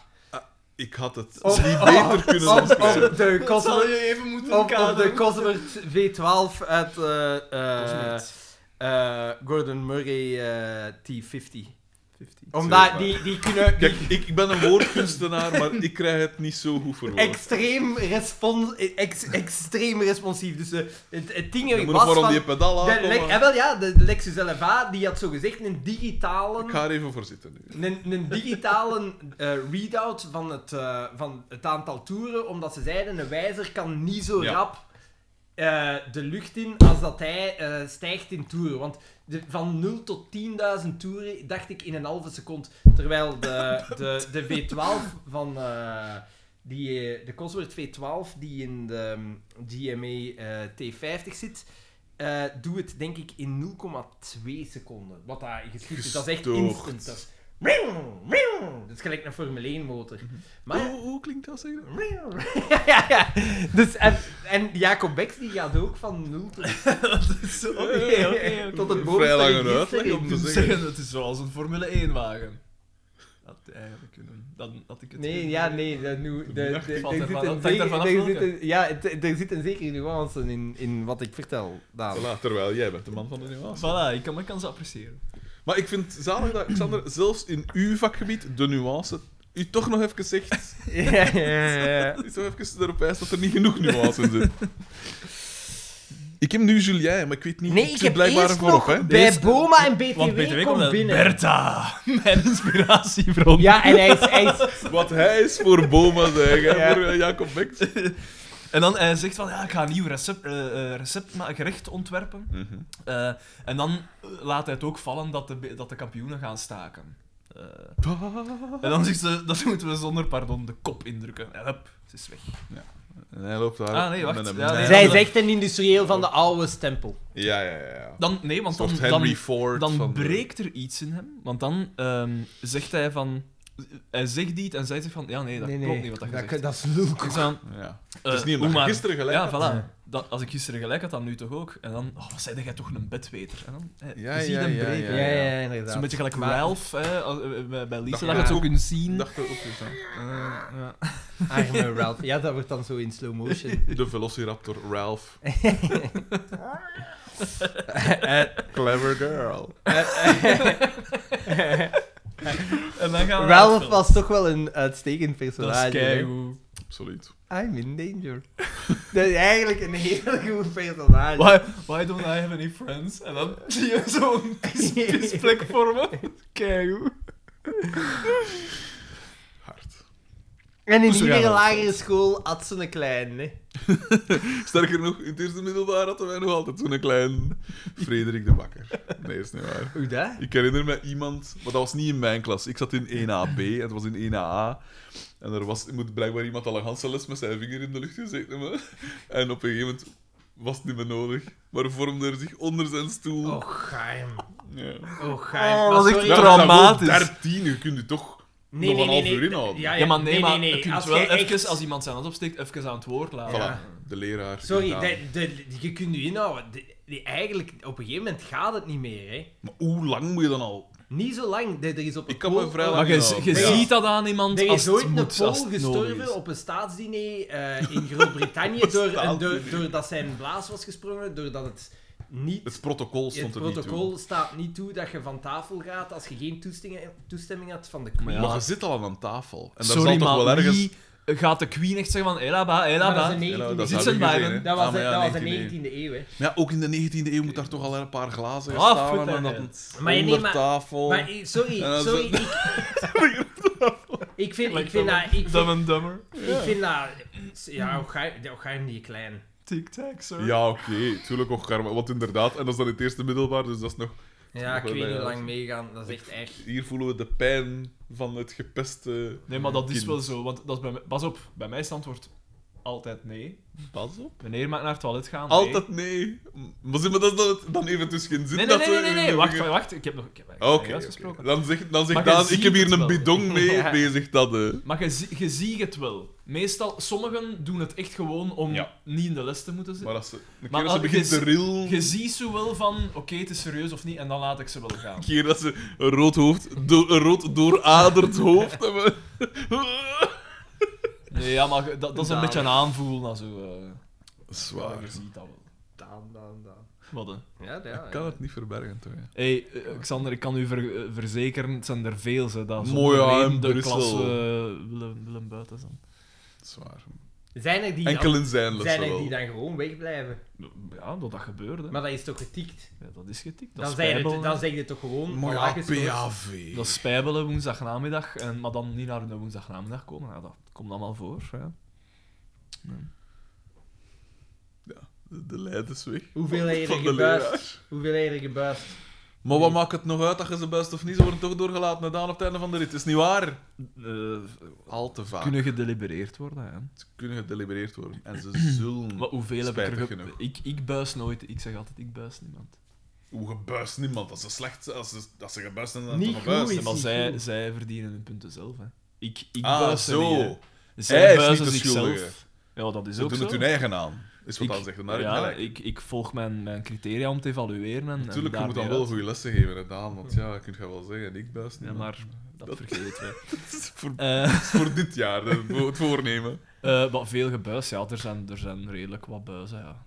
S1: Ik had het
S2: Of-
S1: niet beter kunnen
S2: Of, of
S1: omschrijven.
S2: de
S3: Dat zal
S2: Cosworth,
S3: je even moeten
S2: of, of de
S3: kaderen.
S2: Cosworth V12 uit eh, eh,
S3: Cosworth.
S2: eh, Gordon Murray eh, T50.
S3: 50.
S2: Omdat
S1: Zeker.
S2: die, die kunnen...
S1: Kijk, ik, ik ben een woordkunstenaar, maar ik krijg het niet zo goed voor woord.
S2: Extreem, respons, ex- extreem responsief. Dus eh, het, het ding
S1: Je moet
S2: was
S1: nog maar
S2: van...
S1: om die pedal
S2: De,
S1: aankomen.
S2: Lex- eh, wel, ja, de Lexus LFA die had zogezegd een
S1: Ik
S2: digitale,
S1: ga er even voor zitten nu.
S2: een, een digitale eh, readout van het, eh, van het aantal toeren, omdat ze zeiden een wijzer kan niet zo
S1: Ja.
S2: rap eh, de lucht in als dat hij eh, stijgt in toeren. Want de, van 0 tot 10.000 toeren dacht ik in een halve seconde. Terwijl de, de, de V12 van... eh, die, eh, de Cosworth V12 die in de mm, GMA eh, T50 zit, eh doe het denk ik in 0,2 seconden. Wat daar geschiet is, dat is echt
S1: Gestoord.
S2: instant. Dat is, Wauw, wauw. dat is gelijk een Formule 1 motor. Maar...
S1: Hoe, hoe klinkt dat, zeg je?
S2: wauw. ja, ja, ja. Dus, en, en Jacob Becks die gaat ook van 0 tot,
S3: Oké, oké, oké.
S2: tot het
S1: Vrij
S2: bovenste
S1: lange
S2: register
S1: uitleg
S2: in.
S1: om te
S3: Dus
S1: zeggen.
S3: zeggen, het is zoals een Formule 1-wagen. Dat had eigenlijk kunnen. Dan had ik het
S2: Nee,
S3: kunnen.
S2: ja, nee. dat nu, de,
S3: Valt
S2: de-
S3: ervan
S2: er
S3: af,
S2: zit
S3: hangt
S2: een
S3: ervan af
S2: zeker- er
S3: welke.
S2: zit een- ja, het- er zit een zekere nuance in, in wat ik vertel. Daan.
S1: Voilà, terwijl jij bent de man van de nuance.
S3: Voilà, ik kan mijn kansen appreciëren.
S1: Maar ik vind het zalig dat, Xander, zelfs in uw vakgebied, de nuance, u toch nog even zegt...
S2: Ja, ja, ja.
S1: U toch even erop wijst dat er niet genoeg nuance in zit. Ik heb nu Julien, maar ik weet niet...
S2: Nee,
S1: zit
S2: ik heb
S1: blijkbaar
S2: eerst
S1: er
S2: nog
S1: voorop, hè.
S2: bij
S3: Eerst-
S2: Boma en BTW,
S3: Want BTW
S2: kom
S3: komt uit
S2: binnen.
S3: Bertha, mijn inspiratiebron.
S2: Ja, en hij is... Hij is
S1: Wat hij is voor Boma, zeg. hè,
S2: Ja.
S1: Voor eh, Jacob Becks.
S3: En dan hij zegt van, ja, ik ga een nieuw recept, eh, eh, recept maar gerecht ontwerpen.
S1: Mhm.
S3: Eh, en dan laat hij het ook vallen dat de, be- dat de kampioenen gaan staken. Eh, en dan zegt ze, dat moeten we zonder pardon de kop indrukken. En hup, ze is weg.
S1: En hij loopt daar...
S3: Ah, nee, wacht.
S1: met een
S3: Ja, nee,
S1: mes.
S2: zij is echt een industrieel van de oude stempel.
S1: Ja, ja, ja. ja.
S3: Dan, nee, want
S1: Een
S3: dan,
S1: soort Henry
S3: dan,
S1: Ford
S3: dan
S1: van de-
S3: breekt er iets in hem. Want dan ehm, zegt hij van... Hij zegt iets en zij zegt van... Ja, nee, dat klopt niet wat dat gezegd
S2: Dat is lulk.
S3: is. Dan,
S1: Ja.
S3: eh,
S1: het is niet
S3: hoe
S1: omdat je
S3: maar-
S1: gisteren gelijk
S3: Ja,
S1: had.
S3: voilà.
S2: Ja.
S3: Dat, als ik gisteren gelijk had, dan nu toch ook. En dan... Oh, wat zei jij toch een bedweter? En dan eh,
S1: Ja,
S3: je ziet
S1: ja,
S3: hem
S1: ja,
S3: breken.
S2: Ja, ja, ja, inderdaad.
S3: Het is een beetje gelijk
S2: Maar-
S3: Ralph, hè, als- eh, eh, bij- bij Lisa,
S1: Ja.
S3: dat je het zo kunt zien.
S1: dacht er ook eens aan.
S3: Eh, ja.
S2: Arme Ralph. Ja, dat wordt dan zo in slow motion.
S1: De Velociraptor Ralph.
S2: Eh,
S1: Clever girl.
S3: En dan gaan we
S2: Ralph
S3: uitspelen.
S2: was toch wel een uitstekend
S3: Dat is
S2: personage. hè? Ah,
S3: keigoed.
S1: Absoluut.
S2: I'm in danger. Dat is eigenlijk een heel goed personage.
S3: Why, why don't I have any friends? En dan zie je zo'n pis- pisplek vormen.
S2: Ah,
S3: Keigoed.
S1: Hard.
S2: En in
S3: Dus we gaan
S2: iedere
S3: wel
S2: lagere school had ze een klein. Hè?
S1: Sterker nog, in het eerste middelbaar hadden wij nog altijd zo'n klein Frederik de Bakker. Nee, is niet waar.
S2: Hoe dat?
S1: Ik herinner me iemand, maar dat was niet in mijn klas. Ik zat in 1AB en het was in 1AA. En er was, moet blijkbaar iemand al een ganse les met zijn vinger in de lucht gezeten hebben. En op een gegeven moment was het niet meer nodig. Maar vormde er zich onder zijn stoel.
S2: Oh, geheim.
S1: Ja.
S2: Oh, geheim.
S3: Oh,
S2: Maar
S3: was ik
S2: sorry,
S1: Ja,
S3: trouw-
S1: dat is dan gewoon
S3: Traumatisch.
S1: 13, je kunt je toch nog een half uur inhouden.
S2: Ja,
S3: Ja, maar nee, maar
S2: nee,
S3: je kunt
S2: als
S3: wel
S2: jij
S3: even,
S2: echt-
S3: als iemand zijn hand opsteekt, even aan het woord laten.
S1: Voilà,
S2: Ja.
S1: de leraar.
S2: Sorry,
S1: inderdaad.
S2: de, de, je kunt je inhouden. De- die- eigenlijk, op een gegeven moment gaat het niet meer. Hè.
S1: Maar hoe lang moet je dan al?
S2: niet zo lang. De- er is op
S1: Ik
S2: een
S1: kan me
S2: pool-
S1: vrij
S2: oh,
S1: lang-
S3: Maar je
S1: Ja.
S3: je
S2: Ja.
S3: ziet dat aan iemand
S2: Er
S3: als
S2: is ooit
S3: het
S2: een
S3: moet, als
S2: Pool
S3: het nodig
S2: gestorven
S3: is.
S2: op een staatsdiner eh, in Groot-Brittannië door, en door,
S1: Staatsdiner.
S2: doordat zijn blaas was gesprongen, doordat het niet...
S1: Het protocol
S2: Het
S1: stond er niet
S2: protocol
S1: toe.
S2: staat niet toe dat je van tafel gaat als je geen toestemming, toestemming had van de
S3: Maar
S2: Queen.
S3: ja,
S1: Maar je zit al aan tafel. En dat
S3: Sorry,
S1: zal toch wel
S3: maar
S1: ergens...
S3: wie eh, gaat de queen echt zeggen van "Ela ba, ela
S2: Maar dat
S3: ba.
S2: is
S1: Ja,
S2: een 19e
S1: dat
S3: Zit
S1: zou
S3: zijn
S1: ik
S3: bij
S1: gezien,
S3: hem.
S1: hè.
S2: Dat was,
S1: Ah, maar ja,
S2: dat was de
S1: 19e.
S2: 19e eeuw, hè.
S1: Maar ja, ook in de 19e eeuw moet daar toch al een paar glazen gaan
S3: Ah,
S1: staan
S3: fut,
S1: en
S3: hè,
S1: dan
S2: Maar je
S1: onder
S2: neemt maar-
S1: tafel.
S2: Maar eh, sorry,
S1: En dan
S2: sorry,
S1: zo-
S2: ik... Ik vind, ik
S3: Like
S2: vind dat... Ik
S3: Dumb
S2: vind,
S3: and Dumber.
S2: ik vind dat... Ja, hoe ga je- hoe ga je hem die klein?
S3: Tic Tac, sir.
S1: Ja, oké, tuurlijk ook Garma. Want inderdaad, en dat is dan in het eerste middelbaar, dus dat is nog...
S2: Ja,
S1: nog
S2: ik
S1: wel
S2: weet niet hoe
S1: bij,
S2: lang
S1: ja.
S2: meegaan. Dat is echt echt...
S1: Hier voelen we de pijn van het gepeste...
S3: Nee, maar dat is
S1: kind.
S3: wel zo. Want dat is bij mij- pas op, bij mij is het antwoord altijd nee.
S1: Pas op.
S3: Meneer mag naar het toilet gaan. nee.
S1: Altijd nee. Maar, zie, maar dat is dan, het- dan even tussen geen zin.
S3: Nee, nee,
S1: dat
S3: nee,
S1: we-
S3: nee, nee, nee, Wacht, wacht, wacht. Ik heb nog. Ik heb
S1: Oké,
S3: okay,
S1: oké.
S3: gesproken.
S1: dan zegt dan zeg
S3: Maar je
S1: Daan, ik
S3: ziet
S1: heb hier
S3: het
S1: een
S3: wel.
S1: bidon mee
S3: Ja.
S1: bezig. Dat, eh.
S3: Maar je, zie- je ziet het wel. Meestal, sommigen doen het echt gewoon om
S1: Ja.
S3: niet in de les te moeten zitten.
S1: Maar als ze, een
S3: Maar
S1: keer als ze
S3: al-
S1: begint
S3: je
S1: te rillen,
S3: Je
S1: een
S3: ziet zo wel van, oké, het is serieus of niet, en dan laat ik ze wel gaan.
S1: keer dat ze een rood hoofd, do- een rood dooraderd hoofd hebben.
S3: Nee, ja, maar je- dat, dat is een
S2: Daan.
S3: beetje een aanvoelen. als zo, eh, ja,
S1: Zwaar.
S3: je ziet dat wel.
S2: Daan, daan, daan.
S3: Wat een-
S2: Ja, ja.
S1: Ik kan het niet verbergen, toch? hè.
S3: Hey, eh, Xander, ik kan u ver- eh, verzekeren, het zijn er veel, ze, dat zonder
S1: Mooi, ja, in
S3: reden de
S1: Brussel.
S3: klas eh, willen, willen buiten zijn.
S1: Zwaar.
S2: Zijn er die, dan,
S1: Enkelen zijn lessen
S2: zijn er die
S1: wel.
S2: dan gewoon wegblijven?
S3: Ja, dat, dat gebeurde.
S2: Maar dat is toch getikt?
S3: Ja, dat is getikt. Dat
S2: Dan,
S3: is
S2: zijn het-
S3: spijbelen.
S2: dan zeg je toch gewoon...
S1: Maar
S2: voilà,
S1: ja,
S2: gescoord.
S1: PAV.
S3: Dat is spijbelen woensdagnamiddag, en, maar dan niet naar de woensdagnamiddag komen. Ja, dat komt allemaal voor. Ja.
S1: De, de leid is weg.
S2: Hoeveel heb je
S1: Van
S2: er
S1: de
S2: gebuist?
S1: leraar.
S2: Hoeveel heb je er gebuist?
S1: Maar wat maakt het nog uit dat je ze buist of niet? Ze worden toch doorgelaten gedaan op het einde van de rit. Is niet waar?
S3: Eh,
S1: Al te vaak.
S3: kunnen gedelibereerd worden. Hè.
S1: Ze kunnen gedelibereerd worden. En ze zullen...
S3: Maar hoeveel heb ik er
S1: Spijtig
S3: ge-
S1: genoeg.
S3: ik, ik buis nooit. Ik zeg altijd, ik buis niemand.
S1: Hoe gebuist niemand. Als ze slecht zijn, als ze, als ze gebuist zijn, dan
S2: Niet
S1: toch
S2: goed
S1: gebuist.
S2: is-
S3: Ja, maar
S2: niet
S3: zij,
S2: goed.
S3: zij verdienen hun punten zelf. Hè. Ik, ik
S1: Ah,
S3: buis ze
S1: zo.
S3: niet, hè.
S1: Hij
S3: Zij
S1: is
S3: buizen
S1: niet de schuldige.
S3: zichzelf. Ja, dat is
S1: Ze
S3: ook
S1: doen
S3: zo.
S1: het hun eigen aan. Is wat
S3: Ik-
S1: dan zegt. En daar heb je
S3: ja,
S1: gelijk.
S3: ik, ik volg mijn, mijn criteria om te evalueren. En,
S1: Natuurlijk,
S3: en
S1: je moet dan
S3: daarmee
S1: wel
S3: uit.
S1: goede lessen geven, hè, Daan. Want ja, kun je wel zeggen, ik buis
S3: Ja,
S1: niemand.
S3: maar dat,
S1: Dat-
S3: vergeten we.
S1: Het is voor,
S3: Eh,
S1: het is voor dit jaar, hè, voor het voornemen.
S3: eh, maar veel gebuis, ja. Er zijn, er zijn redelijk wat buizen, ja.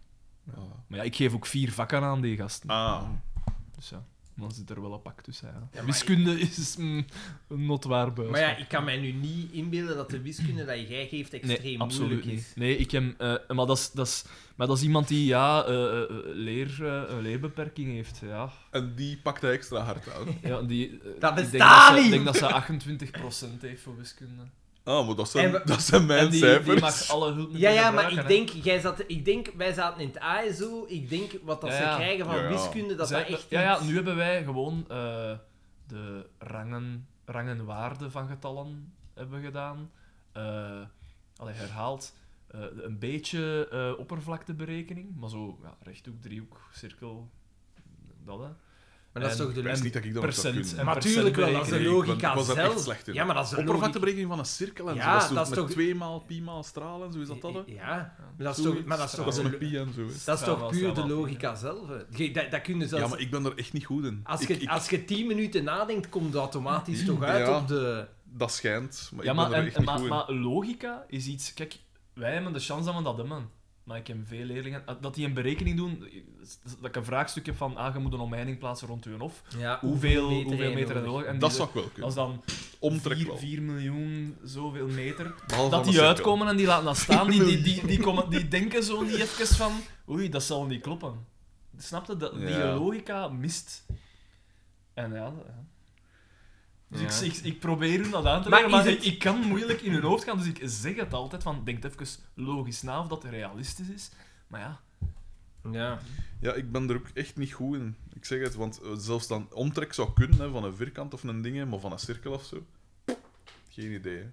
S1: Ah.
S3: Maar ja, ik geef ook vier vakken aan die gasten.
S1: Ah.
S3: Dus ja, dan zit er wel een pak tussen, ja.
S2: maar
S3: Wiskunde is mm, een notwaar buis.
S2: Maar ja, ik kan mij nu niet inbeelden dat de wiskunde dat jij geeft extreem
S3: Nee,
S2: moeilijk
S3: absoluut
S2: is.
S3: niet. Nee, ik heb, eh, maar, dat is, dat is, maar dat is iemand die ja, eh, eh, leer, eh, een leerbeperking heeft. Ja.
S1: En die pakt hij extra hard aan.
S3: Ja, die, eh,
S2: Dat
S3: ik denk
S2: bestaat
S3: dat ze-
S2: niet!
S3: Ik denk dat ze 28% heeft voor wiskunde.
S1: Ah, maar dat zijn,
S2: En we-
S1: dat zijn mijn
S3: en die,
S1: cijfers.
S3: die mag alle hulp
S2: Ja, ja, maar
S3: gebruiken,
S2: ik
S3: hè.
S2: denk, jij zat, ik denk, wij zaten in het ASO. Ik denk wat dat
S3: Ja,
S2: ze
S3: ja.
S2: krijgen van
S1: Ja, ja.
S2: wiskunde, dat
S3: Zij-
S2: dat echt.
S3: ja, ja,
S2: iets-
S3: nu hebben wij gewoon eh, de rangen, rangenwaarde van getallen hebben gedaan. Eh allee, herhaald. Eh, een beetje eh, oppervlakteberekening, maar zo ja, rechthoek, driehoek, cirkel, dat hè.
S2: Maar dat is
S3: en
S2: toch de
S1: Ik wist niet dat ik dat nog zou
S3: Percent.
S1: kunnen.
S3: en
S2: Maar tuurlijk wel, dat is de
S3: percentberekening.
S1: berekening.
S2: logica
S1: Ik was daar echt
S2: zelf.
S1: slecht in.
S2: Ja, maar dat is de logica.
S1: Oppervlakteberekening van een cirkel en
S2: Ja,
S1: zo. Dat is, zo
S2: dat is
S1: met
S2: toch-
S1: twee maal pi maal straal en zo
S3: Eh,
S1: is dat dat? hè?
S2: Ja, maar dat is
S1: Zoiets.
S2: toch, maar dat is
S1: Dat
S2: toch,
S1: is
S2: de-
S1: met pi en zo. hè.
S2: dat is toch
S3: Strava,
S2: puur de
S3: Strava.
S2: logica zelf. hè. Je- Dat, dat kun je zelfs.
S1: Ja, maar ik ben er echt niet goed in.
S2: als,
S1: Ik-
S2: je,
S1: ik- Hmm.
S2: als je tien minuten nadenkt, komt het automatisch toch
S1: Ja.
S2: uit op de.
S1: Dat schijnt, maar
S3: Ja,
S1: ik
S3: maar,
S1: ben er
S3: en-
S1: echt
S3: en
S1: niet
S3: maar,
S1: goed in.
S3: maar logica is iets... Kijk, wij hebben de chance dat we dat hebben. Maar ik heb veel leerlingen... ah, Dat die een berekening doen, dat ik een vraagstuk heb van ah, je moet een omheining plaatsen rond je hof.
S2: Ja,
S3: Hoeveel, hoeveel meter
S2: en
S3: en nodig? En
S1: dat
S3: die-
S1: zou ik wel kunnen.
S3: Als dan
S1: Omtrek
S3: 4,
S1: wel.
S3: miljoen zoveel meter...
S1: Behalve van
S3: Dat
S1: de
S3: die
S1: cirkel.
S3: uitkomen en die laten dat staan. Die, die, die, die, komen, die denken zo niet even van... Oei, dat zal niet kloppen. Snap je? Dat, Die
S1: Ja.
S3: logica mist. En ja... dat- ja. Dus
S1: Ja.
S3: ik, ik, ik probeer hun dat aan te
S2: Maar
S3: leggen, maar,
S2: is
S3: ik, ik kan moeilijk in hun hoofd gaan. Dus ik zeg het altijd van... Denk even logisch na of dat realistisch is. Maar ja...
S2: Ja.
S1: Ja, ik ben er ook echt niet goed in. Ik zeg het, want eh, zelfs dan omtrek zou kunnen hè, van een vierkant of een ding, hè, maar van een cirkel of zo. Geen idee. hè.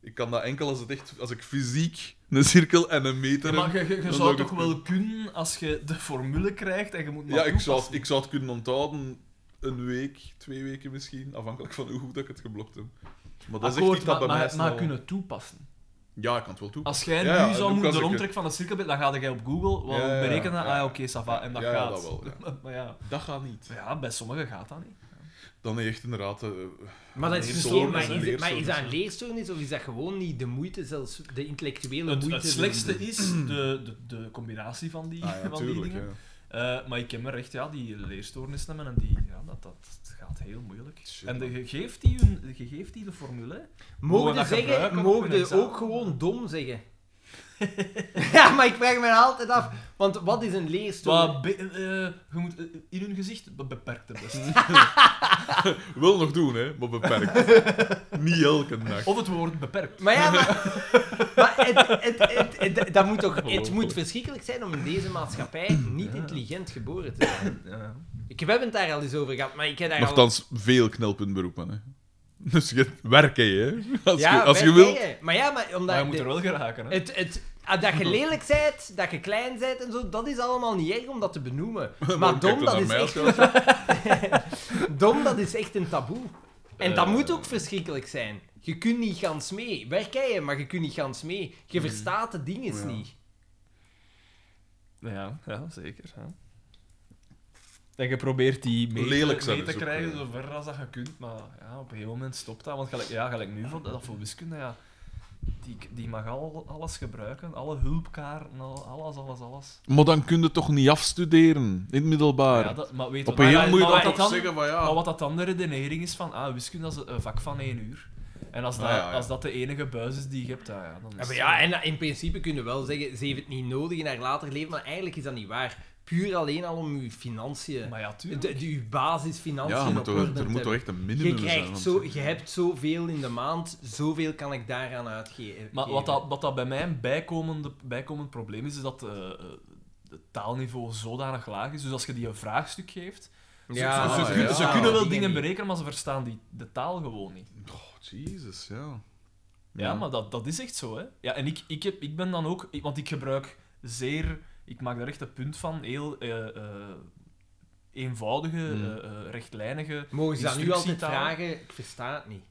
S1: Ik kan dat enkel als, het echt, als ik fysiek een cirkel en een meter.
S3: Ja, maar
S1: heb.
S3: je, je- je
S1: dan zou
S3: zou
S1: ik
S3: toch
S1: het
S3: wel kunnen als je de formule krijgt en je moet maar
S1: ja, ik zou, het-
S3: toepassen.
S1: ik zou het kunnen onthouden. Een week, twee weken misschien, afhankelijk van hoe goed dat ik het geblokt heb. Maar dat is echt
S3: Akkoord,
S1: iets
S3: maar,
S1: dat bij
S3: maar,
S1: mij
S3: maar
S1: snel-
S3: kunnen toepassen.
S1: Ja, ik kan het wel toepassen.
S3: Als jij
S1: Ja, ja,
S3: nu
S1: en
S3: zou
S1: ook
S3: moeten
S1: als
S3: de
S1: ik
S3: omtrek van een cirkelbeeld, dan ga je op Google wel
S1: Ja, ja, ja,
S3: berekenen.
S1: ja.
S3: Ah ja, oké, Sava, en dat
S1: Ja, ja,
S3: gaat.
S1: dat wel, ja.
S3: maar ja.
S1: Dat gaat niet.
S3: Maar ja, bij sommigen gaat dat niet.
S1: Dan heb je echt inderdaad... eh,
S2: Maar, dat is
S1: Leerstoornis,
S2: misschien- maar,
S1: hè,
S2: is, het- maar is dat een
S1: leerstoornis.
S2: leerstoornis of is dat gewoon niet de moeite, zelfs de intellectuele
S3: Het,
S2: moeite?
S3: het slechtste is de, de, de combinatie van die,
S1: ah, ja,
S3: van die
S1: tuurlijk,
S3: dingen.
S1: ja.
S3: Eh, maar ik ken maar echt ja, die leerstoornissen hebben en die, ja, dat, dat gaat heel moeilijk.
S1: Shit,
S3: En de,
S1: man.
S3: je, geeft die hun, je geeft die de formule. hè.
S2: Mogen
S3: Mogen
S2: we
S3: dat
S2: zeggen,
S3: gebruiken op
S2: mogen
S3: hun
S2: we ook
S3: examen?
S2: gewoon dom zeggen? ja, maar ik vraag me altijd af, want wat is een leerstoornis?
S3: Maar be- eh, eh, je moet eh, in hun gezicht be- beperkt het best.
S1: Wel nog doen, hè, maar beperkt. niet elke dag.
S3: Of het woord beperkt.
S2: Maar ja, maar, maar het, het, het, het- dat moet
S3: Oh,
S2: toch, het moet verschrikkelijk zijn om in deze maatschappij niet intelligent geboren te zijn.
S3: Ja.
S2: Ik heb het daar al eens over gehad, maar ik heb daar al...
S1: Nochtans, veel knelpuntberoepen. Hè. Dus je werkt, hè? Als
S2: ja,
S1: je, als je
S2: wij
S1: wilt.
S2: zeggen. Maar ja, maar omdat...
S3: Maar je moet
S2: de-
S3: er wel geraken, hè?
S2: Het, het, ah, dat je lelijk bent, dat je klein bent en zo, dat is allemaal niet erg om dat te benoemen. Maar
S1: Waarom kijkt
S2: dom, dat
S1: naar
S2: is
S1: mij
S2: echt,
S1: als je-
S2: dom, dat is echt een taboe. En dat
S3: Eh.
S2: moet ook verschrikkelijk zijn. Je kunt niet gans mee. Werk jij, maar je kunt niet gans mee. Je verstaat de dingen
S1: Ja.
S2: niet.
S3: Ja, ja zeker. Ja. En je probeert die mee,
S1: Lelijk
S3: te,
S1: zijn
S3: mee te
S1: is ook,
S3: krijgen
S1: ja.
S3: zo ver als dat je kunt, maar ja, op een gegeven moment stopt dat. Want gelijk, ja, gelijk nu, voor, dat voor wiskunde, ja, die, die mag al, alles gebruiken, alle hulpkaarten, al- alles, alles, alles.
S5: Maar dan kun je toch niet afstuderen in het middelbaar?
S3: Ja, dat, maar weet
S5: Op
S3: wat-
S5: een
S3: maar-
S5: gegeven moment moet
S3: maar
S5: je
S3: wat
S1: Toch
S3: dat dan-
S1: zeggen van ja.
S3: Maar wat dat dan de redenering is van, ah, wiskunde dat is een vak van één uur. En als dat,
S1: Ah, ja, ja.
S3: Als dat de enige buis is die je hebt, ah, ja, dan is
S2: Ja, maar
S3: het-
S2: ja, en in principe kun je wel zeggen, ze heeft het niet nodig in haar later leven, maar eigenlijk is dat niet waar. Puur alleen al om je financiën,
S3: Maar ja,
S2: de,
S3: tuurlijk.
S2: de, je basisfinanciën
S1: Ja, maar
S2: op
S1: toch,
S2: orde
S1: er
S2: te
S1: moet toch
S2: hebben.
S1: echt een minimum
S2: Je,
S1: zijn.
S2: krijgt
S1: want-
S2: zo, je hebt zoveel in de maand, zoveel kan ik daaraan uitgeven.
S3: Maar wat dat, wat dat bij mij een bijkomende, bijkomend probleem is, is dat eh, eh, het taalniveau zodanig laag is. Dus als je die een vraagstuk geeft, ze-
S2: Ja,
S3: ze,
S1: ah,
S3: ze,
S1: ja.
S3: kun- ze
S1: Ja,
S3: kunnen wel
S2: die
S3: dingen
S2: niet.
S3: berekenen, maar ze verstaan die, de taal gewoon niet.
S1: Oh, Jezus, ja.
S3: Ja, maar dat, dat is echt zo, hè. Ja, en ik, ik, heb, ik ben dan ook... ik- want ik gebruik zeer... Ik maak daar echt een punt van. Heel eh, eh, eenvoudige,
S5: Hmm.
S3: eh, eh, rechtlijnige...
S2: Mogen ze dat nu altijd
S3: instructietaal.
S2: vragen? Ik versta het niet.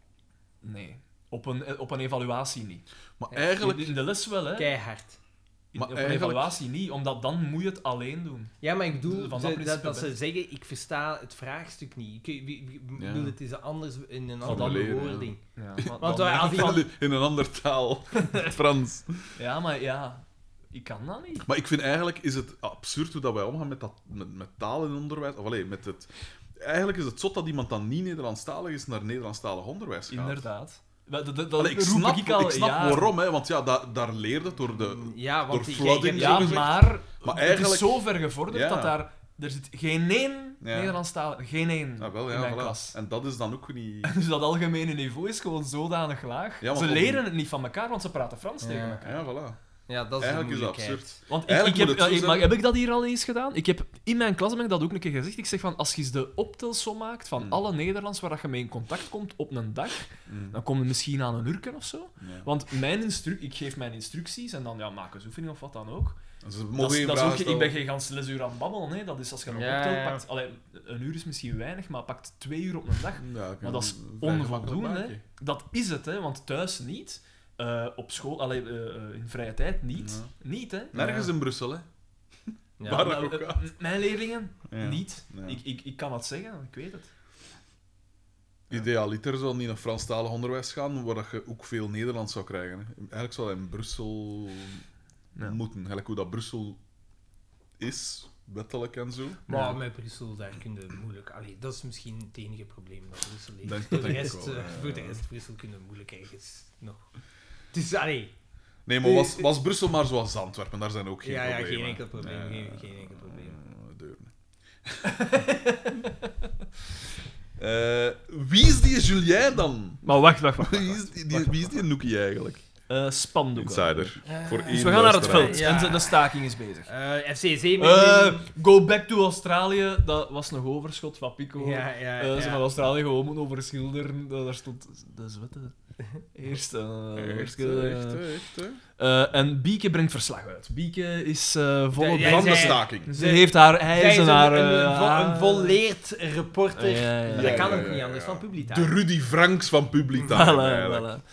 S3: Nee. Op een, eh, op een evaluatie niet.
S1: Maar
S2: Ja,
S1: eigenlijk.
S3: In de les wel, hè.
S2: Keihard.
S3: In-
S1: Maar
S3: op een
S1: eigenlijk-
S3: evaluatie niet, omdat dan moet je het alleen doen.
S2: Ja, maar ik bedoel,
S3: Van dat
S2: ze- dat,
S3: principe
S2: dat, ze zeggen, ik versta het vraagstuk niet. Ik, wie- wie- ik
S1: Ja.
S2: bedoel, het is anders in een andere
S1: Formuleren, ja.
S2: bewoording.
S3: Ja,
S2: Want
S3: dan
S2: wij-
S3: denk
S2: als
S3: ik
S2: iemand-
S3: van-
S1: In een ander taal. Frans.
S3: Ja, maar ja, ik kan dat niet.
S1: Maar ik vind eigenlijk is het absurd hoe dat wij omgaan met, dat, met, met taal in onderwijs. Of alleen met het. Eigenlijk is het zot dat iemand dan niet Nederlandstalig is naar Nederlandstalig onderwijs gaat.
S3: Inderdaad. Dat, dat, dat
S1: Allee, ik
S3: roep
S1: snap,
S3: ik al Mm,
S1: ik snap
S3: jaren.
S1: waarom, hè, want ja, da- daar leerde het door de.
S2: Ja, want
S1: Door
S2: jij- jij
S1: flooding,
S2: hebt-
S3: Ja, maar,
S1: Maar
S3: het
S1: eigenlijk-
S3: is zo ver gevorderd
S1: Ja.
S3: dat daar... Er zit geen één
S1: Ja.
S3: Nederlandstalig, geen één
S1: Ah, wel,
S3: in
S1: ja,
S3: mijn
S1: voilà.
S3: klas.
S1: En dat is dan ook niet.
S3: Dus dat algemene niveau is gewoon zodanig laag.
S1: Ja, want
S3: ze
S1: op-
S3: leren het niet van elkaar, want ze praten Frans
S2: Ja.
S3: tegen elkaar.
S1: Ja, voilà.
S2: Ja, dat is
S1: Eigenlijk
S2: de
S1: is dat
S2: moeilijkheid.
S1: absurd.
S3: Want ik, ik
S1: Eigenlijk
S3: heb,
S1: moet het zo
S3: eh,
S1: zijn.
S3: maar heb ik dat hier al eens gedaan? Ik heb, in mijn klas heb ik dat ook een keer gezegd. Ik zeg van, als je eens de optelsom maakt van
S1: Hmm.
S3: alle Nederlands waar dat je mee in contact komt op een dag,
S1: Mm.
S3: dan kom je misschien aan een urken of zo.
S1: Ja.
S3: Want mijn instru ik geef mijn instructies en dan ja, maak eens oefening of wat dan ook.
S1: Ze mogen
S3: Dat is,
S1: geen
S3: dat is
S1: vragen
S3: ook, ik ben
S1: stellen.
S3: geen gans lesuur aan het babbelen, hè. dat is als je een
S2: Ja,
S3: optelt,
S2: ja.
S3: pakt... Allee, een uur is misschien weinig, maar pakt twee uur op een dag.
S1: Mm, Ja, ik
S3: Maar
S1: ben
S3: dat is
S1: een vrij
S3: onvoldoende.
S1: gemakkelijk
S3: hè.
S1: baantje.
S3: Dat is het, hè, want thuis niet. eh, op school, allee, eh, eh, in vrije tijd niet. Niet, hè.
S1: Nergens in Brussel, hè?
S2: Ja.
S1: Waar
S3: Maar,
S1: ik ook
S3: eh,
S1: aan.
S3: mijn leerlingen,
S1: Ja.
S3: niet.
S1: Ja.
S3: Ik, ik, ik kan dat zeggen, ik weet het.
S1: Idealiter zou niet naar Franstalig onderwijs gaan, waar dat je ook veel Nederlands zou krijgen. hè. Eigenlijk zou dat in Brussel
S3: Ja.
S1: moeten. Eigenlijk hoe dat Brussel is, wettelijk en zo.
S2: Maar met Brussel, daar kun je moeilijk... Allee, dat is misschien het enige probleem dat Brussel heeft.
S1: Dat- dat
S2: voor, de
S1: denk ik
S2: rest,
S1: wel,
S2: eh,
S1: ja, ja,
S2: voor de
S1: ja.
S2: rest, Brussel kun je moeilijk ergens nog... Dus, allee...
S1: Nee, maar was, was Brussel maar zoals Antwerpen, daar zijn ook geen
S2: ja, ja,
S1: problemen.
S2: geen enkel probleem.
S1: Nee,
S2: geen, geen enkel probleem.
S1: eh, deuren. Eh, wie is die Julien dan?
S3: Maar wacht, wacht, wacht.
S1: Wie is die, die- wie is die Nookie eigenlijk?
S3: Eh, spandoeken.
S1: Insider. Voor
S2: Eh,
S1: één
S3: Dus we gaan naar het
S1: luisteraar.
S3: veld
S2: Ja.
S3: en de- de staking is bezig.
S2: Eh, FC Zeeman.
S3: Eh, go back to Australië, dat was nog overschot van Pico.
S2: ja, ja,
S3: Eh, ze
S2: ja.
S3: van Australië gewoon moeten overschilderen. Da- Daar stond de zwette. Eerst. eh,
S1: Echt,
S3: eerst, eh,
S1: eh, echt, eh, echt, eh.
S3: eh, en Bieke brengt verslag uit. Bieke is eh
S2: Ja,
S3: volle
S2: jij
S3: brand.
S1: Van de
S2: zei-
S1: staking.
S3: Ze heeft haar
S2: Zij is ah.
S3: ijzen
S2: een,
S3: haar.
S2: een,
S3: eh,
S2: vo-
S3: haar-
S2: een volleerd reporter.
S3: Ja, ja, ja.
S2: Maar
S1: Ja,
S2: dat kan
S1: ja,
S2: ook
S1: ja,
S2: niet
S1: ja,
S2: anders
S1: ja.
S2: van Publita.
S1: De Rudy Franks van Public Time,
S3: Voilà,
S1: eigenlijk.
S3: voilà.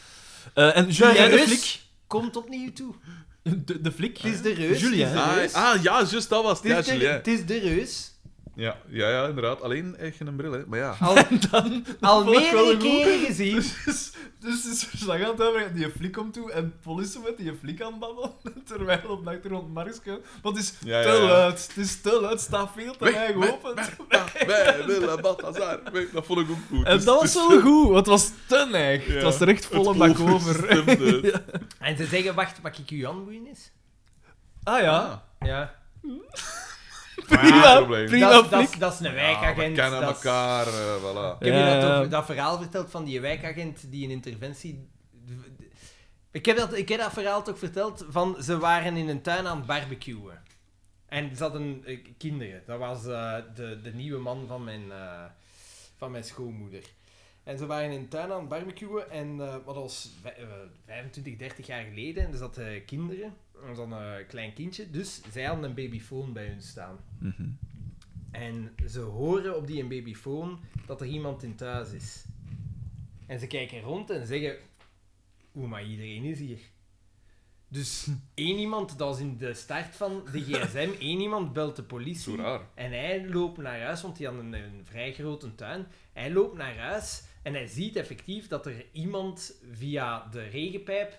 S3: Eh, en Julien
S2: De
S3: de,
S2: Rus.
S3: Flik.
S2: Komt opnieuw toe.
S3: De, de Flik.
S2: Het is de reus.
S3: Julien.
S2: het is de reus.
S1: Ah, ah, ja, juist, dat was het.
S2: Het
S1: Ja,
S2: is de-
S1: Julien.
S2: Het is de reus.
S1: Ja, ja, ja, inderdaad. Alleen echt geen bril, hè. Maar ja.
S2: Al, al meerdere keren gezien.
S3: Dus, dus is verslag aan het hebben, die flik komt toe en Polissen met die flik aan het babbelen, terwijl op de achtergrond Markske... Want het is
S1: Ja, ja,
S3: te
S1: ja.
S3: luid, het is te luid, het staat veel te
S1: Weg,
S3: weinig
S1: weg,
S3: open.
S1: Wij willen Balthazar. Wij- Dat vond ik ook goed. Dus-
S3: En dat was wel goed, want het was te neig.
S1: Ja.
S3: Het was er echt
S1: Het
S3: volle bak over.
S1: overstemde.
S2: En ze zeggen, wacht, pak ik u aanboeien eens?
S3: Ah ja,
S2: Ja.
S1: Ah, Geen
S3: prima,
S1: probleem.
S3: prima
S2: Dat, dat,
S3: flik.
S2: dat is een
S1: Ja, Ah, we
S2: wijkagent.
S1: kennen
S2: dat is-
S1: elkaar, eh, voilà.
S2: Ik heb je dat,
S3: Ja.
S2: ook- dat verhaal verteld van die wijkagent die een interventie. Ik heb, dat, ik heb dat verhaal toch verteld van ze waren in een tuin aan het barbecuen. En ze hadden eh, kinderen. Dat was eh, de, de nieuwe man van mijn, eh, van mijn schoonmoeder. En ze waren in de tuin aan het barbecuen. En eh, wat was vij- eh, 25, 30 jaar geleden. En er zaten eh, kinderen. Er was dan een klein kindje. Dus zij hadden een babyfoon bij hun staan.
S1: Mhm.
S2: En ze horen op die babyfoon dat er iemand in thuis is. En ze kijken rond en zeggen... Oeh, maar iedereen is hier. Dus
S1: Hm.
S2: één iemand, dat is in de start van de gsm, één iemand belt de
S1: Zo
S2: politie.
S1: raar.
S2: En hij loopt naar huis, want hij had een, een vrij grote tuin. Hij loopt naar huis en hij ziet effectief dat er iemand via de regenpijp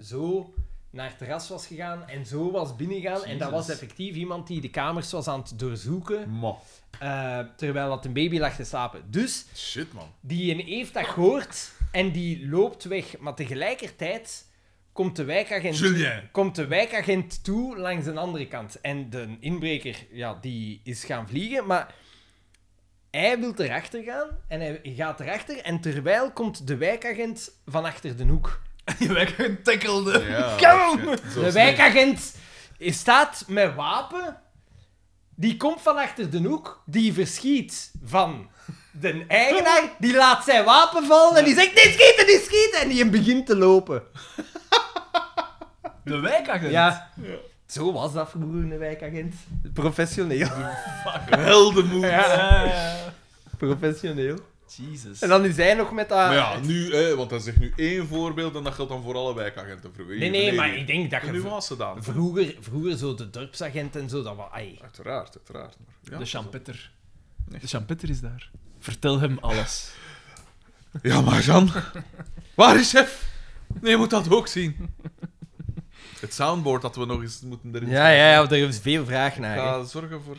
S2: zo naar het terras was gegaan en zo was binnengegaan. En dat was effectief iemand die de kamers was aan het doorzoeken,
S3: Ma.
S2: eh, terwijl dat een baby lag te slapen. Dus
S1: Shit, man.
S2: die een heeft dat gehoord en die loopt weg. Maar tegelijkertijd komt de wijkagent
S1: Julien.
S2: komt de wijkagent toe langs een andere kant. En de inbreker, ja, die is gaan vliegen, maar hij wil erachter gaan en hij gaat erachter. En terwijl komt de wijkagent van achter de hoek.
S3: Je werd tackelde.
S1: Ja,
S2: Kom!
S1: Oh, shit. Zo
S2: de
S1: snel.
S2: wijkagent staat met wapen. Die komt van achter de hoek, die verschiet van de eigenaar, die laat zijn wapen vallen en die zegt: Niet schieten, niet schieten! En die begint te lopen.
S3: De wijkagent.
S2: Ja. Zo was dat vroeger een wijkagent. Professioneel.
S1: Heldenmoed.
S3: Ja.
S2: Professioneel.
S3: Jesus.
S2: En dan is hij nog met dat...
S1: Maar ja, nu, hè, want dat zegt nu één voorbeeld en dat geldt dan voor alle wijkagenten. Voor
S2: nee, nee, maar ik denk dat
S1: De
S2: je...
S1: nuance dan.
S2: Vroeger, vroeger zo de dorpsagent en zo, dat was... ai.
S1: Uiteraard, uiteraard. maar ja.
S3: De
S2: Dus-
S3: champitter. De champitter is daar. Vertel hem alles.
S5: Ja, maar Jan. Waar is chef? Nee, je moet dat ook zien.
S1: Het soundboard dat we nog eens moeten erin
S2: Ja, ja, ja, er is veel vraag naar.
S1: Ik
S2: hè.
S1: ga zorgen voor...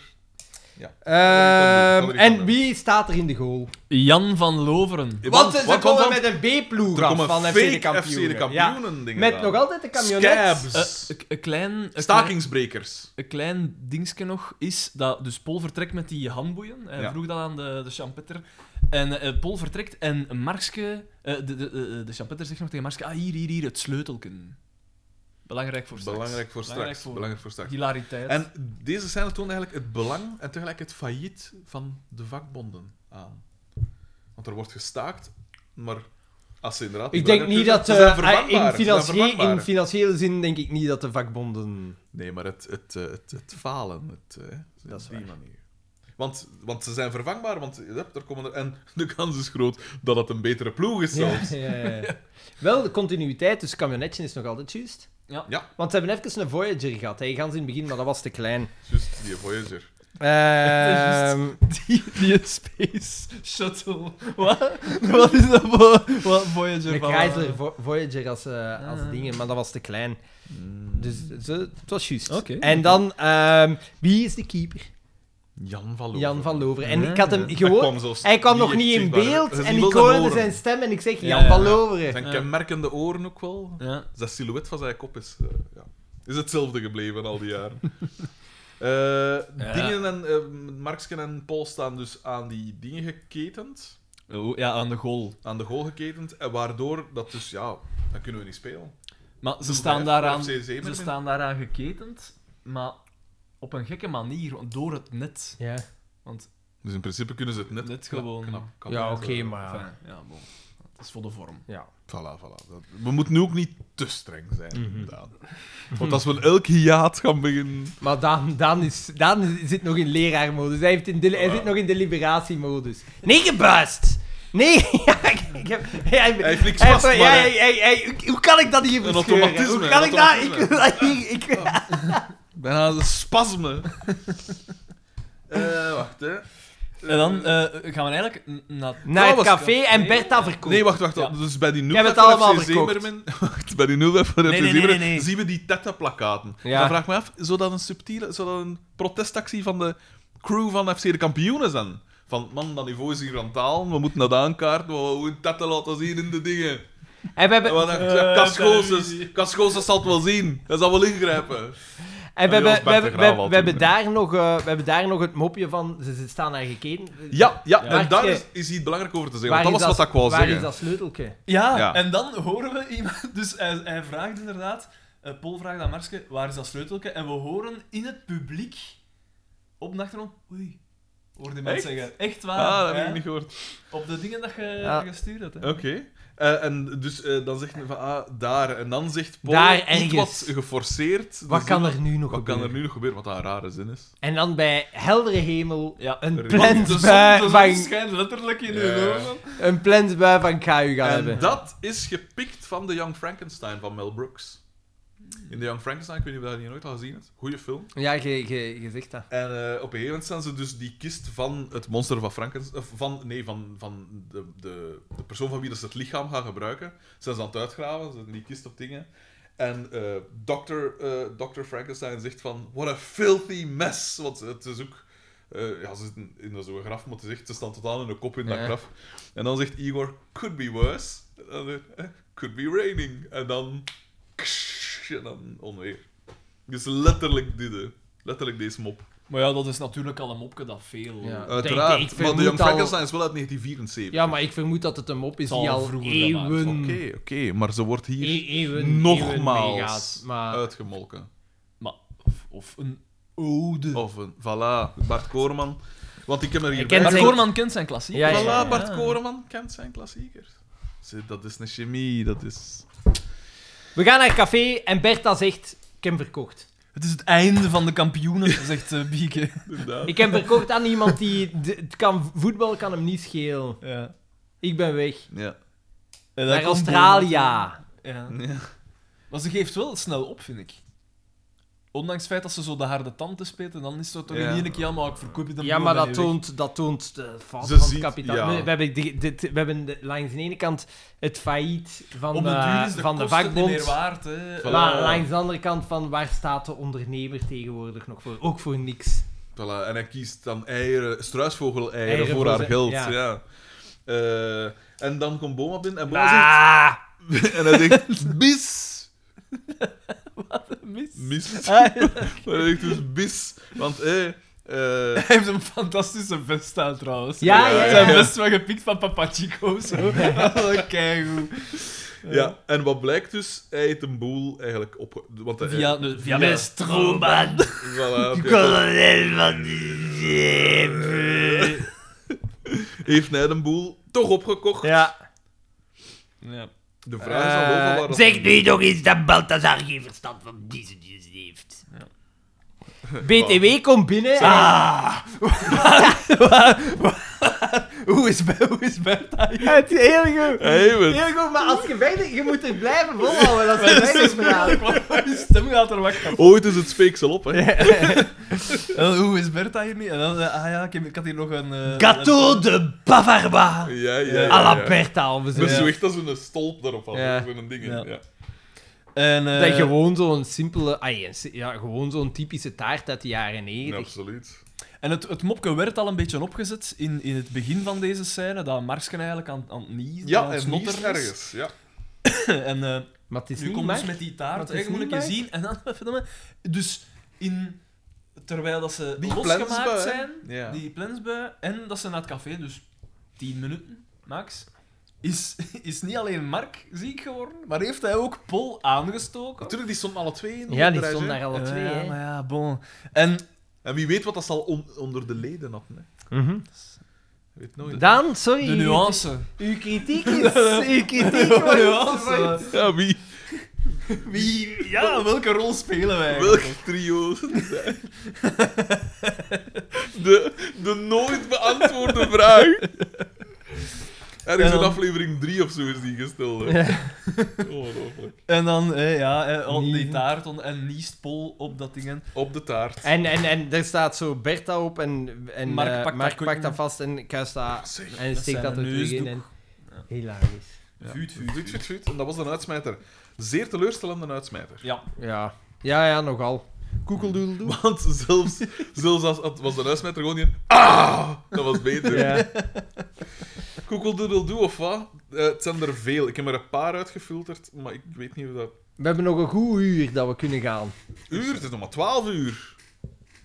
S2: Ehm,
S1: dat- dat-
S2: en wie staat er in de goal?
S3: Jan van Loveren.
S2: Want ze
S1: want-
S2: komen
S1: want-
S2: met een B-ploeg
S1: Er
S2: af
S1: komen
S2: van FC de
S1: fake
S2: kampioenen.
S1: FC de
S2: Ja.
S1: kampioenen dingen
S2: Met
S1: aan.
S2: nog altijd de Eh, camionet.
S1: Scabs.
S3: Eh, Een klein... een klein-
S1: Stakingsbrekers.
S3: Een klein dingetje nog is dat dus Paul vertrekt met die handboeien. Hij
S1: Ja.
S3: vroeg dat aan de, de champetter. En eh, Paul vertrekt en Markske, eh, de, de, de, de champetter zegt nog tegen Markske, ah hier, hier, hier, het sleutelken. Belangrijk voor straks.
S1: Belangrijk voor
S3: Belangrijk
S1: straks.
S3: voor
S1: Belangrijk voor straks.
S3: Hilariteit.
S1: En deze scène toont eigenlijk het belang en tegelijk het failliet van de vakbonden aan. Want er wordt gestaakt, maar als ze inderdaad...
S2: Ik denk niet dat...
S1: Ze
S2: eh,
S1: zijn
S2: ah,
S1: vervangbaar, ze
S2: in,
S1: zijn
S2: financiële, in
S1: vervangbaar.
S2: financiële zin denk ik niet dat de vakbonden...
S1: Nee, maar het, het, eh, het, het falen. Het, eh,
S2: Dat is
S1: op die manier. Want, want ze zijn vervangbaar, want eh, er komen er, en de kans is groot dat het een betere ploeg is zelfs.
S2: Ja, ja, ja, ja. Wel, de continuïteit, dus camionetje is nog altijd juist.
S3: Ja.
S1: Ja.
S2: Want ze hebben even een Voyager gehad, hè, gans in het begin, maar dat was te klein.
S1: Dus die Voyager.
S2: Ehm,
S3: die, die space shuttle. Wat? Wat is dat voor wat Voyager
S2: een
S3: van- eh,
S2: Chrysler Vo- Voyager als, eh, als
S3: Ah.
S2: dingen, maar dat was te klein. Dus ze, het was juist.
S3: Oké.
S2: En dan, ehm, wie is de keeper?
S1: Jan van Loof.
S2: Jan van Loveren. En
S3: Ah.
S2: ik had hem
S3: Hij
S2: gewoon...
S1: zelfs
S2: Hij kwam
S1: niet
S2: nog
S1: echt
S2: niet in
S1: zichtbaar.
S2: beeld
S1: Zijn
S2: en ik
S1: wilde
S2: hoorde
S1: oren.
S2: zijn stem en ik zeg
S3: Ja,
S2: Jan van
S3: ja.
S2: Loveren.
S1: Zijn
S3: Ja.
S1: kenmerkende oren ook wel.
S3: Ja.
S1: Dus dat silhouet van zijn kop is, eh, ja, is hetzelfde gebleven al die jaren. Eh,
S3: Ja.
S1: Dingen en eh, Marksken en Paul staan dus aan die dingen geketend.
S3: Oh, ja, aan de goal.
S1: aan de goal geketend. En waardoor dat dus, ja, dan kunnen we niet spelen.
S3: Maar ze
S1: Doe
S3: staan,
S1: vijf,
S3: daaraan,
S1: FC
S3: ze
S1: Zeemermin.
S3: staan daaraan geketend, maar op een gekke manier, want door het net.
S2: Ja,
S1: Dus in principe kunnen ze het net,
S3: Net
S1: knap-
S3: gewoon.
S1: knap kappen.
S2: ja oké,
S1: Dus,
S2: maar...
S3: Enfin, ja, bon. Het is voor de vorm.
S2: Ja.
S1: Voilà, voilà. Dat- We moeten nu ook niet te streng zijn,
S2: Mhm.
S1: Daan. Want als we elk hiaat gaan beginnen...
S2: Maar Daan, Daan, is, Daan is- zit nog in leraarmodus. Hij, heeft in de, hij zit nog in deliberatiemodus. Nee, gebuist! Nee, ja, ik, ik heb... ja, ik-
S1: Hij heeft niks
S2: hij-
S1: vast, maar
S2: ja,
S1: hij-
S2: hij- hij- hij- Hoe kan ik dat hier verscheuren?
S1: automatisme,
S2: Hoe kan
S1: een
S2: ik dat... Ik,
S1: automatisme.
S2: ik, ik-
S1: Bijna een spasme. Eh, wacht, hè.
S3: En dan eh, gaan we eigenlijk n- naar.
S2: naar het
S1: Trouwens,
S2: café en Bertha verkoopt.
S1: eh, Nee, wacht, wacht.
S3: Ja.
S1: Dus bij die 0
S2: hebt het allemaal verkocht.
S1: Wacht, bij die 0 voor FC
S3: Nee, nee, nee,
S1: Zeemermin
S3: nee, nee.
S1: zien we die tette-plakaten.
S2: Ja.
S1: Dan vraag ik me af, zou dat een subtiele... Zou dat een protestactie van de crew van FC de kampioenen zijn? Van, man, dat niveau is hier aan het halen, we moeten dat aankaarten, we moeten tetten laten zien in de dingen.
S2: En we hebben...
S1: En wat-
S3: Eh,
S1: Kaskoses,
S3: televisie.
S1: Kaskoses zal het wel zien. Hij zal wel ingrijpen.
S2: En we,
S1: Ja, dat
S2: hebben, we,
S1: was Bert
S2: hebben,
S1: de
S2: we,
S1: Graaf al
S2: we hebben
S1: toen,
S2: daar nog, eh, we hebben daar nog het mopje van... Ze, ze staan daar gekeken.
S1: Ja, ja,
S2: Waar
S1: en daar
S2: is-
S1: is, is hij het belangrijk over te zeggen.
S2: Waar
S1: Want dat was
S2: is
S1: wat dat, ik wou
S2: Waar
S1: zeggen.
S2: is dat sleutelke?
S3: Ja,
S1: Ja.
S3: en dan horen we iemand. Dus hij, hij vraagt inderdaad. eh, Paul vraagt aan Marske: waar is dat sleutelke? En we horen in het publiek op de achtergrond: oei, Hoorde mensen
S1: Echt?
S3: zeggen. Echt waar?
S1: Ah, dat heb
S3: ja.
S1: ik niet gehoord.
S3: Op de dingen dat je
S2: Ja.
S3: gestuurd hebt. Hè?
S1: Oké. Eh, en dus eh, dan zegt men van, ah, daar. En dan zegt Paul
S2: Daar
S1: iets
S2: ergens.
S1: wat geforceerd.
S2: Wat
S1: de
S2: kan
S1: zin-
S2: er nu nog
S1: wat kan er
S2: gebeuren?
S1: nu nog gebeuren? Wat een rare zin is.
S2: En dan bij heldere hemel
S3: Ja.
S2: een
S1: Want de zon-
S3: De
S2: plensbui
S3: zon, de zon
S2: van,
S3: schijnt letterlijk in
S1: Ja.
S3: uw ogen.
S2: een plensbui van KU gaan
S1: en
S2: hebben.
S1: dat is gepikt van The Young Frankenstein van Mel Brooks. In The Young Frankenstein, ik weet niet of je die nooit al gezien hebt. Goeie film.
S2: Ja, je, je, je zegt dat.
S1: En eh, op een gegeven moment staan ze dus die kist van het monster van Frankenstein. of Van, nee, van, van de, de, de persoon van wie dat ze het lichaam gaan gebruiken. Zijn ze aan het uitgraven, ze zetten die kist op dingen. En eh Dr. eh, Dr. Frankenstein zegt van: What a filthy mess! Want het is ook. eh, ja, ze zitten in zo'n graf, maar ze, zegt, ze staan totaal in de kop in dat
S2: Ja.
S1: graf. En dan zegt Igor: Could be worse. En dan, zegt hij, "Eh, Could be raining. En dan. ksh, En dan onweer. Dus letterlijk dit, hè. letterlijk deze mop.
S3: Maar ja, dat is natuurlijk al een mopje dat veel.
S2: Ja.
S3: eh,
S1: Uiteraard,
S2: Ik-
S1: maar
S2: ik
S1: de
S2: vermoed
S1: Young
S2: al-
S1: Frankenstein is wel uit 1974.
S2: Ja, maar ik vermoed dat het een mop is
S3: Zal
S2: die al
S3: vroeger
S2: eeuwen,
S1: Oké, oké, maar ze wordt hier
S2: e- eeuwen, eeuwen
S1: nogmaals
S2: meegaat. Maar
S1: uitgemolken.
S3: Maar, of, of een
S2: Oh.
S3: ode.
S1: Of een, voilà, Bart Koorman. Want ik heb er hier
S2: ken
S1: bij-
S3: Bart
S2: zijn-
S3: Koorman kent zijn klassiek.
S2: Ja, ja,
S1: voilà,
S2: ja.
S1: Bart Koorman kent zijn klassiekers. Ze- Dat is een chemie, dat is...
S2: we gaan naar het café en Bertha zegt, ik heb hem verkocht.
S3: Het is het einde van de kampioenen, zegt eh, Bieke.
S1: Inderdaad.
S2: Ik heb hem verkocht aan iemand die... de- het kan, voetbal kan hem niet schelen.
S3: Ja.
S2: Ik ben weg.
S1: Ja.
S3: En daar
S2: Naar
S3: komt
S2: Australië.
S3: Bono. Ja.
S1: ja.
S3: Maar ze geeft wel snel op, vind ik. Ondanks het feit dat ze zo de harde tanden speelt, en dan is het toch
S1: Ja.
S3: in één keer, ja, maar ik verkoop je dan
S2: Ja,
S3: gewoon
S2: maar
S3: en
S2: dat
S3: je weg.
S2: toont, dat toont de fout
S1: Ze
S2: van het
S1: ziet-
S2: kapitaal.
S1: ja.
S2: We, we hebben, die- dit, we hebben de- langs de ene kant het failliet van,
S3: Op de
S2: eh,
S3: duur is de
S2: van de
S3: kosten
S2: vakbond.
S3: niet meer waard, Oh. hè.
S1: Voilà.
S2: Maar langs de andere kant van waar staat de ondernemer tegenwoordig nog voor? Ook voor niks.
S1: Voilà, en hij kiest dan eieren, struisvogel-eieren
S2: Eieren
S1: voor,
S2: voor
S1: haar
S2: zijn-
S1: geld.
S2: ja.
S1: Ja. Eh, en dan komt Boma binnen en Boma
S2: Ah,
S1: zegt... En hij zegt... Bis!
S3: Mis.
S1: Mis.
S3: Ah, ja.
S1: Maar hij zegt dus bis. Want, hé... eh,
S3: Hij heeft een fantastische vest aan, trouwens.
S2: Ja, ja, ja.
S3: Zijn vest wel gepikt van Papa Chico, zo. Keigoed.
S1: Ja, en wat blijkt dus, hij heeft een boel eigenlijk op... Want hij,
S3: Via, de, eh, via
S1: Ja.
S3: mijn stroom.
S4: Roman,
S1: voilà, oké.
S4: kolonel van de zeven.
S1: heeft hij een boel toch opgekocht.
S2: ja.
S3: Ja.
S1: De vraag is al over waar dat...
S4: Zeg nu nog eens dat Balthazar geen verstand van business heeft.
S2: BTW komt binnen.
S3: Ah!
S2: Ah.
S3: hoe, is, Be- hoe is Bertha hier?
S2: Het is heel goed.
S1: Hey, wat-
S2: Heel goed, maar als je verder... Je moet er blijven volhouden als je verder verhaalt.
S3: Want Die stem gaat er weg.
S1: Ooit is het speeksel op, hè.
S3: En dan, Eh, hoe is Bertha hier niet? En dan, eh, ah ja, ik, heb- ik had hier nog een... eh,
S4: Cato de Bavarba.
S1: Ja, ja, ja.
S3: Ja.
S2: A
S1: ja.
S2: la Bertha, of zo.
S1: Dat is zo
S3: Ja.
S1: echt als een stolp daarop af.
S2: Ja.
S1: Zo'n ding,
S3: Ja.
S1: ja. Ja.
S3: En, eh,
S2: Dat gewoon zo'n simpele... ai, een si- ja, gewoon zo'n typische taart uit de jaren
S1: Ja,
S2: 90.
S1: absoluut.
S3: en het, het mopje werd al een beetje opgezet in, in het begin van deze scène, dat Marsken eigenlijk aan, aan het niezen, aan
S1: Ja,
S3: het
S1: en niet
S3: snotteren is.
S1: ergens. Ja.
S3: En eh,
S2: Maar het is
S3: nu
S2: niet
S3: komt dus
S2: maar.
S3: met die
S2: Maar
S3: taart,
S2: het is
S3: hè, je moet een
S2: niet
S3: keer
S2: Mark.
S3: zien. En dan, verdomme, dus in, terwijl dat ze
S1: Die plensbui,
S3: losgemaakt
S1: hè.
S3: zijn,
S1: Ja.
S3: die plensbui, en dat ze naar het café, dus 10 minuten max, is, is niet alleen Mark ziek geworden, maar heeft hij ook Pol aangestoken.
S1: Natuurlijk, die stonden alle twee in de
S2: Ja, die
S1: opdracht,
S2: stond
S1: hè.
S2: daar alle twee.
S3: ja,
S2: hè.
S3: maar ja, bon. En
S1: En wie weet wat dat ze al on- onder de leden hadden, hè. Je weet nooit.
S2: Daan, Mhm. sorry.
S3: de nuance.
S2: Uw kritiek is... Uw kritiek was- was-
S1: Ja, wie?
S3: Wie, ja, welke rol spelen wij?
S1: Welk trio zijn het eigenlijk? de, de nooit beantwoorde vraag. Er is
S3: En
S1: een
S3: dan-
S1: aflevering 3 of zo is die gesteld. hè. Ongelooflijk.
S3: En dan, eh, ja, eh, al die
S2: Niezen.
S3: taart on- en niest Pol op dat ding. en-
S1: Op de taart.
S2: En, en, en er staat zo Bertha op en, en
S3: Mark
S2: eh,
S3: pakt dat
S2: Mark
S3: goed.
S2: pakt dat vast en kuist dat
S1: Zeg,
S2: en
S3: dat
S2: steekt
S3: zijn
S2: dat er
S3: een
S2: terug in. En...
S3: neusdoek.
S2: Hilarisch.
S1: Ja.
S3: Vuut, vuut,
S1: Vuut, vuut, vuut. En dat was een uitsmijter. Zeer teleurstellende uitsmijter.
S3: Ja.
S2: Ja. Ja, ja, nogal.
S1: Koekeldoedeldoe. Want zelfs, zelfs als, het was een uitsmijter gewoon hier... Ah! Dat was beter.
S2: Ja.
S1: Koekeldoedeldoe of wat? Eh, het zijn er veel. Ik heb er een paar uitgefilterd, maar ik weet niet of dat...
S2: We hebben nog een goed uur dat we kunnen gaan.
S1: Uur? Het is nog maar 12 uur.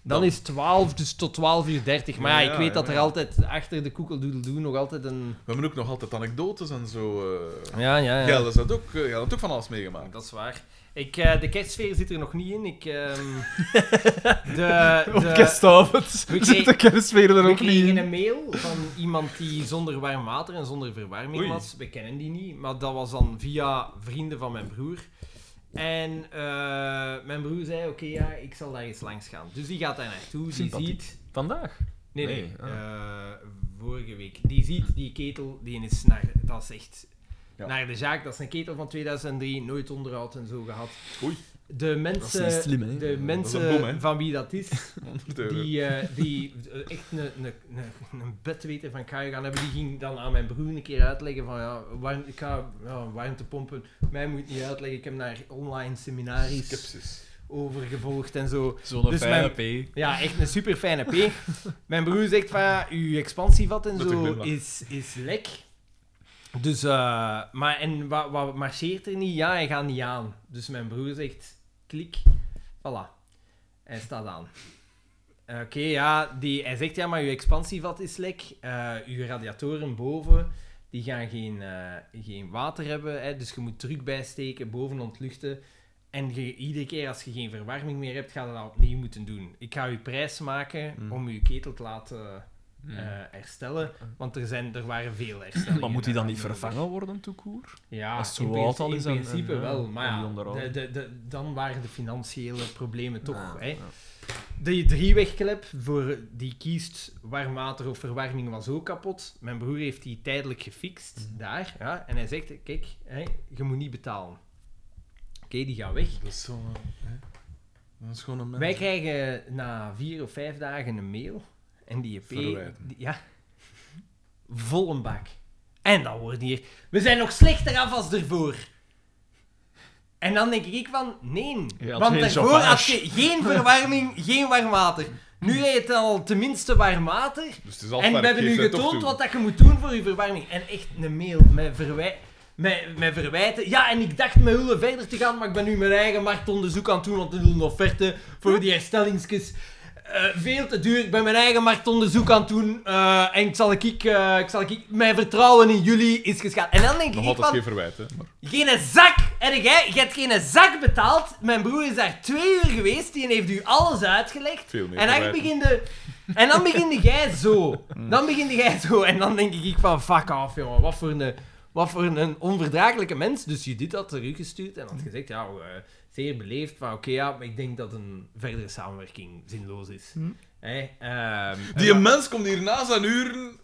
S2: Dan is 12, dus tot 12 uur 30. Maar ja,
S1: Ja,
S2: ik weet
S1: ja,
S2: dat er
S1: ja.
S2: altijd achter de koekeldoedeldoe nog altijd een...
S1: We hebben ook nog altijd anekdotes en zo. eh.
S2: Ja, ja, ja.
S1: Jij is dat ook, eh, jij hebt ook van alles meegemaakt.
S2: Dat is waar. Ik, eh, de kerstsfeer zit er nog niet in. Ik, ehm, de,
S3: Op
S2: de,
S3: kerstavond zit
S2: We
S3: de
S2: kregen-
S3: kerstspelen er
S2: we
S3: ook niet
S2: kregen
S3: in.
S2: een mail van iemand die zonder warm water en zonder verwarming
S3: Oei.
S2: was. We kennen die niet, maar dat was dan via vrienden van mijn broer. En eh, mijn broer zei, oké, ja, ik zal daar eens langs gaan. Dus die gaat daar naartoe, die
S3: Sympathiek.
S2: ziet...
S5: Vandaag?
S2: Nee, nee.
S5: Nee, ah.
S2: eh, vorige week. Die ziet die ketel, die is naar... Dat is echt...
S1: Ja.
S2: Naar de zaak. Dat is een ketel van 2003, nooit onderhoud en zo gehad.
S1: Oei.
S2: De mensen,
S3: niet slim, hè? Dat
S2: de
S3: is
S2: mensen
S1: een bom, hè?
S2: van wie dat is,
S1: 100 euro.
S2: die, eh, die eh, echt een, een, een, een bedweter van Kai gaan hebben, die ging dan aan mijn broer een keer uitleggen van ja, warm, ik ga ja, warmtepompen, mij moet niet uitleggen, ik heb naar online seminaries
S1: Skepsis.
S2: over gevolgd en zo.
S3: Zo'n
S2: Dus
S3: fijne P.
S2: Ja, echt een super fijne P. Mijn broer zegt van ja, uw expansievat en
S1: Met een
S2: zo
S1: glimlach.
S2: is, is lek. Dus, eh, maar en wat wat marcheert er niet? Ja, hij gaat niet aan. Dus mijn broer zegt klik, voilà. Hij staat aan. Eh, Oké, ja, die, hij zegt ja, maar uw expansievat is lek. Eh, uw radiatoren boven, die gaan geen, eh, geen water hebben. Hè, dus je moet druk bijsteken, boven ontluchten. En je, iedere keer als je geen verwarming meer hebt, ga je dat opnieuw moeten doen. Ik ga je prijs maken
S1: Mm.
S2: om je ketel te laten
S3: Mm.
S2: eh, herstellen. Want er, zijn, er waren veel herstellingen.
S3: Maar moet die dan niet
S2: daarvan nodig.
S3: vervangen worden, toekoer?
S2: Ja,
S3: Als het zo
S2: in,
S3: oud
S2: principe-
S3: al is
S2: in
S3: en-
S2: principe
S3: en, ja,
S2: wel. Maar
S3: en
S2: ja,
S3: die onderhouden.
S2: de, de, de- dan waren de financiële problemen toch.
S3: Ja,
S2: hè.
S3: ja.
S2: De driewegklep voor die kiest warm water of verwarming was ook kapot. Mijn broer heeft die tijdelijk gefixt
S3: Mhm.
S2: daar. Ja, en hij zegt: Kijk, hè, je moet niet betalen. Oké, die gaat weg.
S1: Dat is zo'n... hè? Dat is gewoon een mens.
S2: Wij krijgen na vier of vijf dagen een mail. En die EP...
S1: Verwijten.
S2: die- ja. Vol een bak. En dan wordt hier... We zijn nog slechter af als ervoor. En dan denk ik van... Nee.
S3: Je had
S2: want
S3: geen
S2: daarvoor
S3: chauffage.
S2: had je geen verwarming, geen warm water. Nu heb je het al tenminste warm water.
S1: Dus het is altijd
S2: En we hebben
S1: geeft
S2: u
S1: hij toch
S2: getoond
S1: toe.
S2: wat dat je moet doen voor je verwarming. En echt een mail met, verwij met, met verwijten. Ja, en ik dacht met Hulle verder te gaan, maar ik ben nu mijn eigen marktonderzoek aan het doen, want we doen offerte voor die herstellingsjes. Eh, veel te duur. Ik ben mijn eigen marktonderzoek aan het doen. eh, en ik zal, ik, eh, ik zal ik, mijn vertrouwen in jullie is geschaad. En dan denk
S1: Nog
S2: ik
S1: altijd
S2: van,
S1: geen verwijt, hè. Maar...
S2: geen zak! En jij, je hebt geen zak betaald. Mijn broer is daar twee uur geweest. Die heeft u alles uitgelegd.
S1: Veel meer
S2: en dan
S1: verwijten.
S2: beginde... En dan beginde jij zo. Dan beginde jij zo. En dan denk ik van, fuck off, jongen. Wat voor een, wat voor een onverdraaglijke mens. Dus Judith had teruggestuurd en had gezegd, ja, eh, zeer beleefd. Van, oké, ja, maar ik denk dat een verdere samenwerking zinloos is. Hè, ehm,
S1: Die
S2: en-
S1: mens komt hier na zijn uren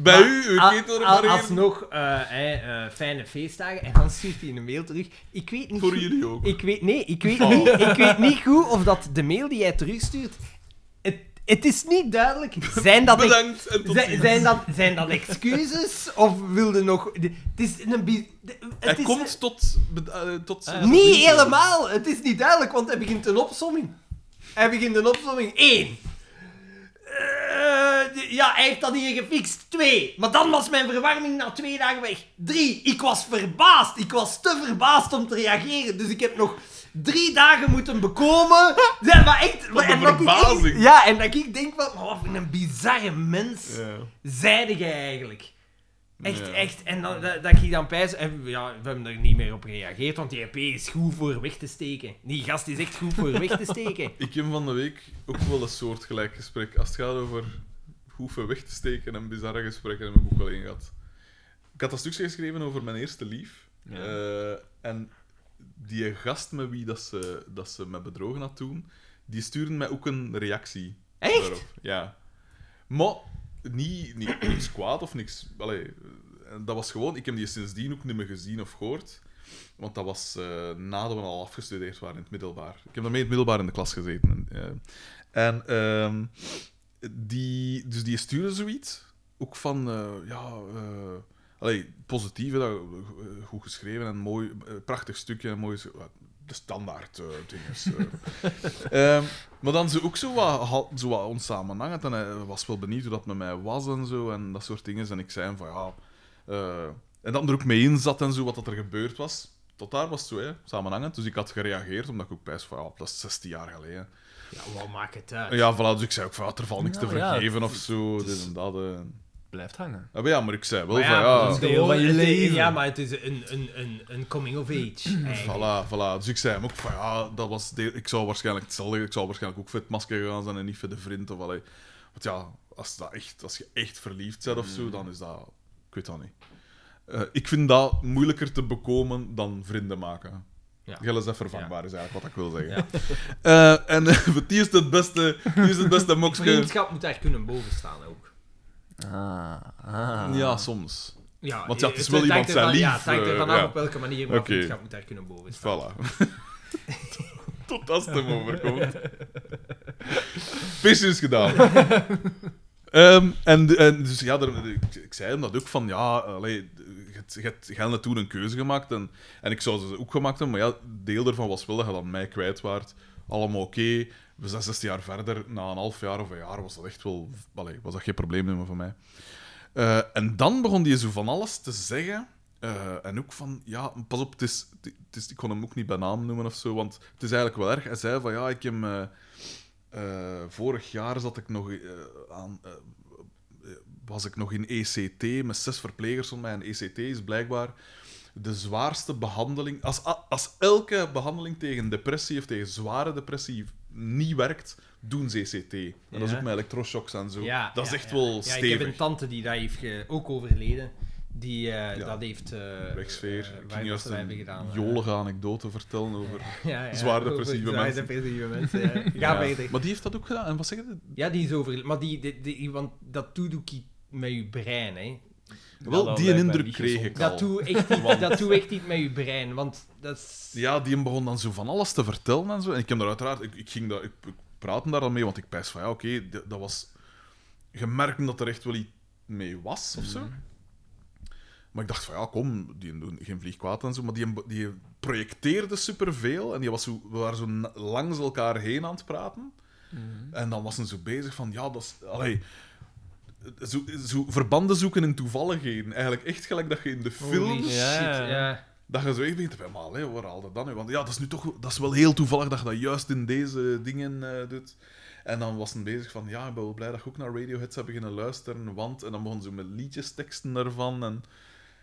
S1: bij
S2: maar
S1: u, uw
S2: a-
S1: ketel
S2: a-
S1: repareren.
S2: Alsnog eh, hè, eh, fijne feestdagen. En dan stuurt hij een mail terug. Ik weet niet
S1: Voor
S2: goed-
S1: jullie ook.
S2: Ik weet, nee, ik weet, niet, ik weet niet goed of dat de mail die hij terugstuurt... Het, het is niet duidelijk. Zijn dat, echt-
S1: Bedankt en tot
S2: zijn,
S1: ziens.
S2: zijn dat, zijn dat excuses? Of wilde nog... de- Het is een... bi- de-
S1: Hij
S2: Het is
S1: komt tot... be- eh, tot
S3: Ah, ja.
S2: niet helemaal. Het is niet duidelijk, want hij begint een opsomming. Hij begint een opsomming. 1. ja, hij heeft dat hier gefixt. 2. Maar dan was mijn verwarming na twee dagen weg. 3. Ik was verbaasd. Ik was te verbaasd om te reageren. Dus ik heb nog drie dagen moeten bekomen. Ja, maar echt...
S1: Wat een
S2: en dat ik echt-
S1: verbazing.
S2: ja, en dat ik denk van... Maar wat voor een bizarre mens
S1: Ja.
S2: zeide jij eigenlijk? Echt,
S1: Ja.
S2: echt. En dan, dat, dat ik dan pijs... En ja, we hebben er niet meer op gereageerd, want die EP is goed voor weg te steken. Die gast is echt goed voor weg te steken.
S1: Ik heb van de week ook wel een soortgelijk gesprek. Als het gaat over hoeven weg te steken en bizarre gesprekken, heb ik ook wel één gehad. Ik had een stukje geschreven over mijn eerste lief.
S3: Ja.
S1: Eh, en die gast met wie dat ze, dat ze me bedrogen had toen, die stuurde mij ook een reactie.
S2: Echt?
S1: Ja. Maar niet, niet, niks kwaad of niks... Allee, eh, dat was gewoon... Ik heb die sindsdien ook niet meer gezien of gehoord. Want dat was eh, nadat we al afgestudeerd waren in het middelbaar. Ik heb daarmee in het middelbaar in de klas gezeten. En, eh, en ehm, die, dus die stuurde zoiets. Ook van, eh, ja, eh allee, positief, hè, dat, eh, goed geschreven en mooi, eh, prachtig stukje en mooi. eh, De standaard eh dingen. maar dan ze ook zo wat, ha- zo wat onsamenhangend. En hij eh, was wel benieuwd hoe dat met mij was en zo. En dat soort dingen. En ik zei hem van ja. eh, en dat er ook mee in zat en zo wat dat er gebeurd was. Tot daar was het zo, hè, samenhangend. Dus ik had gereageerd, omdat ik ook pijs van ja, dat is 16 jaar geleden.
S2: Ja, wat maakt het uit?
S1: Ja, voilà, dus ik zei ook van, ah, er valt niks te
S3: Nou, ja,
S1: vergeven
S3: het-
S1: of zo,
S3: het is-
S1: dit en dat. eh.
S3: Blijft hangen.
S1: Ja, maar ja, maar ik zei wel
S2: Maar
S1: van, ja...
S2: dat is
S3: deel
S2: gewoon-
S3: van je
S2: het-
S3: leven.
S2: Ja, maar het is een, een, een, een coming of age. eigenlijk.
S1: Voilà, voilà. Dus ik zei hem ook van ja, dat was de- ik zou waarschijnlijk hetzelfde, ik zou waarschijnlijk ook vet masker gegaan zijn en niet voor de vriend of allee. Want ja, als, dat echt, als je echt verliefd bent of zo,
S2: Mm.
S1: dan is dat, ik weet dat niet. Eh, ik vind dat moeilijker te bekomen dan vrienden maken.
S2: Ja.
S1: Gel is dat vervangbaar, is eigenlijk wat ik wil zeggen. Eh, en eh, die is het beste, die is het beste mokske.
S2: Vriendschap moet daar kunnen bovenstaan ook.
S3: Ah,
S1: Ja, soms.
S2: Ja,
S1: Want ja, het is wel
S2: hangt
S1: iemand
S2: ervan-
S1: zijn
S2: Ja,
S1: lief,
S2: het hangt er
S1: eh,
S2: vanaf
S1: ja.
S2: op welke manier, maar
S1: Oké.
S2: vriendschap moet daar kunnen bovenstaan.
S1: Voilà. Tot als het hem overkomt. Vis is gedaan. Ehm, en, en dus ja, daar- ik, ik zei hem dat ook van ja, allee, je hebt- je hebt- je hebt toen een keuze gemaakt en, en ik zou ze ook gemaakt hebben, maar ja, deel daarvan was wel dat je dan mij kwijt waart. Allemaal oké. We zijn 16 jaar verder, na een half jaar of een jaar was dat echt wel, allee, was dat geen probleem meer voor mij. Eh, en dan begon hij zo van alles te zeggen. Eh, en ook van, ja, pas op, het is, het is, ik kon hem ook niet bij naam noemen of zo, want het is eigenlijk wel erg. Hij zei van, ja, ik heb... hem, eh, eh, vorig jaar zat ik nog eh, aan... eh, was ik nog in ECT met zes verplegers van mij. En ECT is blijkbaar de zwaarste behandeling. Als, a- als elke behandeling tegen depressie of tegen zware depressie niet werkt, doen ze ECT. En dat is
S2: Ja.
S1: ook met elektroshocks en zo.
S2: Ja,
S1: dat
S2: ja,
S1: is echt
S2: ja.
S1: wel
S2: Ja,
S1: stevig.
S2: ik heb een tante die daar heeft ge- ook overleden. Die eh,
S1: Ja.
S2: dat heeft... eh,
S1: wegsfeer.
S2: eh,
S1: ik
S2: waar
S1: ging juist
S2: dat wij hebben
S1: een
S2: gedaan. eh.
S1: jolige anekdote vertellen over...
S2: Ja, ja,
S1: Zwaar
S2: over
S1: depressieve
S2: zwaar
S1: mensen.
S2: depressieve mensen, ja. Ga verder.
S1: Maar die heeft dat ook gedaan. En wat zeg je?
S2: Ja, die is over... Maar die, die, die- want dat doe ik i- met je brein, hè.
S1: Wel,
S3: dat
S1: die
S3: lijkt mij
S1: indruk
S3: niet
S1: kreeg
S3: gezond.
S1: ik al.
S2: Dat doe echt niet, dat doe echt niet met je brein, want dat is...
S1: Ja, die begon dan zo van alles te vertellen en zo. En ik heb daar uiteraard... Ik, ik ging daar... Ik, ik praatte daar dan mee, want ik pijs van... Ja, oké, d- dat was... Je merkte dat er echt wel iets mee was, of zo.
S2: Mhm.
S1: Maar ik dacht van, ja, kom, die doen geen vlieg kwaad en zo. Maar die, die projecteerde superveel. En die was zo, we waren zo na- langs elkaar heen aan het praten.
S2: Mhm.
S1: En dan was ze zo bezig van, ja, dat is... Allee, zo, zo verbanden zoeken in toevalligheden. Eigenlijk echt gelijk dat je in de
S2: Holy
S1: film...
S2: shit,
S3: Ja.
S2: ja.
S1: Dat je zo echt begint te van, maar allee, waar haal dat dan nu? Want ja, dat is nu toch... Dat is wel heel toevallig dat je dat juist in deze dingen eh, doet. En dan was ze bezig van, ja, ik ben wel blij dat je ook naar Radiohead zou beginnen luisteren, want... En dan begon ze met liedjes, teksten daarvan en...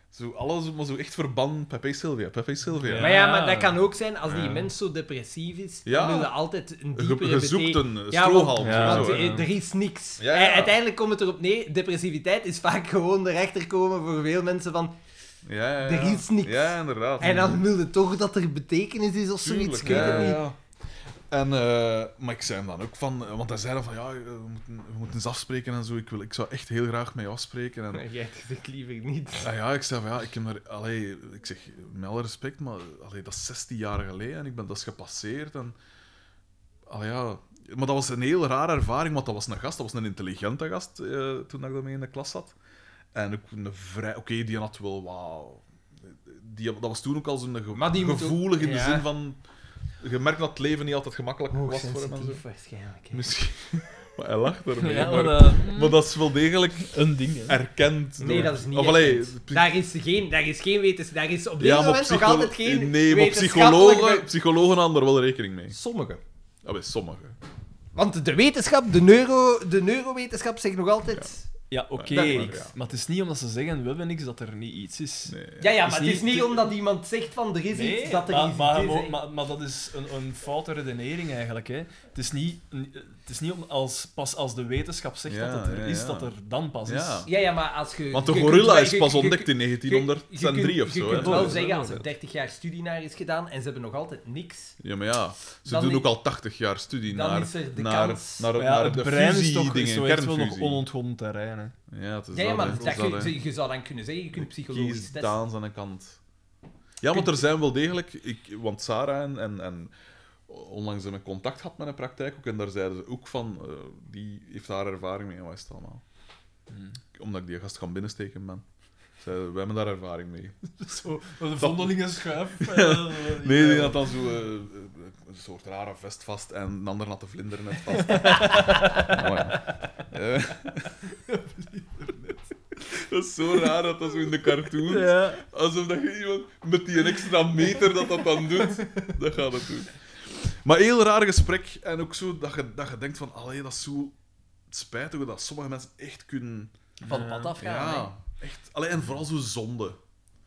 S1: Zo alles, maar zo echt verband. Pepe Sylvia, Pepe Sylvia.
S3: Ja.
S2: Maar ja, maar dat kan ook zijn als die mens zo depressief is.
S1: Ja.
S2: Dan wil je altijd een
S1: Je,
S2: diepere
S1: je zoekt
S2: betekenis.
S1: een eh,
S2: Ja, want,
S1: strohalm.
S3: Ja,
S1: of
S2: want
S1: zo,
S2: eh,
S1: hè.
S2: er is niks.
S1: Ja, ja.
S2: Eh, Uiteindelijk komt het erop neer, depressiviteit is vaak gewoon erachter komen voor veel mensen van...
S1: ja, ja, ja.
S2: er is niks.
S1: Ja, inderdaad.
S2: En dan wil je toch dat er betekenis is of zoiets,
S1: Tuurlijk,
S2: ik weet
S1: ja,
S2: het niet.
S1: ja, ja. En, eh, maar ik zei hem dan ook van, eh, want hij zei dan van ja, eh, we moeten, we moeten eens afspreken en zo. Ik, wil, ik zou echt heel graag met je afspreken. En,
S2: Jij zegt liever niet.
S1: Ah ja, ik zei van ja, ik heb er, allee, ik zeg met alle respect, maar allee, dat is 16 jaar geleden en ik ben dat is gepasseerd. En, allee, ja. Maar dat was een heel rare ervaring, want dat was een gast, dat was een intelligente gast eh, toen ik daarmee in de klas zat. En ook een vrij, oké, die had wel wat. Die, dat was toen ook al zo'n ge-
S2: Maar die moet ook-
S1: gevoelig in de
S2: ja.
S1: zin van. Je merkt dat het leven niet altijd gemakkelijk
S2: Oh,
S1: was voor hem en zo.
S2: Hoogsensitief waarschijnlijk. hè.
S1: Misschien. Maar hij lacht ermee.
S3: Ja,
S1: maar,
S3: maar, eh,
S1: maar dat is wel degelijk
S3: een ding, hè.
S1: erkend.
S2: Nee,
S1: door-
S2: dat is niet
S1: Of, allee,
S2: erkend. Daar is geen, daar is geen wetenschap. Daar is op dit
S1: Ja, maar
S2: moment nog altijd geen
S1: nee, maar
S2: wetenschappelijke-
S1: psychologen, psychologen houden er wel rekening mee.
S2: Sommigen.
S1: Ah, bij sommigen.
S2: Want de wetenschap, de, neuro, de neurowetenschap zegt nog altijd...
S3: Ja, oké.
S1: Dat klopt.
S3: Maar het is niet omdat ze zeggen, we hebben niks, dat er niet iets is.
S1: Nee.
S2: Ja, ja,
S3: Is
S2: maar het is
S3: niet-
S2: niet omdat iemand zegt van er is
S3: Nee,
S2: iets, dat er
S3: maar,
S2: iets
S3: maar,
S2: is.
S3: maar,
S2: hè.
S3: maar- maar dat is een, een foute redenering eigenlijk. Hè. Het is niet, het is niet om, als, pas als de wetenschap zegt
S1: Ja,
S3: dat het er
S1: ja,
S3: is,
S1: ja.
S3: dat er dan pas
S1: Ja.
S3: is.
S2: Ja, ja, maar als je...
S1: Want de
S2: je
S1: gorilla
S2: kunt-
S1: is
S2: je-
S1: pas
S2: je-
S1: ontdekt in
S2: je- je
S1: 1903
S2: kunt-
S1: of
S2: Je
S1: zo.
S2: kunt
S1: hè.
S2: wel
S3: Ja.
S2: zeggen, als er 30 jaar studie naar is gedaan en ze hebben nog altijd niks...
S1: Ja, maar ja, ze
S2: Dan
S1: doen
S2: i-
S1: ook al 80 jaar studie
S2: dan
S1: naar,
S2: is er de
S1: naar,
S2: kans-
S1: naar,
S3: Maar
S1: naar,
S3: ja, het
S1: de
S3: brein is
S1: fusie
S3: toch is
S1: dingen,
S3: zo echt wel nog
S1: kernfusie.
S3: onontgonnen terrein. Hè.
S1: Ja, het is
S2: Ja,
S1: dat,
S2: ja,
S1: hè.
S2: maar
S1: Het
S2: dat
S1: is dat, hè.
S2: je, je zou dan kunnen zeggen, je kunt psychologisch
S1: Kies
S2: testen.
S1: Daans aan de kant. Ja, want er zijn wel degelijk... Ik, want Sarah en, en, en onlangs hebben we contact gehad met een praktijk ook, en daar zeiden ze ook van, eh, die heeft daar ervaring mee en wat is het allemaal. Omdat ik die gast gaan binnensteken ben. Zeiden, we hebben daar ervaring mee.
S3: Zo, de vondelingen schuif. eh,
S1: Nee, die had dan zo eh, eh, een soort rare vest vast en een ander had de vlinder net vast. Nou ja. Eh. dat is zo raar dat dat zo in de cartoon.
S3: Ja.
S1: Alsof dat je iemand met die extra meter dat dat dan doet. Dat gaat het doen. Maar heel raar gesprek. En ook zo dat je, dat je denkt van, allee, dat is zo spijtig dat sommige mensen echt kunnen...
S2: Van het pad
S1: Ja,
S2: afgaan. hè.
S1: echt. Allee, en vooral zo zonde.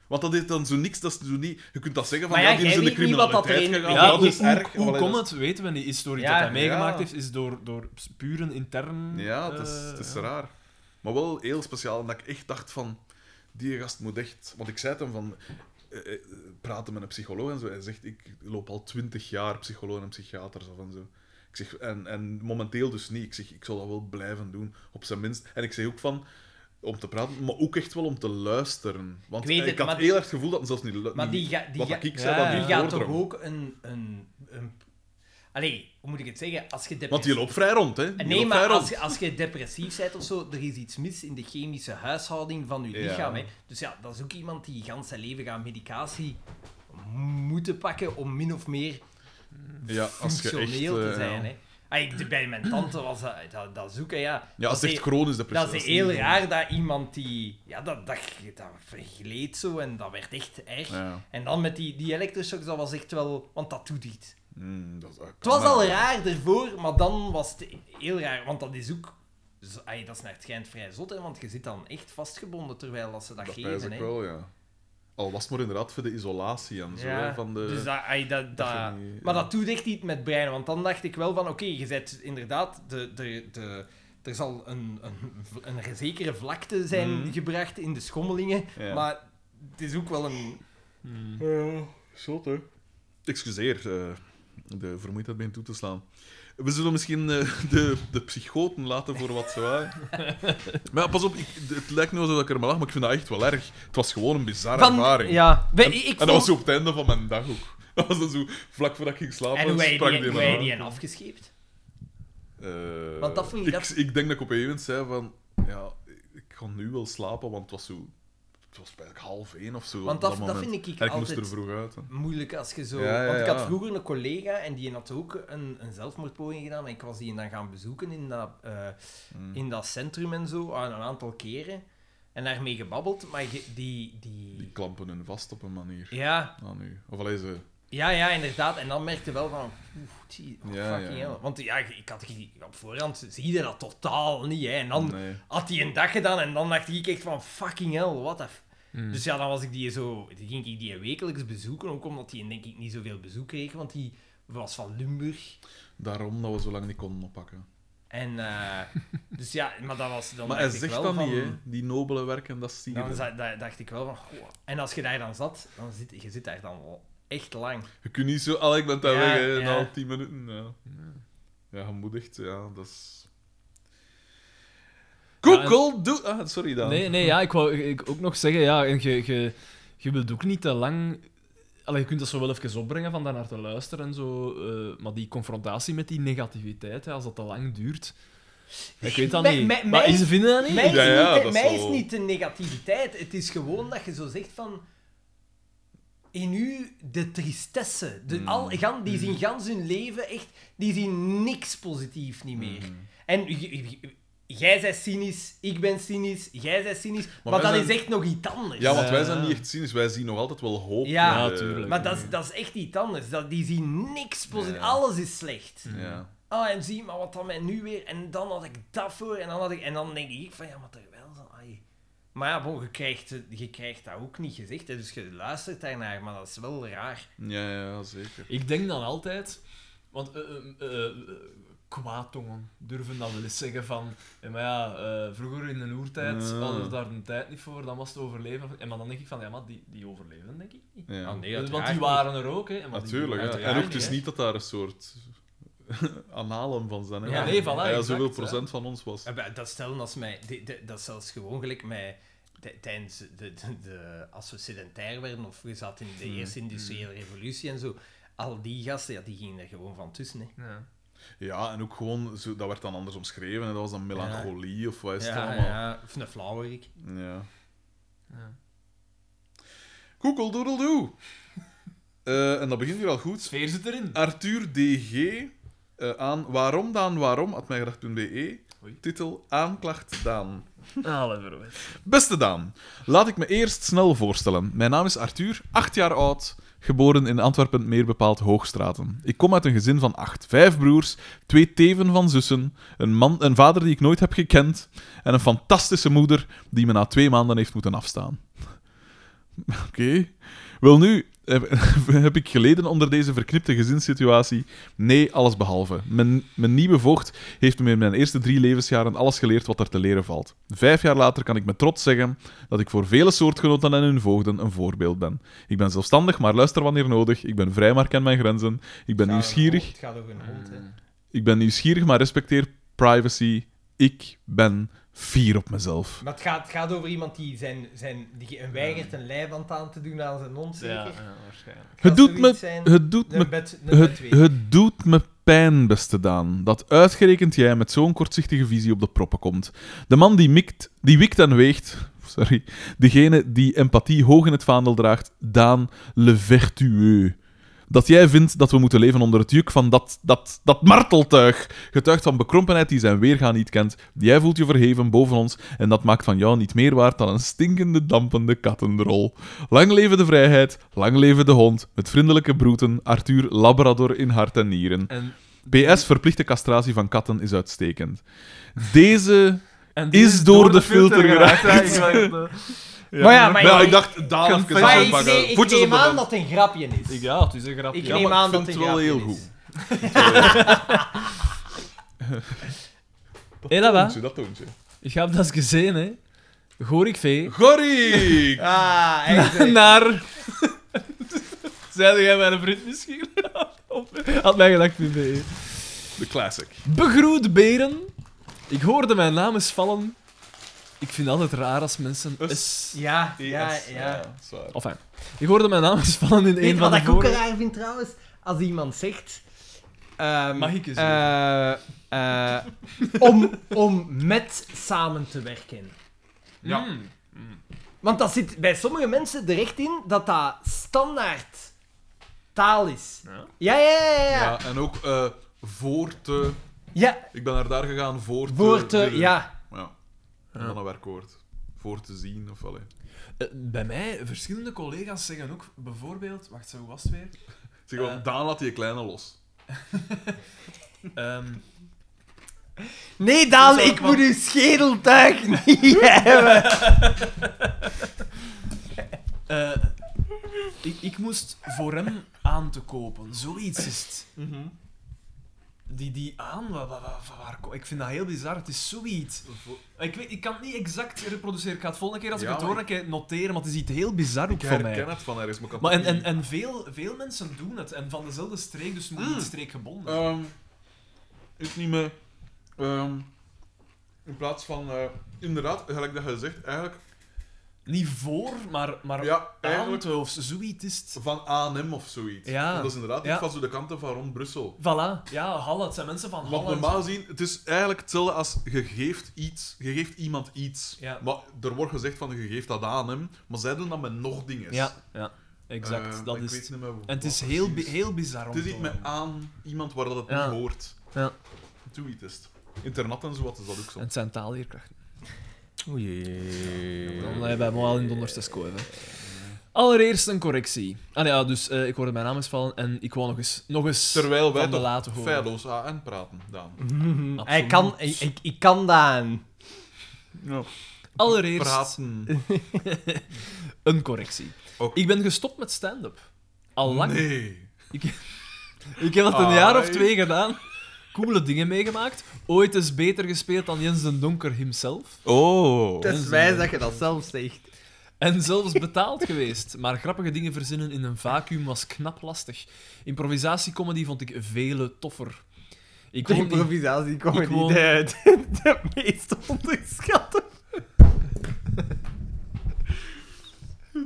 S1: Want dat is dan zo niks, dat is zo niet... Je kunt dat zeggen van,
S2: Maar
S1: ja,
S2: ja,
S1: die is
S2: jij
S1: in de
S2: weet niet wat dat
S1: criminaliteit
S2: erin-
S1: gegaan.
S2: Ja,
S1: dat
S3: hoe-
S1: is erg.
S3: Hoe, hoe
S1: Allee,
S3: komt
S1: dat
S3: het? Weten we niet. Is door iets
S2: Ja,
S3: dat hij meegemaakt
S1: ja.
S3: heeft, is door, door puur een intern...
S1: is- Ja, het is,
S3: eh,
S1: het is
S3: ja.
S1: raar. Maar wel heel speciaal. En dat ik echt dacht van, die gast moet echt... Want ik zei het hem van... eh, eh, praten met een psycholoog en zo. Hij zegt, ik loop al twintig jaar psycholoog en psychiaters af en zo. Ik zeg, en, en momenteel dus niet. Ik zeg, ik zal dat wel blijven doen, op zijn minst. En ik zeg ook van, om te praten, maar ook echt wel om te luisteren. Want
S2: Ik
S1: ik,
S2: weet het,
S1: had
S2: maar-
S1: heel erg het gevoel dat hij zelfs niet... lu-
S2: Maar die,
S1: niet-
S2: ga, die,
S1: wat
S2: ga-
S1: ik
S3: ja,
S1: zei, dat
S2: die
S1: niet
S2: gaat toch
S1: doordrong.
S2: ook een, een, een... Allee, hoe moet ik het zeggen? Als
S1: Want
S2: je
S1: die
S2: depressief...
S1: loopt vrij rond, hè? Die
S2: Nee,
S1: loopt
S2: maar
S1: vrij
S2: als
S1: rond.
S2: je, als je depressief bent of zo, er is iets mis in de chemische huishouding van je
S1: Ja.
S2: lichaam. Hè. Dus ja, dat is ook iemand die gans zijn leven gaat medicatie moeten pakken om min of meer
S1: Ja, als je echt...
S2: functioneel
S1: eh,
S2: te zijn.
S1: ja.
S2: Hè. Ah, ik- bij mijn tante was dat, dat, dat zoeken, ja.
S1: Ja, als
S2: dat
S1: het
S2: is-
S1: echt chronisch depressie
S2: dat is
S1: niet
S2: heel
S1: zo.
S2: raar dat iemand die... Ja, dat, dat, dat vergleed zo en dat werd echt erg.
S1: Ja.
S2: En dan met die, die elektroshocks, dat was echt wel... Want dat doet iets.
S1: Mm, dat, dat
S2: Het was
S1: kan,
S2: al
S1: hè.
S2: raar ervoor, maar dan was het heel raar. Want dat is ook... zo- ai, dat is naar het schijnt vrij zot, hè, want je zit dan echt vastgebonden terwijl dat ze dat,
S1: Dat pijs
S2: geven.
S1: ik
S2: hè.
S1: wel, ja. Al was het maar inderdaad voor de isolatie en zo,
S2: Ja,
S1: hè, van de...
S2: Dus dat, ai, dat, dat,
S1: je niet-
S2: maar
S1: ja.
S2: dat doet echt niet met brein, want dan dacht ik wel van, oké, je zet inderdaad, de, de, de, er zal een, een, een zekere vlakte zijn
S1: Mhm.
S2: gebracht in de schommelingen,
S1: Ja.
S2: maar het is ook wel een...
S1: Zot, hè. Excuseer eh, de vermoeidheid bij toe te slaan. We zullen misschien eh, de, de psychoten laten voor wat ze waren. maar ja, pas op, ik, het lijkt nu alsof ik er maar lach, maar ik vind dat echt wel erg. Het was gewoon een bizarre ervaring.
S2: Ja, we- ik
S1: en dat
S2: vond-
S1: was zo op het einde van mijn dag ook. Dat was dan zo vlak voordat ik ging slapen,
S2: en hoe heb
S1: sprak
S2: je die,
S1: die
S2: hoe
S1: me
S2: heb je
S1: aan.
S2: die hen afgescheept?
S1: Eh,
S2: Want dat vond ik-
S1: ik,
S2: dat-
S1: ik denk dat ik op een gegeven moment zei van... Ja, ik ga nu wel slapen, want het was zo... Het was bijna half één of zo. op
S2: Want dat, dat,
S1: moment.
S2: vind ik, ik
S1: En ik moest
S2: altijd
S1: er vroeg uit. hè.
S2: moeilijk als je zo...
S1: Ja, ja,
S2: want ik had
S1: ja.
S2: vroeger een collega en die had ook een, een zelfmoordpoging gedaan, maar ik was die dan gaan bezoeken in dat... eh,
S1: Mm.
S2: in dat centrum en zo aan een aantal keren en daarmee gebabbeld, maar je- die,
S1: Die
S2: die...
S1: klampen hun vast op een manier.
S2: Ja,
S1: Ah, nu. Of alleen ze...
S2: ja, ja, inderdaad. En dan merkte wel van, oeh, tjie, oh,
S1: Ja,
S2: fucking
S1: ja.
S2: hell. Want ja, ik had die- op voorhand zie je dat totaal niet, hè. En dan
S1: Nee.
S2: had hij een dag gedaan en dan dacht ik echt van, fucking hell, what the... f-
S1: Hmm.
S2: Dus ja, dan was ik die zo, die ging ik die wekelijks bezoeken, ook omdat die denk ik niet zoveel bezoek kreeg, want die was van Limburg.
S1: Daarom dat we zo lang niet konden oppakken.
S2: En, eh, dus ja, maar dat was dan
S1: maar hij
S2: dacht ik
S1: zegt
S2: wel
S1: dat
S2: van,
S1: niet, hè. Die nobele werken, dat is
S2: Dan
S1: hier.
S2: za- da- dacht ik wel van, goh. En als je daar dan zat, dan zit je zit daar dan wel echt lang.
S1: Je kunt niet zo... Allee, ik ben daar
S2: Ja,
S1: weg, hè.
S2: ja.
S1: Na tien minuten, ja. Ja, gemoedigd, ja. Dat is...
S3: Ja, en-
S1: Google, doe... Ah, sorry, dan.
S3: Nee, nee, ja, ik wou ik, ook nog zeggen, ja, en je, je, je wilt ook niet te lang... Allee, je kunt dat zo wel even opbrengen van daarnaar te luisteren en zo, eh, maar die confrontatie met die negativiteit, hè, als dat te lang duurt... Ik weet dat
S2: Mij-
S3: niet.
S2: mij-
S3: maar
S2: mij-
S3: ze vinden dat niet.
S2: Mij is,
S1: Ja, ja,
S2: niet, de,
S1: dat
S2: mij
S1: zal
S2: is
S1: wel.
S2: niet de negativiteit. Het is gewoon dat je zo zegt van... In u de tristesse. De,
S1: Hmm.
S2: al, gan, die zien gans hun leven echt... Die zien niks positief niet meer.
S1: Hmm.
S2: En j- j- j- jij bent cynisch, ik ben cynisch, jij bent cynisch. Maar,
S1: wij
S2: dat
S1: zijn-
S2: is echt nog iets anders.
S1: Ja, want wij
S3: Ja.
S1: zijn niet echt cynisch. Wij zien nog altijd wel hoop.
S2: Ja.
S1: in de-
S3: Ja, tuurlijk.
S2: Maar dat is, dat is echt iets anders. Dat, die zien niks positief.
S1: Ja. Hmm.
S2: Alles is slecht.
S1: Ja.
S2: Ah, en zie maar wat dan mij nu weer. En dan had ik dat voor. En dan, had ik, en dan denk ik van ja, maar terwijl. zo, ai. Maar ja, bon, je, krijgt, eh, je krijgt dat ook niet gezegd. Hè, dus je luistert daarnaar. Maar dat is wel raar.
S1: Ja, ja, zeker.
S3: Ik denk dan altijd, want eh, eh, eh, eh, kwaadtongen durven dan wel eens zeggen van, eh, maar ja, eh, vroeger in de oertijd
S1: Ja.
S3: hadden we daar de tijd niet voor, dan was het overleven. En maar dan denk ik van, ja, maar die, die overleven denk ik niet.
S1: Ja.
S2: Ah, nee,
S3: Want
S2: uiteraard
S3: die
S2: niet.
S3: waren er ook, hè? en maar die-
S1: Natuurlijk. Ja.
S3: uiteraard
S1: En ook, het is
S3: hè.
S1: niet dat daar een soort analen van zijn. Hè?
S2: Ja,
S1: Want,
S2: nee, voilà,
S1: ja,
S3: exact,
S1: zoveel
S3: hè.
S1: procent van ons was.
S2: Eh, maar Dat stellen als mij. di- di- Dat is zelfs gewoon gelijk mij. ti- Tijdens de, de, de, als we sedentair werden, of we zaten in de
S1: Hmm.
S2: eerste industriële revolutie en zo, al die gasten, ja, die gingen er gewoon van tussen. Hè.
S3: Ja.
S1: Ja, en ook gewoon, zo, dat werd dan anders omschreven. Hè? Dat was dan melancholie of wat is het
S2: Ja,
S1: allemaal. Ja.
S2: ja, of een flauwerik.
S3: Ja.
S1: Google doodle doe. Eh, en dat begint hier al goed.
S3: Sfeer zit erin.
S1: Arthur DG eh, aan waarom dan waarom, at mijgedacht.be.
S3: Oei.
S1: E, Titel Aanklacht Daan.
S3: Alle verwijt.
S1: Beste Daan, laat ik me eerst snel voorstellen. Mijn naam is Arthur, acht jaar oud, geboren in Antwerpen, meer bepaald Hoogstraten. Ik kom uit een gezin van acht. Vijf broers, twee teven van zussen, een, man, een vader die ik nooit heb gekend en een fantastische moeder die me na twee maanden heeft moeten afstaan. Oké. Wel nu, heb, heb ik geleden onder deze verknipte gezinssituatie? Nee, alles behalve. Mijn, mijn nieuwe voogd heeft me in mijn eerste drie levensjaren alles geleerd wat er te leren valt. Vijf jaar later kan ik met trots zeggen dat ik voor vele soortgenoten en hun voogden een voorbeeld ben. Ik ben zelfstandig, maar luister wanneer nodig. Ik ben vrij, maar ken mijn grenzen. Ik ben nieuwsgierig.
S2: Het gaat over een hond, hè.
S1: Ik ben nieuwsgierig, maar respecteer privacy. Ik ben fier op mezelf.
S2: Maar het gaat, het gaat over iemand die, zijn, zijn, die een weigert een lijband aan te doen aan zijn hond, zeker?
S3: Ja,
S2: Gaat
S3: ja, waarschijnlijk.
S1: Het doet, me,
S2: zoiets zijn?
S1: het, doet me,
S2: Een bed, een
S1: het,
S2: bedweter.
S1: het doet me pijn, beste Daan, dat uitgerekend jij met zo'n kortzichtige visie op de proppen komt. De man die, mikt, die wikt en weegt, sorry, degene die empathie hoog in het vaandel draagt, Daan Le Vertueux. Dat jij vindt dat we moeten leven onder het juk van dat, dat, dat marteltuig. Getuigd van bekrompenheid die zijn weerga niet kent. Jij voelt je verheven boven ons en dat maakt van jou niet meer waard dan een stinkende, dampende kattenrol. Lang leven de vrijheid, lang leven de hond. Met vriendelijke broeten, Arthur Labrador in hart en nieren.
S3: En,
S1: PS, verplichte castratie van katten is uitstekend. Deze...
S3: en
S1: die is door de filter geraakt.
S3: Ja, ik wou het,
S2: Maar ja, maar
S1: Ja,
S2: ik-
S1: ik dacht, Daan, even
S2: Maar
S1: zo
S2: ik,
S1: pakken.
S2: nee, ik
S1: eh, Voetjes op
S2: neem
S1: de
S2: aan
S1: grond.
S2: dat het een grapje is.
S3: eh, ja, het is een grapje.
S2: Ik
S3: Ja,
S2: neem
S1: maar
S2: aan
S1: ik
S2: dat
S1: vind
S2: het
S1: het
S2: een
S1: wel
S2: grapje
S1: heel
S2: is.
S1: goed.
S3: Hé, dat wel.
S1: Toontje, dat toontje.
S3: Ik heb dat eens gezien, hè. Hoor ik vee.
S1: Gorik!
S2: Ah, echt. hè.
S3: Naar... Zeiden jij mijn vriend misschien? Of Had mij gedacht niet mee.
S1: De classic.
S3: Begroet beren. Ik hoorde mijn naam eens vallen. Ik vind het altijd raar als mensen...
S1: Us.
S3: Is...
S2: Ja, ja,
S1: Yes,
S2: ja.
S1: zwaar.
S3: Enfin, ik hoorde mijn naam eens vallen in
S2: Weet
S3: een
S2: je
S3: van
S2: wat
S3: de
S2: ik ook
S3: vorige...
S2: raar vind trouwens? Als iemand zegt... ehm,
S3: Mag ik eens
S2: eh, eh, om, om met samen te werken.
S3: Ja.
S2: Hmm. Want dat zit bij sommige mensen er echt in dat dat standaard taal is.
S3: Ja.
S2: Ja, ja, ja. ja, ja.
S1: Ja, en ook eh, voor te...
S2: ja
S1: Ik ben naar daar gegaan voor te...
S2: voor te...
S1: willen.
S2: Ja.
S1: Ja. En dan een werkwoord. Voor te zien, of allee.
S3: Eh, Bij mij, verschillende collega's zeggen ook bijvoorbeeld... Wacht, zo was het weer?
S1: Zeg gewoon,
S3: Eh.
S1: Daan laat die kleine los.
S3: Ehm,
S2: Nee, Daan,
S3: Dat is ook
S2: ik
S3: wel-
S2: moet uw schedeltuig niet hebben.
S3: eh, ik, ik moest voor hem aan te kopen. Zoiets is het.
S1: Mhm.
S3: Die, die aan, wa- wa- wa- van waar ko- ik vind dat heel bizar. Het is zoiets. Ik, weet, ik kan het niet exact reproduceren. Ik ga het volgende keer als
S1: Ja,
S3: ik het
S1: maar
S3: hoor, een keer noteren, want het is iets heel bizar ook
S1: Ik
S3: van
S1: herken
S3: mij.
S1: het van ergens, maar ik kan
S3: Maar en,
S1: het
S3: en,
S1: niet-
S3: en veel, veel mensen doen het. En van dezelfde streek, dus moet
S1: Mm.
S3: niet streekgebonden.
S1: Ehm, is niet meer... ehm, in plaats van... eh, inderdaad, gelijk dat je zegt, eigenlijk...
S3: Niet voor, maar, maar
S1: Ja,
S3: aan
S1: eigenlijk
S3: te of zoiets is het.
S1: van A&M of zoiets.
S3: Ja.
S1: Want dat is inderdaad
S3: Ja.
S1: iets van zo de kanten van rond Brussel.
S3: Voilà. Ja, Halle. Het zijn mensen van
S1: Want
S3: Halle.
S1: normaal gezien, het is eigenlijk hetzelfde als je geeft, iets, je geeft iemand iets.
S3: Ja.
S1: Maar er wordt gezegd van je geeft dat aan hem, maar zij doen dat met nog dingen.
S3: Ja, ja. Exact.
S1: Eh,
S3: dat
S1: ik
S3: is
S1: weet
S3: het.
S1: niet meer wat
S3: En het is
S1: precies.
S3: heel, bi- heel bizar om
S1: Het is
S3: te
S1: iets met
S3: horen.
S1: aan iemand waar dat het
S3: Ja.
S1: niet hoort.
S3: Ja.
S1: Zoiets is het. Internat en zo wat is dat ook
S3: En
S1: zo.
S3: het zijn taalleerkrachten.
S2: Oei.
S3: Dan ben je bij mij al in de onderste school. hè. Allereerst een correctie. Ah ja, dus eh, ik hoorde mijn naam eens vallen en ik wou nog eens... Nog eens
S1: Terwijl wij
S3: van de
S1: toch
S3: late horen. Mhm.
S1: feilloos AN praten, Daan.
S2: Hmm, Hij kan, ik, ik, ik kan dat.
S3: Allereerst
S1: Praten.
S3: een correctie.
S1: Ook.
S3: Ik ben gestopt met stand-up. Al lang.
S1: Nee.
S3: Ik heb dat een jaar of
S1: Ai.
S3: twee gedaan. Coole dingen meegemaakt. Ooit eens beter gespeeld dan Jens den Donker himself.
S1: Oh.
S2: Het is wijs dat je dat zelf zegt.
S3: En zelfs betaald geweest. Maar grappige dingen verzinnen in een vacuüm was knap lastig. Improvisatiecomedy vond ik vele toffer. Ik
S2: De
S3: kon niet-
S2: improvisatie komen
S3: Ik woon-
S2: niet uit. De, de meest onderschatte.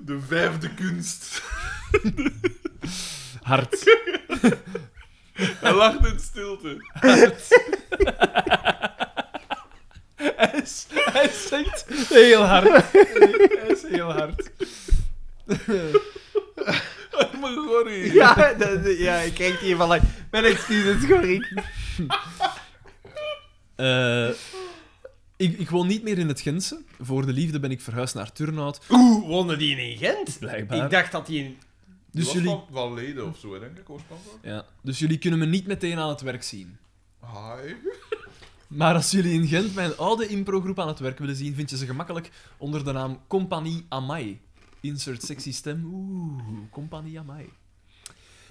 S1: De vijfde kunst.
S3: hard.
S1: Hij lacht in stilte.
S3: Hij, is- hij zingt heel hard. Hij is heel hard.
S1: Arme gorrie.
S2: Ja, dat- dat- ja, ik kijk hier van. like, Mijn excuses, Gorik.
S3: Eh, ik, ik woon niet meer in het Gentse. Voor de liefde ben ik verhuisd naar Turnhout.
S2: Oeh, woonde die in Gent?
S3: Blijkbaar.
S2: Ik dacht dat die in.
S1: Die
S3: Dus
S1: was
S3: jullie,
S1: van- Van leden of zo, denk ik, oorspronkelijk.
S3: ja, dus jullie kunnen me niet meteen aan het werk zien.
S1: Hi.
S3: Maar als jullie in Gent mijn oude improgroep aan het werk willen zien, vind je ze gemakkelijk onder de naam Compagnie Amai. Insert sexy stem. Oeh, Compagnie Amai.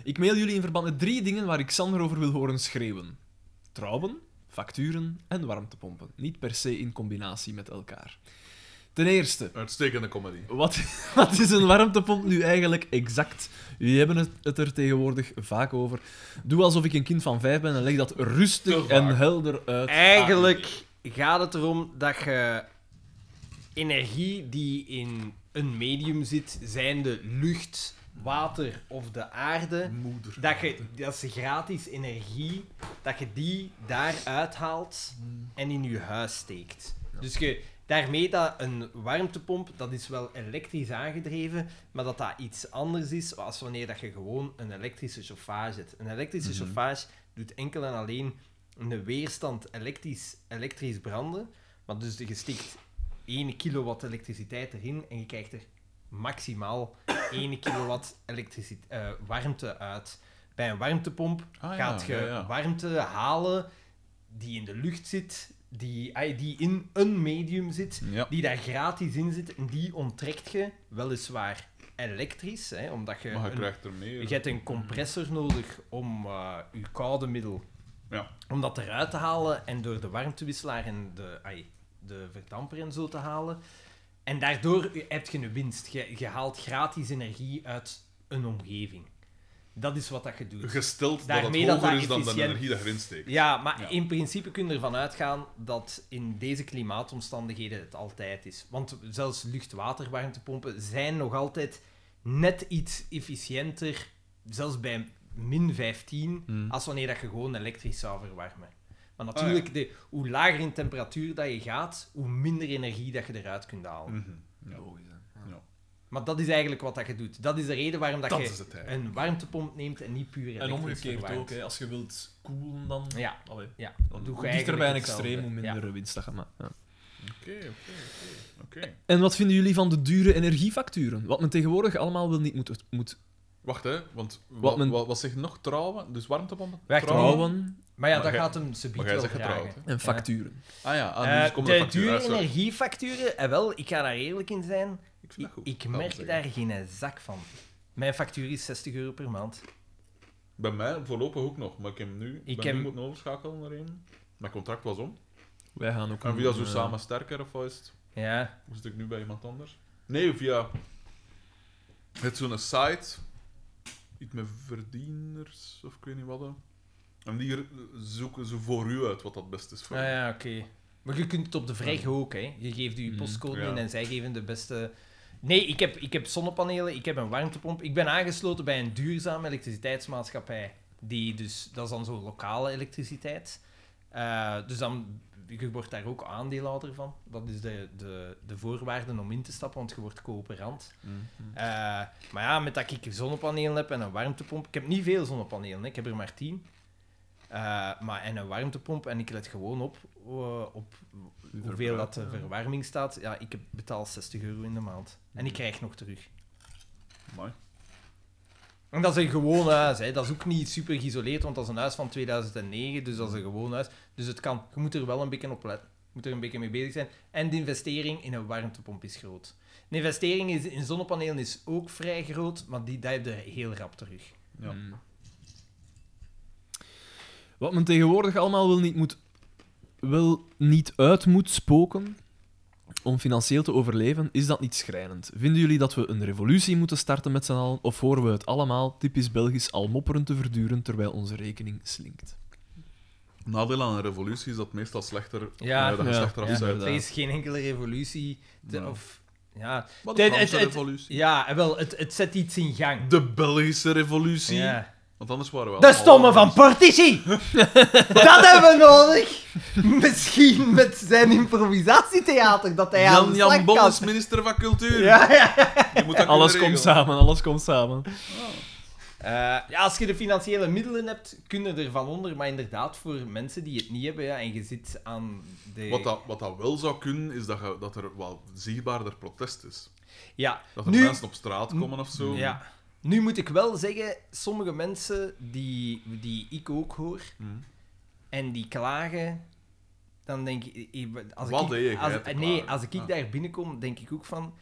S3: Ik mail jullie in verband met drie dingen waar ik Sander over wil horen schreeuwen. Trouwen, facturen en warmtepompen. Niet per se in combinatie met elkaar. Ten eerste,
S1: Uitstekende comedy.
S3: wat, wat is een warmtepomp nu eigenlijk exact? Jullie hebben het, het er tegenwoordig vaak over. Doe alsof ik een kind van vijf ben en leg dat rustig
S1: Te vaak.
S3: en helder uit.
S2: Eigenlijk gaat het erom dat je energie die in een medium zit, zijnde lucht, water of de aarde,
S1: Moeder.
S2: dat, je, dat is gratis energie, dat je die daaruit haalt en in je huis steekt. Dus je, daarmee dat een warmtepomp, dat is wel elektrisch aangedreven, maar dat dat iets anders is als wanneer dat je gewoon een elektrische chauffage hebt. Een elektrische
S1: Mhm.
S2: chauffage doet enkel en alleen een weerstand elektrisch, elektrisch branden, maar dus je steekt 1 kilowatt elektriciteit erin en je krijgt er maximaal 1 kilowatt elektrici- eh, warmte uit. Bij een warmtepomp
S1: Ah,
S2: gaat je
S1: ja, ja, ja.
S2: warmte halen die in de lucht zit, die, ai, die in een medium zit,
S1: Ja.
S2: die daar gratis in zit en die onttrekt je weliswaar elektrisch, hè, omdat je,
S1: Maar je
S2: een-
S1: krijgt er meer.
S2: je hebt een compressor nodig om eh, je koude middel
S1: Ja.
S2: om dat eruit te halen en door de warmtewisselaar en de, ai, de verdamper en zo te halen. En daardoor heb je een winst. Je, je haalt gratis energie uit een omgeving. Dat is wat dat je doet.
S1: Gesteld dat het
S2: Daarmee
S1: hoger
S2: dat dat
S1: is dan de
S2: efficiënt-
S1: energie dat je erin steekt.
S2: Ja, maar
S1: Ja.
S2: in principe kun je ervan uitgaan dat in deze klimaatomstandigheden het altijd is. Want zelfs lucht-waterwarmtepompen zijn nog altijd net iets efficiënter, zelfs bij min 15,
S1: Hmm.
S2: als wanneer dat je gewoon elektrisch zou verwarmen.
S1: Oh,
S2: Maar natuurlijk, de, hoe lager in temperatuur dat je gaat, hoe minder energie dat je eruit kunt halen.
S1: Mhm.
S3: Logisch, hè.
S2: Maar dat is eigenlijk wat dat je doet. Dat is de reden waarom dat,
S1: Dat
S2: je
S1: is het, hè.
S2: een warmtepomp neemt en niet puur elektrisch
S3: En omgekeerd
S2: verwarmt.
S3: ook, hè. als je wilt koelen, dan.
S2: Ja,
S3: Allee,
S2: ja.
S3: dan
S2: doe je
S3: hoe dichter
S2: eigenlijk
S3: bij een
S2: hetzelfde.
S3: extreem, hoe
S2: Ja.
S3: minder winst dat je maakt. Ja.
S1: Oké, oké, oké,
S2: Eh.
S1: oké.
S3: En wat vinden jullie van de dure energiefacturen? Wat men tegenwoordig allemaal wil niet moet, moet
S1: Wacht, hè. Want wat,
S3: Wat men-
S1: wat, wat zegt nog trouwen? Dus warmtepompen?
S2: Wacht,
S1: trouwen?
S3: trouwen
S2: Maar ja,
S1: Maar
S2: dat
S1: jij-
S2: gaat hem subiet
S1: maar jij
S2: wel
S1: zegt getrouwd,
S2: vragen.
S3: en facturen.
S1: Ah ja, ah,
S2: Eh,
S1: dus komt de
S2: de
S1: factuur.
S2: dure
S1: Ah, sorry.
S2: energiefacturen, eh, wel, ik ga daar eerlijk in zijn,
S1: Ik vind
S2: ik,
S1: dat goed.
S2: ik
S1: dat wil
S2: merk
S1: zeggen.
S2: daar geen zak van. Mijn factuur is 60 euro per maand.
S1: Bij mij voorlopig ook nog, maar ik heb nu, ik
S2: Ik
S1: ben
S2: heb-
S1: nu moeten overschakelen naar een. Mijn contract was om.
S3: Wij gaan ook.
S1: En
S3: een,
S1: via zo
S3: eh,
S1: samen sterker of wat is het?
S2: Ja.
S1: Moest ik nu bij iemand anders? Nee, via. Het zo'n site. Iets met verdieners of ik weet niet wat. hè. En die r- zoeken ze voor u uit wat dat best is voor
S2: Ah
S1: u.
S2: ja, oké. Maar je kunt het op de vrij ook, hè. Je geeft je
S3: Mm,
S2: postcode
S1: ja.
S2: in en zij geven de beste... Nee, ik heb, ik heb zonnepanelen, ik heb een warmtepomp. Ik ben aangesloten bij een duurzame elektriciteitsmaatschappij. Die dus, dat is dan zo'n lokale elektriciteit. Eh, dus dan, je wordt daar ook aandeelhouder van. Dat is de, de, de voorwaarden om in te stappen, want je wordt coöperant.
S1: Mm,
S2: Eh, maar ja, met dat ik zonnepanelen heb en een warmtepomp... Ik heb niet veel zonnepanelen, hè. ik heb er maar tien. Eh, maar en een warmtepomp en ik let gewoon op, eh, op hoeveel dat de verwarming staat. Ja, ik heb- betaal 60 euro in de maand. En ik krijg nog terug.
S1: Mooi.
S2: En dat is een gewoon huis, hè. dat is ook niet super geïsoleerd, want dat is een huis van 2009, dus dat is een gewoon huis. Dus het kan, je moet er wel een beetje op letten. Je moet er een beetje mee bezig zijn. En de investering in een warmtepomp is groot. De investering is, in zonnepanelen is ook vrij groot, maar die, die heb je heel rap terug.
S1: Ja.
S3: Mm. Wat men tegenwoordig allemaal wil niet, moet, wil niet uit moet spoken om financieel te overleven, is dat niet schrijnend. Vinden jullie dat we een revolutie moeten starten met z'n allen, of horen we het allemaal typisch Belgisch al mopperend te verduren terwijl onze rekening slinkt?
S1: Nadeel aan een revolutie is dat meestal slechter.
S2: Ja,
S1: eh, dat je
S3: ja,
S1: slechter
S3: ja,
S1: afzet.
S3: inderdaad.
S2: Er is geen enkele revolutie. te-
S1: Nee.
S2: of, ja.
S1: Maar
S2: Nee,
S1: de Franse
S2: het- het-
S1: revolutie.
S2: ja, en wel, het, het zet iets in gang.
S1: De Belgische revolutie.
S2: Ja.
S1: Want anders waren we
S2: De stomme van politici! dat hebben we nodig! Misschien met zijn improvisatietheater dat hij aan
S1: Jan
S2: de slag
S1: Jan Bol
S2: kan.
S1: is minister van cultuur.
S2: Ja, ja.
S1: Je moet dat
S3: Alles
S1: kunnen
S3: komt
S1: regelen.
S3: samen, alles komt samen.
S2: Eh, ja, als je de financiële middelen hebt, kunnen er van onder. Maar inderdaad, voor mensen die het niet hebben ja, en je zit aan de...
S1: Wat dat, wat dat wel zou kunnen, is dat, je- dat er wel zichtbaarder protest is.
S2: Ja,
S1: Dat er
S2: Nu- Mm.
S1: mensen op straat komen of zo.
S2: ja. Nu moet ik wel zeggen, sommige mensen die, die ik ook hoor,
S3: Mhm.
S2: en die klagen, dan denk ik... ik- Als
S1: Wat
S2: ik,
S1: deed jij
S2: als,
S1: te klagen?
S2: Nee, als ik
S1: Ah.
S2: daar binnenkom, denk ik ook van...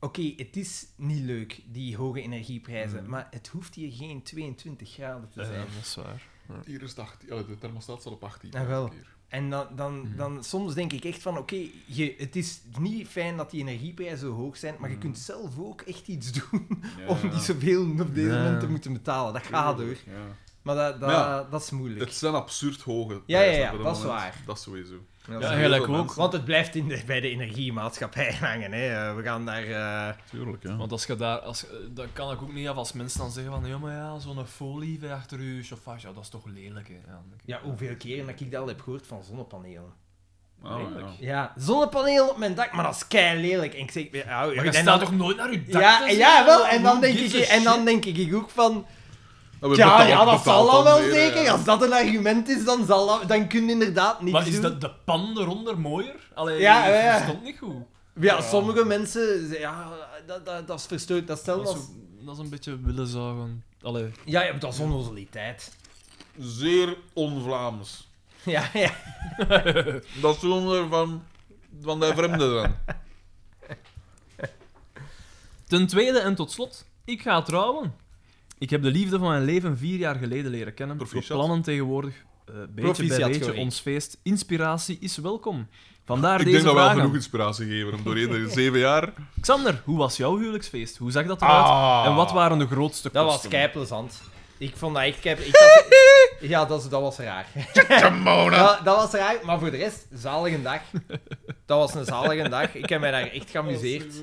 S2: Oké, het is niet leuk, die hoge energieprijzen,
S1: Mhm.
S2: maar het hoeft hier geen 22 graden te
S3: Ja,
S2: zijn.
S3: dat is waar.
S1: Hier is het 18. Ja, de thermostaat staat op 18.
S2: Ah, wel.
S1: Hier.
S2: En dan,
S1: Mhm.
S2: dan, dan soms denk ik echt van, oké, je- het is niet fijn dat die energieprijzen zo hoog zijn,
S1: Mhm.
S2: maar je kunt zelf ook echt iets doen om niet zoveel op deze
S3: Ja.
S2: moment te moeten betalen. Dat gaat hoor.
S1: Ja.
S2: Maar dat, dat,
S1: Maar ja,
S2: dat is moeilijk.
S1: Het zijn absurd hoge
S2: ja,
S1: prijzen
S2: ja,
S1: op
S2: dat is
S1: moment.
S2: waar.
S1: Dat is sowieso.
S2: Dat
S3: Ja,
S1: heel
S2: is-
S3: eigenlijk
S1: veel
S3: ook.
S1: mensen.
S2: Want het blijft in de, bij de energiemaatschappij hangen. Hè. Eh, We gaan daar... eh,
S1: Tuurlijk, ja.
S3: Want als je daar, als, eh, dat kan ik ook niet af als mensen dan zeggen van ja, maar ja, zo'n folie bij achter je chauffage, ja, dat is toch lelijk. Hè? Ja, dan denk ik,
S2: ja, hoeveel keren dat ik dat al heb gehoord van zonnepanelen.
S1: Ah, ja.
S2: Ja, zonnepanelen op mijn dak, maar dat is kei lelijk. En ik zeg... Ja, hou-
S3: Maar
S2: en
S3: je
S2: dan-
S3: staat toch nooit naar je dak
S2: ja,
S3: te
S2: ja,
S3: zien?
S2: wel. En dan,
S3: Who
S2: denk ik,
S3: gives a
S2: en dan
S3: shit?
S2: denk ik ook van...
S1: Nou, we
S2: Ja,
S1: betalen-
S2: ja, dat
S1: betalen
S2: zal dan wel
S1: weer, eh.
S2: zeker.
S1: ja.
S2: Als dat een argument is, dan, zal dat, dan kun je inderdaad niets
S3: Maar is
S2: doen.
S3: dat de pan eronder mooier? Allee,
S2: Ja, ja, ja.
S3: dat stond niet goed.
S2: Ja, sommige mensen... ze- Ja, dat, dat, dat is verstoord. Dat stelt
S3: Dat is,
S2: als...
S3: zo- dat is een beetje willen zagen. Allee.
S2: Ja, ja, dat is onnozeliteit.
S1: Zeer on-Vlaams.
S2: Ja, ja.
S1: Dat zullen we van, van de vreemden dan.
S3: Ten tweede en tot slot, ik ga trouwen. Ik heb de liefde van mijn leven vier jaar geleden leren kennen. We
S1: Proficiat.
S3: plannen tegenwoordig eh, beetje bij
S2: Proficiat,
S3: beetje
S2: Corrie.
S3: ons feest. Inspiratie is welkom. Vandaar
S1: Ik
S3: deze
S1: denk dat we wel
S3: vragen.
S1: genoeg inspiratie geven om doorheen de zeven jaar.
S3: Xander, hoe was jouw huwelijksfeest? Hoe zag dat eruit? En wat waren de grootste
S2: Dat
S3: kosten?
S2: was kei plezant. Ik vond dat echt kei... Ik had... Ja, dat, is- dat was raar. dat, dat was raar, maar voor de rest, zalige dag. Dat was een zalige dag. Ik heb mij daar echt geamuseerd.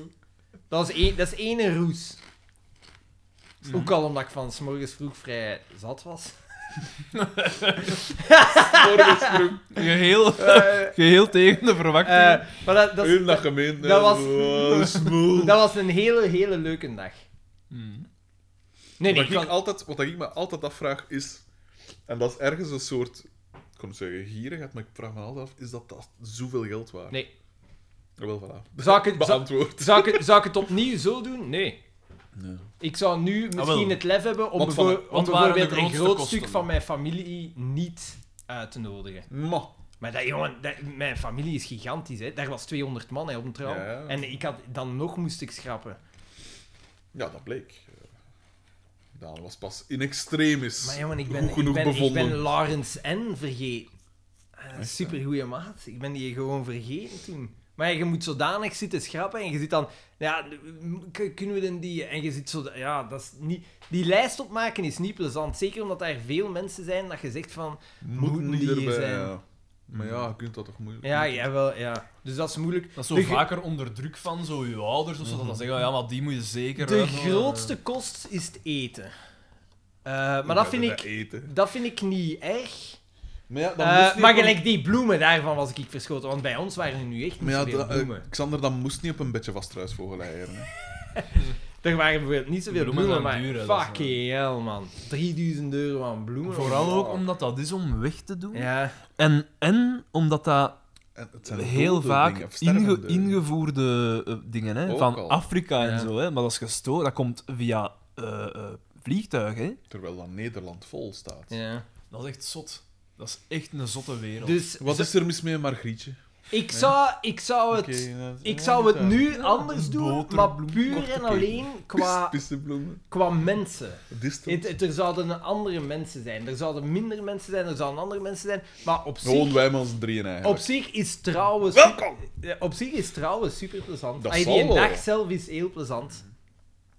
S2: Dat, was één- dat is één roes. Ook al omdat ik van 's morgens vroeg vrij zat was.
S3: Geheel,
S2: Eh,
S3: geheel tegen de verwachting.
S2: eh, maar dat, dat,
S1: Heel dat
S2: dat,
S1: gemeente. Oh,
S2: dat was-
S1: smoel.
S2: dat was een hele, hele leuke dag.
S3: Hmm.
S2: Nee, nee,
S1: Wat
S2: ik
S1: ik,
S2: kan...
S1: altijd, wat ik me altijd afvraag is, en dat is ergens een soort, ik kon zeggen gierigheid, maar ik vraag me altijd af, is dat, dat zoveel geld waard?
S2: Nee.
S1: Wel voilà.
S2: Zou ik het- zou-
S1: Beantwoord.
S2: Zou ik, het- zou ik het opnieuw zo doen? Nee. Ik zou nu misschien
S3: Ah, wel.
S2: het lef hebben om,
S1: Wat van-
S2: bevoor- om
S3: wat waren de
S2: bijvoorbeeld een
S3: grootste
S2: groot
S3: kosten?
S2: stuk van mijn familie niet uit te nodigen.
S1: Ma.
S2: Maar dat, jongen, dat- mijn familie is gigantisch. Hè. Daar was 200 man hè, op een trouw.
S1: Ja, ja.
S2: En ik had, dan nog moest ik schrappen.
S1: Ja, dat bleek. Eh, Daan was pas in extremis.
S2: Maar jongen, ik ben,
S1: Goed genoeg
S2: ik ben, ik
S1: bevonden.
S2: ben Lawrence N. vergeten. Een supergoeie maat. Ik ben die gewoon vergeten toen. Maar je moet zodanig zitten schrappen en je zit dan... Ja, m- k- kunnen we dan die... En je zit zo... Ja, dat is niet... Die lijst opmaken is niet plezant. Zeker omdat er veel mensen zijn dat je zegt van...
S1: Moet
S2: Moeten
S1: niet
S2: die
S1: erbij,
S2: zijn.
S1: ja. Maar ja, je kunt dat toch moeilijk
S2: Ja, jawel, ja. Dus dat is moeilijk.
S3: Dat is zo
S2: De ge-
S3: vaker onder druk van zo je ouders of zo. Dat dan zeggen, ja, maar die moet je zeker... eh."
S2: De
S1: eh,
S3: uitnodigen.
S2: grootste kost is het eten. Eh, maar
S1: Ja,
S2: dat vind,
S1: bij
S2: ik,
S1: Eten.
S2: dat vind ik niet erg.
S1: Maar ja,
S2: Eh,
S1: moest niet
S2: maar
S1: op een-
S2: gelijk die bloemen, daarvan was ik verschoten. Want bij ons waren er nu echt niet
S1: Maar ja,
S2: zoveel
S1: dat, eh,
S2: bloemen.
S1: Xander, dat moest niet op een bedje vastruisvogel eieren. hè.
S2: Er waren bijvoorbeeld niet zoveel bloemen,
S3: Bloemen
S2: maar
S3: zijn duur, hè, dat is
S2: fucking hell, man. 3000 euro aan bloemen.
S3: Vooral ook
S2: Oh.
S3: omdat dat is om weg te doen.
S2: Ja,
S3: En, en omdat dat
S1: En het zijn
S3: heel
S1: dode
S3: vaak
S1: dingen, of
S3: inge-
S1: stervende dingen.
S3: ingevoerde eh, dingen hè,
S1: Ook
S3: van
S1: al.
S3: Afrika en
S2: Ja.
S3: zo. Hè, maar dat is gestoord. Dat komt via eh, eh, vliegtuigen. Hè.
S1: Terwijl dan Nederland vol staat.
S2: ja.
S3: Dat is echt zot. Dat is echt een zotte wereld.
S2: Dus
S1: Wat is er mis mee, Margrietje?
S2: ik zou, ik zou het,
S3: eh,
S2: ik zou het nu anders doen, maar
S3: boterbloem,
S2: puur
S1: korte
S2: en alleen qua,
S1: Pissenbloemen.
S2: qua mensen.
S1: Distel.
S2: Ah. Het, het- er zouden andere mensen zijn, er zouden minder mensen zijn, er zouden andere mensen zijn, maar op
S1: Gewoon
S2: zich,
S1: wij met ons drieën
S2: op
S1: eigenlijk.
S2: zich is trouwens...
S4: Welkom!
S2: eh, Op zich is trouwen super plezant.
S1: Dat
S2: Allee,
S1: zal
S2: die
S1: wel.
S2: dag zelf is heel plezant.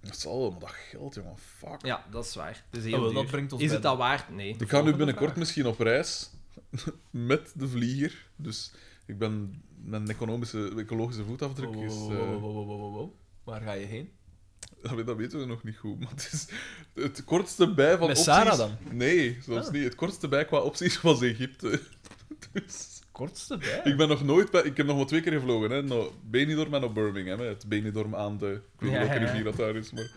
S1: Dat zal wel, maar dat geld, jongen. Fuck.
S2: Ja, dat is waar. Dat is
S3: Ah,
S2: heel
S3: wel, dat
S2: duur.
S3: brengt ons
S2: Is
S3: bij
S2: het dat waard? Nee.
S1: Ik ga nu binnenkort misschien op reis met de vlieger. Dus ik ben... Mijn economische, ecologische voetafdruk
S3: Wow, wow,
S1: is... eh,
S3: wow, wow, wow, wow, wow, wow. Waar ga je heen?
S1: dat we- Dat weten we nog niet goed, maar het is het kortste bij van
S3: Met
S1: opties...
S3: Sarah dan?
S1: Nee, zelfs niet. Het kortste bij qua opties was Egypte. Dus...
S3: Kortste bij.
S1: Ik ben nog nooit bij... Ik heb nog maar twee keer gevlogen, hè. Naar Benidorm en op Birmingham, hè. Het Benidorm aan de... Ik weet niet
S2: Ja,
S1: welke
S2: ja, ja.
S1: rivier dat daar is, maar...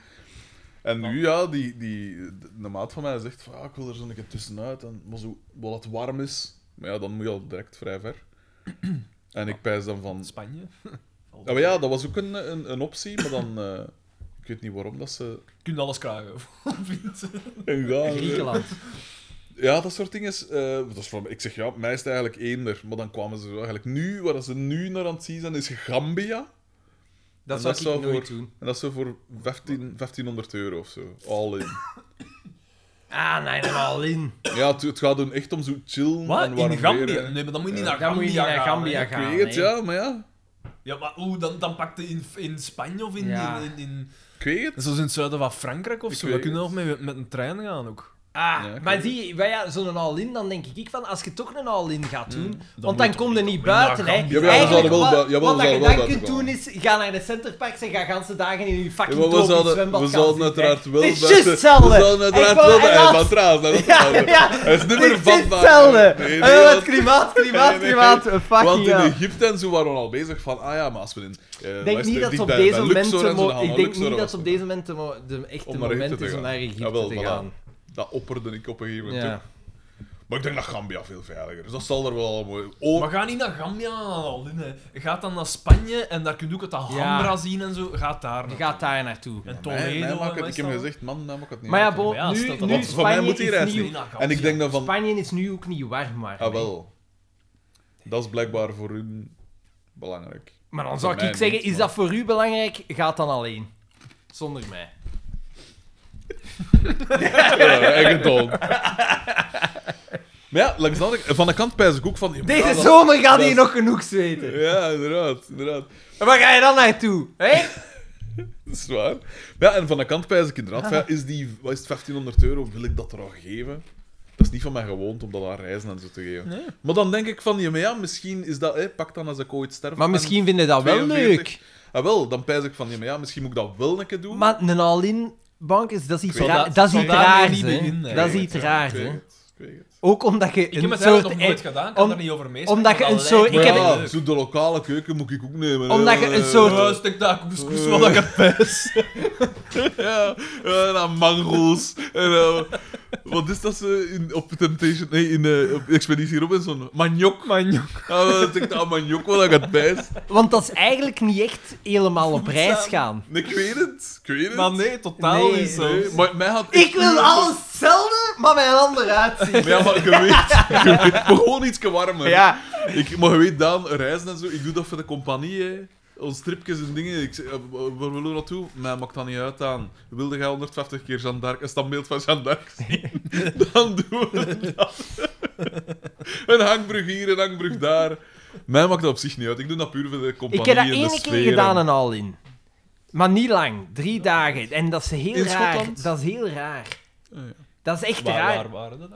S1: En nu, ja, die, die, de, de maat van mij zegt van, ja, ik wil er zo'n keer tussenuit, en, maar zo, wel het warm is. Maar ja, dan moet je al direct vrij ver. En ik pijs dan van... Ah,
S3: Spanje.
S1: Ja, maar ja, dat was ook een, een, een optie, maar dan... eh, Ik weet niet waarom dat ze...
S3: Je kunt alles krijgen. Vindt.
S2: eh,
S1: Ja,
S2: Griekenland.
S1: Ja, dat soort dingen. is, eh, dat is voor, ik zeg ja, mij is het eigenlijk eender. Maar dan kwamen ze zo eigenlijk nu, waar ze nu naar aan het zien zijn, is Gambia.
S2: Dat
S1: En
S2: zou ik
S1: zou
S2: nooit
S1: voor-
S2: doen.
S1: En dat is zo voor 15, 1500 euro of zo. All in.
S2: Ah, nee, dan al in.
S1: Ja, het, het gaat doen echt om zo chillen.
S3: Wat?
S1: en warm
S3: In Gambia?
S1: weer, hè.
S3: Nee, maar dan moet je niet naar
S2: Dan
S3: Gambia
S2: moet je naar
S3: gaan,
S2: Gambia
S3: hè.
S1: Ik
S2: gaan.
S1: weet het,
S2: hè.
S1: ja, maar ja.
S3: Ja, maar oeh, dan, dan pakt hij in, in Spanje of in...
S2: Ja.
S3: in, in, in-
S1: Ik weet het.
S3: Zoals in het zuiden van Frankrijk of
S1: Ik
S3: zo.
S1: weet
S3: We kunnen nog
S1: het.
S3: met, met een trein gaan ook.
S2: Ah,
S1: Ja,
S2: maar
S1: klopt.
S2: zie je, maar ja, zo'n all-in, dan denk ik van, als je toch een all-in gaat doen, want
S3: moet
S2: dan
S3: je
S2: kom
S3: toch
S2: je
S3: niet
S2: niet
S3: naar
S2: buiten, hè.
S3: Gambia.
S1: Jawel, we
S2: Eigenlijk
S1: zouden wel
S2: wat-
S1: bui- jawel, we
S2: Wat dat je
S1: zouden
S2: dan
S1: wel
S2: kunt
S1: buiten
S2: doen is, ga naar de centerparks en ga ganse dagen in je
S1: Ja,
S2: fucking
S1: maar we
S2: tropisch
S1: zouden,
S2: zwembad
S1: we
S2: gaan
S1: zouden
S2: zitten,
S1: uiteraard
S2: hè.
S1: wel...
S2: Het is
S1: buiten-
S2: juist hetzelfde.
S1: We zouden uiteraard
S2: Ik wou-
S1: wel... bij-
S2: helaas.
S1: van trouwens, dat is
S2: Ja,
S1: trouwens.
S2: ja.
S1: Hij is niet meer
S2: Het is
S1: vatbaar.
S2: hetzelfde.
S1: Nee, nee,
S2: Eh,
S1: want-
S2: Het klimaat, klimaat,
S1: Nee, nee.
S2: klimaat. eh, Fucking
S1: Want in
S2: ja.
S1: Egypte en zo waren we al bezig van, ah ja, maar als we in... eh,
S2: Ik
S1: wat
S2: denk
S1: is
S2: niet
S1: er,
S2: dat ze
S1: dicht
S2: op
S1: bij-
S2: deze
S1: bij Luxor
S2: momenten...
S1: en zo
S2: mo-
S1: gaan we
S2: Ik
S1: naar
S2: denk
S1: Luxor
S2: niet dat
S1: was
S2: ze op
S1: het.
S2: deze momenten mo- de echte
S1: Om naar Egypte
S2: moment
S1: te
S2: is om
S1: gaan.
S2: naar Egypte
S1: Jawel,
S2: te
S1: voilà.
S2: gaan.
S1: Dat opperde ik op een gegeven moment
S2: Ja.
S1: ook. Maar ik denk dat Gambia veel veiliger is. Dat zal er wel mooi... Oh,
S3: Maar ga niet naar Gambia en dan al in, hè. Ga dan naar Spanje en daar kun je ook het Alhambra
S2: Ja.
S3: zien en zo. Ga daar
S2: Je
S3: naar.
S2: gaat daar naartoe.
S3: En
S1: mij- mij
S3: Toledo.
S1: maakt het- ik heb hem
S3: meestal.
S1: gezegd, man, mij maakt het niet
S2: Maar ja,
S1: uit.
S2: bon,
S3: Ja,
S2: nu,
S3: stel dat-
S2: nu
S1: Want voor mij
S2: Spanje
S1: moet hier
S2: is
S1: reis
S2: nieuw-
S1: niet.
S3: naar Gambia.
S1: En ik denk dan van,
S2: Spanje is nu ook niet warm, maar.
S1: ah wel. Dat is blijkbaar voor hun belangrijk.
S2: Maar dan
S1: Voor
S2: zou ik
S1: mij
S2: zeggen,
S1: niet,
S2: is
S1: maar-
S2: dat voor u belangrijk? Gaat dan alleen. Zonder mij.
S1: Ja, eigen toon. Maar ja, langs de andere, van de kant pijs ik ook van... ja, maar ja,
S2: Deze
S1: dat-
S2: zomer gaat
S1: dat
S2: hij
S1: is-
S2: nog genoeg zweten.
S1: Ja, inderdaad, inderdaad.
S2: En waar ga je dan naartoe? Hé?
S1: Dat is waar. Ja, en van de kant pijs ik inderdaad, van, ja, is die, wat is het, 1500 euro, wil ik dat er al geven? Dat is niet van mij gewoond om dat aan reizen en zo te geven. Maar dan denk ik van, ja, maar ja, misschien is dat, hè, pak dan als ik ooit sterf.
S2: Maar
S1: en-
S2: misschien vinden dat wel
S1: 42.
S2: leuk.
S1: Ah, wel, dan pijs ik van, ja, maar ja, misschien moet ik dat wel een keer doen.
S2: Maar een all-in bank is, dat is iets,
S1: Ik weet
S2: raar-
S3: dat-
S2: dat is
S3: zal
S2: iets
S3: daar
S2: raars.
S3: niet
S2: hè.
S3: beginnen, hè.
S2: Dat
S1: Ik
S2: is
S1: weet
S2: iets
S1: het,
S2: raars.
S1: ik
S2: hè.
S1: weet het, ik weet het.
S2: Ook omdat je
S3: Ik
S2: een
S3: heb het
S2: soort...
S3: eigenlijk nog nooit
S2: eh,
S3: gedaan, ik kan
S2: om-
S3: daar niet over meespreken.
S2: omdat je
S3: maar
S2: een
S3: dat
S2: soort-
S3: lijkt me
S2: ik heb-
S3: wel
S1: ja,
S3: leuk.
S1: zo de lokale keuken moet ik ook nemen. hè.
S2: Omdat je een
S1: Eh,
S2: soort-
S3: Ja, stik daar couscous wat dat je pijs.
S1: Ja, ja dan mango's. En, eh, wat is dat ze in, op Temptation... Nee, in eh, op Expeditie Robinson. Manjok.
S3: Man,
S1: Ja, dan denk ik, ah, manjok, wat ik het bijst.
S2: Want dat is eigenlijk niet echt helemaal op reis
S3: samen.
S2: gaan.
S1: Nee, ik weet het. Ik weet het.
S3: maar nee, totaal
S2: Nee,
S3: niet zo.
S1: Nee, maar mij had echt
S2: Ik wil
S1: puur-
S2: alles hetzelfde, maar met een ander uitzien.
S1: Maar ja, maar je weet, je weet, maar gewoon iets warmer.
S2: Ja.
S1: Ik, maar je weet, Daan, reizen en zo, ik doe dat voor de compagnie, hè. Ons tripjes en dingen, ik, zeg, eh, waar willen we naartoe? Mij maakt dat niet uit aan. Wilde jij 150 keer Jeanne d'Arc, een standbeeld van Jeanne d'Arc zien? Dan doen we dat. Een hangbrug hier, een hangbrug daar. Mij maakt dat op zich niet uit. Ik doe dat puur voor de compagnie
S2: Ik heb dat
S1: en de
S2: één
S1: sfeer
S2: keer gedaan
S1: en-
S2: en al in. Maar niet lang. Drie dagen. En dat is heel
S1: In
S2: raar.
S1: Schotland? Ah,
S2: Dat is heel raar.
S1: ja.
S2: Dat is echt
S3: Waar,
S2: raar.
S3: waar waren dat?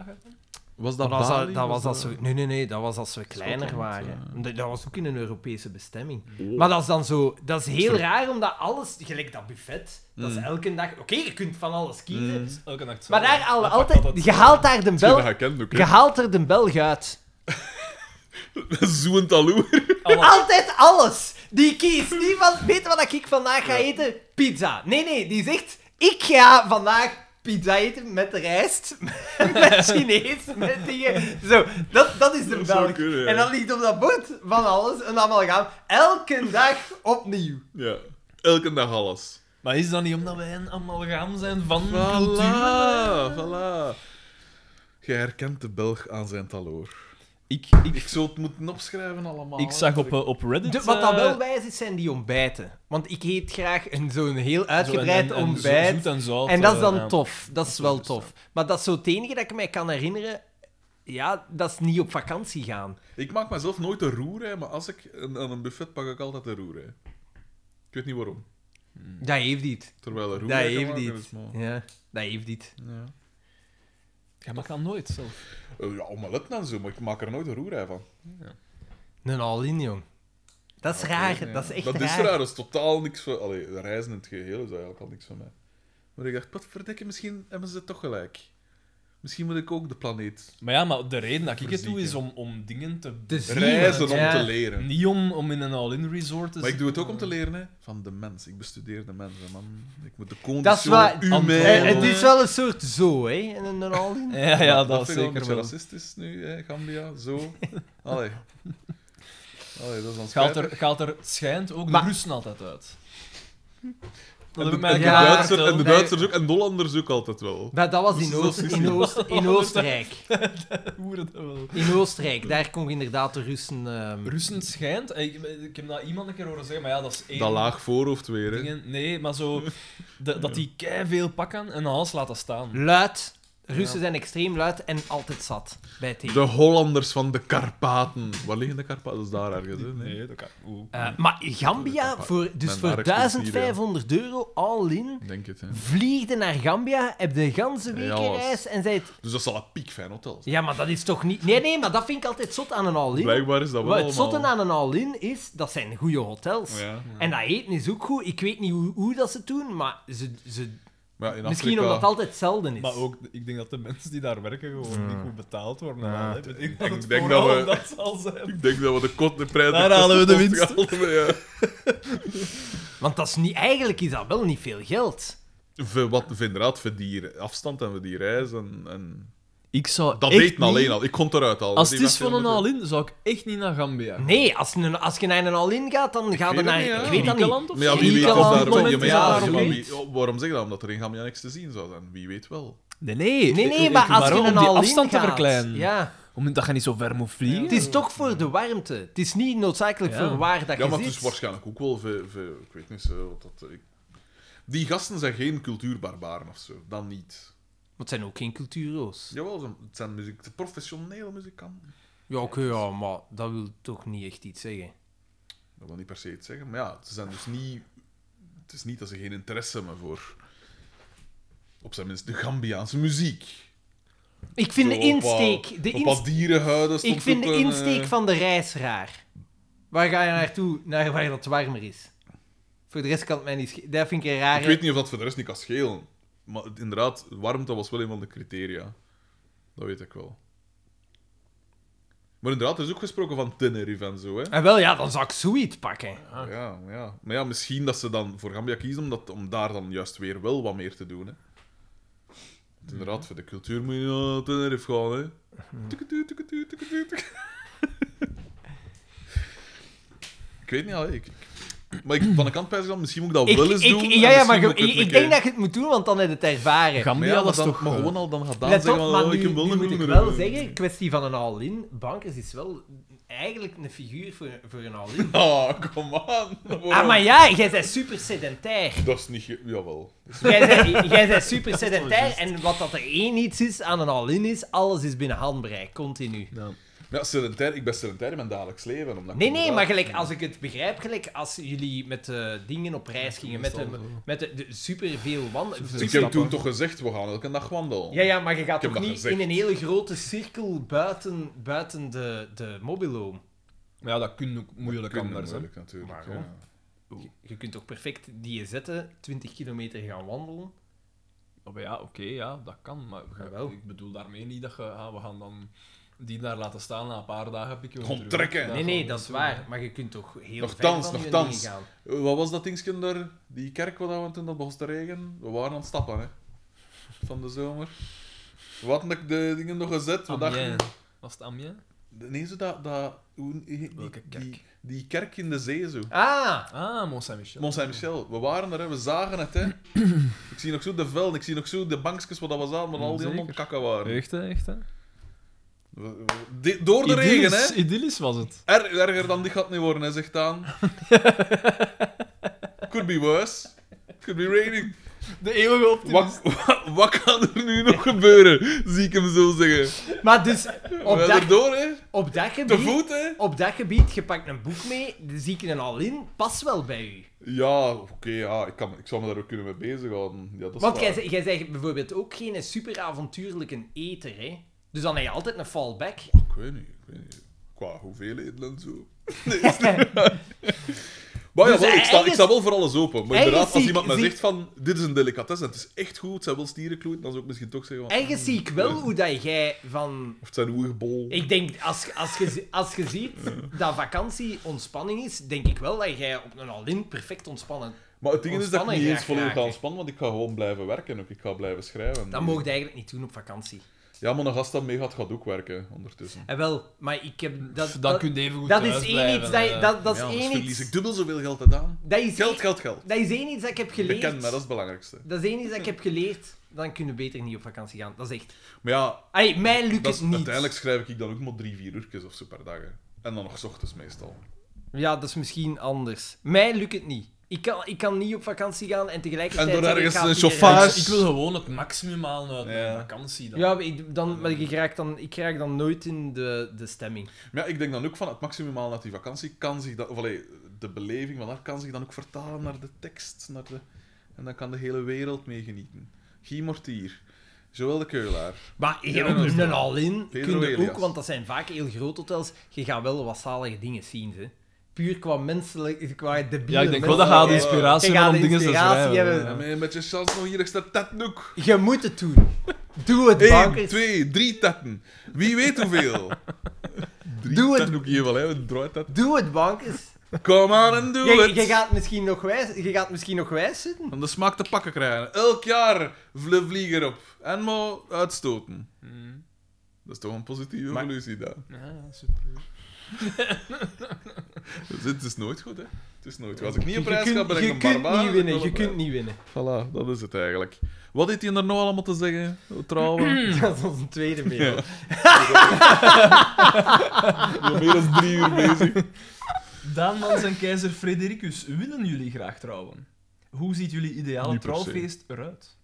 S1: Was dat
S2: Dat was,
S1: Bali?
S2: al- dat was als
S1: dat-
S2: we, nee, nee, nee, dat was als we kleiner
S1: Schotland,
S2: waren. Dat, dat was ook in een Europese bestemming.
S1: Oh.
S2: Maar dat is dan zo... Dat is heel raar, omdat alles... Gelijk dat buffet, dat is
S1: Mm.
S2: elke dag... Oké, je kunt van alles kiezen.
S3: Elke nacht
S2: Maar daar al,
S3: Dat
S2: altijd... Je haalt daar de
S1: Ik heb dat
S2: Belg...
S1: gekend ook,
S2: Je
S1: hè.
S2: haalt er de Belg uit.
S1: Zoend aloer.
S2: Altijd alles. Die kiest niet van, weet je wat ik vandaag ga eten? Pizza. Nee, nee, die zegt, ik ga vandaag pizza eten met rijst, met Chinees, met dingen. Zo, dat, dat is de
S1: Dat zou
S2: Belg.
S1: kunnen, ja.
S2: En dan ligt op dat bord van alles en allemaal gaan. Elke dag opnieuw.
S1: Ja. Elke dag alles.
S3: Maar is dat niet omdat wij een amalgaam zijn van cultuur?
S1: Voilà, voilà. Jij herkent de Belg aan zijn taloor.
S3: Ik,
S1: Ik zou het moeten opschrijven allemaal.
S3: ik zag op, eh, op Reddit...
S2: De- wat dat
S3: eh,
S2: wel wijs is, zijn die ontbijten. Want ik eet graag een- zo'n heel
S3: zo en-
S2: uitgebreid
S3: en- en
S2: ontbijt.
S3: zo- zoet en zout,
S2: En dat is
S3: eh,
S2: dan
S3: ja.
S2: tof. Dat is wel tof. Maar dat is zo het enige dat ik mij kan herinneren. Ja, dat is niet op vakantie gaan.
S1: Ik maak mezelf nooit een roerij, maar als ik een- aan een buffet pak ik altijd een roerij. Ik weet niet waarom.
S2: Dat heeft niet.
S1: Terwijl een
S2: Dat
S1: roerij kan
S2: heeft
S1: maken is
S2: niet.
S1: maar-
S2: Ja, dat heeft niet.
S1: Ja.
S3: Ja, maar ik kan nooit zelf.
S1: Eh, ja, omeletten en zo, maar ik maak er nooit een roerij van.
S2: Een all-in, jong. Dat is raar. Dat is echt
S1: dat
S2: raar.
S1: is raar, dat is totaal niks voor... Allee, de reizen in het geheel is eigenlijk al niks van mij. Maar ik dacht, wat verdikken, misschien hebben ze toch gelijk. Misschien moet ik ook de planeet
S3: Maar ja, maar de reden dat ik het doe
S1: Verzieken.
S3: is om, om dingen te...
S2: Te zien,
S1: reizen om
S2: ja.
S1: te leren.
S3: Niet om, om in een all-in resort te
S1: Maar ik doe het ook
S3: zitten.
S1: om te leren hè, van de mens. Ik bestudeer de mens, hè, man. Ik moet de
S2: Dat is
S1: conditie
S2: waar. Eh,
S1: humaine-
S2: Het is wel een soort zo, hè? Een, een all-in.
S3: Ja, ja,
S1: vind ik wel een
S3: dat, is zeker
S1: beetje
S3: wel.
S1: racistisch nu, hè, Gambia. Zo. Allee. Allee, dat is dan
S3: Gaat
S1: spijtig.
S3: er, gaat er schijnt ook
S2: Maar-
S3: de Russen altijd uit. Dat
S1: de,
S3: heb ik mij
S1: en de,
S2: ja,
S1: Duitsers, en de
S2: nee.
S1: Duitsers ook, en de Hollanders ook altijd wel.
S2: Maar dat was
S1: Dus
S2: in,
S1: dat
S2: Oost,
S1: is
S2: in,
S1: niet-
S2: Oost, in Oostenrijk.
S3: Hoeren dat wel.
S2: In Oostenrijk, daar kon inderdaad de Russen... ehm,
S3: Russen schijnt, eh, ik, ik heb dat iemand een keer horen zeggen, maar ja, dat is één
S1: Dat laag voorhoofd weer, hè.
S3: dingen. Nee, maar zo de- dat die kei veel pakken en alles laten staan.
S2: luid. Russen zijn extreem luid en altijd zat bij het
S1: De Hollanders van de Karpaten. Waar liggen de Karpaten? Dat is daar ergens, hè? Nee.
S3: dat kan. oeh.
S2: Eh, maar Gambia, voor, dus
S1: Mijn
S2: voor
S1: werk is hier, ja.
S2: 1500 euro all-in,
S1: Ik Denk het, hè.
S2: vliegde naar Gambia, heb de ganse week
S1: Ja,
S2: een
S1: was-
S2: reis en zei het...
S1: Dus dat zal een piekfijn hotel zijn.
S2: Ja, maar dat is toch niet... Nee, nee, maar dat vind ik altijd zot aan een all-in.
S1: Blijkbaar is dat wel
S2: Wat het
S1: allemaal... Oh
S2: zotte aan een all-in is, dat zijn goede hotels.
S1: Ja.
S2: En dat eten is ook goed. Ik weet niet hoe, hoe dat ze het doen, maar ze, ze,
S1: Maar ja, in
S2: misschien
S1: Afrika-
S2: omdat het altijd zelden is.
S3: Maar ook, ik denk dat de mensen die daar werken gewoon niet goed betaald worden.
S2: Ja.
S3: en al, hè. Ik denk dat het
S1: denk
S3: vooral
S1: dat we-
S3: dat zal zijn.
S1: Ik denk dat we de kot de prijs...
S3: Daar halen we de winst.
S1: kosten gehaald hebben,
S2: Want dat is niet, eigenlijk is dat wel niet veel geld.
S1: ja. Voor Wat, voor inderdaad, voor die afstand en voor die reis en... en...
S3: Ik zou
S1: Dat
S3: echt
S1: weet me alleen
S3: niet-
S1: al. Ik kon het eruit halen.
S3: Als
S1: Die
S3: het is
S1: mensen
S3: van een
S1: moeten-
S3: all-in, zou ik echt niet naar Gambia.
S2: Nee, als, een, als je naar een all-in gaat, dan ga je
S1: weet het
S2: naar...
S1: niet, ja.
S2: Ik weet dat niet.
S3: Griekenland of
S1: Maar ja, wie
S2: Ja,
S1: weet of
S2: kan wel.
S1: daar
S2: Op het
S1: wel...
S2: moment
S1: Ja, maar
S2: is
S1: ja,
S2: dat er
S1: maar
S2: ook
S1: wie-
S2: niet.
S1: oh, waarom zeg je dat? Omdat er in Gambia niks te zien zou zijn. Wie weet wel.
S3: Nee, nee.
S2: Nee, nee,
S3: Ik-
S2: maar als
S3: waarom?
S2: je een
S3: Om die
S2: all-in
S3: afstand te
S2: gaat,
S3: verkleinen.
S2: Ja.
S3: Omdat je niet zo ver moet vliegen.
S2: Het is toch voor de warmte. Het is niet noodzakelijk
S3: Ja.
S2: voor waar dat
S1: Ja,
S2: je
S1: maar het
S2: zit.
S1: is waarschijnlijk ook wel... Voor, voor- ik weet niet zo, wat dat... Ik... Die gasten zijn geen cultuurbarbaren of zo. Dan niet.
S2: Maar het zijn ook geen cultuurloos. Ja,
S1: Jawel, ze- het zijn muziek, de professionele muzikanten.
S2: oké, ja, maar dat wil toch niet echt iets zeggen.
S1: Dat wil niet per se iets zeggen, maar ja, ze zijn dus niet... Het is niet dat ze geen interesse hebben voor... Op zijn minst de Gambiaanse muziek.
S2: Ik vind de
S1: Zo op wat-
S2: insteek... De
S1: op
S2: insteek
S1: wat dierenhuiden stond
S2: Ik vind
S1: ook
S2: de
S1: een,
S2: insteek
S1: eh,
S2: van de reis raar. Waar ga je naartoe? Naar waar dat warmer is. Voor de rest kan het mij niet schelen. Dat vind ik een rare...
S1: Ik weet niet of dat voor de rest niet kan schelen. Maar het- inderdaad, warmte was wel een van de criteria. Dat weet ik wel. Maar inderdaad, er is ook gesproken van Tenerife en zo, hè.
S2: En Ah, wel, ja, dan zou ik zoiets pakken.
S1: Ja, ja. Maar ja, misschien dat ze dan voor Gambia kiezen omdat, om daar dan juist weer wel wat meer te doen. Hè. Want
S2: Mhm.
S1: inderdaad, voor de cultuur moet je naar Tenerife gaan. Hè. Tukketu, tukketu, tukketu, tuk. ik weet niet, allee, ik, ik- maar ik, van de kant pijs ik dan, misschien moet ik dat
S2: Ik,
S1: wel eens
S2: ik-
S1: doen. en
S2: ja, ja,
S1: misschien
S2: maar
S1: moet
S2: ik,
S1: het
S2: ik
S1: een keer-
S2: denk dat je het moet doen, want dan heb je het ervaren.
S1: Maar
S3: Gambia
S1: ja, maar
S3: was
S1: dan,
S3: toch...
S1: maar
S3: eh,
S1: gewoon al dan gedaan
S2: Let
S1: zeggen,
S2: op,
S1: van,
S2: maar
S1: oh,
S2: nu,
S1: ik heb wel
S2: nu
S1: een
S2: moet ik
S1: groene
S2: wel
S1: rug.
S2: zeggen, kwestie van een all-in. Bankers is wel eigenlijk een figuur voor, voor een all-in.
S1: Ah, kom aan.
S2: Ah, maar ja, jij bent super sedentair.
S1: Dat is niet... ge- Jawel.
S2: Jij bent- Jij bent super sedentair en wat dat er één iets is aan een all-in is, alles is binnen handbereik, continu.
S1: Ja, sedentair, ik ben sedentair in mijn dagelijks leven. Omdat ik
S2: Nee, nee,
S1: inderdaad-
S2: maar gelijk, als ik het begrijp, gelijk als jullie met de dingen op reis gingen, met, de, met de, de superveel wandelen.
S1: Dus Ik heb toen toch gezegd, we gaan elke dag wandelen.
S2: Ja, ja, maar je gaat
S1: Ik heb
S2: toch
S1: dat
S2: niet
S1: gezegd.
S2: in een hele grote cirkel buiten, buiten de, de mobiloom.
S3: Ja, dat kun ook moeilijk
S1: Kunnen
S3: anders. hè.
S1: moeilijk, natuurlijk.
S2: Maar
S1: ja.
S2: waarom? Je, je kunt toch perfect die je zetten, 20 kilometer gaan wandelen.
S3: Oh, maar ja, oké, ja, dat kan. Maar ge-
S2: Jawel.
S3: ik bedoel daarmee niet dat je, ah, we gaan dan die daar laten staan na een paar dagen pikken. we
S1: Gewoon
S3: terug.
S1: trekken.
S3: Ja,
S2: nee, nee,
S3: gewoon
S2: dat is
S3: doen.
S2: waar. Maar je kunt toch heel
S1: Nochtans,
S2: ver van je
S1: nochtans.
S2: dingen gaan.
S1: Eh, Wat was dat dingetje daar? Die kerk waar we toen dat begon te regen? We waren aan het stappen, hè. Van de zomer. Wat had ik de dingen nog gezet? We dachten...
S3: Amiens. Was het Amiens?
S1: Nee, zo dat... dat hoe, die,
S3: Welke kerk?
S1: Die, die kerk in de zee, zo.
S2: Ah,
S3: Ah, Mont Saint-Michel.
S1: Mont Saint-Michel. We waren er, hè. We zagen het, hè. ik zie nog zo de velden. Ik zie nog zo de bankjes waar dat we zaten, maar al die
S3: Zeker.
S1: allemaal kakken waren.
S3: Echt, hè? Echt, hè?
S1: We- we- di- door de regen, hè.
S3: Idyllisch was het.
S1: Er, erger dan dit gaat het niet worden, hè, zegt Daan. Could be worse. Could be raining.
S3: De eeuwige
S1: Wat, wat, wat kan er nu nog gebeuren? Zie ik hem zo zeggen.
S2: maar dus
S1: Op
S2: op
S1: We
S2: dat,
S1: zijn door, hè?
S2: op dat
S1: Te
S2: gebied...
S1: voet, hè?
S2: Op dat gebied, je pakt een boek mee, de zieken al in, pas wel bij u.
S1: Ja, oké, ja, ik, kan, ik zou me daar ook kunnen mee bezighouden. Ja, dat is
S2: Want
S1: waar.
S2: jij, ze- jij zegt bijvoorbeeld ook geen superavontuurlijke eter, hè? Dus dan heb je altijd een fallback.
S1: Ik weet niet, ik weet niet. Qua hoeveelheden en zo. Nee, is niet waar. Maar ja,
S2: Dus
S1: wel, ik, sta, ik
S2: ergens-
S1: sta wel voor alles open. Maar
S2: ergens
S1: inderdaad,
S2: zie
S1: als
S2: ik-
S1: iemand mij
S2: zie ik-
S1: zegt van, dit is een delicatesse en het is echt goed, het zijn wel stierenkloot, dan zou ik misschien toch zeggen van,
S2: Ergens zie ik wel hoe dat jij van...
S1: of het zijn oerbol.
S2: Ik denk, als, als, je, als je ziet dat vakantie ontspanning is, denk ik wel dat jij op een all-in perfect ontspannen...
S1: Maar het ding is dat ik
S2: Ontspannen
S1: niet eens
S2: graag
S1: volledig ga
S2: raken.
S1: ontspannen, want ik ga gewoon blijven werken ook. Ik ga blijven schrijven.
S2: Dat mocht je eigenlijk niet doen op vakantie.
S1: Ja, maar een gast dat meegaat, gaat ook werken ondertussen.
S2: En wel, maar ik heb... Dat,
S3: Dan
S2: dat,
S3: kun je even goed eh.
S2: dat is één iets... Dat, dat, dat is
S1: ja, anders
S2: één
S1: verlies
S2: iets...
S1: ik dubbel zoveel geld gedaan.
S2: Dat is,
S1: Geld,
S2: één-
S1: geld, geld.
S2: dat is één iets dat ik heb geleerd.
S1: Bekend, maar dat is het belangrijkste.
S2: Dat is één iets dat ik heb geleerd. Dan kunnen we beter niet op vakantie gaan. Dat is echt...
S1: Maar ja,
S2: Ay, mij lukt
S1: dat is-
S2: het niet.
S1: uiteindelijk schrijf ik dan ook maar drie, vier uurtjes of zo per dag. hè. En dan nog 's ochtends meestal.
S2: Ja, dat is misschien anders. Mij lukt het niet. Ik kan, ik kan niet op vakantie gaan en tegelijkertijd...
S1: En door
S2: zeggen, ik
S1: ergens
S2: ga
S1: een
S2: vier
S1: chauffeur-
S2: dagen-
S3: Ik, ik wil gewoon het maximum halen uit mijn
S1: Ja.
S3: vakantie. Dan.
S2: Ja, maar, ik, dan, maar ik, raak dan, ik raak dan nooit in de, de stemming.
S1: Maar ja, ik denk dan ook van het maximaal dat die vakantie kan zich dan, of allee, de beleving van haar kan zich dan ook vertalen naar de tekst. Naar de, en dan kan de hele wereld meegenieten. Guy Mortier, Joël de Keulaar.
S2: Maar je
S1: Ja,
S2: hebt
S1: dat is
S2: een
S1: waar.
S2: all-in
S1: Pedro
S2: kun je ook,
S1: Elias.
S2: want dat zijn vaak heel grote hotels. Je gaat wel wat zalige dingen zien, hè. Puur qua menselijk, qua debiele
S3: Ja, ik denk wel
S1: mensen-
S3: dat gaat
S1: de
S2: menselijkheid.
S3: inspiratie
S2: Je gaat
S3: hebben om
S2: de
S3: dingen te
S2: inspiratie
S3: schrijven.
S2: hebben.
S1: Ja.
S3: ja.
S1: met een beetje chance nog hier extra tatnoek.
S2: Je moet het doen. Doe het,
S1: Eén,
S2: bankers.
S1: twee, drie tatten. Wie weet hoeveel. Drie
S2: Doe het.
S1: tatten ook hier wel, hè. Een draai tat.
S2: Doe het, bankers.
S1: Kom aan en doe
S2: Je,
S1: het.
S2: je, gaat misschien nog wijs, je gaat misschien nog wijs zitten.
S1: Om de smaak te pakken krijgen. Elk jaar vle vlieger op. En maar uitstoten.
S2: Hmm.
S1: Dat is toch een positieve
S3: Maar-
S1: evolutie, daar.
S3: Ja, super.
S1: Dus het is nooit goed, hè? Het is nooit goed. Als ik niet
S2: Je
S1: op prijs ga,
S2: kunt,
S1: ben ik
S2: je
S1: een
S2: kunt
S1: barbaar.
S2: niet winnen, je kunt niet winnen.
S1: Voilà, dat is het eigenlijk. Wat heeft hij er nou allemaal te zeggen? Trouwen?
S2: Dat is onze tweede mail.
S1: We zijn meer dan drie uur bezig.
S3: Daanmans en keizer Fredericus, willen jullie graag trouwen? Hoe ziet jullie ideale
S1: Niet per se.
S3: trouwfeest eruit?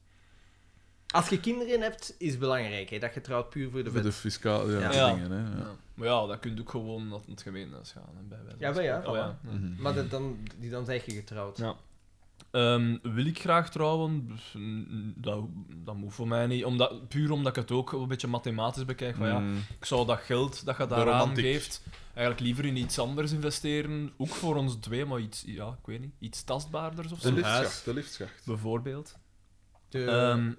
S2: Als je kinderen hebt, is het belangrijk hè, dat je trouwt puur voor de
S1: Met
S2: vet.
S1: de fiscale ja,
S3: Ja.
S1: dingen, hè. Ja.
S3: Maar ja, dat kunt ook gewoon naar het gemeentehuis gaan. Hè, bij wijze van
S2: Ja, wel ja,
S3: spreken. Oh, ja.
S1: Mhm.
S2: Maar dat, dan, die, dan zijn je getrouwd.
S3: Ja. Ehm, wil ik graag trouwen? Dus, mm, Dat, dat moet voor mij niet. Omdat, puur omdat ik het ook een beetje mathematisch bekijk. Van, ja,
S1: Mm.
S3: ik zou dat geld dat je daaraan
S1: romantiek.
S3: geeft, eigenlijk liever in iets anders investeren. Ook voor ons twee, maar iets, ja, ik weet niet, iets tastbaarders of zo.
S1: De
S3: Een huis,
S1: liftschacht, de liftschacht.
S3: Bijvoorbeeld.
S2: De-
S3: Ehm,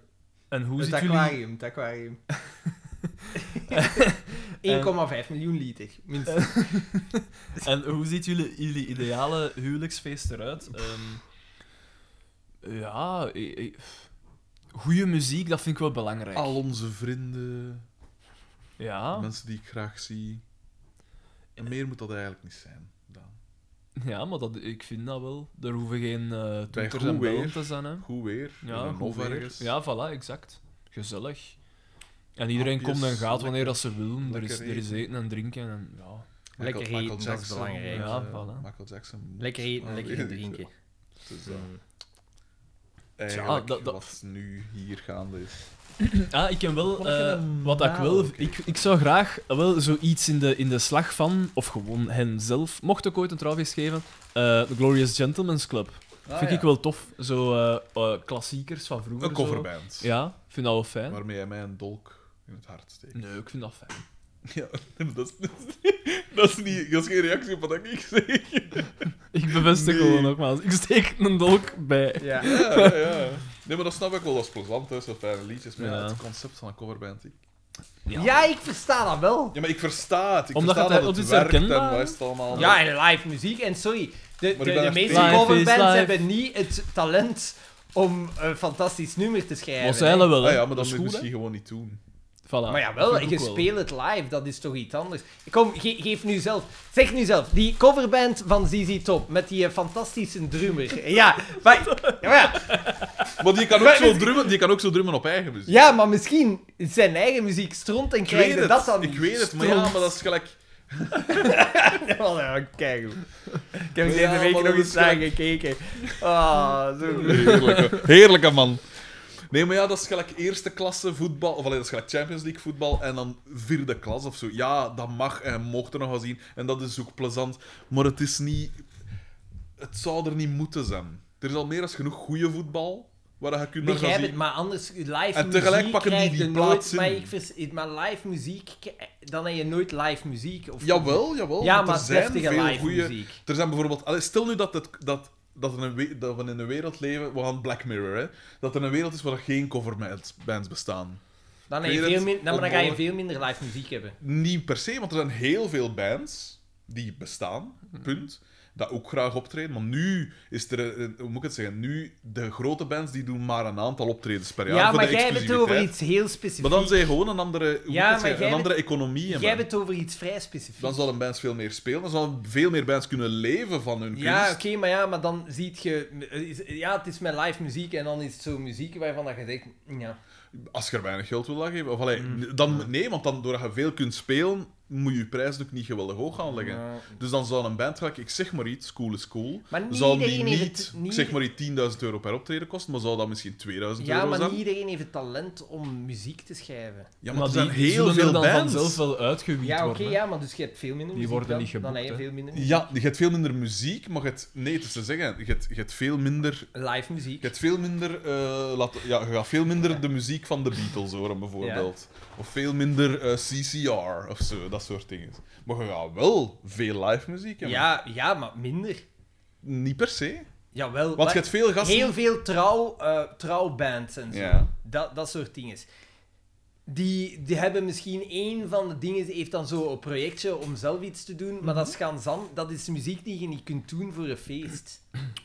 S3: en hoe
S2: het
S3: ziet jullie...
S2: aquarium, het aquarium. 1,5 miljoen liter, minstens.
S3: En hoe ziet jullie, jullie ideale huwelijksfeest eruit? Ehm, ja, ik- ik- goede muziek, dat vind ik wel belangrijk.
S1: Al onze vrienden,
S3: Ja,
S1: mensen die ik graag zie. En meer moet dat eigenlijk niet zijn, Daan.
S3: ja, maar dat, ik vind dat wel. Er hoeven geen eh toeters
S1: goed
S3: en bellen
S1: weer.
S3: te zijn. Hè.
S1: Goed weer, in
S3: Ja,
S1: een
S3: goed
S1: hof
S3: weer.
S1: ergens.
S3: Ja, voilà, exact. Gezellig. En iedereen
S1: Hapjes,
S3: komt en gaat wanneer
S1: lekker-
S3: dat ze willen. Er is,
S1: lekker
S3: er is eten en drinken. En, ja.
S1: Michael-
S2: Lekker eten,
S1: Michael
S2: dat is
S1: Jackson,
S2: belangrijk.
S1: eh,
S3: Ja, voilà.
S1: Michael Jackson. Ah,
S2: Lekker
S3: Oh,
S2: eten, lekker drinken.
S1: Dus, eh,
S2: Mm.
S1: eigenlijk
S3: dat- dat-
S1: wat nu hier gaande is.
S3: Ah, ik ken wel...
S2: heb je
S3: eh,
S2: dan
S3: wat ik
S2: nadenken?
S3: wel... Ik, ik zou graag wel zoiets in de, in de slag van... Of gewoon hen zelf... Mocht ik ooit een trouwfeest geven... eh, de Glorious Gentleman's Club.
S2: Ah,
S3: vind ik wel tof. Zo eh, eh, klassiekers van vroeger.
S1: Ah, Een
S3: zo.
S1: coverband.
S3: Ja, ik vind dat wel fijn.
S1: Waarmee hij mij een dolk in het hart steekt.
S3: Nee, ik vind dat fijn.
S1: Ja, dat is, dat is, niet, dat is geen reactie op wat ik zeg.
S3: Ik bevestig
S1: Nee.
S3: gewoon nogmaals. Ik steek een dolk bij.
S2: Ja.
S1: Ja, ja, ja. Nee, maar dat snap ik wel. Dat is plezant, hè. Zo fijne liedjes. Maar ja,
S3: Ja.
S1: het concept van een coverband. Ik...
S2: ja, ik versta dat wel.
S1: Ja, maar ik versta het. Ik
S3: Omdat
S1: versta
S3: het-
S1: dat
S3: het
S1: het
S3: is
S1: werkt en
S3: herkenbaar,
S1: wat is het allemaal.
S2: Ja, en live muziek. En sorry, de, de,
S1: Maar ik ben
S2: de
S1: echt
S2: meeste
S1: tegen.
S3: Live is
S2: coverbands
S3: live.
S2: hebben niet het talent om een fantastisch nummer te schrijven.
S3: Maar zij
S2: hè.
S3: dat wel, hè.
S1: Ah, ja, maar dat
S3: is
S1: moet je
S3: goed,
S1: misschien
S3: hè.
S1: gewoon niet doen.
S3: Voilà.
S2: Maar ja, wel,
S3: Dat vind
S2: je
S3: ik ook wel.
S2: speelt het live, dat is toch iets anders. Kom, ge- geef nu zelf. Zeg nu zelf, die coverband van ZZ Top met die eh, fantastische drummer. Ja, maar, ja, maar ja,
S1: Maar die kan ook zo drummen, die kan ook zo drummen op eigen muziek.
S2: ja, maar misschien is zijn eigen muziek stront en
S1: ik weet
S2: krijgen
S1: het.
S2: dat dan
S1: ik
S2: niet.
S1: weet het, maar ja, maar dat is gelijk.
S2: Oh, ja, kijk hoe. Ik heb
S1: Ja,
S2: deze week
S1: maar
S2: nog
S1: dat
S2: eens
S1: is
S2: naar
S1: gelijk.
S2: gekeken. Ah, zo goed.
S1: Heerlijke, heerlijke man. Nee, maar ja, dat is gelijk eerste klasse voetbal. Of alleen dat is gelijk Champions League voetbal. En dan vierde klas of zo. Ja, dat mag en mocht er nog wel zien. En dat is ook plezant. Maar het is niet. Het zou er niet moeten zijn. Er is al meer dan genoeg goede voetbal. Waar je kunt naar gaan
S2: Begrijp
S1: zien.
S2: het, maar anders, live
S1: En
S2: muziek
S1: tegelijk pakken die
S2: krijg je
S1: die
S2: nooit-
S1: plaats in.
S2: Maar, ik vers- maar live muziek, k- dan heb je nooit live muziek. Of,
S1: Jawel, jawel.
S2: Ja,
S1: want
S2: maar
S1: er zijn
S2: deftige
S1: veel
S2: live
S1: goeie-
S2: muziek.
S1: Er zijn bijvoorbeeld... Allee, stel nu dat, het, dat, dat, er een we- dat we in een wereld leven... We gaan Black Mirror, hè. Dat er een wereld is waar er geen coverbands bands bestaan.
S2: Dan,
S1: Ik
S2: heb je
S1: weet
S2: veel
S1: het,
S2: min- dan, maar dan ga je
S1: onmogelijk.
S2: veel minder live muziek hebben.
S1: Niet per se, want er zijn heel veel bands die bestaan. Punt. dat ook graag optreden. Maar nu is er, eh, hoe moet ik het zeggen, nu de grote bands die doen maar een aantal optredens per jaar.
S2: Ja,
S1: voor
S2: maar
S1: de
S2: jij hebt het
S1: exclusiviteit.
S2: over iets heel specifiek.
S1: Maar dan zijn gewoon een andere, hoe moet ik
S2: Ja,
S1: het
S2: maar
S1: zeggen,
S2: jij
S1: een
S2: bent-
S1: andere economie. hè,
S2: Jij
S1: man.
S2: hebt het over iets vrij specifiek.
S1: Dan zal een bands veel meer spelen. Dan zal veel meer bands kunnen leven van hun
S2: Ja, oké,
S1: kunst.
S2: maar ja, maar dan ziet je... is- Ja, het is met live muziek en dan is het zo muziek waarvan dat je denkt... Ja,
S1: Als je er weinig geld wil aan geven. Of, allee,
S3: Mm.
S1: dan, nee, want dan, doordat je veel kunt spelen, moet je je prijs ook niet geweldig hoog gaan leggen.
S2: Ja.
S1: Dus dan zal een band, gelijk, ik zeg maar iets, cool is cool,
S2: Maar niet
S1: zal die
S2: iedereen
S1: niet,
S2: heeft het-
S1: ik
S2: niet-
S1: zeg maar iets 10.000 euro per optreden kosten, maar zal dat misschien 2.000
S2: ja
S1: euro
S2: maar
S1: zijn.
S2: niet iedereen heeft het talent om muziek te schrijven.
S1: Ja, maar, er zijn heel
S3: zullen
S1: veel
S3: er dan
S1: bands.
S3: vanzelf wel uitgewied
S2: Ja, oké,
S3: worden. hè.
S2: ja, maar dus je hebt veel minder
S3: Die
S2: muziek
S3: worden
S2: dan,
S3: niet geboekt,
S2: Dan heb je
S3: hè.
S2: veel minder muziek.
S1: Ja, je hebt veel minder muziek, maar je hebt... Nee, het is te zeggen, je hebt, je hebt veel minder...
S2: Live muziek.
S1: Je, hebt veel minder, eh, laat- ja, je gaat veel minder de muziek van de Beatles horen, bijvoorbeeld. Of veel minder eh, CCR of zo, dat soort dingen. Maar je gaat wel veel live muziek hebben.
S2: Ja, ja, maar minder.
S1: Niet per se.
S2: Jawel.
S1: Want
S2: maar
S1: je hebt veel gasten...
S2: Heel veel trouw, eh, trouwbands en zo.
S1: Ja.
S2: Dat, dat soort dingen. Die, die hebben misschien één van de dingen, heeft dan zo een projectje om zelf iets te doen, maar dat is gansam. Dat is muziek die je niet kunt doen voor een feest.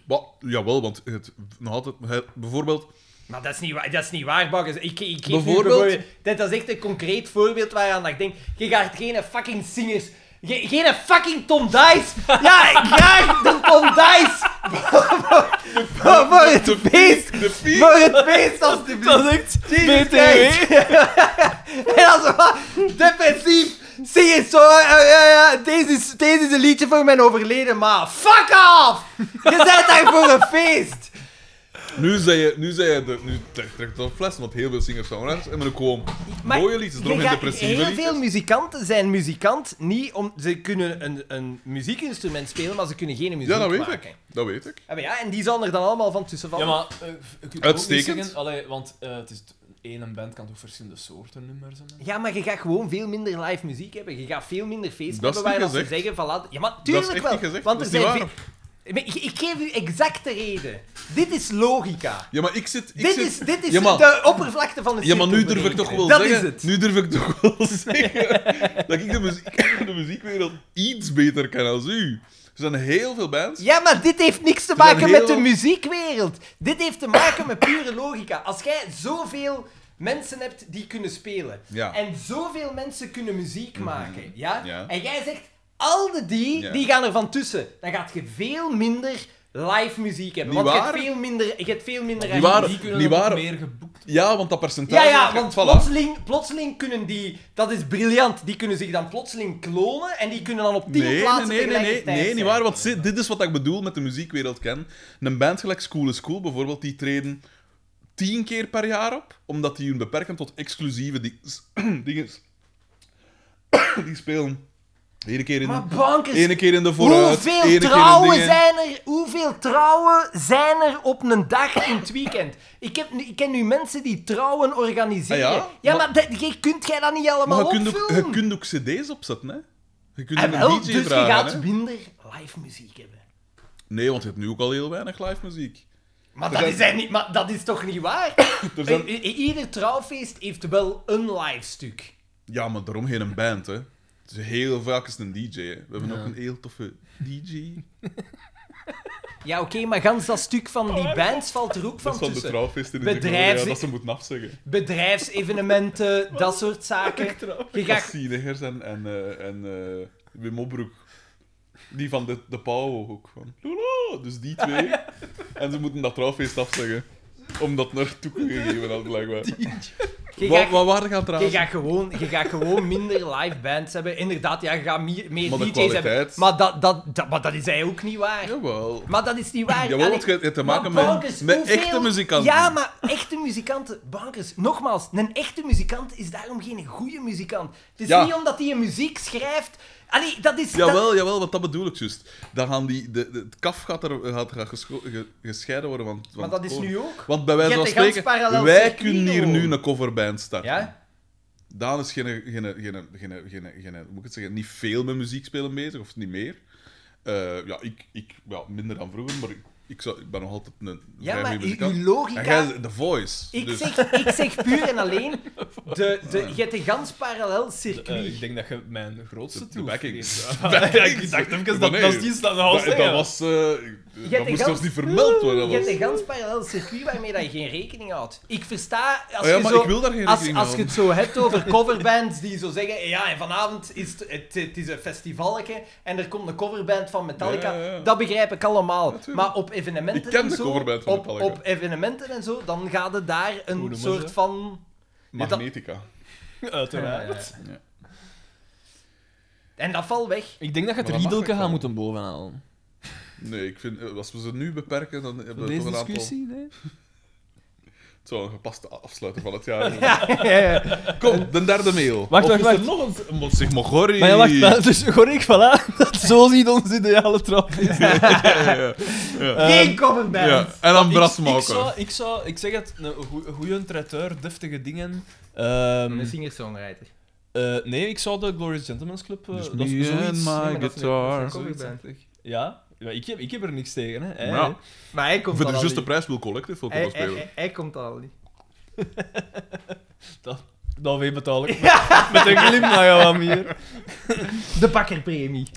S1: Maar, jawel, want het, nog altijd, het- bijvoorbeeld...
S2: Maar dat is niet, wa- dat is niet waar, Bakkes. Ik, ik, geef nu
S1: Bijvoorbeeld-
S2: Dit dat is echt een concreet voorbeeld waaraan dat ik denk... Je gaat geen fucking singers... ge- geen fucking Tom Dice! Ja, graag de Tom Dice! Voor- voor- voor het feest!
S1: De Piet!
S2: Voor het feest, alsjeblieft!
S3: Dat is echt
S2: Jesus
S3: BTW.
S2: Christ. en als defensief. Zie je zo. eh, eh, eh, deze, is, deze is een liedje voor mijn overleden ma. Fuck off! Je bent daar voor een feest.
S1: Nu zei je, nu zei je de, nu trekt trek dan fles, want heel veel singers-songwriters hebben ook gewoon mooie liedjes,
S2: je
S1: erom in
S2: gaat-
S1: depressieve
S2: Heel
S1: liedjes.
S2: veel muzikanten zijn muzikant niet om... Ze kunnen een, een muziekinstrument spelen, maar ze kunnen geen muziek
S1: Ja, dat weet
S2: maken.
S1: ik. Dat weet ik.
S2: Ah, maar ja, en die zal er dan allemaal van tussen
S3: Ja,
S2: vallen.
S3: maar eh, ik kan ook
S1: Uitstekend.
S3: niet zeggen, allee, want eh, het is één band kan toch verschillende soorten nummers hebben.
S2: Ja, maar je gaat gewoon veel minder live muziek hebben. Je gaat veel minder feesten
S1: Dat is
S2: hebben waar
S1: niet
S2: dat ze
S1: gezegd.
S2: zeggen van laat... Ja, maar
S1: Dat
S2: tuurlijk
S1: is echt
S2: wel.
S1: niet gezegd.
S2: Want
S1: dat
S2: er
S1: is niet
S2: zijn
S1: waar.
S2: Maar Ik, ik geef u exact de reden. Dit is logica.
S1: Ja, maar ik zit... Ik
S2: dit,
S1: zit...
S2: is, dit is
S1: Ja, maar-
S2: de oppervlakte van het
S1: Ja, maar nu
S2: cirkel,
S1: durf ik
S2: bedoel
S1: toch wel
S2: Dat
S1: zeggen...
S2: is het.
S1: Nu durf ik toch wel zeggen dat ik de, muziek, de muziekwereld iets beter ken als u. Er zijn heel veel bands...
S2: Ja, maar dit heeft niks te
S1: zijn
S2: maken
S1: heel
S2: met de
S1: wat-
S2: muziekwereld. Dit heeft te maken met pure logica. Als jij zoveel mensen hebt die kunnen spelen,
S1: Ja. Mhm.
S2: en zoveel mensen kunnen muziek maken, ja?
S1: Ja.
S2: en jij zegt, al de die,
S1: Ja.
S2: die gaan er van tussen, dan gaat je veel minder live muziek hebben.
S1: Niet
S2: want je
S1: waar.
S2: hebt veel minder... Je hebt veel minder
S1: Niet waar.
S3: Die kunnen
S1: Niet
S3: nog
S1: waar.
S3: meer geboekt
S1: Ja, want dat percentage...
S2: Ja, ja,
S1: dat-
S2: want
S1: voilà.
S2: plotseling, plotseling kunnen die... Dat is briljant. Die kunnen zich dan plotseling klonen en die kunnen dan op tien
S1: Nee, nee,
S2: plaatsen
S1: nee, nee, nee,
S2: tegelijkertijd eh,
S1: nee, niet
S2: zijn.
S1: waar. Want zi- dit is wat ik bedoel met de muziekwereld kennen. Een band gelijk School is Cool bijvoorbeeld, die treden tien keer per jaar op, omdat die hun beperken tot exclusieve di- dingen. die spelen ene keer in,
S2: Maar bankers,
S1: ene keer in de vooruit,
S2: hoeveel
S1: ene
S2: trouwen
S1: keer in dingen.
S2: zijn er? Hoeveel trouwen zijn er op een dag in het weekend? Ik, heb nu, ik ken nu mensen die trouwen organiseren.
S1: Ah
S2: ja?
S1: ja?
S2: maar, dat, je, kunt jij dat niet allemaal
S1: Maar je kunt,
S2: opvullen?
S1: ook, je kunt ook cd's opzetten, hè. Je kunt
S2: Ah,
S1: ook
S2: wel,
S1: een
S2: dus
S1: DJ
S2: je
S1: vragen,
S2: gaat
S1: hè.
S2: minder live muziek hebben.
S1: Nee, want je hebt nu ook al heel weinig live muziek. Er
S2: Maar dat,
S1: zijn-
S2: is, hij niet, maar dat is toch niet waar?
S1: Er zijn-
S2: I- i- Ieder trouwfeest heeft wel een live stuk.
S1: Ja, maar daarom geen band, hè. Het is heel vaak is het een DJ. hè. We hebben ook een heel toffe DJ.
S2: Ja, oké, maar gans dat stuk van die bands valt er
S1: Dat
S2: ook van
S1: is van de
S2: tussen.
S1: trouwfeesten in de
S2: Bedrijfs-
S1: corona, dat ze moeten afzeggen.
S2: Bedrijfsevenementen, dat soort zaken. Je gaat...
S1: Cassie Leggers en, en, eh, en eh, Wim Opbroek. Die van de, de Pauw ook. Van, Lolo! Dus die twee. En ze moeten dat trouwfeest afzeggen. Omdat er toegegeven had, blijkbaar.
S2: Je
S1: Wat,
S2: gaat...
S1: wat waren gaan
S2: Je
S1: trouwens?
S2: gaat, gewoon, je gaat gewoon minder live bands hebben. Inderdaad, ja, je gaat meer, meer
S1: Maar de
S2: DJ's hebben.
S1: kwaliteit-
S2: Maar dat, dat, dat, maar dat is eigenlijk ook niet waar.
S1: Jawel.
S2: Maar dat is niet waar.
S1: Jawel,
S2: Allee,
S1: want je hebt te
S2: maar
S1: maken met-
S2: bankers,
S1: met
S2: hoeveel-
S1: echte muzikanten.
S2: Ja, maar echte muzikanten, bankers, nogmaals, een echte muzikant is daarom geen goede muzikant. Het is
S1: Ja.
S2: niet omdat hij een muziek schrijft. Allee, dat is. dat-
S1: Jawel, jawel, want dat bedoel ik juist. Dan gaan die, de, de- het kaf gaat, er, gaat, gaat gescho- ge- gescheiden worden. Want, oh.
S2: maar dat is nu ook.
S1: Want bij wijze
S2: Je
S1: van
S2: hebt een gans
S1: spreken,
S2: parallel
S1: wij
S2: circuit
S1: kunnen hier
S2: gewoon.
S1: nu een coverband starten.
S2: Ja?
S1: Daan is geen, geen, geen, geen, geen, geen, hoe moet ik het zeggen, niet veel met muziek spelen bezig, of niet meer. Eh, ja, ik, ik ja, minder dan vroeger, maar ik ik, zou, ik ben nog altijd een
S2: Ja,
S1: vrij
S2: maar
S1: goeie
S2: uw
S1: muzikant.
S2: uw
S1: En
S2: logica...
S1: jij de voice.
S2: Ik
S1: dus-
S2: zeg, ik zeg puur en alleen, de, de, je hebt een gans parallel
S3: Eh,
S2: circuit.
S3: ik denk dat je mijn grootste
S1: De- de
S3: tool
S1: backing.
S3: vergeet.
S1: De backing.
S3: Ik dacht even,
S1: Maar
S3: dat
S1: nee,
S3: dat is iets dat we al
S1: dat, dat
S3: zeggen.
S1: was... eh
S2: hebt
S1: dat moest
S2: een gans-
S1: zelfs niet vermeld worden.
S2: Je
S1: Dat
S2: hebt
S1: was...
S2: een gans parallel circuit waarmee dat je geen rekening houdt. Ik versta... Als
S1: Ah ja,
S2: je
S1: maar
S2: zo,
S1: ik wil daar geen
S2: Als,
S1: rekening
S2: als je het zo hebt over coverbands die zo zeggen, ja, en vanavond is het, het, het is een festivalke en er komt een coverband van Metallica,
S1: Ja, ja, ja.
S2: dat begrijp ik allemaal.
S1: tuurlijk.
S2: maar op evenementen
S1: Ik ken
S2: en
S1: de
S2: zo,
S1: coverband van
S2: op,
S1: Metallica.
S2: op evenementen en zo, dan gaat het daar
S3: Hoe
S2: een
S3: noemen
S2: soort
S3: ze?
S2: van...
S1: Magnetica.
S3: Uiteraard.
S2: Eh,
S1: Ja.
S2: En dat valt weg.
S5: Ik denk dat je het
S1: Maar dat mag
S5: riedelke
S1: ook
S5: gaat
S1: wel.
S5: moeten bovenhalen.
S1: Nee, ik vind... eh, Als we ze nu beperken, dan hebben we
S5: Deze
S1: toch een aantal...
S5: discussie, nee?
S1: Het zou een gepaste afsluiter van het jaar zijn.
S2: Ja, ja.
S1: Kom, de derde mail.
S5: Wacht,
S1: Of
S5: wacht,
S1: is er
S5: wacht.
S1: nog een... een Sigmogorri.
S5: Maar ja, wacht, maar, dus Gorik, voilà. Zo ziet ons ideale trap. is.
S1: ja, ja, ja.
S2: Geen coverband.
S1: Ja, En dan Bras
S3: ik, ik,
S1: maken.
S3: zou, ik zou, ik zeg het, een goe- goede traiteur, deftige dingen. Ehm,
S2: singer-songwriter.
S3: eh, nee, ik zou de Glorious Gentleman's Club. eh,
S1: Dus
S3: dat is
S1: me and
S3: zoiets.
S1: my
S2: maar dat is een-
S1: guitar.
S2: dat is een
S3: zoiets
S2: coverband.
S3: achtig. Ja, ja ik, heb, ik heb er niks tegen. Hè. Hey.
S1: Ja.
S2: Maar hij komt
S1: Voor
S2: dat
S1: de
S2: al
S1: juiste
S2: niet.
S1: prijs wil Collective veel
S2: Hij,
S1: kunnen
S2: hij,
S1: spelen.
S2: hij, hij komt dat al niet.
S3: Dan weer betaal ik met, met een glimlach aan hier.
S2: De bakkerpremie.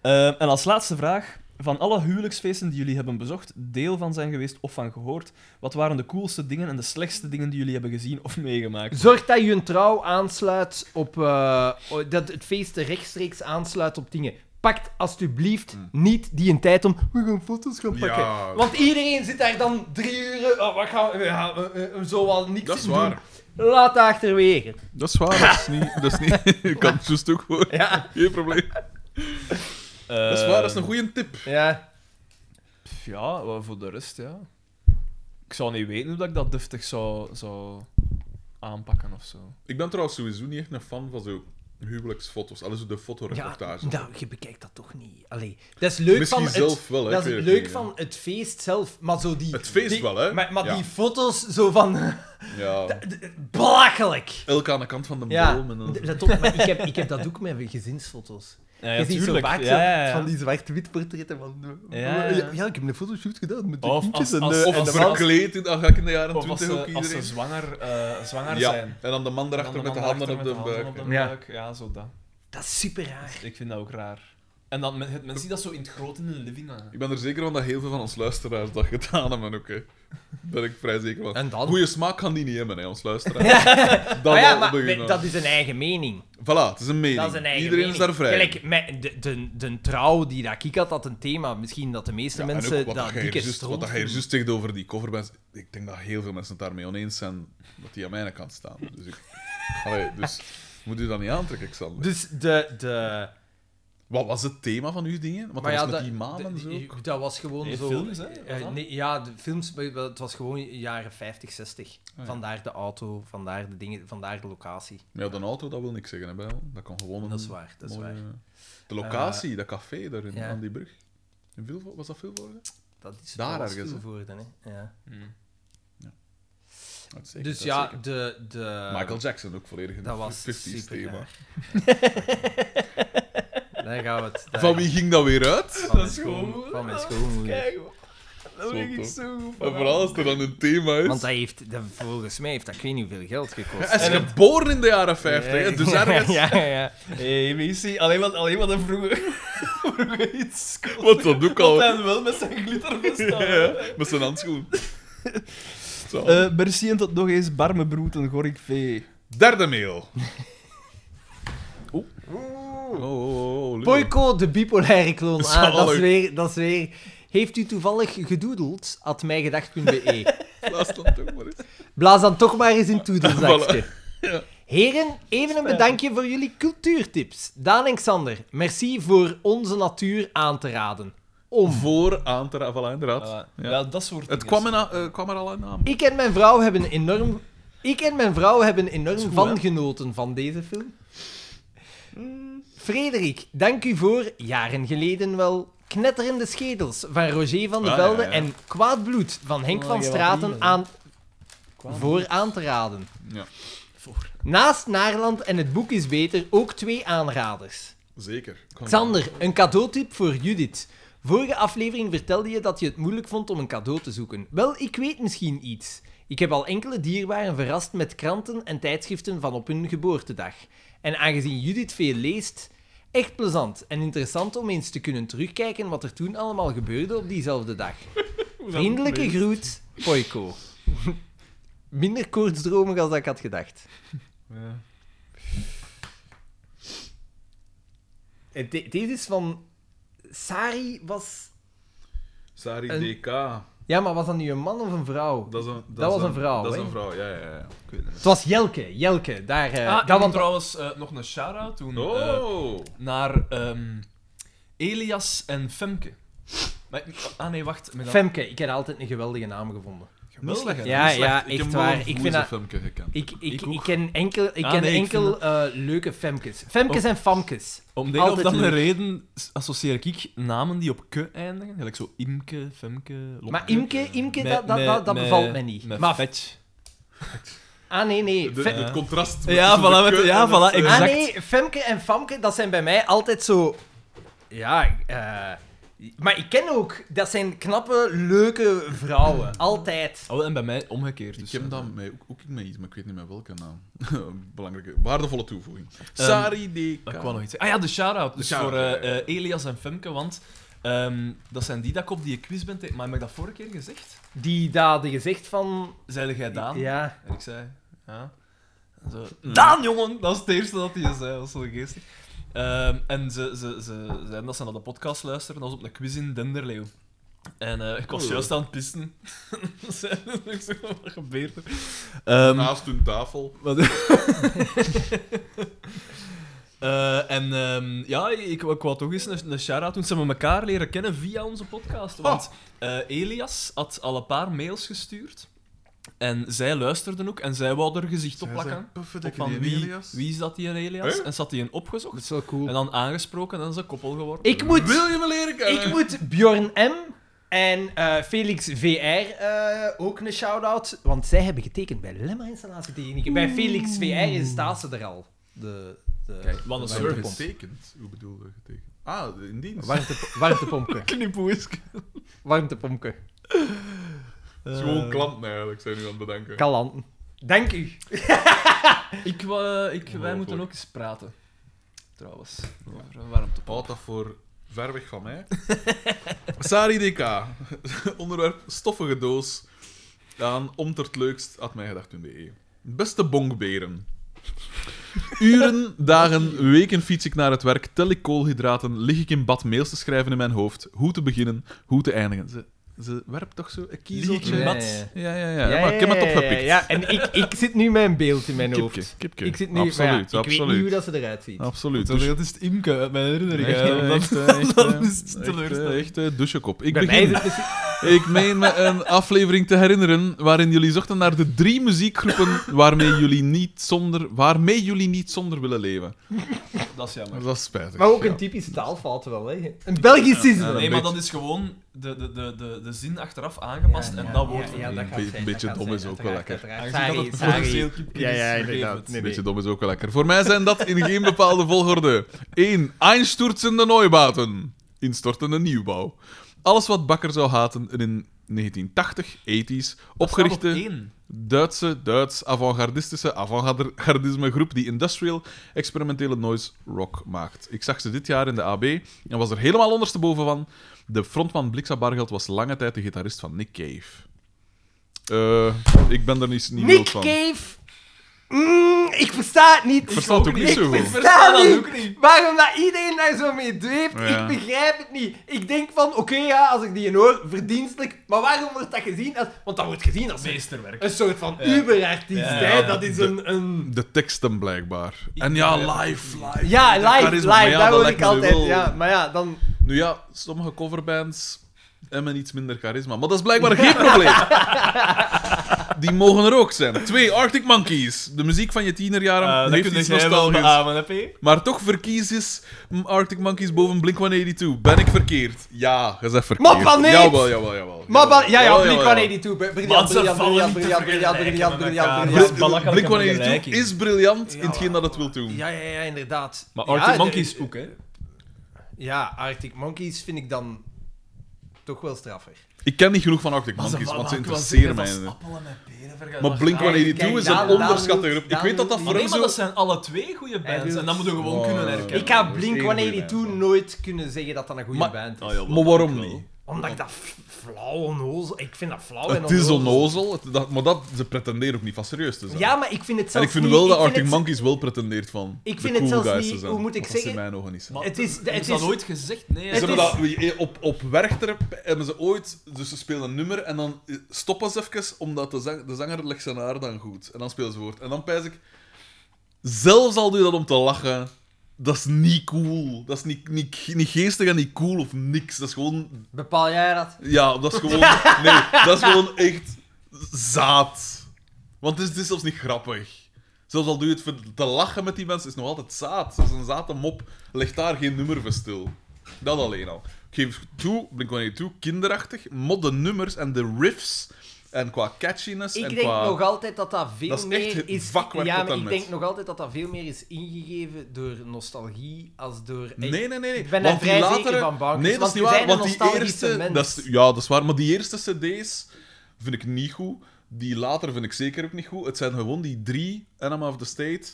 S3: Eh, en als laatste vraag. Van alle huwelijksfeesten die jullie hebben bezocht, deel van zijn geweest of van gehoord, wat waren de coolste dingen en de slechtste dingen die jullie hebben gezien of meegemaakt?
S2: Zorg dat je een trouw aansluit op... eh, dat het feest rechtstreeks aansluit op dingen. Pakt alsjeblieft niet die een tijd om... We gaan foto's gaan pakken.
S1: Hmm. Ja,
S2: Want iedereen zit daar dan drie uur... Oh, wat gaan we... Ja, eh, eh, zo al niks
S1: dat is
S2: doen.
S1: waar.
S2: Laat dat achterwege.
S1: Dat is waar. Dat is niet... Dat is niet ik kan het zo stuk voor.
S2: Ja.
S1: Geen probleem. Dat is waar, dat is een goede tip.
S2: Ja.
S3: Eh, Pff, Ja, wel voor de rest, ja. Ik zou niet weten hoe dat ik dat deftig zou, zou aanpakken of zo.
S1: Ik ben trouwens sowieso niet echt een fan van zo huwelijksfoto's. Alles de fotoreportage.
S2: nou, je bekijkt dat toch niet. Allee, dat is leuk
S1: Misschien
S2: van het...
S1: zelf wel, hè. ik
S2: Dat is
S1: weet
S2: het
S1: het
S2: leuk
S1: niet,
S2: van het feest zelf, maar zo die...
S1: Het feest
S2: die-
S1: wel, hè?
S2: Maar, maar
S1: Ja.
S2: die foto's zo van...
S1: Ja.
S2: Belachelijk!
S1: Elk aan de kant van de
S2: Ja,
S1: boom. En dan...
S2: d- let op, maar ik heb, ik heb dat ook met gezinsfoto's.
S3: Ja,
S2: je ziet zo
S3: tuurlijk.
S2: vaak zo
S3: Ja, ja, ja.
S2: van die zwart-wit portretten van...
S3: Ja, ja, ja.
S2: ik heb een fotoshoot gedaan met de
S3: Of
S2: kindjes
S3: als-
S2: en,
S3: als-
S2: eh,
S1: Of
S2: en
S3: de
S2: dan-
S1: verkleed, in, dan ga ik in de jaren
S3: Of als
S1: twintig ook
S3: ze, als
S1: iedereen.
S3: ze zwanger, eh, zwanger
S1: ja,
S3: zijn.
S1: en dan de man daarachter
S3: En dan
S1: met de
S3: man
S1: handen op
S3: daarachter
S1: de
S3: met
S1: buik.
S3: handen op
S1: hè.
S3: de
S2: Ja.
S3: buik. Ja, zo dat.
S2: Dat is super raar.
S3: Ik vind dat ook raar. En dan, men, men ziet dat zo in het groot in de living hangen.
S1: Ik ben er zeker van dat heel veel van ons luisteraars dat gedaan hebben ook. Hè. Ben ik vrij zeker van.
S2: En dan?
S1: Goeie smaak kan die niet hebben, hè, ons luisteraars. dat
S2: Maar ja,
S1: al
S2: maar
S1: beginnen.
S2: we- dat is een eigen mening.
S1: Voilà, het is een mening.
S2: Dat is een eigen
S1: Iedereen
S2: mening.
S1: is daar vrij.
S2: Gelijk, met de, de, de trouw die dat ik had, dat een thema. Misschien dat de meeste
S1: Ja, en ook
S2: mensen
S1: wat
S2: dat
S1: hij
S2: dikke
S1: er juist-
S2: stront
S1: Wat hij er
S2: vinden.
S1: juist zegt over die coverbands, ik denk dat heel veel mensen het daarmee oneens zijn dat die aan mijn kant staan. Dus, ik, allee, dus moet u dat niet aantrekken, Xander?
S2: Dus de... de
S1: Wat was het thema van uw dingen? Want dat
S2: maar ja,
S1: was met
S2: dat-
S1: die maan en zo.
S2: de-
S1: ook.
S2: dat was gewoon
S3: Nee,
S2: zo...
S3: films, hè?
S2: Eh,
S3: Was dat?
S2: nee, ja, de films, maar het was gewoon jaren 50,
S3: Oh,
S2: 60. Vandaar de auto, vandaar de dingen, vandaar de locatie.
S1: Maar ja, de auto, dat wil niks zeggen. Hè, bij jou. dat kan gewoon een
S2: Dat is waar, dat is
S1: mooie-
S2: waar. Eh,
S1: De locatie, dat café daar in,
S2: ja.
S1: aan die brug. In Vilvo- was dat Vilvoorde?
S2: Dat is
S1: Daar
S2: wel wat
S1: ergens, hè?
S2: Vilvoorde, hè? Ja.
S1: Uitstekend,
S2: Dus ja,
S1: uitstekend.
S2: de, de...
S1: Michael Jackson ook volledig in
S2: dat
S1: het
S2: was
S1: 50s
S2: super
S1: thema.
S2: raar. Daar gaan we het. daar-
S1: Van wie ging dat weer uit?
S2: Van
S3: Dat
S2: mijn
S3: is
S2: schoon-
S3: gewoon-
S2: Van mijn schoonmoeder.
S3: Kijk, hoor. dat vind ik
S1: toch?
S3: zo goed.
S1: En vooral als er dan een thema is.
S2: Want hij heeft, dat- volgens mij heeft dat ik weet niet hoeveel geld gekost.
S1: Hij is geboren in de jaren 50, hè, dus ergens...
S2: Ja, ja, ja.
S3: Hé, Missy, alleen wat, alleen wat een vroeger, vroeger iets kon.
S1: Wat dat ook al.
S3: Wat hij wel met zijn glitter bestaan.
S1: Ja, met zijn handschoen. Zo.
S3: Eh, merci en tot nog eens, barme broeten, Gorik V.
S1: Derde mail. Oh, oh, oh, oh, Lulu.
S2: Poiko, de bipolaire kloon.
S1: Dat is
S2: Ah,
S1: wel
S2: dat is
S1: leuk.
S2: weer, dat is weer. Heeft u toevallig gedoedeld? At mijgedacht.be.
S1: Laat dat toch maar eens.
S2: Blaas dan toch maar eens een toedelzakje.
S1: Ja.
S2: Heren, even een bedankje voor jullie cultuurtips. Daan en Xander, merci voor onze natuur aan te raden.
S1: Om voor aan te raden, voilà, inderdaad.
S3: Ja.
S1: Ja.
S3: dat soort
S1: Het
S3: dingen.
S1: kwam, in a- eh, kwam er al een naam.
S2: Ik en mijn vrouw hebben enorm, ik en mijn vrouw hebben enorm
S1: goed,
S2: van
S1: hè?
S2: genoten van deze film.
S1: Mm.
S2: Frederik, dank u voor, jaren geleden wel, Knetterende Schedels van Roger van der
S1: Ah,
S2: Velde
S1: ja, ja.
S2: en Kwaad Bloed van Henk
S3: Oh,
S2: van
S3: jij wou
S2: Straten
S3: riemen, hè?
S2: aan, voor aan te raden.
S1: Ja.
S2: Naast Naarland en Het Boek is Beter ook twee aanraders.
S1: Zeker. Kom.
S2: Xander, een cadeautip voor Judith. Vorige aflevering vertelde je dat je het moeilijk vond om een cadeau te zoeken. Wel, ik weet misschien iets. Ik heb al enkele dierbaren verrast met kranten en tijdschriften van op hun geboortedag. En aangezien Judith veel leest, echt plezant en interessant om eens te kunnen terugkijken wat er toen allemaal gebeurde op diezelfde dag. Vriendelijke groet, Poiko. Minder koortsdromig als dat ik had gedacht.
S3: Ja.
S2: En de- Deze is van... Sari was...
S1: Sari
S2: Een-
S1: DK.
S2: Ja, maar was dat nu een man of een vrouw?
S1: Dat, is een, dat,
S2: Dat
S1: is
S2: was een vrouw,
S1: Dat is
S2: hè?
S1: een vrouw, ja, ja, ja. Ik weet het niet.
S2: Het was Jelke, Jelke. Daar, eh,
S3: Ah, ik
S2: dat
S3: dat
S2: want-
S3: trouwens eh, nog een shout-out doen eh,
S1: Oh!
S3: naar ehm, Elias en Femke. Maar ik- ah nee, wacht. Met dat-
S2: Femke, ik heb altijd een geweldige naam gevonden.
S3: Geweldig,
S1: Niet slecht,
S3: hè?
S2: Ja,
S1: niet slecht.
S2: ja,
S1: Ik
S2: echt
S1: heb
S2: waar.
S1: wel
S2: Ik
S1: een
S2: vind dat-
S1: Femke gekend.
S2: Ik, ik,
S3: Ik
S2: ik,
S3: ook.
S2: ken enkel, ik
S3: Ah,
S2: ken
S3: nee, ik Oh.
S2: enkel eh, leuke Femkes. Femkes en Famkes.
S3: Om de een of
S2: Altijd
S3: andere
S2: leuk.
S3: reden s- associeer ik namen die op ke eindigen. Gelijk zo Imke, Oh, Femke, Lopke.
S2: Maar Imke, Imke
S3: Met-
S2: dat, dat,
S3: met-
S2: dat, dat
S3: met-
S2: bevalt mij niet.
S3: Met
S2: Maar,
S3: vet.
S2: ah, nee, nee.
S1: De-
S2: Fe-
S1: het contrast.
S3: Ja,
S1: tussen
S3: voilà,
S1: de
S3: met-
S1: keu-
S3: ja,
S1: en
S3: voilà,
S1: het, eh,
S3: exact.
S2: Ah, nee, Femke en Famke, dat zijn bij mij altijd zo... Ja, eh, maar ik ken ook... Dat zijn knappe, leuke vrouwen. Altijd.
S3: Oh, en bij mij omgekeerd.
S1: Ik
S3: Dus,
S1: heb
S3: eh,
S1: dan mij ook, ook met iets, maar ik weet niet meer welke naam. Belangrijke, waardevolle toevoeging.
S3: Ehm,
S1: Sari DK.
S3: Ik wou nog iets zeggen. Ah ja, de shout-out. Dus
S1: shout-out,
S3: voor eh,
S1: ja, ja, ja.
S3: eh, Elias en Femke, want ehm, dat zijn die dat ik op die quiz ben tegen... Maar heb ik dat vorige keer gezegd?
S2: Die dat de gezicht van...
S3: Zeide jij Daan?
S2: Ja.
S3: En ik zei... Ja. En Zo, Daan, jongen! Dat is het eerste dat hij zei. Dat was zo geestig. Ehm, en ze, ze, ze zeiden dat ze naar de podcast luisteren. Dat was op een quiz in Denderleeuw. En eh, ik was
S1: Oh.
S3: juist aan het pissen. ik zeg, wat gebeurt er? Ehm,
S1: Naast hun tafel.
S3: Wat- Eh, en ehm, ja, ik, ik wou toch eens een, een shout-out doen. Ze hebben elkaar leren kennen via onze podcast. Want eh, Elias had al een paar mails gestuurd. En zij luisterden ook. En zij wou er gezicht op plakken. Op
S1: Pufferdikke
S3: van
S1: die
S3: wie,
S1: Elias.
S3: wie is dat die een Elias?
S1: Huh?
S3: En zat die een opgezocht.
S2: wel cool.
S3: En dan aangesproken en dan is ze koppel geworden.
S2: Ik moet...
S1: Wil je me leren kennen?
S2: Ik moet Bjorn M. en eh, Felix VR eh, ook een shout-out. Want zij hebben getekend bij Lemma Installatietechnieken. Bij Felix VR is staat ze er al. De, de
S3: Kijk, wat een
S1: Waar
S3: service.
S1: getekend? Hoe bedoel je getekend? Ah, in dienst.
S2: warmte, warmtepompke.
S3: Knipoeiske.
S2: Warmtepompke.
S1: Het is gewoon klanten eigenlijk, zijn nu aan het bedenken.
S2: Kalanten. Dank u.
S3: Ik, wou- eh, ik, wij
S1: Ongelooflijk.
S3: moeten ook eens praten. Trouwens. Over een warmte.
S1: Houd dat voor ver weg van mij. Sari DK. Onderwerp stoffige doos. Aan omtertleukst.mijgedacht.be Beste bonkberen. Uren, dagen, weken fiets ik naar het werk, tel ik koolhydraten, lig ik in bad mails te schrijven in mijn hoofd, hoe te beginnen, hoe te eindigen. Ze, ze werpt toch zo een kiezeltje?
S2: in
S1: Ja,
S2: bad?
S1: ja, ja, maar ik heb het
S2: ja, ja,
S1: opgepikt.
S2: Ja, en ik, ik zit nu met een beeld in mijn
S1: Kipke,
S2: hoofd.
S1: kipke.
S2: Ik zit nu, maar ja,
S1: absoluut,
S2: ik weet niet hoe
S1: absoluut.
S2: dat ze eruit ziet.
S1: Absoluut.
S3: Dat
S1: Dus-
S3: is het Imke uit mijn herinnering.
S1: Echt,
S3: hè.
S1: eh,
S3: Dat-
S1: echt, eh, echt, eh,
S3: dat is
S1: echt, eh,
S3: teleurstellend.
S1: Echt, eh, douchekop. Ik
S2: Bij mij is
S1: begin
S2: het dus- misschien...
S1: Ik meen me een aflevering te herinneren waarin jullie zochten naar de drie muziekgroepen waarmee jullie niet zonder, waarmee jullie niet zonder willen leven.
S3: Dat is jammer.
S1: Dat is spijtig.
S2: Maar ook
S1: ja.
S2: een typische taalfout wel, hè. Een Belgicisme.
S1: Ja,
S3: Eh, Nee,
S1: een
S3: maar
S1: beetje-
S3: dat is gewoon de, de, de, de, de zin achteraf aangepast en dat wordt
S2: ja, dat gaat
S1: Een
S2: zijn,
S1: beetje
S2: dat gaat
S1: dom is
S2: zijn,
S1: ook wel
S2: uiteraard,
S1: lekker.
S2: uiteraard.
S3: Eigenlijk had het
S2: Sorry,
S3: potentieel
S2: sorry.
S3: kipjes,
S2: Ja, ja,
S3: vergeef
S2: inderdaad.
S3: het.
S2: Nee, nee.
S1: Beetje dom is ook wel lekker. Voor mij zijn dat in geen bepaalde volgorde. 1. Einstürzende Neubauten. Instortende nieuwbouw. Alles wat Bakker zou haten en in 1980, 80s, opgerichte...
S3: één.
S1: Duitse, Duits avant-gardistische avant-gardisme groep die industrial experimentele noise rock maakt. Ik zag ze dit jaar in de AB en was er helemaal ondersteboven van. De frontman Blixa Bargeld was lange tijd de gitarist van Nick Cave. Eh, ik ben er niet, niet wild
S2: Nick
S1: van.
S2: Cave. Mm, ik versta het niet. Ik
S1: versta het ook niet zo goed.
S2: Ik
S3: Versta
S2: versta
S3: dat
S2: niet.
S3: ook niet.
S2: Waarom dat iedereen daar zo mee dweept,
S1: Ja.
S2: ik begrijp het niet. Ik denk van, oké ja, als ik die hoor, verdienstelijk. Maar waarom wordt dat gezien als... Want dat wordt gezien als een,
S1: Eh,
S3: Meesterwerk.
S2: een soort van uberartiest,
S3: Ja,
S2: hè.
S3: ja,
S2: Dat is een... een...
S1: De teksten blijkbaar. En ja, live, live.
S2: Ja,
S1: de
S2: live, live,
S1: charisma, maar ja,
S2: daar
S1: dat
S2: word
S1: lijkt
S2: ik
S1: me nu
S2: altijd...
S1: wel-
S2: Ja, maar ja, dan...
S1: Nu ja, sommige coverbands hebben iets minder charisma. Maar dat is blijkbaar geen probleem. Die mogen er ook zijn. Twee, Arctic Monkeys. De muziek van je
S3: Eh,
S1: tienerjaren
S3: dat
S1: heeft
S3: kun
S1: iets
S3: jij wel
S1: nostalgisch.
S3: beamen, heb je?
S1: maar toch verkies is mm, Arctic Monkeys boven Blink-182. Ben ik verkeerd? Ja, je zegt verkeerd.
S2: Maar van niet!
S1: Jawel, jawel, jawel.
S2: Maar ba- ja, ja,
S1: Jawel, jawel, jawel.
S2: Blink-182. Briljant, briljant,
S3: Want ze vallen
S2: briljant,
S3: niet te
S2: briljant, briljant, briljant,
S3: vergelijken met elkaar.
S2: briljant,
S3: Dat is
S2: briljant.
S1: Bl-
S3: belachelijke
S1: Blink-182
S3: vergelijking.
S1: is briljant in hetgeen dat het wil doen.
S2: Ja, ja, ja, inderdaad.
S3: Maar
S2: ja,
S3: Arctic
S2: de-
S3: Monkeys ook, hè?
S2: Ja, Arctic Monkeys vind ik dan Toch wel straffer.
S1: Ik ken niet genoeg van Arctic Monkeys, want ze interesseren mij. niet. Maar Blink
S2: Ah,
S1: 182
S2: kijk,
S1: is een
S2: daar- daar
S1: onderschatte
S2: wil-
S1: groep. Ik
S2: daar
S1: weet dat
S2: wil-
S1: dat
S3: Maar
S1: voor
S3: nee,
S1: hem
S3: maar
S1: zo...
S3: dat zijn alle twee goede bands.
S2: wil-
S3: En dat moeten we gewoon
S1: Oh,
S3: kunnen
S1: ja.
S3: herkennen.
S2: dus- Ik ga
S1: dat is
S2: Blink
S1: één goeie band,
S2: 182
S1: man.
S2: nooit kunnen zeggen dat dat een goede
S1: Maar- Oh,
S2: band is.
S3: Ah, jawel,
S1: Maar waarom
S3: dat wel.
S1: niet?
S2: Omdat ik dat f- flauw onnozel... Ik vind dat flauw en
S1: Het is onnozel, het- dat- maar dat, ze pretenderen ook niet van serieus te zijn.
S2: Ja, maar ik vind het
S1: en
S2: zelfs
S1: ik vind
S2: niet-
S1: wel dat
S2: vind
S1: Arctic
S2: het-
S1: Monkeys wel pretendeert van
S2: Ik
S1: de
S2: vind het
S1: cool
S2: zelfs
S1: guys te
S2: niet-
S1: zijn.
S2: hoe moet ik
S1: Maar dat
S2: zeggen?
S1: zijn mij nog niet zo.
S3: Maar
S2: Het is-
S3: hebben
S2: het
S3: ze dat
S2: is-
S3: nooit gezegd? Nee.
S1: Ze
S2: Het
S1: hebben
S2: is-
S1: dat, we- eh, op, op Werchter hebben ze ooit... Dus ze spelen een nummer en dan eh, stoppen ze even, omdat de, zang- de zanger legt zijn haar dan goed. En dan spelen ze voort. En dan pijs ik... Zelfs al doe je dat om te lachen, dat is niet cool. Dat is niet, niet, niet geestig en niet cool of niks. Dat is gewoon...
S2: Bepaal jij dat?
S1: Ja, dat is gewoon... Nee, dat is gewoon echt zaad. Want het is, het is zelfs niet grappig. Zelfs al doe je het voor te lachen met die mensen, is nog altijd zaad. Dat is een zaad mop. Leg daar geen nummer voor stil. Dat alleen al. Ik geef toe, Blink-182, toe, kinderachtig. Mod de nummers en de riffs. En qua catchiness
S2: Ik
S1: en
S2: denk
S1: qua...
S2: nog altijd dat dat veel
S1: Dat is echt
S2: meer
S1: het
S2: is.
S1: vakwerk
S2: ja,
S1: tot
S2: maar
S1: en
S2: ik
S1: met.
S2: denk nog altijd dat dat veel meer is ingegeven door nostalgie als door.
S1: Nee, nee, nee. nee.
S2: Ik ben
S1: want
S2: er vrij
S1: die latere...
S2: zeker van, Bankers,
S1: Nee, dat
S2: want
S1: is niet
S2: we
S1: waar.
S2: zijn een
S1: Want die
S2: nostalgische
S1: eerste...
S2: mens.
S1: Dat is, ja, dat is waar. Maar die eerste cd's vind ik niet goed. Die later vind ik zeker ook niet goed. Het zijn gewoon die drie, Enema of the State,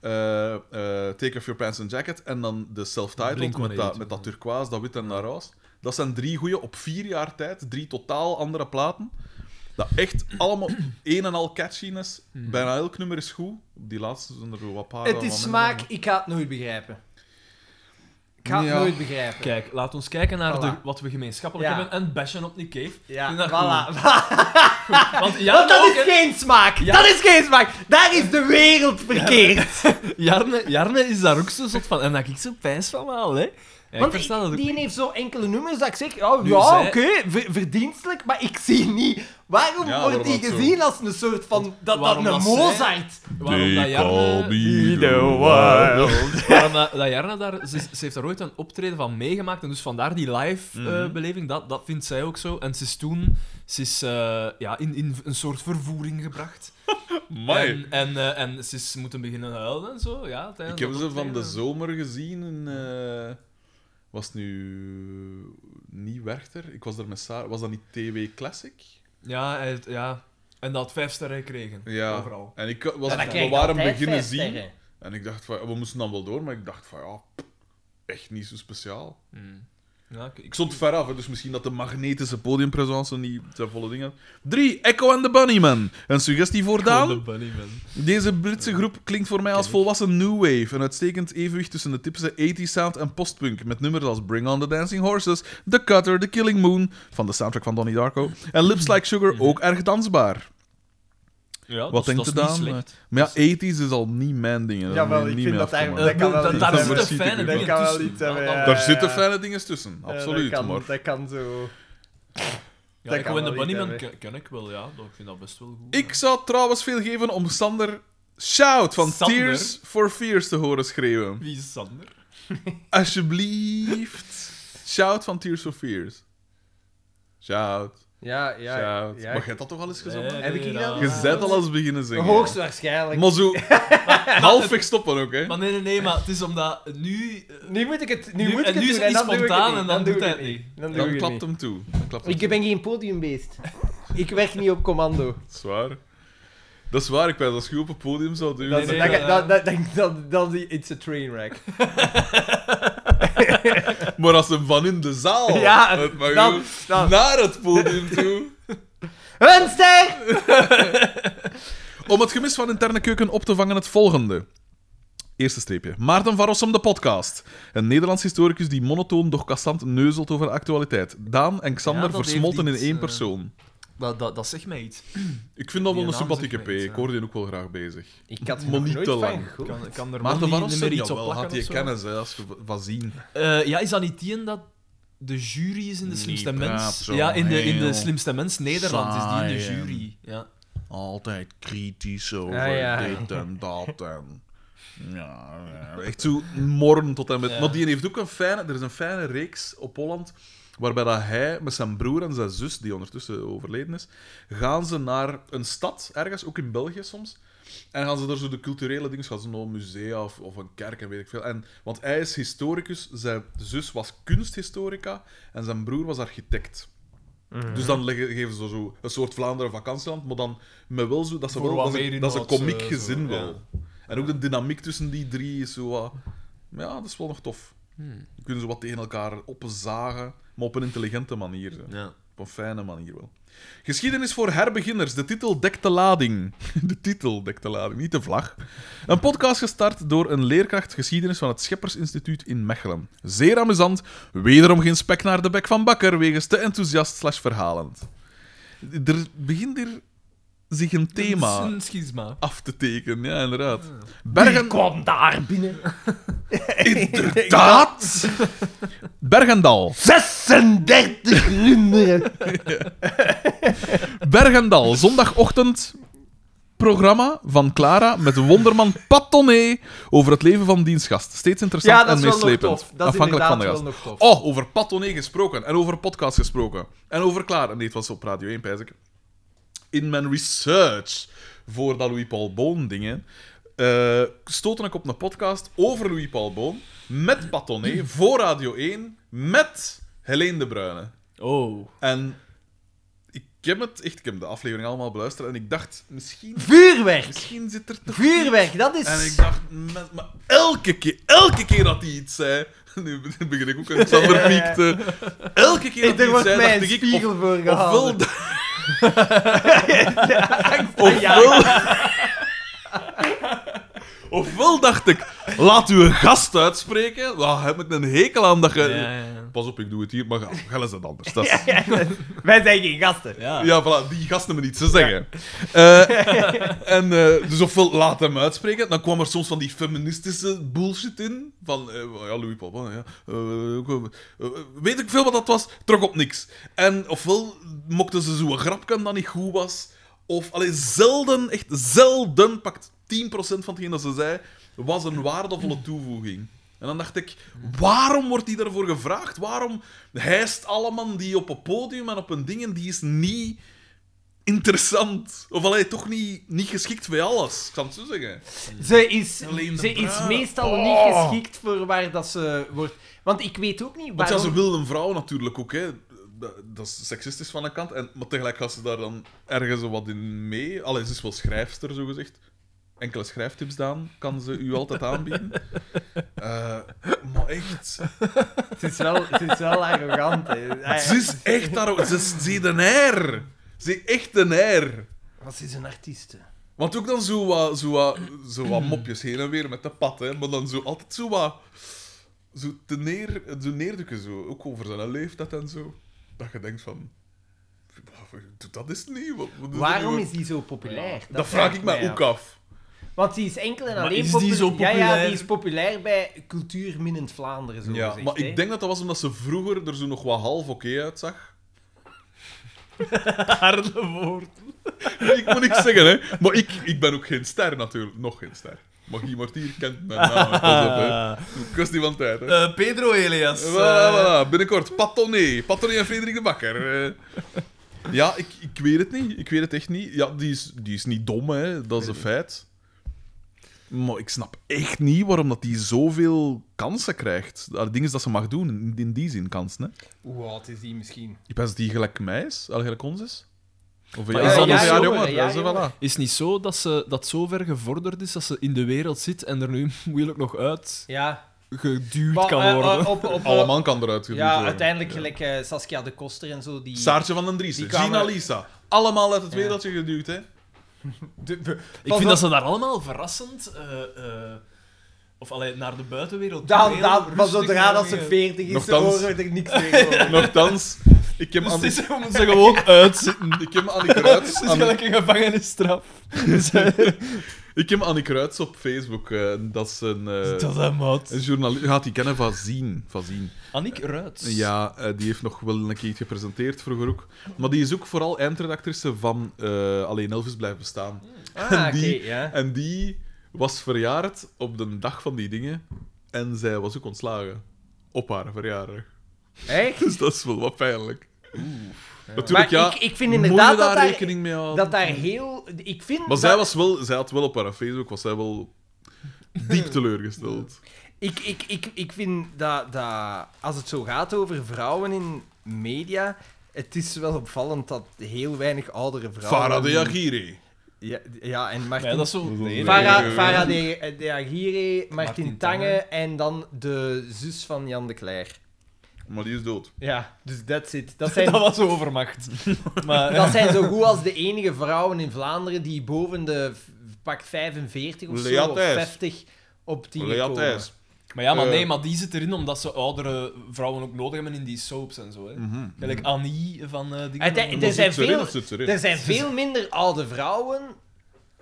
S1: eh, eh, Take Off Your Pants and Jacket, en dan de self-titled met dat,
S3: Blink-182.
S1: met dat turquoise, dat wit en dat roze. Dat zijn drie goede op vier jaar tijd. Drie totaal andere platen. Dat echt allemaal een en al catchiness. Bijna elk nummer is goed. Die laatste zijn er wel wat paar.
S2: het
S1: wat minder.
S2: is smaak, ik ga het nooit begrijpen. Ik ga
S1: Ja.
S2: het nooit begrijpen.
S3: Kijk, laat ons kijken naar
S2: Voilà.
S3: de, wat we gemeenschappelijk
S2: Ja.
S3: hebben en bashen op Nick Cave.
S2: Ja,
S3: Ik vind dat
S2: voilà.
S3: goed. Want
S2: Want
S3: jaren,
S2: dat
S3: ook,
S2: is geen smaak!
S3: Ja.
S2: Dat is geen smaak! Daar is de wereld verkeerd!
S3: hè. Jarne, Jarne is daar ook zo zot van. En dat ik zo pijs van me al, hè. Ja, ik
S2: Want
S3: versta
S2: ik-
S3: dat ook.
S2: die heeft zo enkele nummers dat ik zeg, ja,
S3: Nu
S2: ja
S3: zij-
S2: oké, ver- verdienstelijk, maar ik zie niet. Waarom
S1: Ja,
S2: wordt
S1: waarom
S2: die
S1: dat zo?
S2: gezien als een soort van. dat, dat
S3: waarom
S2: een
S3: dat zij-
S2: Mozart?
S3: Waarom dat
S1: eh,
S3: Jarne... Waarom dat, dat Jarne daar... Ze, ze heeft daar ooit een optreden van meegemaakt. En dus vandaar die
S1: Mhm.
S3: live-beleving, dat, dat vindt zij ook zo. En ze is toen... Ze is eh, ja, in, in een soort vervoering gebracht.
S1: Amai.
S3: En, en, eh, en ze is moeten beginnen huilen en zo. Ja,
S1: Ik heb ze van de zomer gezien in... eh, was het nu... Niet Werchter? Ik was daar met Saar. Was dat niet TW Classic?
S3: Ja, hij heeft- ja. En dat had vijf sterren gekregen.
S1: Ja.
S3: Overal.
S1: En ik was,
S2: Ja, dat
S1: we
S2: krijg je
S1: waren
S2: altijd
S1: beginnen
S2: vijf
S1: zien.
S2: sterren.
S1: En ik dacht van... We moesten dan wel door, maar ik dacht van... Ja, pff, echt niet zo speciaal.
S3: Ja, ik, ik
S1: Ik stond ver af, hè, dus misschien dat de magnetische podiumpresence niet zijn volle ding had. 3. Echo and the Bunnymen. Een suggestie voor Daan?
S3: de bunny man.
S1: Deze Britse groep klinkt voor mij als volwassen new wave. Een uitstekend evenwicht tussen de typische 80s sound en postpunk. Met nummers als Bring on the Dancing Horses, The Cutter, The Killing Moon van de soundtrack van Donnie Darko. En Lips Like Sugar ook erg dansbaar.
S3: Ja,
S1: Wat denkt u dan? Maar ja, 80s is al niet mijn ding. hè.
S2: Jawel,
S1: Niet-
S2: ik
S1: niet
S2: vind
S1: mee
S2: dat
S1: af te
S2: eigenlijk-
S1: maken.
S2: Dat kan wel iets
S3: daar
S1: hebben.
S3: zitten
S1: Verschiet
S3: fijne
S1: ik
S3: dingen
S1: ook.
S2: Dat kan wel
S3: tussen.
S2: iets hebben,
S3: Ja,
S2: ja.
S3: ja,
S1: Daar zitten
S2: eh,
S1: fijne dingen tussen,
S2: Ja,
S1: absoluut.
S2: dat, kan,
S1: maar
S2: dat kan zo. dat
S3: ik
S2: kan
S3: win de
S2: wel iets
S3: bunnyman ken,
S2: hebben.
S3: ken ik wel, ja. Dat, ik vind dat best wel goed.
S1: Ik zou trouwens veel geven om Sander Shout van
S3: Sander?
S1: Tears for Fears te horen schreeuwen.
S3: Wie is Sander?
S1: Alsjeblieft. Shout van Tears for Fears. Shout,
S2: Ja, ja.
S1: shout.
S2: ja.
S1: Maar jij hebt dat toch al eens gezongen?
S2: Heb ik hier
S3: Eh, Ja.
S2: dan?
S1: Je bent al eens beginnen zingen.
S2: Hoogstwaarschijnlijk.
S1: Maar zo halfweg stoppen ook, hè?
S3: Maar nee, nee, nee, maar het is omdat nu... eh,
S2: nu moet ik het, nu
S3: Nu-
S2: moet ik
S3: en
S2: het
S3: nu is
S2: doen
S3: het
S2: en
S3: niet
S2: dan doe ik
S3: spontaan
S2: het
S3: en
S2: niet.
S3: dan
S2: doe
S3: doet
S2: ik
S3: hij
S2: het
S3: het
S2: niet. Dan doe ik
S1: Dan
S2: het
S1: klapt
S2: niet.
S1: hem toe. Dan klapt hem
S2: Ik ben geen podiumbeest. Ik werk niet op commando.
S1: toe. Zwaar. Dat is waar, ik weet. Als je op het podium zou doen...
S2: Dat,
S3: nee,
S2: dat,
S3: nee,
S2: dat, dat, dat, dat, dat is it's a train wreck.
S1: Maar als hem van in de zaal...
S2: Ja,
S1: het mag
S2: dan-
S1: doen,
S2: dan-
S1: Naar het podium toe.
S2: Een ster!
S1: Om het gemis van interne keuken op te vangen, het volgende. Eerste streepje. Maarten van Rossum, de podcast. Een Nederlands historicus die monotoon, doch kassant neuzelt over de actualiteit. Daan en
S3: Ja,
S1: Xander
S3: dat
S1: versmolten in
S3: heeft iets,
S1: één
S3: eh,
S1: persoon.
S3: Dat, dat, dat zegt mij iets.
S1: Ik vind dat wel
S3: die
S1: een
S3: naam
S1: sympathieke
S3: zegt
S1: P.
S3: mij iets,
S1: Ik
S3: ja.
S1: hoorde die ook wel graag bezig.
S2: Ik had er
S1: Maar
S2: nog
S1: niet
S2: nooit
S1: te
S2: van
S1: lang.
S2: gehoord.
S3: Kan, kan er
S1: Maarten
S3: niet-
S1: van
S3: niet
S1: Rossum,
S3: meer iets op
S1: jawel,
S3: plakken
S1: had
S3: of
S1: je
S3: zo?
S1: kennis, hè, als je v- van zien.
S3: Eh, ja, is dat niet die en dat de jury is in de
S1: Niet
S3: slimste
S1: praat
S3: mens?
S1: zo,
S3: Ja, in de, in
S1: heel
S3: de slimste mens Nederland is die in de
S1: saai en-
S3: jury. Ja.
S1: Altijd kritisch over
S2: Ja, ja.
S1: dit en dat en... Ja, ja, echt zo morren tot en met...
S3: Ja.
S1: Maar die heeft ook een fijne... Er is een fijne reeks op Holland waarbij dat hij met zijn broer en zijn zus, die ondertussen overleden is, gaan ze naar een stad, ergens, ook in België soms, en gaan ze daar zo de culturele dingen, gaan ze naar een musea of, of een kerk en weet ik veel. En, want hij is historicus, zijn zus was kunsthistorica en zijn broer was architect.
S3: Mhm.
S1: Dus dan leggen, geven ze zo een soort Vlaanderen vakantieland, maar dan met wel zo... Dat, ze
S3: Voor
S1: wel,
S3: wat
S1: dat, is,
S3: meer
S1: een- dat is een
S3: inhoud,
S1: komiek
S3: eh, zo,
S1: gezin
S3: ja.
S1: wel. En ook de dynamiek tussen die drie is zo wat... maar Ja, dat is wel nog tof. Dan kunnen ze wat tegen elkaar opzagen, maar op een intelligente manier. Zo.
S5: Ja.
S1: Op een fijne manier wel. Geschiedenis voor herbeginners. De titel dekt de lading. De titel dekt de lading, niet de vlag. Een podcast gestart door een leerkracht geschiedenis van het Scheppersinstituut in Mechelen. Zeer amusant. Wederom geen spek naar de bek van Bakker wegens te enthousiast slash verhalend. Er begint hier zich een
S3: Het is
S1: thema
S3: een Ah. schisma.
S1: af te tekenen, ja, inderdaad. Bergen...
S4: kwam daar binnen.
S1: Inderdaad! Bergendal.
S2: 36 runderen.
S1: Bergendal, zondagochtend. Programma van Clara met wonderman Patonné over het leven van diens gast. Steeds interessant
S2: Ja, dat is
S1: en
S2: wel nog
S1: meeslepend.
S2: tof. Dat is
S1: afhankelijk
S2: inderdaad
S1: van de
S2: wel
S1: gast.
S2: nog tof.
S1: Oh, over Patonné gesproken en over podcast gesproken. En over Clara. Nee, het was op Radio 1, pijs ik. In mijn research voor dat Louis Paul Boon dingen eh stootte ik op een podcast over Louis Paul Boon met Patonné voor Radio 1 met Helene de Bruyne.
S3: Oh.
S1: En ik heb het echt, ik heb de aflevering allemaal beluisterd en ik dacht, misschien,
S2: Vuurwerk.
S1: misschien zit er toch.
S2: Vuurwerk, dat is...
S1: En ik dacht, met- maar elke keer, elke keer dat hij iets zei. Nu begin ik ook een Xander Piek te. Elke keer dat hij
S2: Ik denk
S1: iets
S2: wordt
S1: zei,
S2: mij
S1: dacht
S2: een
S1: ik. Of,
S2: spiegel voor
S1: ofwel,
S2: gehaald.
S1: ofwel, ofwel dacht ik, laat u een gast uitspreken. Daar heb ik een hekel aan dat je.
S3: Ja, ja, ja.
S1: Pas op, ik doe het hier, maar ga, ga eens dat anders. Dat is-
S2: Wij zijn geen gasten.
S3: ja.
S1: Ja, voilà, die gasten me niet te zeggen. Eh, en, eh, dus ofwel laat hem uitspreken, dan kwam er soms van die feministische bullshit in. Van, eh, ja, Louis Papa, ja. eh, ook, eh, eh, weet ik veel wat dat was, trok op niks. En ofwel mokten ze zo'n grapje dat niet goed was. Of, alleen zelden, echt zelden, pakt 10% van hetgeen dat ze zei, was een waardevolle toevoeging. En dan dacht ik, waarom wordt die daarvoor gevraagd? Waarom hijst allemaal die op een podium en op een ding en die is niet interessant? Of allee, toch niet, niet geschikt bij alles, ik kan het zo zeggen.
S2: Ze is,
S1: Alleen de
S2: ze is
S1: bruine.
S2: meestal niet
S1: Oh.
S2: geschikt voor waar dat ze wordt... Want ik weet ook niet
S1: Want ja,
S2: waarom...
S1: ze wil een vrouw natuurlijk ook, hè. Dat- Dat is seksistisch van een kant, en, maar tegelijk gaat ze daar dan ergens wat in mee. Allee, ze is wel schrijfster, zogezegd. Enkele schrijftips, Daan, kan ze u altijd aanbieden. Eh, maar echt,
S2: Het is wel, het is wel arrogant. hè.
S1: Ze is echt daar. Ze is ze is een air. Ze is echt een air.
S2: Want ze is een artiest. hè.
S1: Want ook dan zo wat, zo wat, zo wat mopjes heen en weer met de pad, hè. Maar dan zo altijd zo wat... Zo te neer, zo neerdukken, zo. Ook over zijn leeftijd en zo. Dat je denkt van... "Doe Dat is niet. Wat, wat dat
S2: Waarom
S1: nu?"
S2: is die zo populair?
S1: Dat vraag ik mij ook af.
S2: Want die is enkel en
S3: Maar
S2: alleen
S3: is die
S2: popu-
S3: zo
S2: Ja, ja,
S3: populair?
S2: die is populair bij cultuur minnend Vlaanderen, zo
S1: Ja,
S2: gezegd,
S1: maar
S2: hè.
S1: ik denk dat dat was omdat ze vroeger er zo nog wat half oké uitzag.
S3: Harde woord.
S1: Ik moet niks zeggen, hè. Maar ik, ik ben ook geen ster, natuurlijk. Nog geen ster. Magie Martier kent mijn naam. Pas op, hè. Kwestie van tijd, hè.
S3: Eh, Pedro Elias.
S1: Voilà,
S3: eh,
S1: voilà. Binnenkort, Patonné. Patonné en Frederik de Bakker. eh. Ja, ik, ik weet het niet. Ik weet het echt niet. Ja, die is, die is niet dom, hè. Dat is een feit. Maar ik snap echt niet waarom dat die zoveel kansen krijgt. Het ding is dat ze mag doen, in, in die zin kansen, hè.
S2: Hoe oud is die misschien?
S1: Ik ben die gelijk mij is, al gelijk ons is. Of een
S3: Maar
S1: jaar-
S3: is dat
S1: een
S3: een
S1: jaar
S2: jongen,
S1: jonger.
S2: een
S1: Ja,
S2: jaar
S1: zo,
S2: jonger?
S1: voilà.
S3: Is niet zo dat ze dat zo ver gevorderd is dat ze in de wereld zit en er nu moeilijk nog uit
S2: Ja.
S3: geduwd
S2: Maar,
S3: kan
S2: eh,
S3: worden?
S2: eh, op, op,
S1: Allemaal kan eruit geduwd
S2: Ja,
S1: worden.
S2: uiteindelijk gelijk eh, Saskia de Koster en zo. Die...
S1: Saartje van den Driessen,
S2: Die kwamen-
S1: Gina Lisa. Allemaal uit het
S2: Ja.
S1: wereldje geduwd, hè.
S3: Ik
S2: eh,
S3: vind dat ze daar allemaal verrassend. eh, eh, of alleen naar de buitenwereld. toe
S2: Dan,
S3: heel
S2: dan, maar
S3: rustig
S2: zodra dat ze
S3: daarmee-
S2: 40 is,
S1: Nochtans.
S2: horen we er niks meer over.
S1: Nochtans, ik heb
S3: Dus het
S1: Annie...
S3: is om ze gewoon uitzitten.
S1: Ik heb Annie Kruijts-
S3: Het is
S1: Annie-
S3: gelijk een gevangenisstraf. Dus, eh,
S1: Ik heb Annie Kruids op Facebook. eh, dat is een, eh,
S3: dat is maat.
S2: Dus-
S1: een journalist. Je gaat die kennen van Zien. Van Zien.
S3: Annick Ruits.
S1: Ja, eh, die heeft nog wel een keer iets gepresenteerd vroeger ook. Maar die is ook vooral eindredactrice van eh, Alleen Elvis blijft bestaan.
S2: Ah,
S1: En
S2: oké,
S1: die-
S2: ja.
S1: En die was verjaard op de dag van die dingen. En zij was ook ontslagen. Op haar verjaardag.
S2: Echt?
S1: Dus dat is wel wat pijnlijk. Natuurlijk,
S2: Maar
S1: ja.
S2: ik, ik vind inderdaad
S1: moet je daar
S2: dat daar,
S1: rekening mee houden.
S2: dat daar heel... Ik vind
S1: Maar
S2: dat-
S1: zij, was wel, zij had wel op haar Facebook was zij wel diep teleurgesteld.
S2: Ik, ik, ik, ik vind dat, dat als het zo gaat over vrouwen in media, het is wel opvallend dat heel weinig oudere vrouwen...
S1: Faraday Agiri.
S2: Ja, ja, en
S3: Ja,
S2: Martin...
S3: dat is zo.
S1: Dat is
S3: Nee,
S1: een-
S3: nee,
S2: Farah
S1: Eh,
S2: Farah de, de Agire, Martin,
S3: Martin
S2: Tange,
S3: Tange.
S2: en dan de zus van Jan de Cler.
S1: Maar die is dood.
S2: Ja, dus that's it. Dat
S3: nee.
S2: zijn,
S3: Dat was overmacht. Maar,
S2: dat zijn zo goed als de enige vrouwen in Vlaanderen die boven de v- pak 45 of
S1: Lea
S2: zo, of
S1: Thijs.
S2: 50 op die
S1: Lea
S2: komen.
S1: Thijs.
S3: maar ja, maar
S1: Eh.
S3: nee, maar die zit erin omdat ze oudere vrouwen ook nodig hebben in die soaps en zo. Hè.
S1: Mhm.
S3: Gelijk Annie van eh die.
S2: Uite-
S1: Maar
S2: er zijn
S1: zit ze erin
S2: veel-
S1: of zit ze erin?
S2: Er zijn veel minder oude vrouwen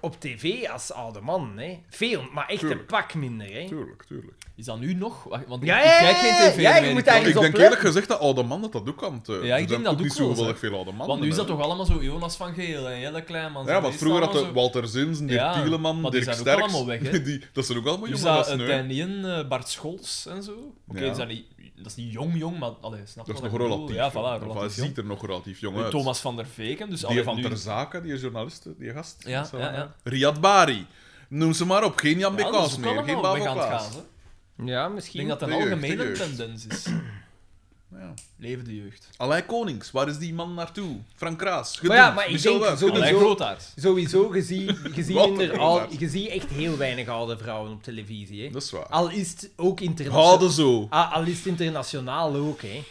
S2: op tv als oude mannen. Hè. Veel, maar echt een
S1: Tuurlijk.
S2: pak minder. Hè.
S1: Tuurlijk, tuurlijk.
S3: Is dat nu nog? Wacht, Want
S2: Ja,
S3: ik,
S2: ja,
S3: ik kijk
S2: ja,
S3: geen tv
S2: ja,
S3: meer.
S2: je moet
S3: ik-
S2: daar-
S1: Ik
S2: eens op
S1: denk
S2: let.
S1: eerlijk gezegd dat oude man dat dat ook kan.
S3: Ja, ik denk dat
S1: ook
S3: ook
S1: niet zo
S3: wel,
S1: geweldig
S3: zeg.
S1: veel oude mannen.
S3: Want nu is dat
S1: hè.
S3: toch allemaal zo Jonas van Geel en Jelle Kleinman.
S1: Ja, want vroeger had
S3: dat
S1: de Walter Zins, Dirk
S3: Ja,
S1: Tieleman,
S3: maar die
S1: Dirk
S3: zijn ook
S1: Sterks...
S3: allemaal weg, hè?
S1: die, dat zijn ook allemaal
S3: Nu is
S1: jonge
S3: dat
S1: gasten,
S3: uh,
S1: hè.
S3: Danien, eh, Bart Scholz en zo. Oké,
S1: Ja.
S3: dat, is dat niet- dat is niet jong, jong, maar allee, snap
S1: Dat is
S3: wat
S1: nog
S3: ik bedoel.
S1: relatief.
S3: Ja,
S1: jong.
S3: voilà,
S1: Of
S3: relatief
S1: Hij
S3: jong.
S1: ziet er nog relatief jong
S3: Nu
S1: uit.
S3: Thomas van der Veken, dus
S1: die
S3: allee,
S1: van
S3: nu...
S1: Ter Zake, die journalist, die gast.
S3: Ja,
S1: Zo,
S3: ja,
S1: hè.
S3: ja.
S1: Riyad Bari. Noem ze maar op. Geen Jan
S3: Ja, dat is
S1: Bekaas
S3: ook
S1: meer, geen
S3: allemaal
S1: Bavo
S3: weg aan het gaan,
S1: Klaas.
S3: hè.
S2: Ja,
S3: Ik denk
S2: misschien.
S3: dat dat een
S1: De jeugd,
S3: algemene
S1: de jeugd.
S3: tendens is.
S1: Ja.
S3: Leven de jeugd.
S1: Alain Konings, waar is die man naartoe? Frank Kraas,
S2: Maar ja,
S1: gedoemd.
S2: maar ik
S1: Michel
S2: denk
S1: Wuik.
S2: sowieso-
S3: Allee, grootaard.
S2: Sowieso, je ziet, je ziet
S1: Wat een
S2: minder
S1: rollaars.
S2: al, je ziet echt heel weinig oude vrouwen op televisie. Hè.
S1: Dat is waar. Oh,
S2: Al is het ook internationaal.
S1: Houden zo.
S2: Ah, al is het internationaal ook, hè.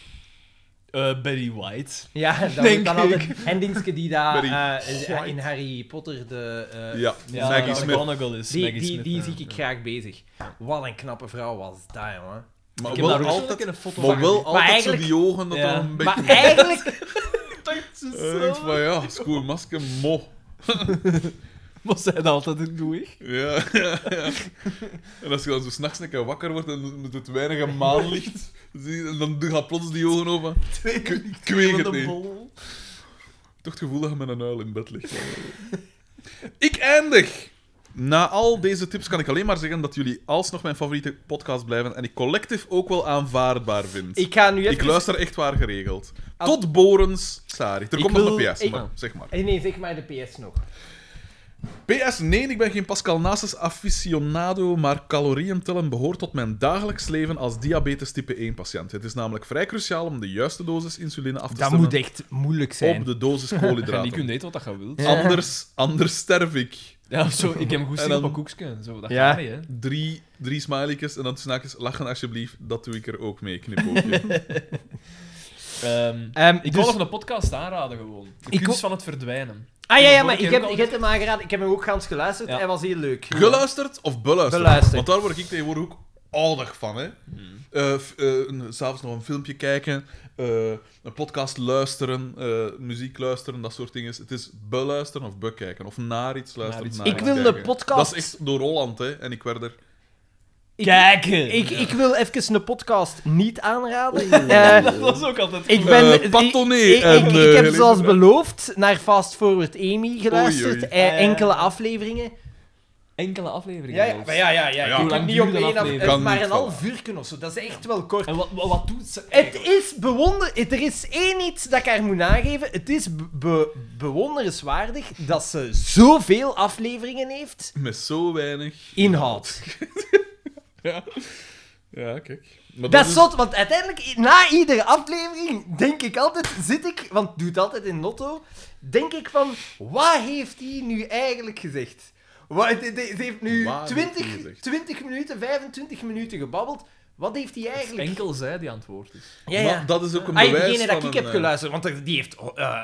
S3: Eh Betty White.
S2: Ja, dat
S3: Denk
S2: wordt dan
S3: ik.
S2: altijd... En dingetje die daar
S1: Barry
S2: eh, is-
S1: White.
S2: in Harry Potter de... eh,
S1: Ja,
S3: Ja,
S1: Maggie
S3: dat
S1: Smith.
S3: McGonagall is
S2: Die,
S3: Maggie
S2: die,
S3: Smith,
S2: die
S3: ja.
S2: zie ik graag bezig. Wat een knappe vrouw was dat, jongen.
S1: Maar
S3: Ik heb
S1: wel
S3: daar ook
S1: altijd,
S3: altijd een foto
S1: maar
S3: van
S1: wel
S3: gezien.
S1: altijd
S2: eigenlijk-
S1: zo die ogen dat
S3: Ja.
S1: dan een beetje...
S2: Maar eigenlijk...
S1: Eh, ik van, ja, schoon masker, mo.
S3: Was zij dat altijd een doei?
S1: Ja, ja, ja. En als je dan zo s'nachts een keer wakker wordt en met het weinige maanlicht, zie je- en dan gaat plots die ogen open. Ik, ik weet het niet.
S3: bol.
S1: Toch het gevoel dat je met een uil in bed ligt. ik eindig! Na al deze tips kan ik alleen maar zeggen dat jullie alsnog mijn favoriete podcast blijven en ik collectief ook wel aanvaardbaar vind.
S2: Ik ga nu even...
S1: Ik luister echt waar geregeld.
S2: Als-
S1: Tot Borens Sari. Er komt nog
S3: wil-
S1: een PS,
S2: ik-
S1: maar zeg maar.
S2: Eh, Nee, zeg maar de PS nog.
S1: PS, nee, ik ben geen Pascal Nasus aficionado, maar calorieën tellen behoort tot mijn dagelijks leven als diabetes type 1 patiënt. Het is namelijk vrij cruciaal om de juiste dosis insuline af te
S2: Dat
S1: stemmen
S2: moet echt moeilijk
S1: op
S2: zijn.
S1: de dosis
S3: En die
S1: koolhydraten.
S3: kunt eten wat je wilt.
S2: Ja.
S1: Anders, anders sterf ik.
S3: Ja, of zo. Ik heb goed zin
S1: En
S3: op
S1: dan-
S3: een koekje. Zo, dat
S2: Ja.
S3: gaat niet, hè.
S1: Drie, drie smiley's en dan snaakjes lachen alsjeblieft. Dat doe ik er ook mee, knipoogje.
S3: Ehm,
S2: Ehm,
S3: ik
S2: dus-
S3: wil nog een podcast aanraden, gewoon. De
S2: Ik
S3: kunst
S2: ho-
S3: van het verdwijnen.
S2: Ah ja, ja,
S3: vorige
S2: maar
S3: keer
S2: ik heb,
S3: ook al-
S2: ik heb hem aangeraden. Ik heb hem ook gans geluisterd.
S3: Ja.
S2: Hij was heel leuk.
S1: Geluisterd of beluisterd?
S2: Beluisterd.
S1: Want daar word ik tegenwoordig ook oudig van, hè. Eh, f- eh, een- S'avonds nog een filmpje kijken, eh, een podcast luisteren, eh, muziek luisteren, dat soort dingen. Het is beluisteren of bekijken. Of naar iets luisteren.
S3: Naar iets
S1: naar
S2: Ik
S1: iets
S2: wil
S1: kijken.
S2: een podcast...
S1: Dat is echt door Holland, hè. En ik werd er...
S2: Ik-
S3: Kijken!
S2: Ik, ik wil even een podcast niet aanraden. Eh,
S3: dat was ook altijd
S2: ik
S3: goed.
S2: ben...
S1: Eh, Patonné
S2: ik,
S1: en,
S2: ik,
S1: eh,
S2: ik heb zoals
S1: Elisabeth.
S2: beloofd naar Fast Forward Amy geluisterd.
S1: Oei, oei.
S2: eh,
S3: Ah, ja.
S2: enkele afleveringen.
S3: Enkele afleveringen.
S2: Ja, ja,
S3: zelfs.
S2: maar ja, ja, ja.
S1: Ja,
S2: Je
S1: hoe
S2: kan
S3: lang
S2: niet
S3: duurt
S2: op
S3: een
S2: één af,
S3: aflevering?
S2: eh,
S1: Kan
S2: maar
S1: niet
S2: een
S1: vallen.
S2: half uur kunnen of zo. Dat is echt wel kort.
S3: En wat, wat, wat doet ze
S2: Het
S3: eigenlijk?
S2: is bewonder... het- Er is één iets dat ik haar moet nageven. Het is be- be- bewonderenswaardig dat ze zoveel afleveringen heeft.
S1: Met zo weinig...
S2: Inhoud.
S1: Ja, kijk. Maar
S2: Dat
S1: is-
S2: is zot, want uiteindelijk, i- na iedere aflevering, denk ik altijd, zit ik, want ik doe het altijd in Lotto, denk ik van, wat heeft hij nu eigenlijk gezegd? Wat, de- de- ze heeft nu
S1: Waar heeft
S2: 20,
S1: die gezegd?
S2: 20 minuten, 25 minuten gebabbeld. Wat heeft hij eigenlijk?
S3: Enkel zij die antwoord is.
S2: Ja,
S1: maar
S2: ja.
S1: dat is ook een
S2: Ah,
S1: bewijs
S2: degene dat
S1: van
S2: ik
S1: een,
S2: heb
S1: eh,
S2: geluisterd, want er- die heeft, oh, eh,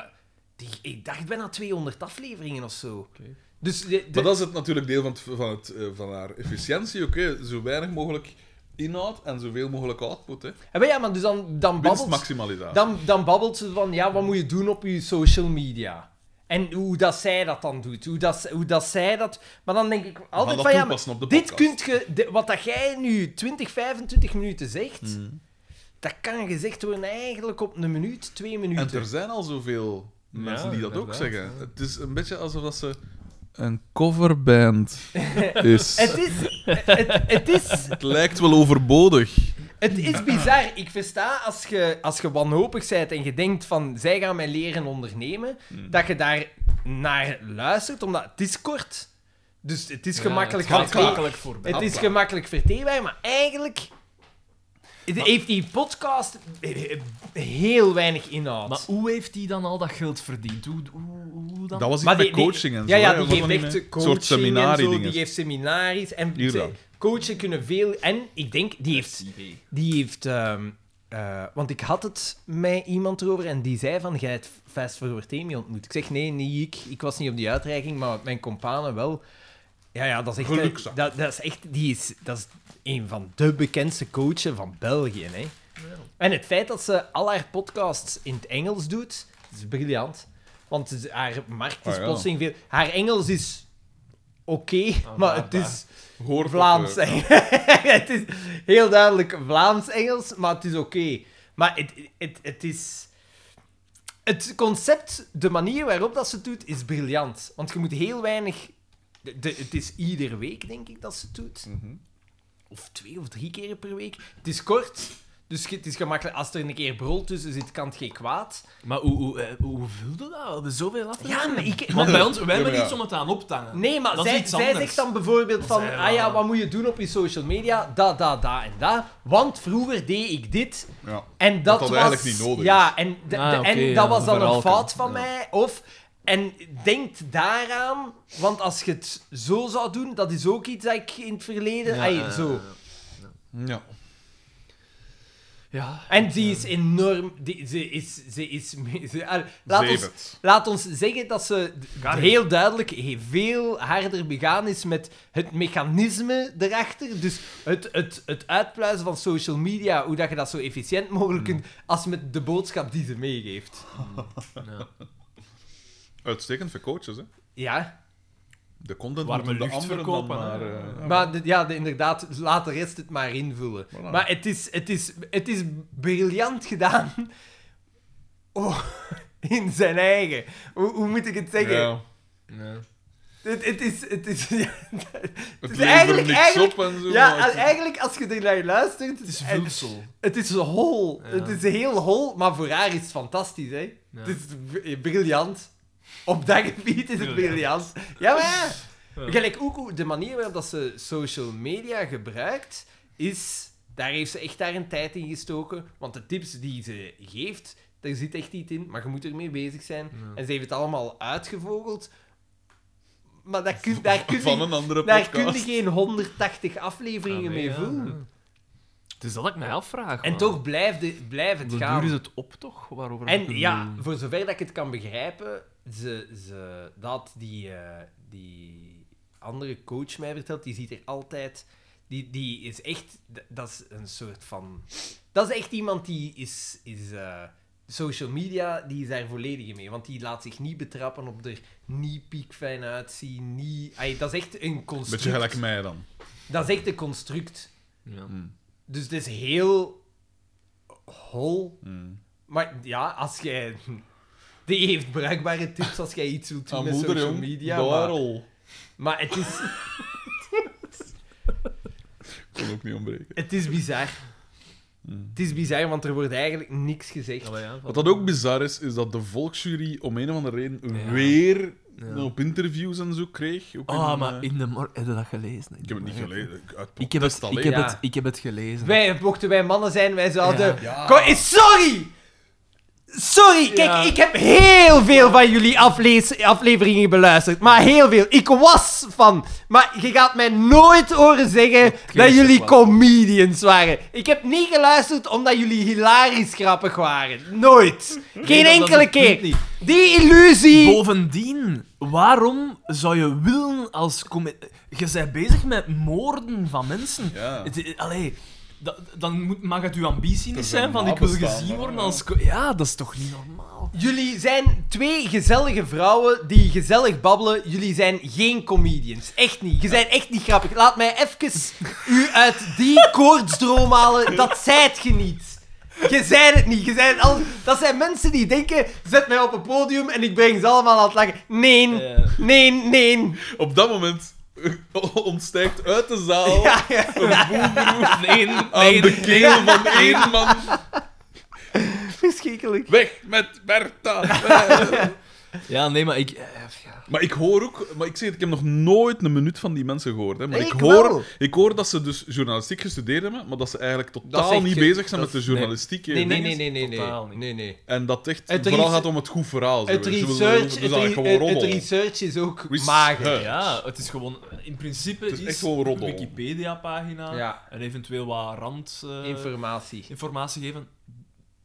S2: die, ik dacht bijna 200 afleveringen of zo.
S3: Oké.
S2: Dus de- de-
S1: Maar dat is het natuurlijk deel van, het, van, het, eh, van haar efficiëntie ook, hè. Zo weinig mogelijk inhoud en zoveel mogelijk output, hè.
S2: Ah, maar ja, maar dus dan, dan babbelt
S1: Winstmaximalisatie.
S2: dan, dan babbelt ze van, ja, wat moet je doen op je social media? En hoe dat zij dat dan doet, hoe dat, hoe dat zij dat... Maar dan denk ik altijd
S1: dat
S2: van, ja, maar
S1: toepassen op de
S2: dit
S1: podcast.
S2: kunt je... di- wat dat jij nu 20, 25 minuten zegt,
S1: Mhm.
S2: dat kan gezegd worden eigenlijk op een minuut, twee minuten.
S1: En er zijn al zoveel mensen
S3: Ja,
S1: die dat ook
S3: inderdaad,
S1: zeggen.
S3: ja.
S1: Het is een beetje alsof dat ze een coverband is.
S2: Het
S1: het,
S2: is, het, het, is,
S1: lijkt wel overbodig.
S2: het is bizar. Ik versta als je, als je wanhopig bent en je denkt van, zij gaan mij leren ondernemen,
S1: Hmm.
S2: dat je daar naar luistert, omdat het is kort. Dus het is
S3: Ja, het
S2: gemakkelijk. van
S3: gaat
S2: twee-
S3: gemakkelijk voorbij.
S2: Het is
S1: Hopla.
S2: gemakkelijk verteerbaar, maar eigenlijk... heeft die podcast eh, heel weinig inhoud.
S3: Maar hoe heeft hij dan al dat geld verdiend? Hoe, hoe, hoe dan?
S1: Dat was iets
S2: Maar
S1: met
S2: die- die-
S1: coaching en
S2: ja,
S1: zo.
S2: Ja,
S1: hè,
S2: die
S1: was dat
S2: geeft
S1: niet
S2: echt
S1: mee?
S2: eh,
S1: Een
S2: coaching
S1: soort seminarie
S2: en zo,
S1: dingen.
S2: die geeft seminaries. En
S1: Hier
S2: ze-
S1: dan.
S2: coachen kunnen veel... En ik denk, die heeft... Die heeft ehm, eh, want ik had het met iemand erover en die zei van, jij hebt Fast Forward Amy ontmoet. Ik zeg, nee, niet ik. Ik was niet op die uitreiking, maar mijn companen wel. Ja, ja, dat is echt... eh,
S5: Gelukzak.
S2: Dat, dat is echt... Die is, dat is een van de bekendste coachen van België, hè. En het feit dat ze al haar podcasts in het Engels doet, is briljant. Want ze- haar markt is
S1: Ah, ja.
S2: plotseling veel... Haar Engels is oké,
S1: Ah,
S2: maar het is...
S1: Hoor-
S2: Vlaams.
S1: eh,
S2: het is heel duidelijk Vlaams-Engels, maar het is oké. Maar het, het, het is. Het concept, de manier waarop dat ze het doet, is briljant. Want je moet heel weinig. de- de- het is iedere week, denk ik, dat ze het doet.
S1: mhm.
S2: Of twee of drie keer per week. Het is kort, dus je- het is gemakkelijk. Als er een keer brol tussen zit, kan het geen kwaad.
S3: Maar hoe, hoe, eh, hoe vulde dat? We hebben zoveel af.
S2: Ja, maar ik.
S3: Want bij ons, wij
S1: maar
S3: hebben
S1: ja.
S3: iets om het aan op te hangen.
S2: Nee, maar
S3: Dat is
S2: zij,
S3: iets
S2: zij
S3: anders.
S2: zegt dan bijvoorbeeld van,
S3: zij
S2: ah ja,
S3: wel.
S2: wat moet je doen op je social media? Dat, dat, dat en dat. Want vroeger deed ik dit
S1: Ja.
S2: en dat,
S1: Dat dat
S2: was...
S1: eigenlijk niet nodig
S2: Ja, en, de-
S3: Ah,
S2: de-
S3: oké,
S2: en
S3: ja,
S2: dat was dan een
S3: verhaalken,
S2: fout van
S3: ja.
S2: mij. Of, en denkt daaraan, want als je het zo zou doen, dat is ook iets dat ik in het verleden...
S3: Ja,
S2: ai,
S3: ja,
S2: zo.
S1: Ja.
S3: Ja.
S2: En die is enorm... Die, ze is... Ze is ze- ah, laat, ons,
S1: Zeven.
S2: laat ons zeggen dat ze d- heel duidelijk he- veel harder begaan is met het mechanisme erachter. Dus het, het, het uitpluizen van social media, hoe dat je dat zo efficiënt mogelijk
S3: Hmm.
S2: kunt, als met de boodschap die ze meegeeft.
S1: Uitstekend voor coaches, hè.
S2: Ja,
S1: De content
S3: Warme
S1: moeten de
S3: lucht
S1: anderen dan
S3: verkopen,
S1: maar...
S3: hè.
S1: eh,
S2: maar de- ja, de- inderdaad, laat de rest het maar invullen.
S1: Voilà.
S2: Maar het is, het, is, het is briljant gedaan. Oh, in zijn eigen. Hoe, hoe moet ik het zeggen?
S1: ja.
S2: Het, het is... Het is, ja, het
S1: Het
S2: is
S1: levert
S2: eigenlijk...
S1: niks
S2: eigenlijk
S1: op en zo.
S2: ja,
S1: maar het
S2: al- eigenlijk als je er naar luistert... Het
S3: Het
S2: is,
S3: is
S2: het,
S3: vulsel.
S2: is hol.
S3: Ja.
S2: Het is heel hol, maar voor haar is het fantastisch, hè.
S3: Ja.
S2: Het is br- briljant. Op dat gebied is het briljant. Ja, maar ja.
S3: Ja.
S2: Gelijk ook hoe- de manier waarop dat ze social media gebruikt, is... Daar heeft ze echt daar een tijd in gestoken. Want de tips die ze geeft, daar zit echt iets in. Maar je moet ermee bezig zijn. En ze heeft het allemaal uitgevogeld. Maar dat kun, daar kun
S1: Van
S2: je
S1: een andere
S2: daar kun je
S1: podcast.
S2: geen 180 afleveringen mee vullen.
S3: Ah, Het is dat ik mij afvraag.
S2: En
S3: man.
S2: toch blijft het, blijft het
S3: Hoe
S2: gaan.
S3: duur is het op, toch? Waarover we
S2: En
S3: kunnen-
S2: ja, voor zover dat ik het kan begrijpen, ze, ze, dat die, eh, die andere coach mij vertelt, die ziet er altijd... Die, die is echt... d- Dat is een soort van... Dat is echt iemand die is... is eh, social media, die is daar volledig mee. Want die laat zich niet betrappen op er niet piekfijn uitzien, niet... Ai, dat is echt een construct.
S1: Beetje gelijk mij dan.
S2: Dat is echt een construct.
S3: Ja.
S2: Dus het is heel hol.
S1: Mm.
S2: Maar ja, als jij. Die heeft bruikbare tips als jij iets wilt doen
S1: Ah,
S2: met
S1: moeder,
S2: social
S1: jong.
S2: media. Maar,
S1: Daarol.
S2: maar het, is,
S1: Kon ook niet ontbreken.
S2: het is bizar.
S1: Mm.
S2: Het is bizar, want er wordt eigenlijk niks gezegd.
S3: Ja, maar ja,
S1: Wat dat ook bizar is, is dat de volksjury om een of andere reden
S3: Ja.
S1: weer
S3: Ja.
S1: op interviews en zo kreeg. Ook
S3: Ah,
S1: in,
S3: maar
S1: eh,
S3: in de morgen... Heb je dat gelezen?
S1: Ik heb het niet gelezen. Ik- Uit
S3: Ik heb het,
S1: protest
S3: ik
S1: alleen.
S3: heb
S2: Ja.
S3: het, ik heb het gelezen.
S2: Wij, mochten wij mannen zijn, wij zouden.
S3: Ja.
S1: Ja.
S2: Ko- eh, Sorry! Sorry, kijk,
S3: Ja.
S2: ik heb heel veel van jullie aflees- afleveringen beluisterd. Maar heel veel. Ik was van. Maar je gaat mij nooit horen zeggen dat
S3: toch
S2: jullie
S3: wel.
S2: comedians waren. Ik heb niet geluisterd omdat jullie hilarisch grappig waren. Nooit. Geen
S3: dat is
S2: enkele
S3: het punt
S2: keer.
S3: niet.
S2: Die illusie.
S3: Bovendien, waarom zou je willen als... come- Je bent bezig met moorden van mensen.
S1: Ja.
S3: Het- allee, da- dan moet, mag het uw ambitie
S1: Er
S3: niet
S1: zijn
S3: zijn van ik wil
S1: nabestaanden,
S3: gezien worden
S1: ja.
S3: als... co- Ja, dat is toch niet normaal?
S2: Jullie zijn twee gezellige vrouwen die gezellig babbelen. Jullie zijn geen comedians. Echt niet. Je bent echt niet grappig. Laat mij even u uit die koortsdroom halen. Dat zijt je niet. Je bent het niet. Je bent al... Dat zijn mensen die denken, zet mij op een podium en ik breng ze allemaal aan het lachen. Nee,
S3: Ja.
S2: nee, nee.
S1: Op dat moment eh, ontstijgt uit de zaal
S2: Ja, ja.
S3: Nee,
S1: aan de keel van één man.
S2: Verschrikkelijk.
S1: Weg met Bertha!
S3: Ja, nee, maar ik... eh, ja.
S1: Maar ik hoor ook, maar ik zeg het, ik heb nog nooit een minuut van die mensen gehoord. Hè. Maar
S2: Ik
S1: ik, hoor,
S2: wel.
S1: ik hoor dat ze dus journalistiek gestudeerd hebben, maar dat ze eigenlijk
S2: Dat is
S1: totaal
S2: echt
S1: niet
S2: ge-
S1: bezig zijn
S2: dat
S1: met de
S2: is-
S1: journalistiek.
S2: Nee, nee,
S3: ding
S2: nee,
S3: is
S2: nee, nee,
S3: totaal
S2: nee.
S3: niet.
S2: nee, nee.
S1: En dat echt
S2: Het
S1: het vooral
S2: rese-
S1: gaat om het goed verhaal. zo,
S2: Het
S1: weet je. Dus
S2: research,
S1: dat
S2: het,
S1: is eigenlijk
S2: re-
S1: gewoon
S2: het, het
S1: roddel.
S2: research is ook
S1: Wist-
S2: mager.
S1: hè.
S3: ja, het is gewoon... In principe
S1: Het is
S3: is,
S1: echt gewoon
S3: een
S1: roddel.
S3: Wikipedia-pagina
S2: Ja.
S3: en eventueel wat rand... eh,
S2: Informatie.
S3: informatie geven.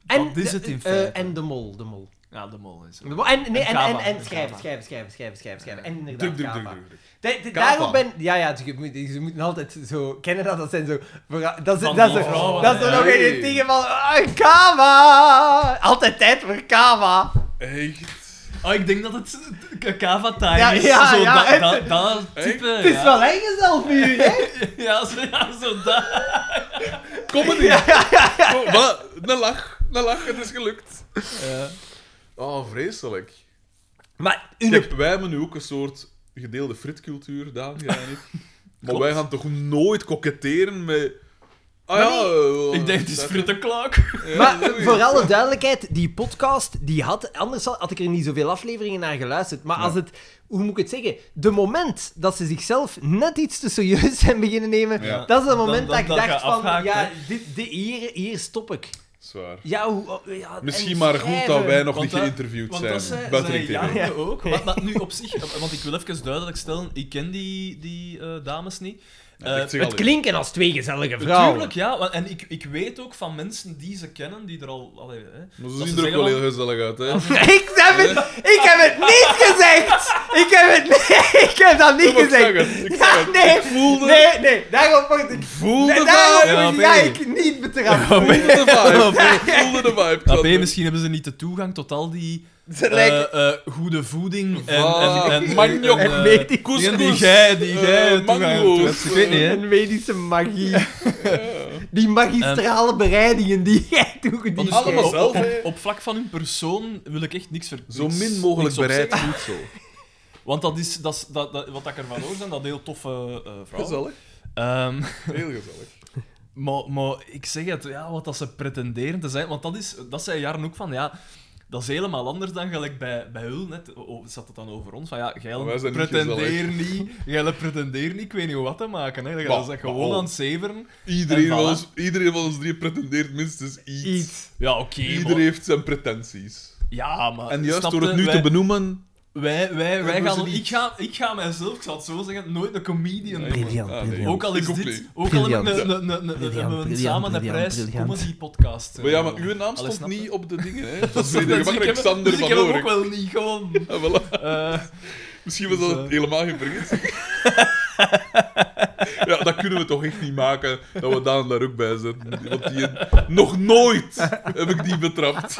S2: En,
S3: Dat is het in
S2: eh,
S3: feite.
S2: en de mol, de mol.
S3: Ja, de mol is er.
S2: De mol- En, nee, en, en,
S3: Kava.
S2: en,
S3: En
S2: schrijven,
S3: Kava.
S2: schrijven, schrijven, schrijven, schrijven, schrijven. En inderdaad,
S1: Druk, druk,
S2: Kava.
S1: druk, druk, druk.
S2: De- de-
S1: Kava.
S2: daarom ben ja ja ze, moet- ze moeten altijd zo kennen dat dat zijn zo verha- dat is
S3: Van
S2: dat
S3: die
S2: is
S3: vrouwen,
S2: dat is er
S1: hè.
S2: nog
S1: Hey.
S2: een tegen van ah, kava altijd tijd voor kava
S1: Echt.
S3: Oh, ik denk dat het k- Kava time
S2: Ja,
S3: is.
S2: ja,
S3: zo,
S2: ja,
S3: dat-
S2: echt.
S3: dat- dat type.
S2: het is
S3: ja.
S2: wel eng jezelf nu hè
S3: Ja, zo, ja, zo dat.
S1: Comedy. Ja, voilà, Oh, een lach, een lach, het is gelukt. Oh, vreselijk.
S2: maar
S1: Ik
S2: in
S1: heb, wij hebben nu ook een soort gedeelde fritcultuur, Daan, jij en ik. Maar wij gaan toch nooit koketteren met... Ah ja, eh,
S3: Ik denk, het is
S1: dat-
S3: Frittenklaak.
S1: ja,
S2: Maar
S1: zoiets.
S2: voor alle duidelijkheid, die podcast, die had, anders had had ik er niet zoveel afleveringen naar geluisterd. Maar als het, hoe moet ik het zeggen? De moment dat ze zichzelf net iets te serieus zijn beginnen nemen,
S1: Ja.
S2: dat is het
S3: Dan-
S2: moment
S3: dan-
S2: dat ik
S3: dan
S2: dacht
S3: ga
S2: van,
S3: afhaakt,
S2: ja,
S3: hè.
S2: dit, dit, hier, hier stop ik.
S1: Zwaar.
S2: Ja, hoe, oh, ja, en
S1: Misschien maar goed dat
S2: schrijven.
S1: wij nog
S3: Want
S1: niet
S3: dat-
S1: geïnterviewd
S3: Want dat zei,
S1: zijn. Buiten
S3: zei
S1: ik tegen.
S3: Janke ook. Maar, maar nu op zich, want ik wil even duidelijk stellen, ik ken die, die eh, dames niet. Eh,
S1: Ik zeg
S2: Het
S1: al-
S2: klinken als twee gezellige vrouwen.
S3: Tuurlijk, ja. want- En ik, ik weet ook van mensen die ze kennen, die er al... Allee, hè,
S1: Maar
S3: dat
S1: ze zien er ook
S3: zeggen
S1: wel
S3: van-
S1: heel gezellig uit, hè?
S2: Ik heb, het, ik heb het niet gezegd! Ik heb het niet, ik heb dat niet
S1: Ja, maar ik
S2: gezegd.
S1: zag het, ik
S2: Ja,
S1: zag het.
S2: nee,
S1: Ik voelde-
S2: nee, nee, daarom word ik
S1: Voelde
S2: Nee,
S1: de
S2: daarom
S1: vibe!
S3: Ja,
S2: ja,
S3: oké.
S2: ik niet betrapt.
S1: Voelde de vibe! Voelde de vibe!
S3: Ah, B,
S1: Xander.
S3: misschien hebben ze niet de toegang tot al die
S2: Ze
S3: eh,
S2: lijken-
S3: eh, goede voeding en,
S1: Ah,
S3: en, en
S1: manjok.
S3: en, eh,
S2: Weet ik.
S3: dingen die
S1: Couscous.
S3: jij, die jij
S1: Eh,
S3: toegang
S1: mango's. Eh,
S3: toe hebt. Ik weet niet, hè.
S2: Een medische magie. Die magistrale bereidingen die jij
S3: Want
S2: toegediend
S3: dus
S1: Allemaal
S3: op,
S2: hebt.
S1: zelf,
S3: op,
S1: hè.
S3: op vlak van hun persoon wil ik echt niks ver.
S1: Zo
S3: niks-
S1: min mogelijk
S3: niks op
S1: bereid
S3: zeggen.
S1: goed zo.
S3: Want dat is, dat is dat, dat, wat ik ervan hoor, zijn dat heel toffe eh vrouwen.
S1: Gezellig.
S3: Ehm,
S1: Heel gezellig.
S3: maar, maar ik zeg het, ja, wat dat ze pretenderen te zijn. Want dat is, dat zei Jaren ook van, ja, dat is helemaal anders dan gelijk bij, bij Hul. Net oh, zat het dan over ons, van ja,
S1: Wij
S3: jij
S1: zijn niet
S3: pretendeer niet, jij pretendeer niet, ik weet niet wat te maken. Hè.
S1: Bah,
S3: Dat is dat
S1: bah,
S3: gewoon
S1: oh.
S3: aan het zeveren.
S1: Iedereen
S3: En
S1: van,
S3: voilà.
S1: ons, iedereen van ons drie pretendeert minstens iets.
S2: Iets.
S3: Ja, oké, maar-
S1: Iedereen heeft zijn pretenties.
S3: Ja, maar...
S1: En juist
S3: snap
S1: door
S3: je,
S1: het nu
S3: wij-
S1: te benoemen...
S3: Wij, wij, wij
S1: doen ze
S3: gaan,
S1: niet.
S3: ik, ga, ik ga mijzelf, ik zal het zo zeggen, nooit een comedian noemen.
S2: Briljant,
S1: Ah, nee.
S2: briljant.
S3: Ook al is
S1: Ik ook
S3: dit,
S1: niet.
S3: ook al heb ik
S2: Briljant.
S3: een- een- een- een-
S2: Briljant,
S3: hebben we
S2: briljant,
S3: samen een
S2: briljant,
S3: prijs eh.
S2: briljant.
S3: comedy podcast.
S1: Maar ja, maar uw naam stond niet op de dingen, hè? Dat is de gemakkelijk Xander
S3: dus ik
S1: van Ah,
S3: heb hem ook
S1: Oren.
S3: wel niet gewoon. eh,
S1: Misschien was
S3: Dus,
S1: dat
S3: eh,
S1: helemaal geen vergissing. ja, dat kunnen we toch echt niet maken dat we Daan daar ook bij zetten. Want die, nog nooit heb ik die betrapt.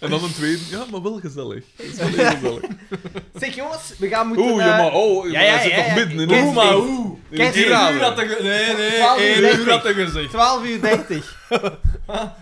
S1: en dan een tweede, ja, maar wel gezellig. Dat is wel heel gezellig.
S2: Zeg jongens, we gaan moeten...
S1: Oeh,
S2: eh,
S1: ja, maar oh,
S2: ja,
S1: maar
S2: ja,
S1: hij zit
S2: ja,
S1: toch
S2: ja.
S1: midden in
S2: Kijk,
S1: een-
S3: Oeh, maar
S2: Kerstfeest.
S3: oeh.
S1: in
S2: Kijk,
S1: een
S3: Eén uur had
S1: tirade.
S3: hij ge- Nee, nee,
S2: Twaalf uur
S3: één uur
S2: dertig.
S3: had hij gezegd.
S2: 12 uur 30.
S3: Ja,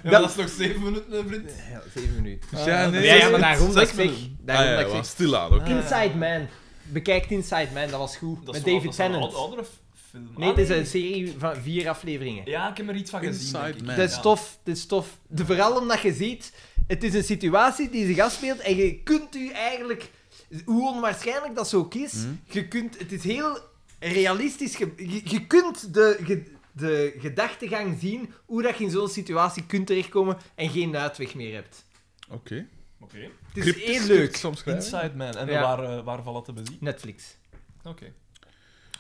S3: maar dat is nog zeven minuten, hè, vriend.
S2: Ja, 7 minuten.
S1: Dus Ja, nee.
S2: Ja, ja, maar daarom dat ik
S3: Zes
S2: zeg...
S3: minuten.
S1: Ah,
S2: Daarom
S1: ja,
S2: dat ik
S1: wel,
S2: zeg-
S1: stilaan ook.
S2: Inside Man. Bekijk Inside Man, dat was goed.
S3: Dat is
S2: Met
S3: wel-
S2: David
S3: dat is wel
S2: Tennant.
S3: Een oudere film.
S2: Nee,
S3: Ah,
S2: het is een serie van vier afleveringen.
S3: Ja, ik heb er iets van gezien.
S1: Inside
S3: denk ik.
S1: Man.
S2: Dat is
S3: Eh, Ja.
S2: tof, dat is tof. De, vooral omdat je ziet, het is een situatie die zich afspeelt en je kunt u eigenlijk, hoe onwaarschijnlijk dat zo ook is,
S3: Hmm.
S2: je kunt, het is heel realistisch, ge- je, je kunt de, ge- de gedachtegang zien hoe dat je in zo'n situatie kunt terechtkomen en geen uitweg meer hebt.
S1: Oké.
S3: Oké.
S2: Het is
S1: Cryptisch
S2: heel
S1: script
S2: leuk.
S1: soms schrijven.
S3: Inside Man. En
S2: Ja.
S3: waar, eh, waar valt dat te bezien?
S2: Netflix.
S3: Oké.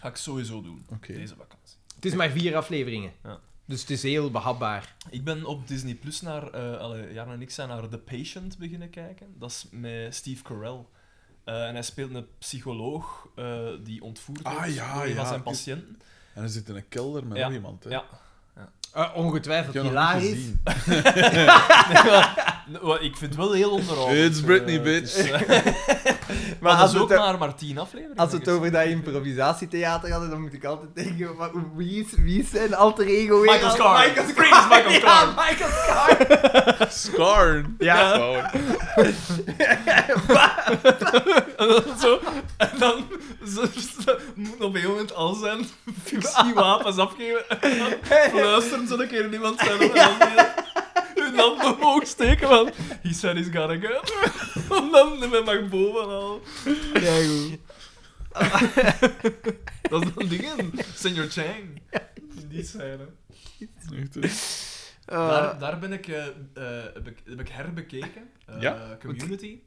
S3: Ga ik sowieso doen.
S1: Oké.
S3: Deze vakantie.
S2: Het is maar vier afleveringen.
S3: Ja.
S2: Dus het is heel behapbaar.
S3: Ik ben op Disney Plus naar, eh alle Jaren en ik zijn naar The Patient beginnen kijken. Dat is met Steve Carell. Eh, en hij speelt een psycholoog eh, die ontvoerd
S1: Ah,
S3: wordt
S1: ja,
S3: door een van
S1: ja.
S3: zijn patiënten.
S1: En er zit in een kelder met
S3: Ja.
S1: nog iemand, hè.
S3: Ja.
S2: Eh,
S1: Ik
S2: ongetwijfeld
S1: heb nog niet
S2: hilarisch.
S1: gezien.
S3: Nee, maar ik vind het wel heel
S2: Oh,
S3: onderhoudend.
S1: It's Britney,
S3: Eh,
S1: bitch.
S3: dus, eh,
S2: Maar
S3: maar dat
S2: als
S3: is ook
S2: het-
S3: maar, maar tien afleveringen.
S2: Als we het
S3: is.
S2: over dat improvisatietheater hadden, dan moet ik altijd denken, maar wie is, wie is zijn alter ego weer?
S3: Michael Scarn.
S2: Michael
S3: Vriend is Michael
S2: Ja,
S3: Scarn.
S2: Michael Scarn.
S1: Scarn.
S2: eh, Ja.
S3: Zo, en dan ze, ze moet op een gegeven moment al zijn fictiewapens afgeven. En dan fluisteren ze een keer in iemand zijn op en dan die- hun hand omhoog steken, want he said he's gotta go. En dan met mijn boven al. Ja, goed. Dat is dan dingen. Senor Chang. Die scène. Daar, daar ben ik, eh, eh, heb ik, heb ik herbekeken. Eh,
S1: Ja?
S3: Community.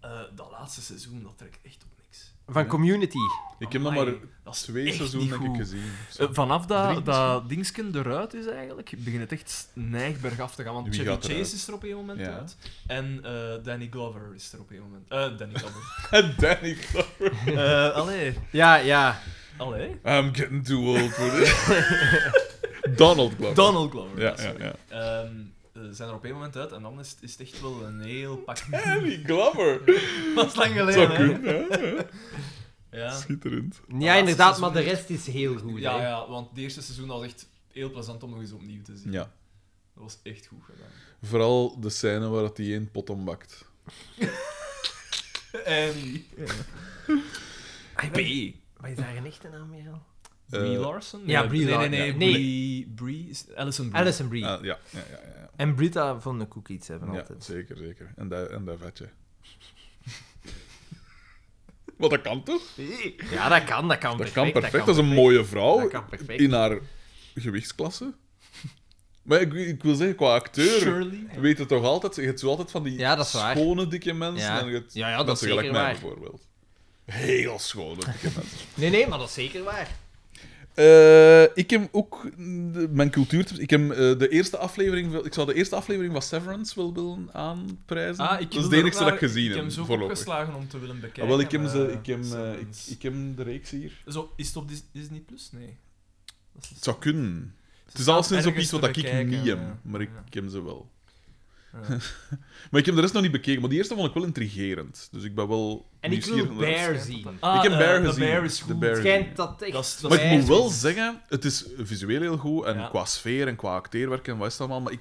S3: Eh, dat laatste seizoen, dat trekt echt op niks.
S2: Van Community.
S1: Ik heb nog
S3: Amai,
S1: maar
S3: dat is
S1: twee
S3: echt
S1: seizoenen
S3: niet
S1: denk ik
S3: goed.
S1: gezien.
S3: Eh, vanaf
S1: Drie
S3: dat, dat dingsken eruit is eigenlijk, begint het echt neigberg af te gaan. Want
S1: Wie
S3: Chevy
S1: gaat
S3: Chase
S1: eruit?
S3: is er op een moment
S1: Ja.
S3: uit. En eh, Danny Glover is er op een moment. Eh Danny Glover.
S1: En Danny Glover.
S3: Eh allee.
S2: Ja, ja.
S3: Allee.
S1: I'm getting too old for this. Donald Glover.
S3: Donald Glover.
S1: ja,
S3: dat is
S1: ja,
S3: het.
S1: ja.
S3: Ehm, eh, zijn er op een moment uit en dan is, is het echt wel een heel pak.
S1: Danny Glover.
S3: Dat is lang
S1: Zou
S3: geleden. hè.
S1: kunnen, hè? Ja,
S3: Ja.
S1: Schitterend.
S2: Ja, inderdaad, maar de rest is heel dus goed.
S3: Ja,
S2: hè.
S3: ja, want het eerste seizoen was echt heel plezant om nog eens opnieuw te zien.
S1: Ja.
S3: Dat was echt goed gedaan.
S1: Vooral de scène waar dat hij één pot om bakt.
S3: En B.
S2: Wat is daar een echte naam mee al?
S3: Brie
S1: Eh,
S3: Larson?
S2: ja,
S3: Nee,
S2: Brie
S3: nee, Nee,
S2: Lar-
S3: nee,
S2: ja.
S3: nee.
S2: Nee.
S3: Brie, Brie is Alison Brie.
S2: Alison Brie.
S1: ah, ja, ja, ja, ja,
S2: En Brita van de Cook iets hebben
S1: ja. ja.
S2: altijd.
S1: Zeker, zeker. En dat, en dat vetje. Wat dat kan toch?
S2: Ja, dat kan, dat kan
S1: Dat kan
S2: perfect.
S1: perfect. Dat is een mooie vrouw
S2: Dat kan perfect.
S1: in haar gewichtsklasse. Maar ik, ik wil zeggen, qua acteur
S3: Shirley.
S1: weet het toch altijd. Je hebt zo altijd van die
S2: Ja, dat is waar.
S1: schone dikke mensen.
S2: Ja.
S1: En je hebt
S2: Ja, ja, dat
S1: mensen
S2: is
S1: gelijk
S2: zeker
S1: mij
S2: waar.
S1: bijvoorbeeld. Heel schone dikke mensen.
S2: Nee, nee, maar dat is zeker waar.
S1: Eh, ik heb ook de- mijn cultuurtips. Ik heb eh, de eerste aflevering. wil- Ik zou de eerste aflevering van Severance wel willen aanprijzen.
S3: Ah, ik
S1: dat is
S3: wil
S1: de
S3: er
S1: enige
S3: ook
S1: dat
S3: naar-
S1: ik gezien
S3: Ik
S1: heb.
S3: heb hem zo
S1: voorlopig.
S3: opgeslagen om te willen bekijken.
S1: Ah, wel, ik heb, ze,
S3: maar,
S1: ik, heb, eh,
S3: eh,
S1: ik, ik heb de reeks hier.
S3: Zo, is het op Dis- Disney Plus? Nee. Dat is-
S1: Het zou kunnen. Het is
S3: staat
S1: alleszins op
S3: ergens
S1: iets wat
S3: te
S1: ik
S3: bekijken,
S1: niet heb,
S3: ja.
S1: maar ik,
S3: Ja.
S1: ik heb ze wel.
S3: Ja.
S1: Maar ik heb de rest nog niet bekeken, maar die eerste vond ik wel intrigerend. Dus ik ben wel
S2: En ik
S1: nieuwsgierig
S2: wil
S1: naar de rest.
S2: Bear
S3: Ja,
S2: zien.
S3: Ah,
S1: Ik heb
S3: eh,
S1: Bear
S3: The
S1: gezien.
S3: Bear is
S1: The
S3: goed.
S1: Bear.
S2: Het schijnt dat echt...
S3: Dat is- dat
S1: Maar ik
S3: Bear
S1: moet wel
S2: is-
S1: zeggen, het is visueel heel goed en
S3: Ja.
S1: qua sfeer en qua acteerwerk en wat is het allemaal. Maar ik,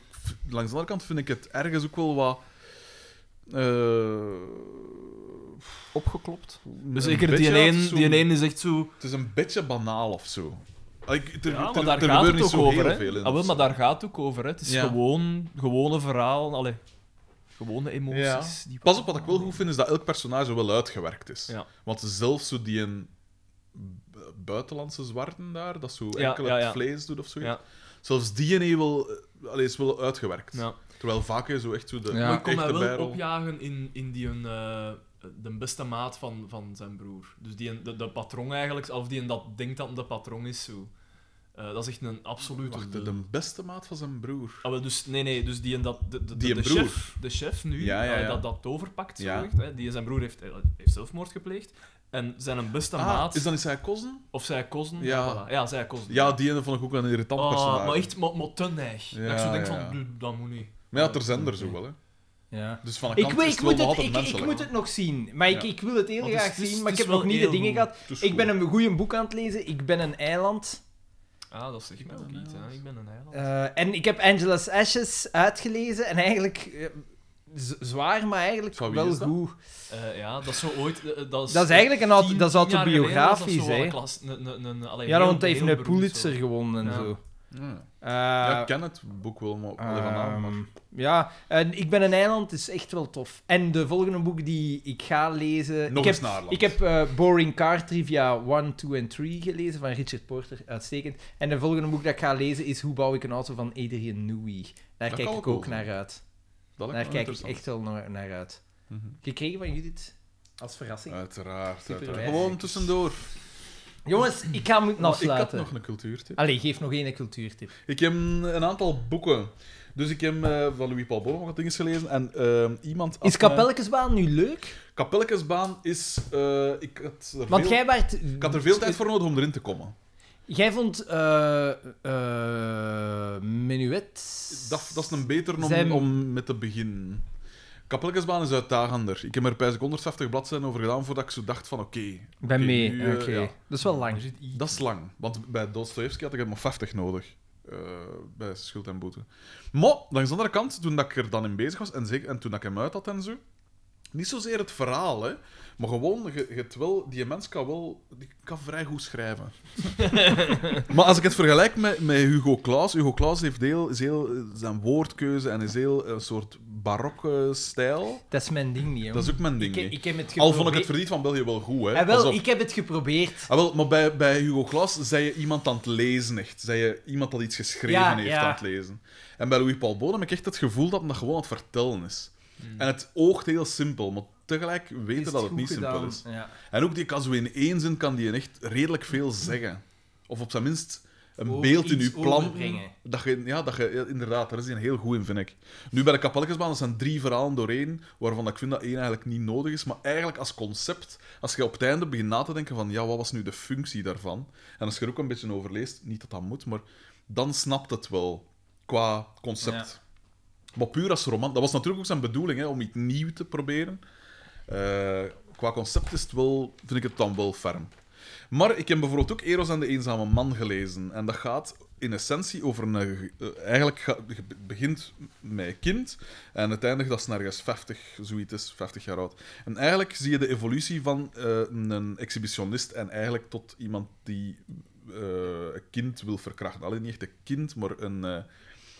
S1: langs de andere kant vind ik het ergens ook wel wat. eh,
S3: Opgeklopt.
S1: Dus
S3: Dus zeker die een, die een is echt zo...
S1: Het is een beetje banaal of zo. Ah, Ik, er,
S3: Ja,
S1: er-
S3: maar daar
S1: er
S3: gaat
S1: gebeurt
S3: het
S1: niet
S3: ook
S1: zo
S3: over,
S1: heel veel
S3: hè.
S1: in.
S3: Ah, wel, maar daar gaat het ook over, hè. Het is
S1: Ja.
S3: gewoon, gewone verhaal. Allee, gewone emoties. die-
S1: Pas op, wat ik wel goed vind is dat elk personage wel uitgewerkt is.
S3: Ja.
S1: Want zelfs zo die een bu- buitenlandse zwarten daar, dat zo
S3: Ja,
S1: enkel
S3: ja,
S1: het
S3: ja.
S1: vlees doet of zoiets.
S3: Ja.
S1: Zelfs die een wel, eh, allee, is wel uitgewerkt.
S3: Ja.
S1: Terwijl vaak je zo echt zo de
S5: Ja.
S3: maar ik kon
S1: echte
S3: mij wel
S1: bijrol-
S3: opjagen in, in die een, eh, de beste maat van, van zijn broer. Dus die, een- de, de patroon eigenlijk, of die een dat denkt dat hem de patroon is. Zo. Eh, dat is echt een absolute...
S1: Wacht, de, de beste maat van zijn broer.
S3: Ah, wel, dus, nee, nee, dus die en dat... De, de,
S1: Die
S3: de,
S1: een
S3: de
S1: broer.
S3: chef, de chef nu,
S1: Ja, ja,
S3: eh,
S1: ja.
S3: dat dat toverpakt,
S1: Ja.
S3: zogezegd, hè, die en zijn broer heeft, eh, heeft zelfmoord gepleegd. En zijn een beste
S1: Ah,
S3: maat,
S1: is dan is hij Kozen?
S3: of zij kozen...
S1: Ja.
S3: voilà. ja zij kozen.
S1: Ja, die ene vond ik ook wel een irritant
S3: Ah,
S1: personage.
S3: maar echt, maar, maar te neig.
S1: Ja,
S3: dat ik zo denk
S1: ja.
S3: van, "Du, dat moet niet.
S1: Maar ja, er zijn er zo wel, hè.
S5: Ja.
S1: Dus van een
S2: Ik,
S1: kant
S2: weet,
S1: is
S2: ik,
S1: wel
S2: moet
S1: nog
S2: het,
S1: altijd
S2: ik, ik
S1: menselijk.
S2: moet het nog zien. Maar ik,
S1: Ja.
S2: ik wil het heel
S3: Want het
S2: graag
S3: is- het is-
S2: zien, maar
S3: het
S2: ik
S3: is
S2: heb nog
S3: wel
S2: niet de
S3: heel
S2: dingen
S3: goed.
S2: gehad.
S1: Het is
S2: Ik ben
S1: goed.
S2: een goede boek aan het lezen. Ik ben een eiland.
S3: Ah, dat zegt mij ook iets. hè. Ik ben een eiland.
S2: Eh, en ik heb Angela's Ashes uitgelezen. En eigenlijk eh, z- zwaar, maar eigenlijk
S1: Van wie
S2: wel
S1: is dat?
S2: goed.
S3: Eh, ja, dat is zo ooit... eh, dat, is
S2: Dat is eigenlijk een auto-
S3: tien
S2: dat is
S3: jaar geleden
S2: autobiografisch,
S3: was dat zo
S2: hè.
S3: een klas- een- een- een- allee,
S2: Ja,
S3: heel-
S2: want hij heeft
S3: heel
S2: een
S3: beroemd
S2: Pulitzer
S3: zo.
S2: gewonnen en
S3: Ja.
S2: zo.
S1: Ja.
S2: Eh,
S1: Ja, ik ken het boek wel, maar alleen van naam, maar-
S2: Ehm, ja, en Ik ben een eiland is echt wel tof. En de volgende boek die ik ga lezen...
S1: Nog
S2: ik
S1: eens
S2: heb,
S1: naar Aarland.
S2: ik heb eh, Boring Car Trivia 1, 2 en 3 gelezen van Richard Porter. Uitstekend. En de volgende boek dat ik ga lezen is Hoe bouw ik een auto van Adrian Newey. Daar
S1: Dat
S2: kijk
S1: kan
S2: ik
S1: ook
S2: ook
S1: wel.
S2: naar uit.
S1: Dat lijkt
S2: Daar
S1: me
S2: kijk ik
S1: interessant.
S2: echt wel naar, naar uit.
S1: Mhm. Eh,
S2: Gekregen van Judith. Als verrassing.
S1: Uiteraard,
S2: Superwijs.
S1: uiteraard. Gewoon tussendoor.
S2: Jongens, ik ga moeten
S1: Maar Ik had
S2: afsluiten.
S1: nog een cultuurtip.
S2: Allee, geef nog één cultuurtip.
S1: Ik heb een aantal boeken. Dus ik heb eh, van Louis Paul Boom wat dingen gelezen. En ehm, iemand... had
S2: Is
S1: mij-
S2: Kapelkensbaan nu leuk?
S1: Kapelkesbaan is... eh, ik, had er
S2: Want
S1: veel,
S2: jij waart...
S1: ik had er veel tijd voor nodig om erin te komen.
S2: Jij vond eh eh Menuet.
S1: Dat, dat is een beter om,
S2: Zijn-
S1: om met te beginnen. Kapelkesbaan is uitdagender. Ik heb er bijna 150 bladzijden over gedaan voordat ik zo dacht van oké,
S2: Ben
S1: Oké,
S2: mee.
S1: nu, eh,
S2: Oké.
S1: ja.
S2: Dat is wel
S3: Er
S2: lang.
S3: zit iets-
S1: dat is lang. Want bij Dostoevsky had ik er maar 50 nodig. eh, bij schuld en boete. Maar, langs de andere kant, toen dat ik er dan in bezig was, en, zeker, en toen dat ik hem uit had en zo, niet zozeer het verhaal, hè, Maar gewoon, je, je hebt wel, die mens kan wel die kan vrij goed schrijven. maar als ik het vergelijk met, met Hugo Claus, Hugo Claus heeft heel, is heel, eh, zijn woordkeuze en is heel een soort barokke stijl.
S2: Dat is mijn ding niet, hoor.
S1: Dat is ook mijn ding.
S2: ik,
S1: niet.
S2: ik heb het
S1: Al
S2: geprobeerd.
S1: vond ik het verdiend van België wel goed, hè?
S2: Ah,
S1: Pas
S2: wel,
S1: op.
S2: ik heb het geprobeerd.
S1: Ah, wel, maar bij, bij Hugo Claus zei je iemand aan het lezen, echt. Zei je iemand dat iets geschreven
S2: Ja,
S1: heeft
S2: ja.
S1: aan het lezen. En bij Louis Paul Bodem heb ik echt het gevoel dat men dat gewoon aan het vertellen is.
S2: Hmm.
S1: En het oogt heel simpel, maar tegelijk weten dat het niet simpel is.
S2: Ja.
S1: En ook die kan zo in één zin kan die echt redelijk veel zeggen. Of op zijn minst een
S2: Over
S1: beeld in
S2: iets
S1: uw plan.
S2: overbrengen.
S1: Dat je, ja, dat je, ja, inderdaad, daar is hij heel goed in, vind ik. Nu bij de Kapelkensbaan, dat zijn drie verhalen doorheen, waarvan ik vind dat één eigenlijk niet nodig is. Maar eigenlijk als concept, als je op het einde begint na te denken van, ja, wat was nu de functie daarvan? En als je er ook een beetje over leest, niet dat dat moet, maar dan snapt het wel, qua concept. Maar puur als roman, dat was natuurlijk ook zijn bedoeling, hè, om iets nieuws te proberen. Eh, qua concept is het wel, vind ik het dan wel ferm. Maar ik heb bijvoorbeeld ook Eros en de Eenzame Man gelezen. En dat gaat in essentie over een... eh, eigenlijk ga- je be- begint met een kind en het eindigt als het ergens 50, zoiets is, 50 jaar oud. En eigenlijk zie je de evolutie van eh, een exhibitionist en eigenlijk tot iemand die eh, een kind wil verkrachten. Alleen niet echt een kind, maar een... eh,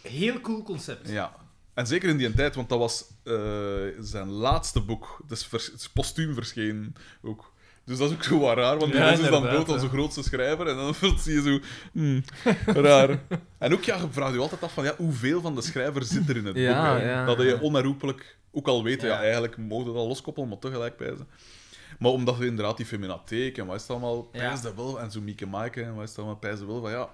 S2: Heel cool concept.
S1: ja. En zeker in die tijd, want dat was eh, zijn laatste boek. Dus vers, het is postuum verschenen ook. Dus dat is ook zo wat raar, want die
S3: Ja,
S1: mens is dan
S3: inderdaad,
S1: dood als
S3: ja.
S1: de grootste schrijver. En dan zie je zo... hmm, raar. En ook, ja, je vraagt je altijd af van, ja, hoeveel van de schrijver zit er in het
S3: Ja,
S1: boek? hè?
S3: ja.
S1: Dat je onherroepelijk ook al weet, ja,
S2: Ja.
S1: eigenlijk mogen we dat loskoppelen, maar tegelijk pijzen. Maar omdat we inderdaad die feminatheek en wat is het allemaal,
S2: Ja.
S1: pijzen dat wel. En zo Mieke Maaike en wat is het allemaal, pijzen wel van, ja...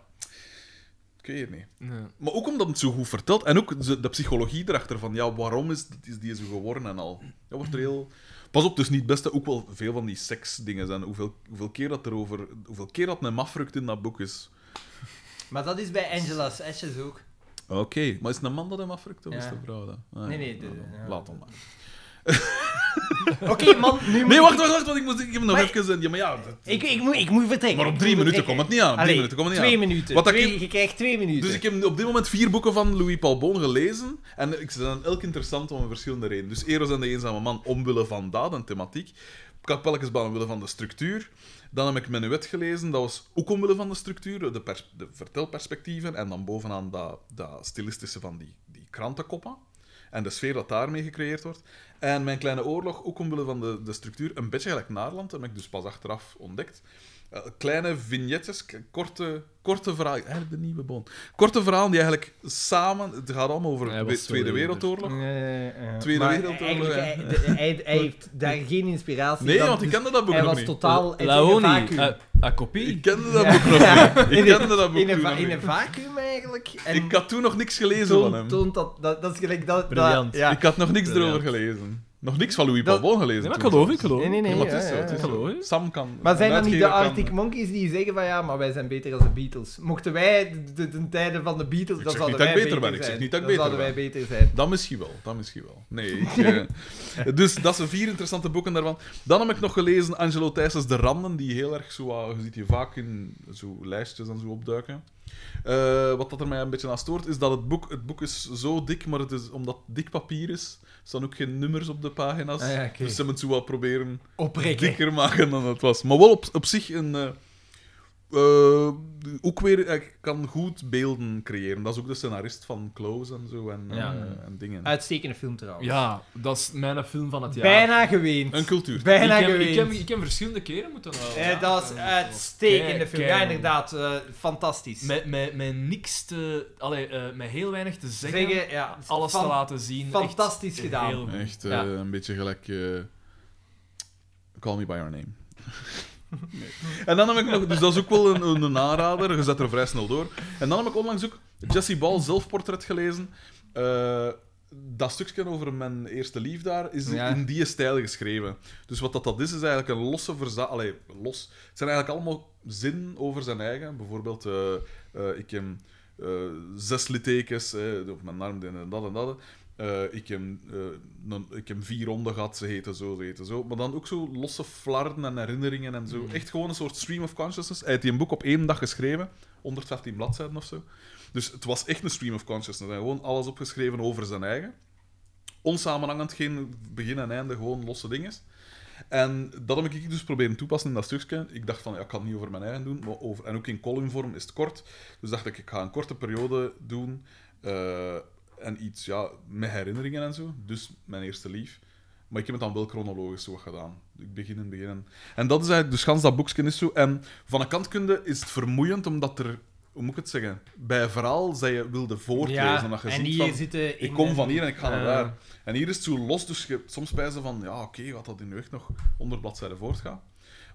S1: Ik weet het niet.
S3: Ja.
S1: Maar ook omdat het zo goed vertelt. En ook de, de psychologie erachter van, ja, waarom is, is die zo geworden en al. Dat wordt er heel... Pas op, dus niet het beste. Ook wel veel van die seksdingen zijn. Hoeveel, hoeveel keer dat er over... Hoeveel keer dat een mafrukt in dat boek is.
S2: Maar dat is bij Angela's Ashes ook.
S1: Oké. Maar is het een man dat hem afrukt of
S2: Ja.
S1: is het een vrouw dat? Ah,
S2: Nee,
S1: ja,
S2: nee, de-
S1: nou,
S2: ja.
S1: Laat dan maar.
S2: Oké, man, nu moet
S1: Nee,
S2: ik-
S1: wacht, wacht, wacht. Want ik, moet, ik heb nog
S2: Maar-
S1: even... een- Ja, maar ja... dat-
S2: Ik, ik, moet, ik moet vertrekken.
S1: maar op
S2: Ik
S1: drie
S2: moet
S1: minuten
S2: vertrekken.
S1: komt het niet aan. Op drie
S2: Allee,
S1: minuten komt het niet aan.
S2: twee minuten.
S1: Wat dat
S2: Twee-
S1: ik-
S2: Je krijgt twee minuten.
S1: Dus ik heb op dit moment vier boeken van Louis Paul Boon gelezen. En ik ze zijn elk interessant om een verschillende reden. Dus Eros en de Eenzame Man omwille van daad en thematiek. Kapelkensbaan omwille van de structuur. Dan heb ik Menuet gelezen, dat was ook omwille van de structuur, de, pers- de vertelperspectieven. En dan bovenaan dat, dat stilistische van die, die krantenkoppen. En de sfeer dat daarmee gecreëerd wordt. En Mijn Kleine Oorlog, ook omwille van de, de structuur, een beetje gelijk Naarland, dat heb ik dus pas achteraf ontdekt. Eh, kleine vignettes, k- korte, korte verhalen, eigenlijk de nieuwe boon. Korte verhalen die eigenlijk samen, het gaat allemaal over
S3: Hij
S1: de
S3: was
S1: Tweede
S3: zo eerder.
S1: Wereldoorlog. Tweede
S2: Tweede
S1: Wereldoorlog,
S2: eh, Hij,
S1: ja.
S2: de- hij, hij heeft daar geen inspiratie
S1: Nee,
S2: van,
S1: want ik
S2: dus
S1: kende dat boek
S2: Hij
S1: nog
S2: was
S1: niet.
S2: totaal in een
S3: Laoni, eh,
S2: vacuüm.
S3: a, a kopie.
S1: Ik kende dat boek nog
S2: Ja.
S1: niet. Ik
S2: In een-
S1: kende dat boek
S2: in, een,
S1: toen
S2: va-
S1: nog
S2: in een
S1: niet.
S2: vacuüm eigenlijk. En
S1: Ik had toen nog niks gelezen van
S2: toont,
S1: hem.
S2: toont dat, dat... Dat is gelijk dat... dat-
S3: Briljant.
S2: ja.
S1: Ik had nog niks
S3: Briljant.
S1: erover gelezen. Nog niks van Louis Paul
S2: Dat-
S1: Boon gelezen.
S3: Nee, maar ik
S1: toen
S3: geloof, ik
S1: zelfs.
S3: geloof.
S2: Nee, nee, nee.
S1: Ja, maar het
S2: ja,
S1: is zo, het
S2: ja,
S1: is
S2: ja.
S1: zo.
S3: Geloof je?
S1: Sam kan.
S2: Maar zijn
S1: een
S2: dat niet de
S1: uitgever kan-
S2: Arctic Monkeys die zeggen van ja, maar wij zijn beter als de Beatles? Mochten wij de, de, de tijden van de Beatles,
S1: Ik zeg
S2: dan
S1: niet
S2: zouden
S1: dat
S2: wij
S1: ik beter
S2: beter,
S1: ben, ik zeg
S2: zijn.
S1: niet dat ik
S2: dan
S1: beter
S2: zouden wij beter zijn.
S1: Dat misschien wel, dat misschien wel. Nee, ik, eh, dus dat zijn vier interessante boeken daarvan. Dan heb ik nog gelezen Angelo Thijssen's De Randen, die heel erg zo... ah, je ziet die vaak in zo lijstjes en zo opduiken. Eh, wat dat er mij een beetje aan stoort, is dat het boek... Het boek is zo dik, maar het is, omdat het dik papier is, staan ook geen nummers op de pagina's.
S2: Ah ja, oké.
S1: Dus ze moeten zo wat proberen
S2: Oprekken.
S1: dikker maken dan het was. Maar wel op, op zich een... eh, eh, ook weer, ik kan goed beelden creëren. Dat is ook de scenarist van Close en zo en,
S3: Ja.
S1: eh, en dingen.
S2: Uitstekende film trouwens.
S3: Ja, dat is mijn film van het jaar.
S2: Bijna geweend.
S1: Een cultuur.
S2: Bijna
S3: ik, heb,
S2: geweend.
S3: ik, heb, ik heb verschillende keren moeten wel.
S2: Eh, dat is uitstekende film. Ja, inderdaad. eh, fantastisch.
S3: Met, met, met niks te... Allee, eh, met heel weinig te zeggen,
S2: Zeggen, ja,
S3: alles
S2: fan-
S3: te laten zien.
S2: fantastisch
S3: echt
S2: gedaan.
S3: heel goed.
S1: Echt eh,
S3: Ja.
S1: een beetje gelijk. eh, call me by your name. Nee. En dan heb ik nog, dus dat is ook wel een, een, een aanrader, je zet er vrij snel door. En dan heb ik onlangs ook Jesse Ball zelfportret gelezen. Eh, dat stukje over mijn eerste lief daar is
S2: Ja.
S1: in die stijl geschreven. Dus wat dat, dat is, is eigenlijk een losse verzameling. los. Het zijn eigenlijk allemaal zinnen over zijn eigen. Bijvoorbeeld, eh, eh, ik heb eh, zes littekens eh, op mijn arm, dit en dat en dat. Eh, ik, heb, eh, een- ik heb vier honden gehad, ze heten zo, ze heten zo. Maar dan ook zo losse flarden en herinneringen en zo. Echt gewoon een soort stream of consciousness. Hij heeft die een boek op één dag geschreven, 115 bladzijden of zo. Dus het was echt een stream of consciousness. Hij had gewoon alles opgeschreven over zijn eigen. Onsamenhangend, geen begin en einde, gewoon losse dingen. En dat heb ik dus proberen toepassen in dat stukje. Ik dacht van, ja, ik kan het niet over mijn eigen doen. Maar over, en ook in columnvorm is het kort. Dus dacht ik, ik ga een korte periode doen. eh, en iets, ja, met herinneringen en zo. Dus mijn eerste lief. Maar ik heb het dan wel chronologisch zo wat gedaan. Ik begin en begin. En, en dat is eigenlijk, dus gans dat boekje is zo. En van een kant kunde is het vermoeiend, omdat er... Hoe moet ik het zeggen? Bij een verhaal zei je wilde voortlezen. en dat je ziet van,
S2: zitten
S1: ik kom van hier en ik ga naar
S2: eh,
S1: daar. En hier is het zo los, dus je, soms bij ze van, ja, oké, wat dat in je echt nog onder bladzijden voortgaat.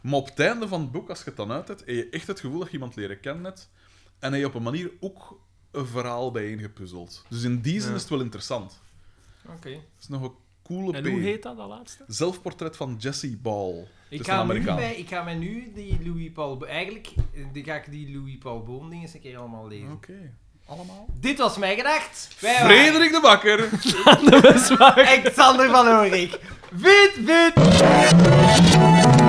S1: Maar op het einde van het boek, als je het dan uit hebt, heb je echt het gevoel dat je iemand leren kennen hebt. En heb je op een manier ook een verhaal bijeengepuzzeld. Dus in die zin
S3: Ja.
S1: is het wel interessant.
S3: Oké.
S1: Het is nog een coole
S3: En
S1: P.
S3: hoe heet dat, dat laatste?
S1: Zelfportret van Jesse Ball. Het
S2: Ik
S1: is Dus een
S2: ga, nu
S1: Amerikaan.
S2: bij, ik ga mij nu die Louis Paul... Bo- Eigenlijk eh, die ga ik die Louis Paul Boom dingen eens een keer allemaal lezen.
S1: Oké. Allemaal?
S2: Dit was mijn gedacht. Wij waren
S1: Frederik de Bakker!
S2: Alexander van Oorik. Wit, wit.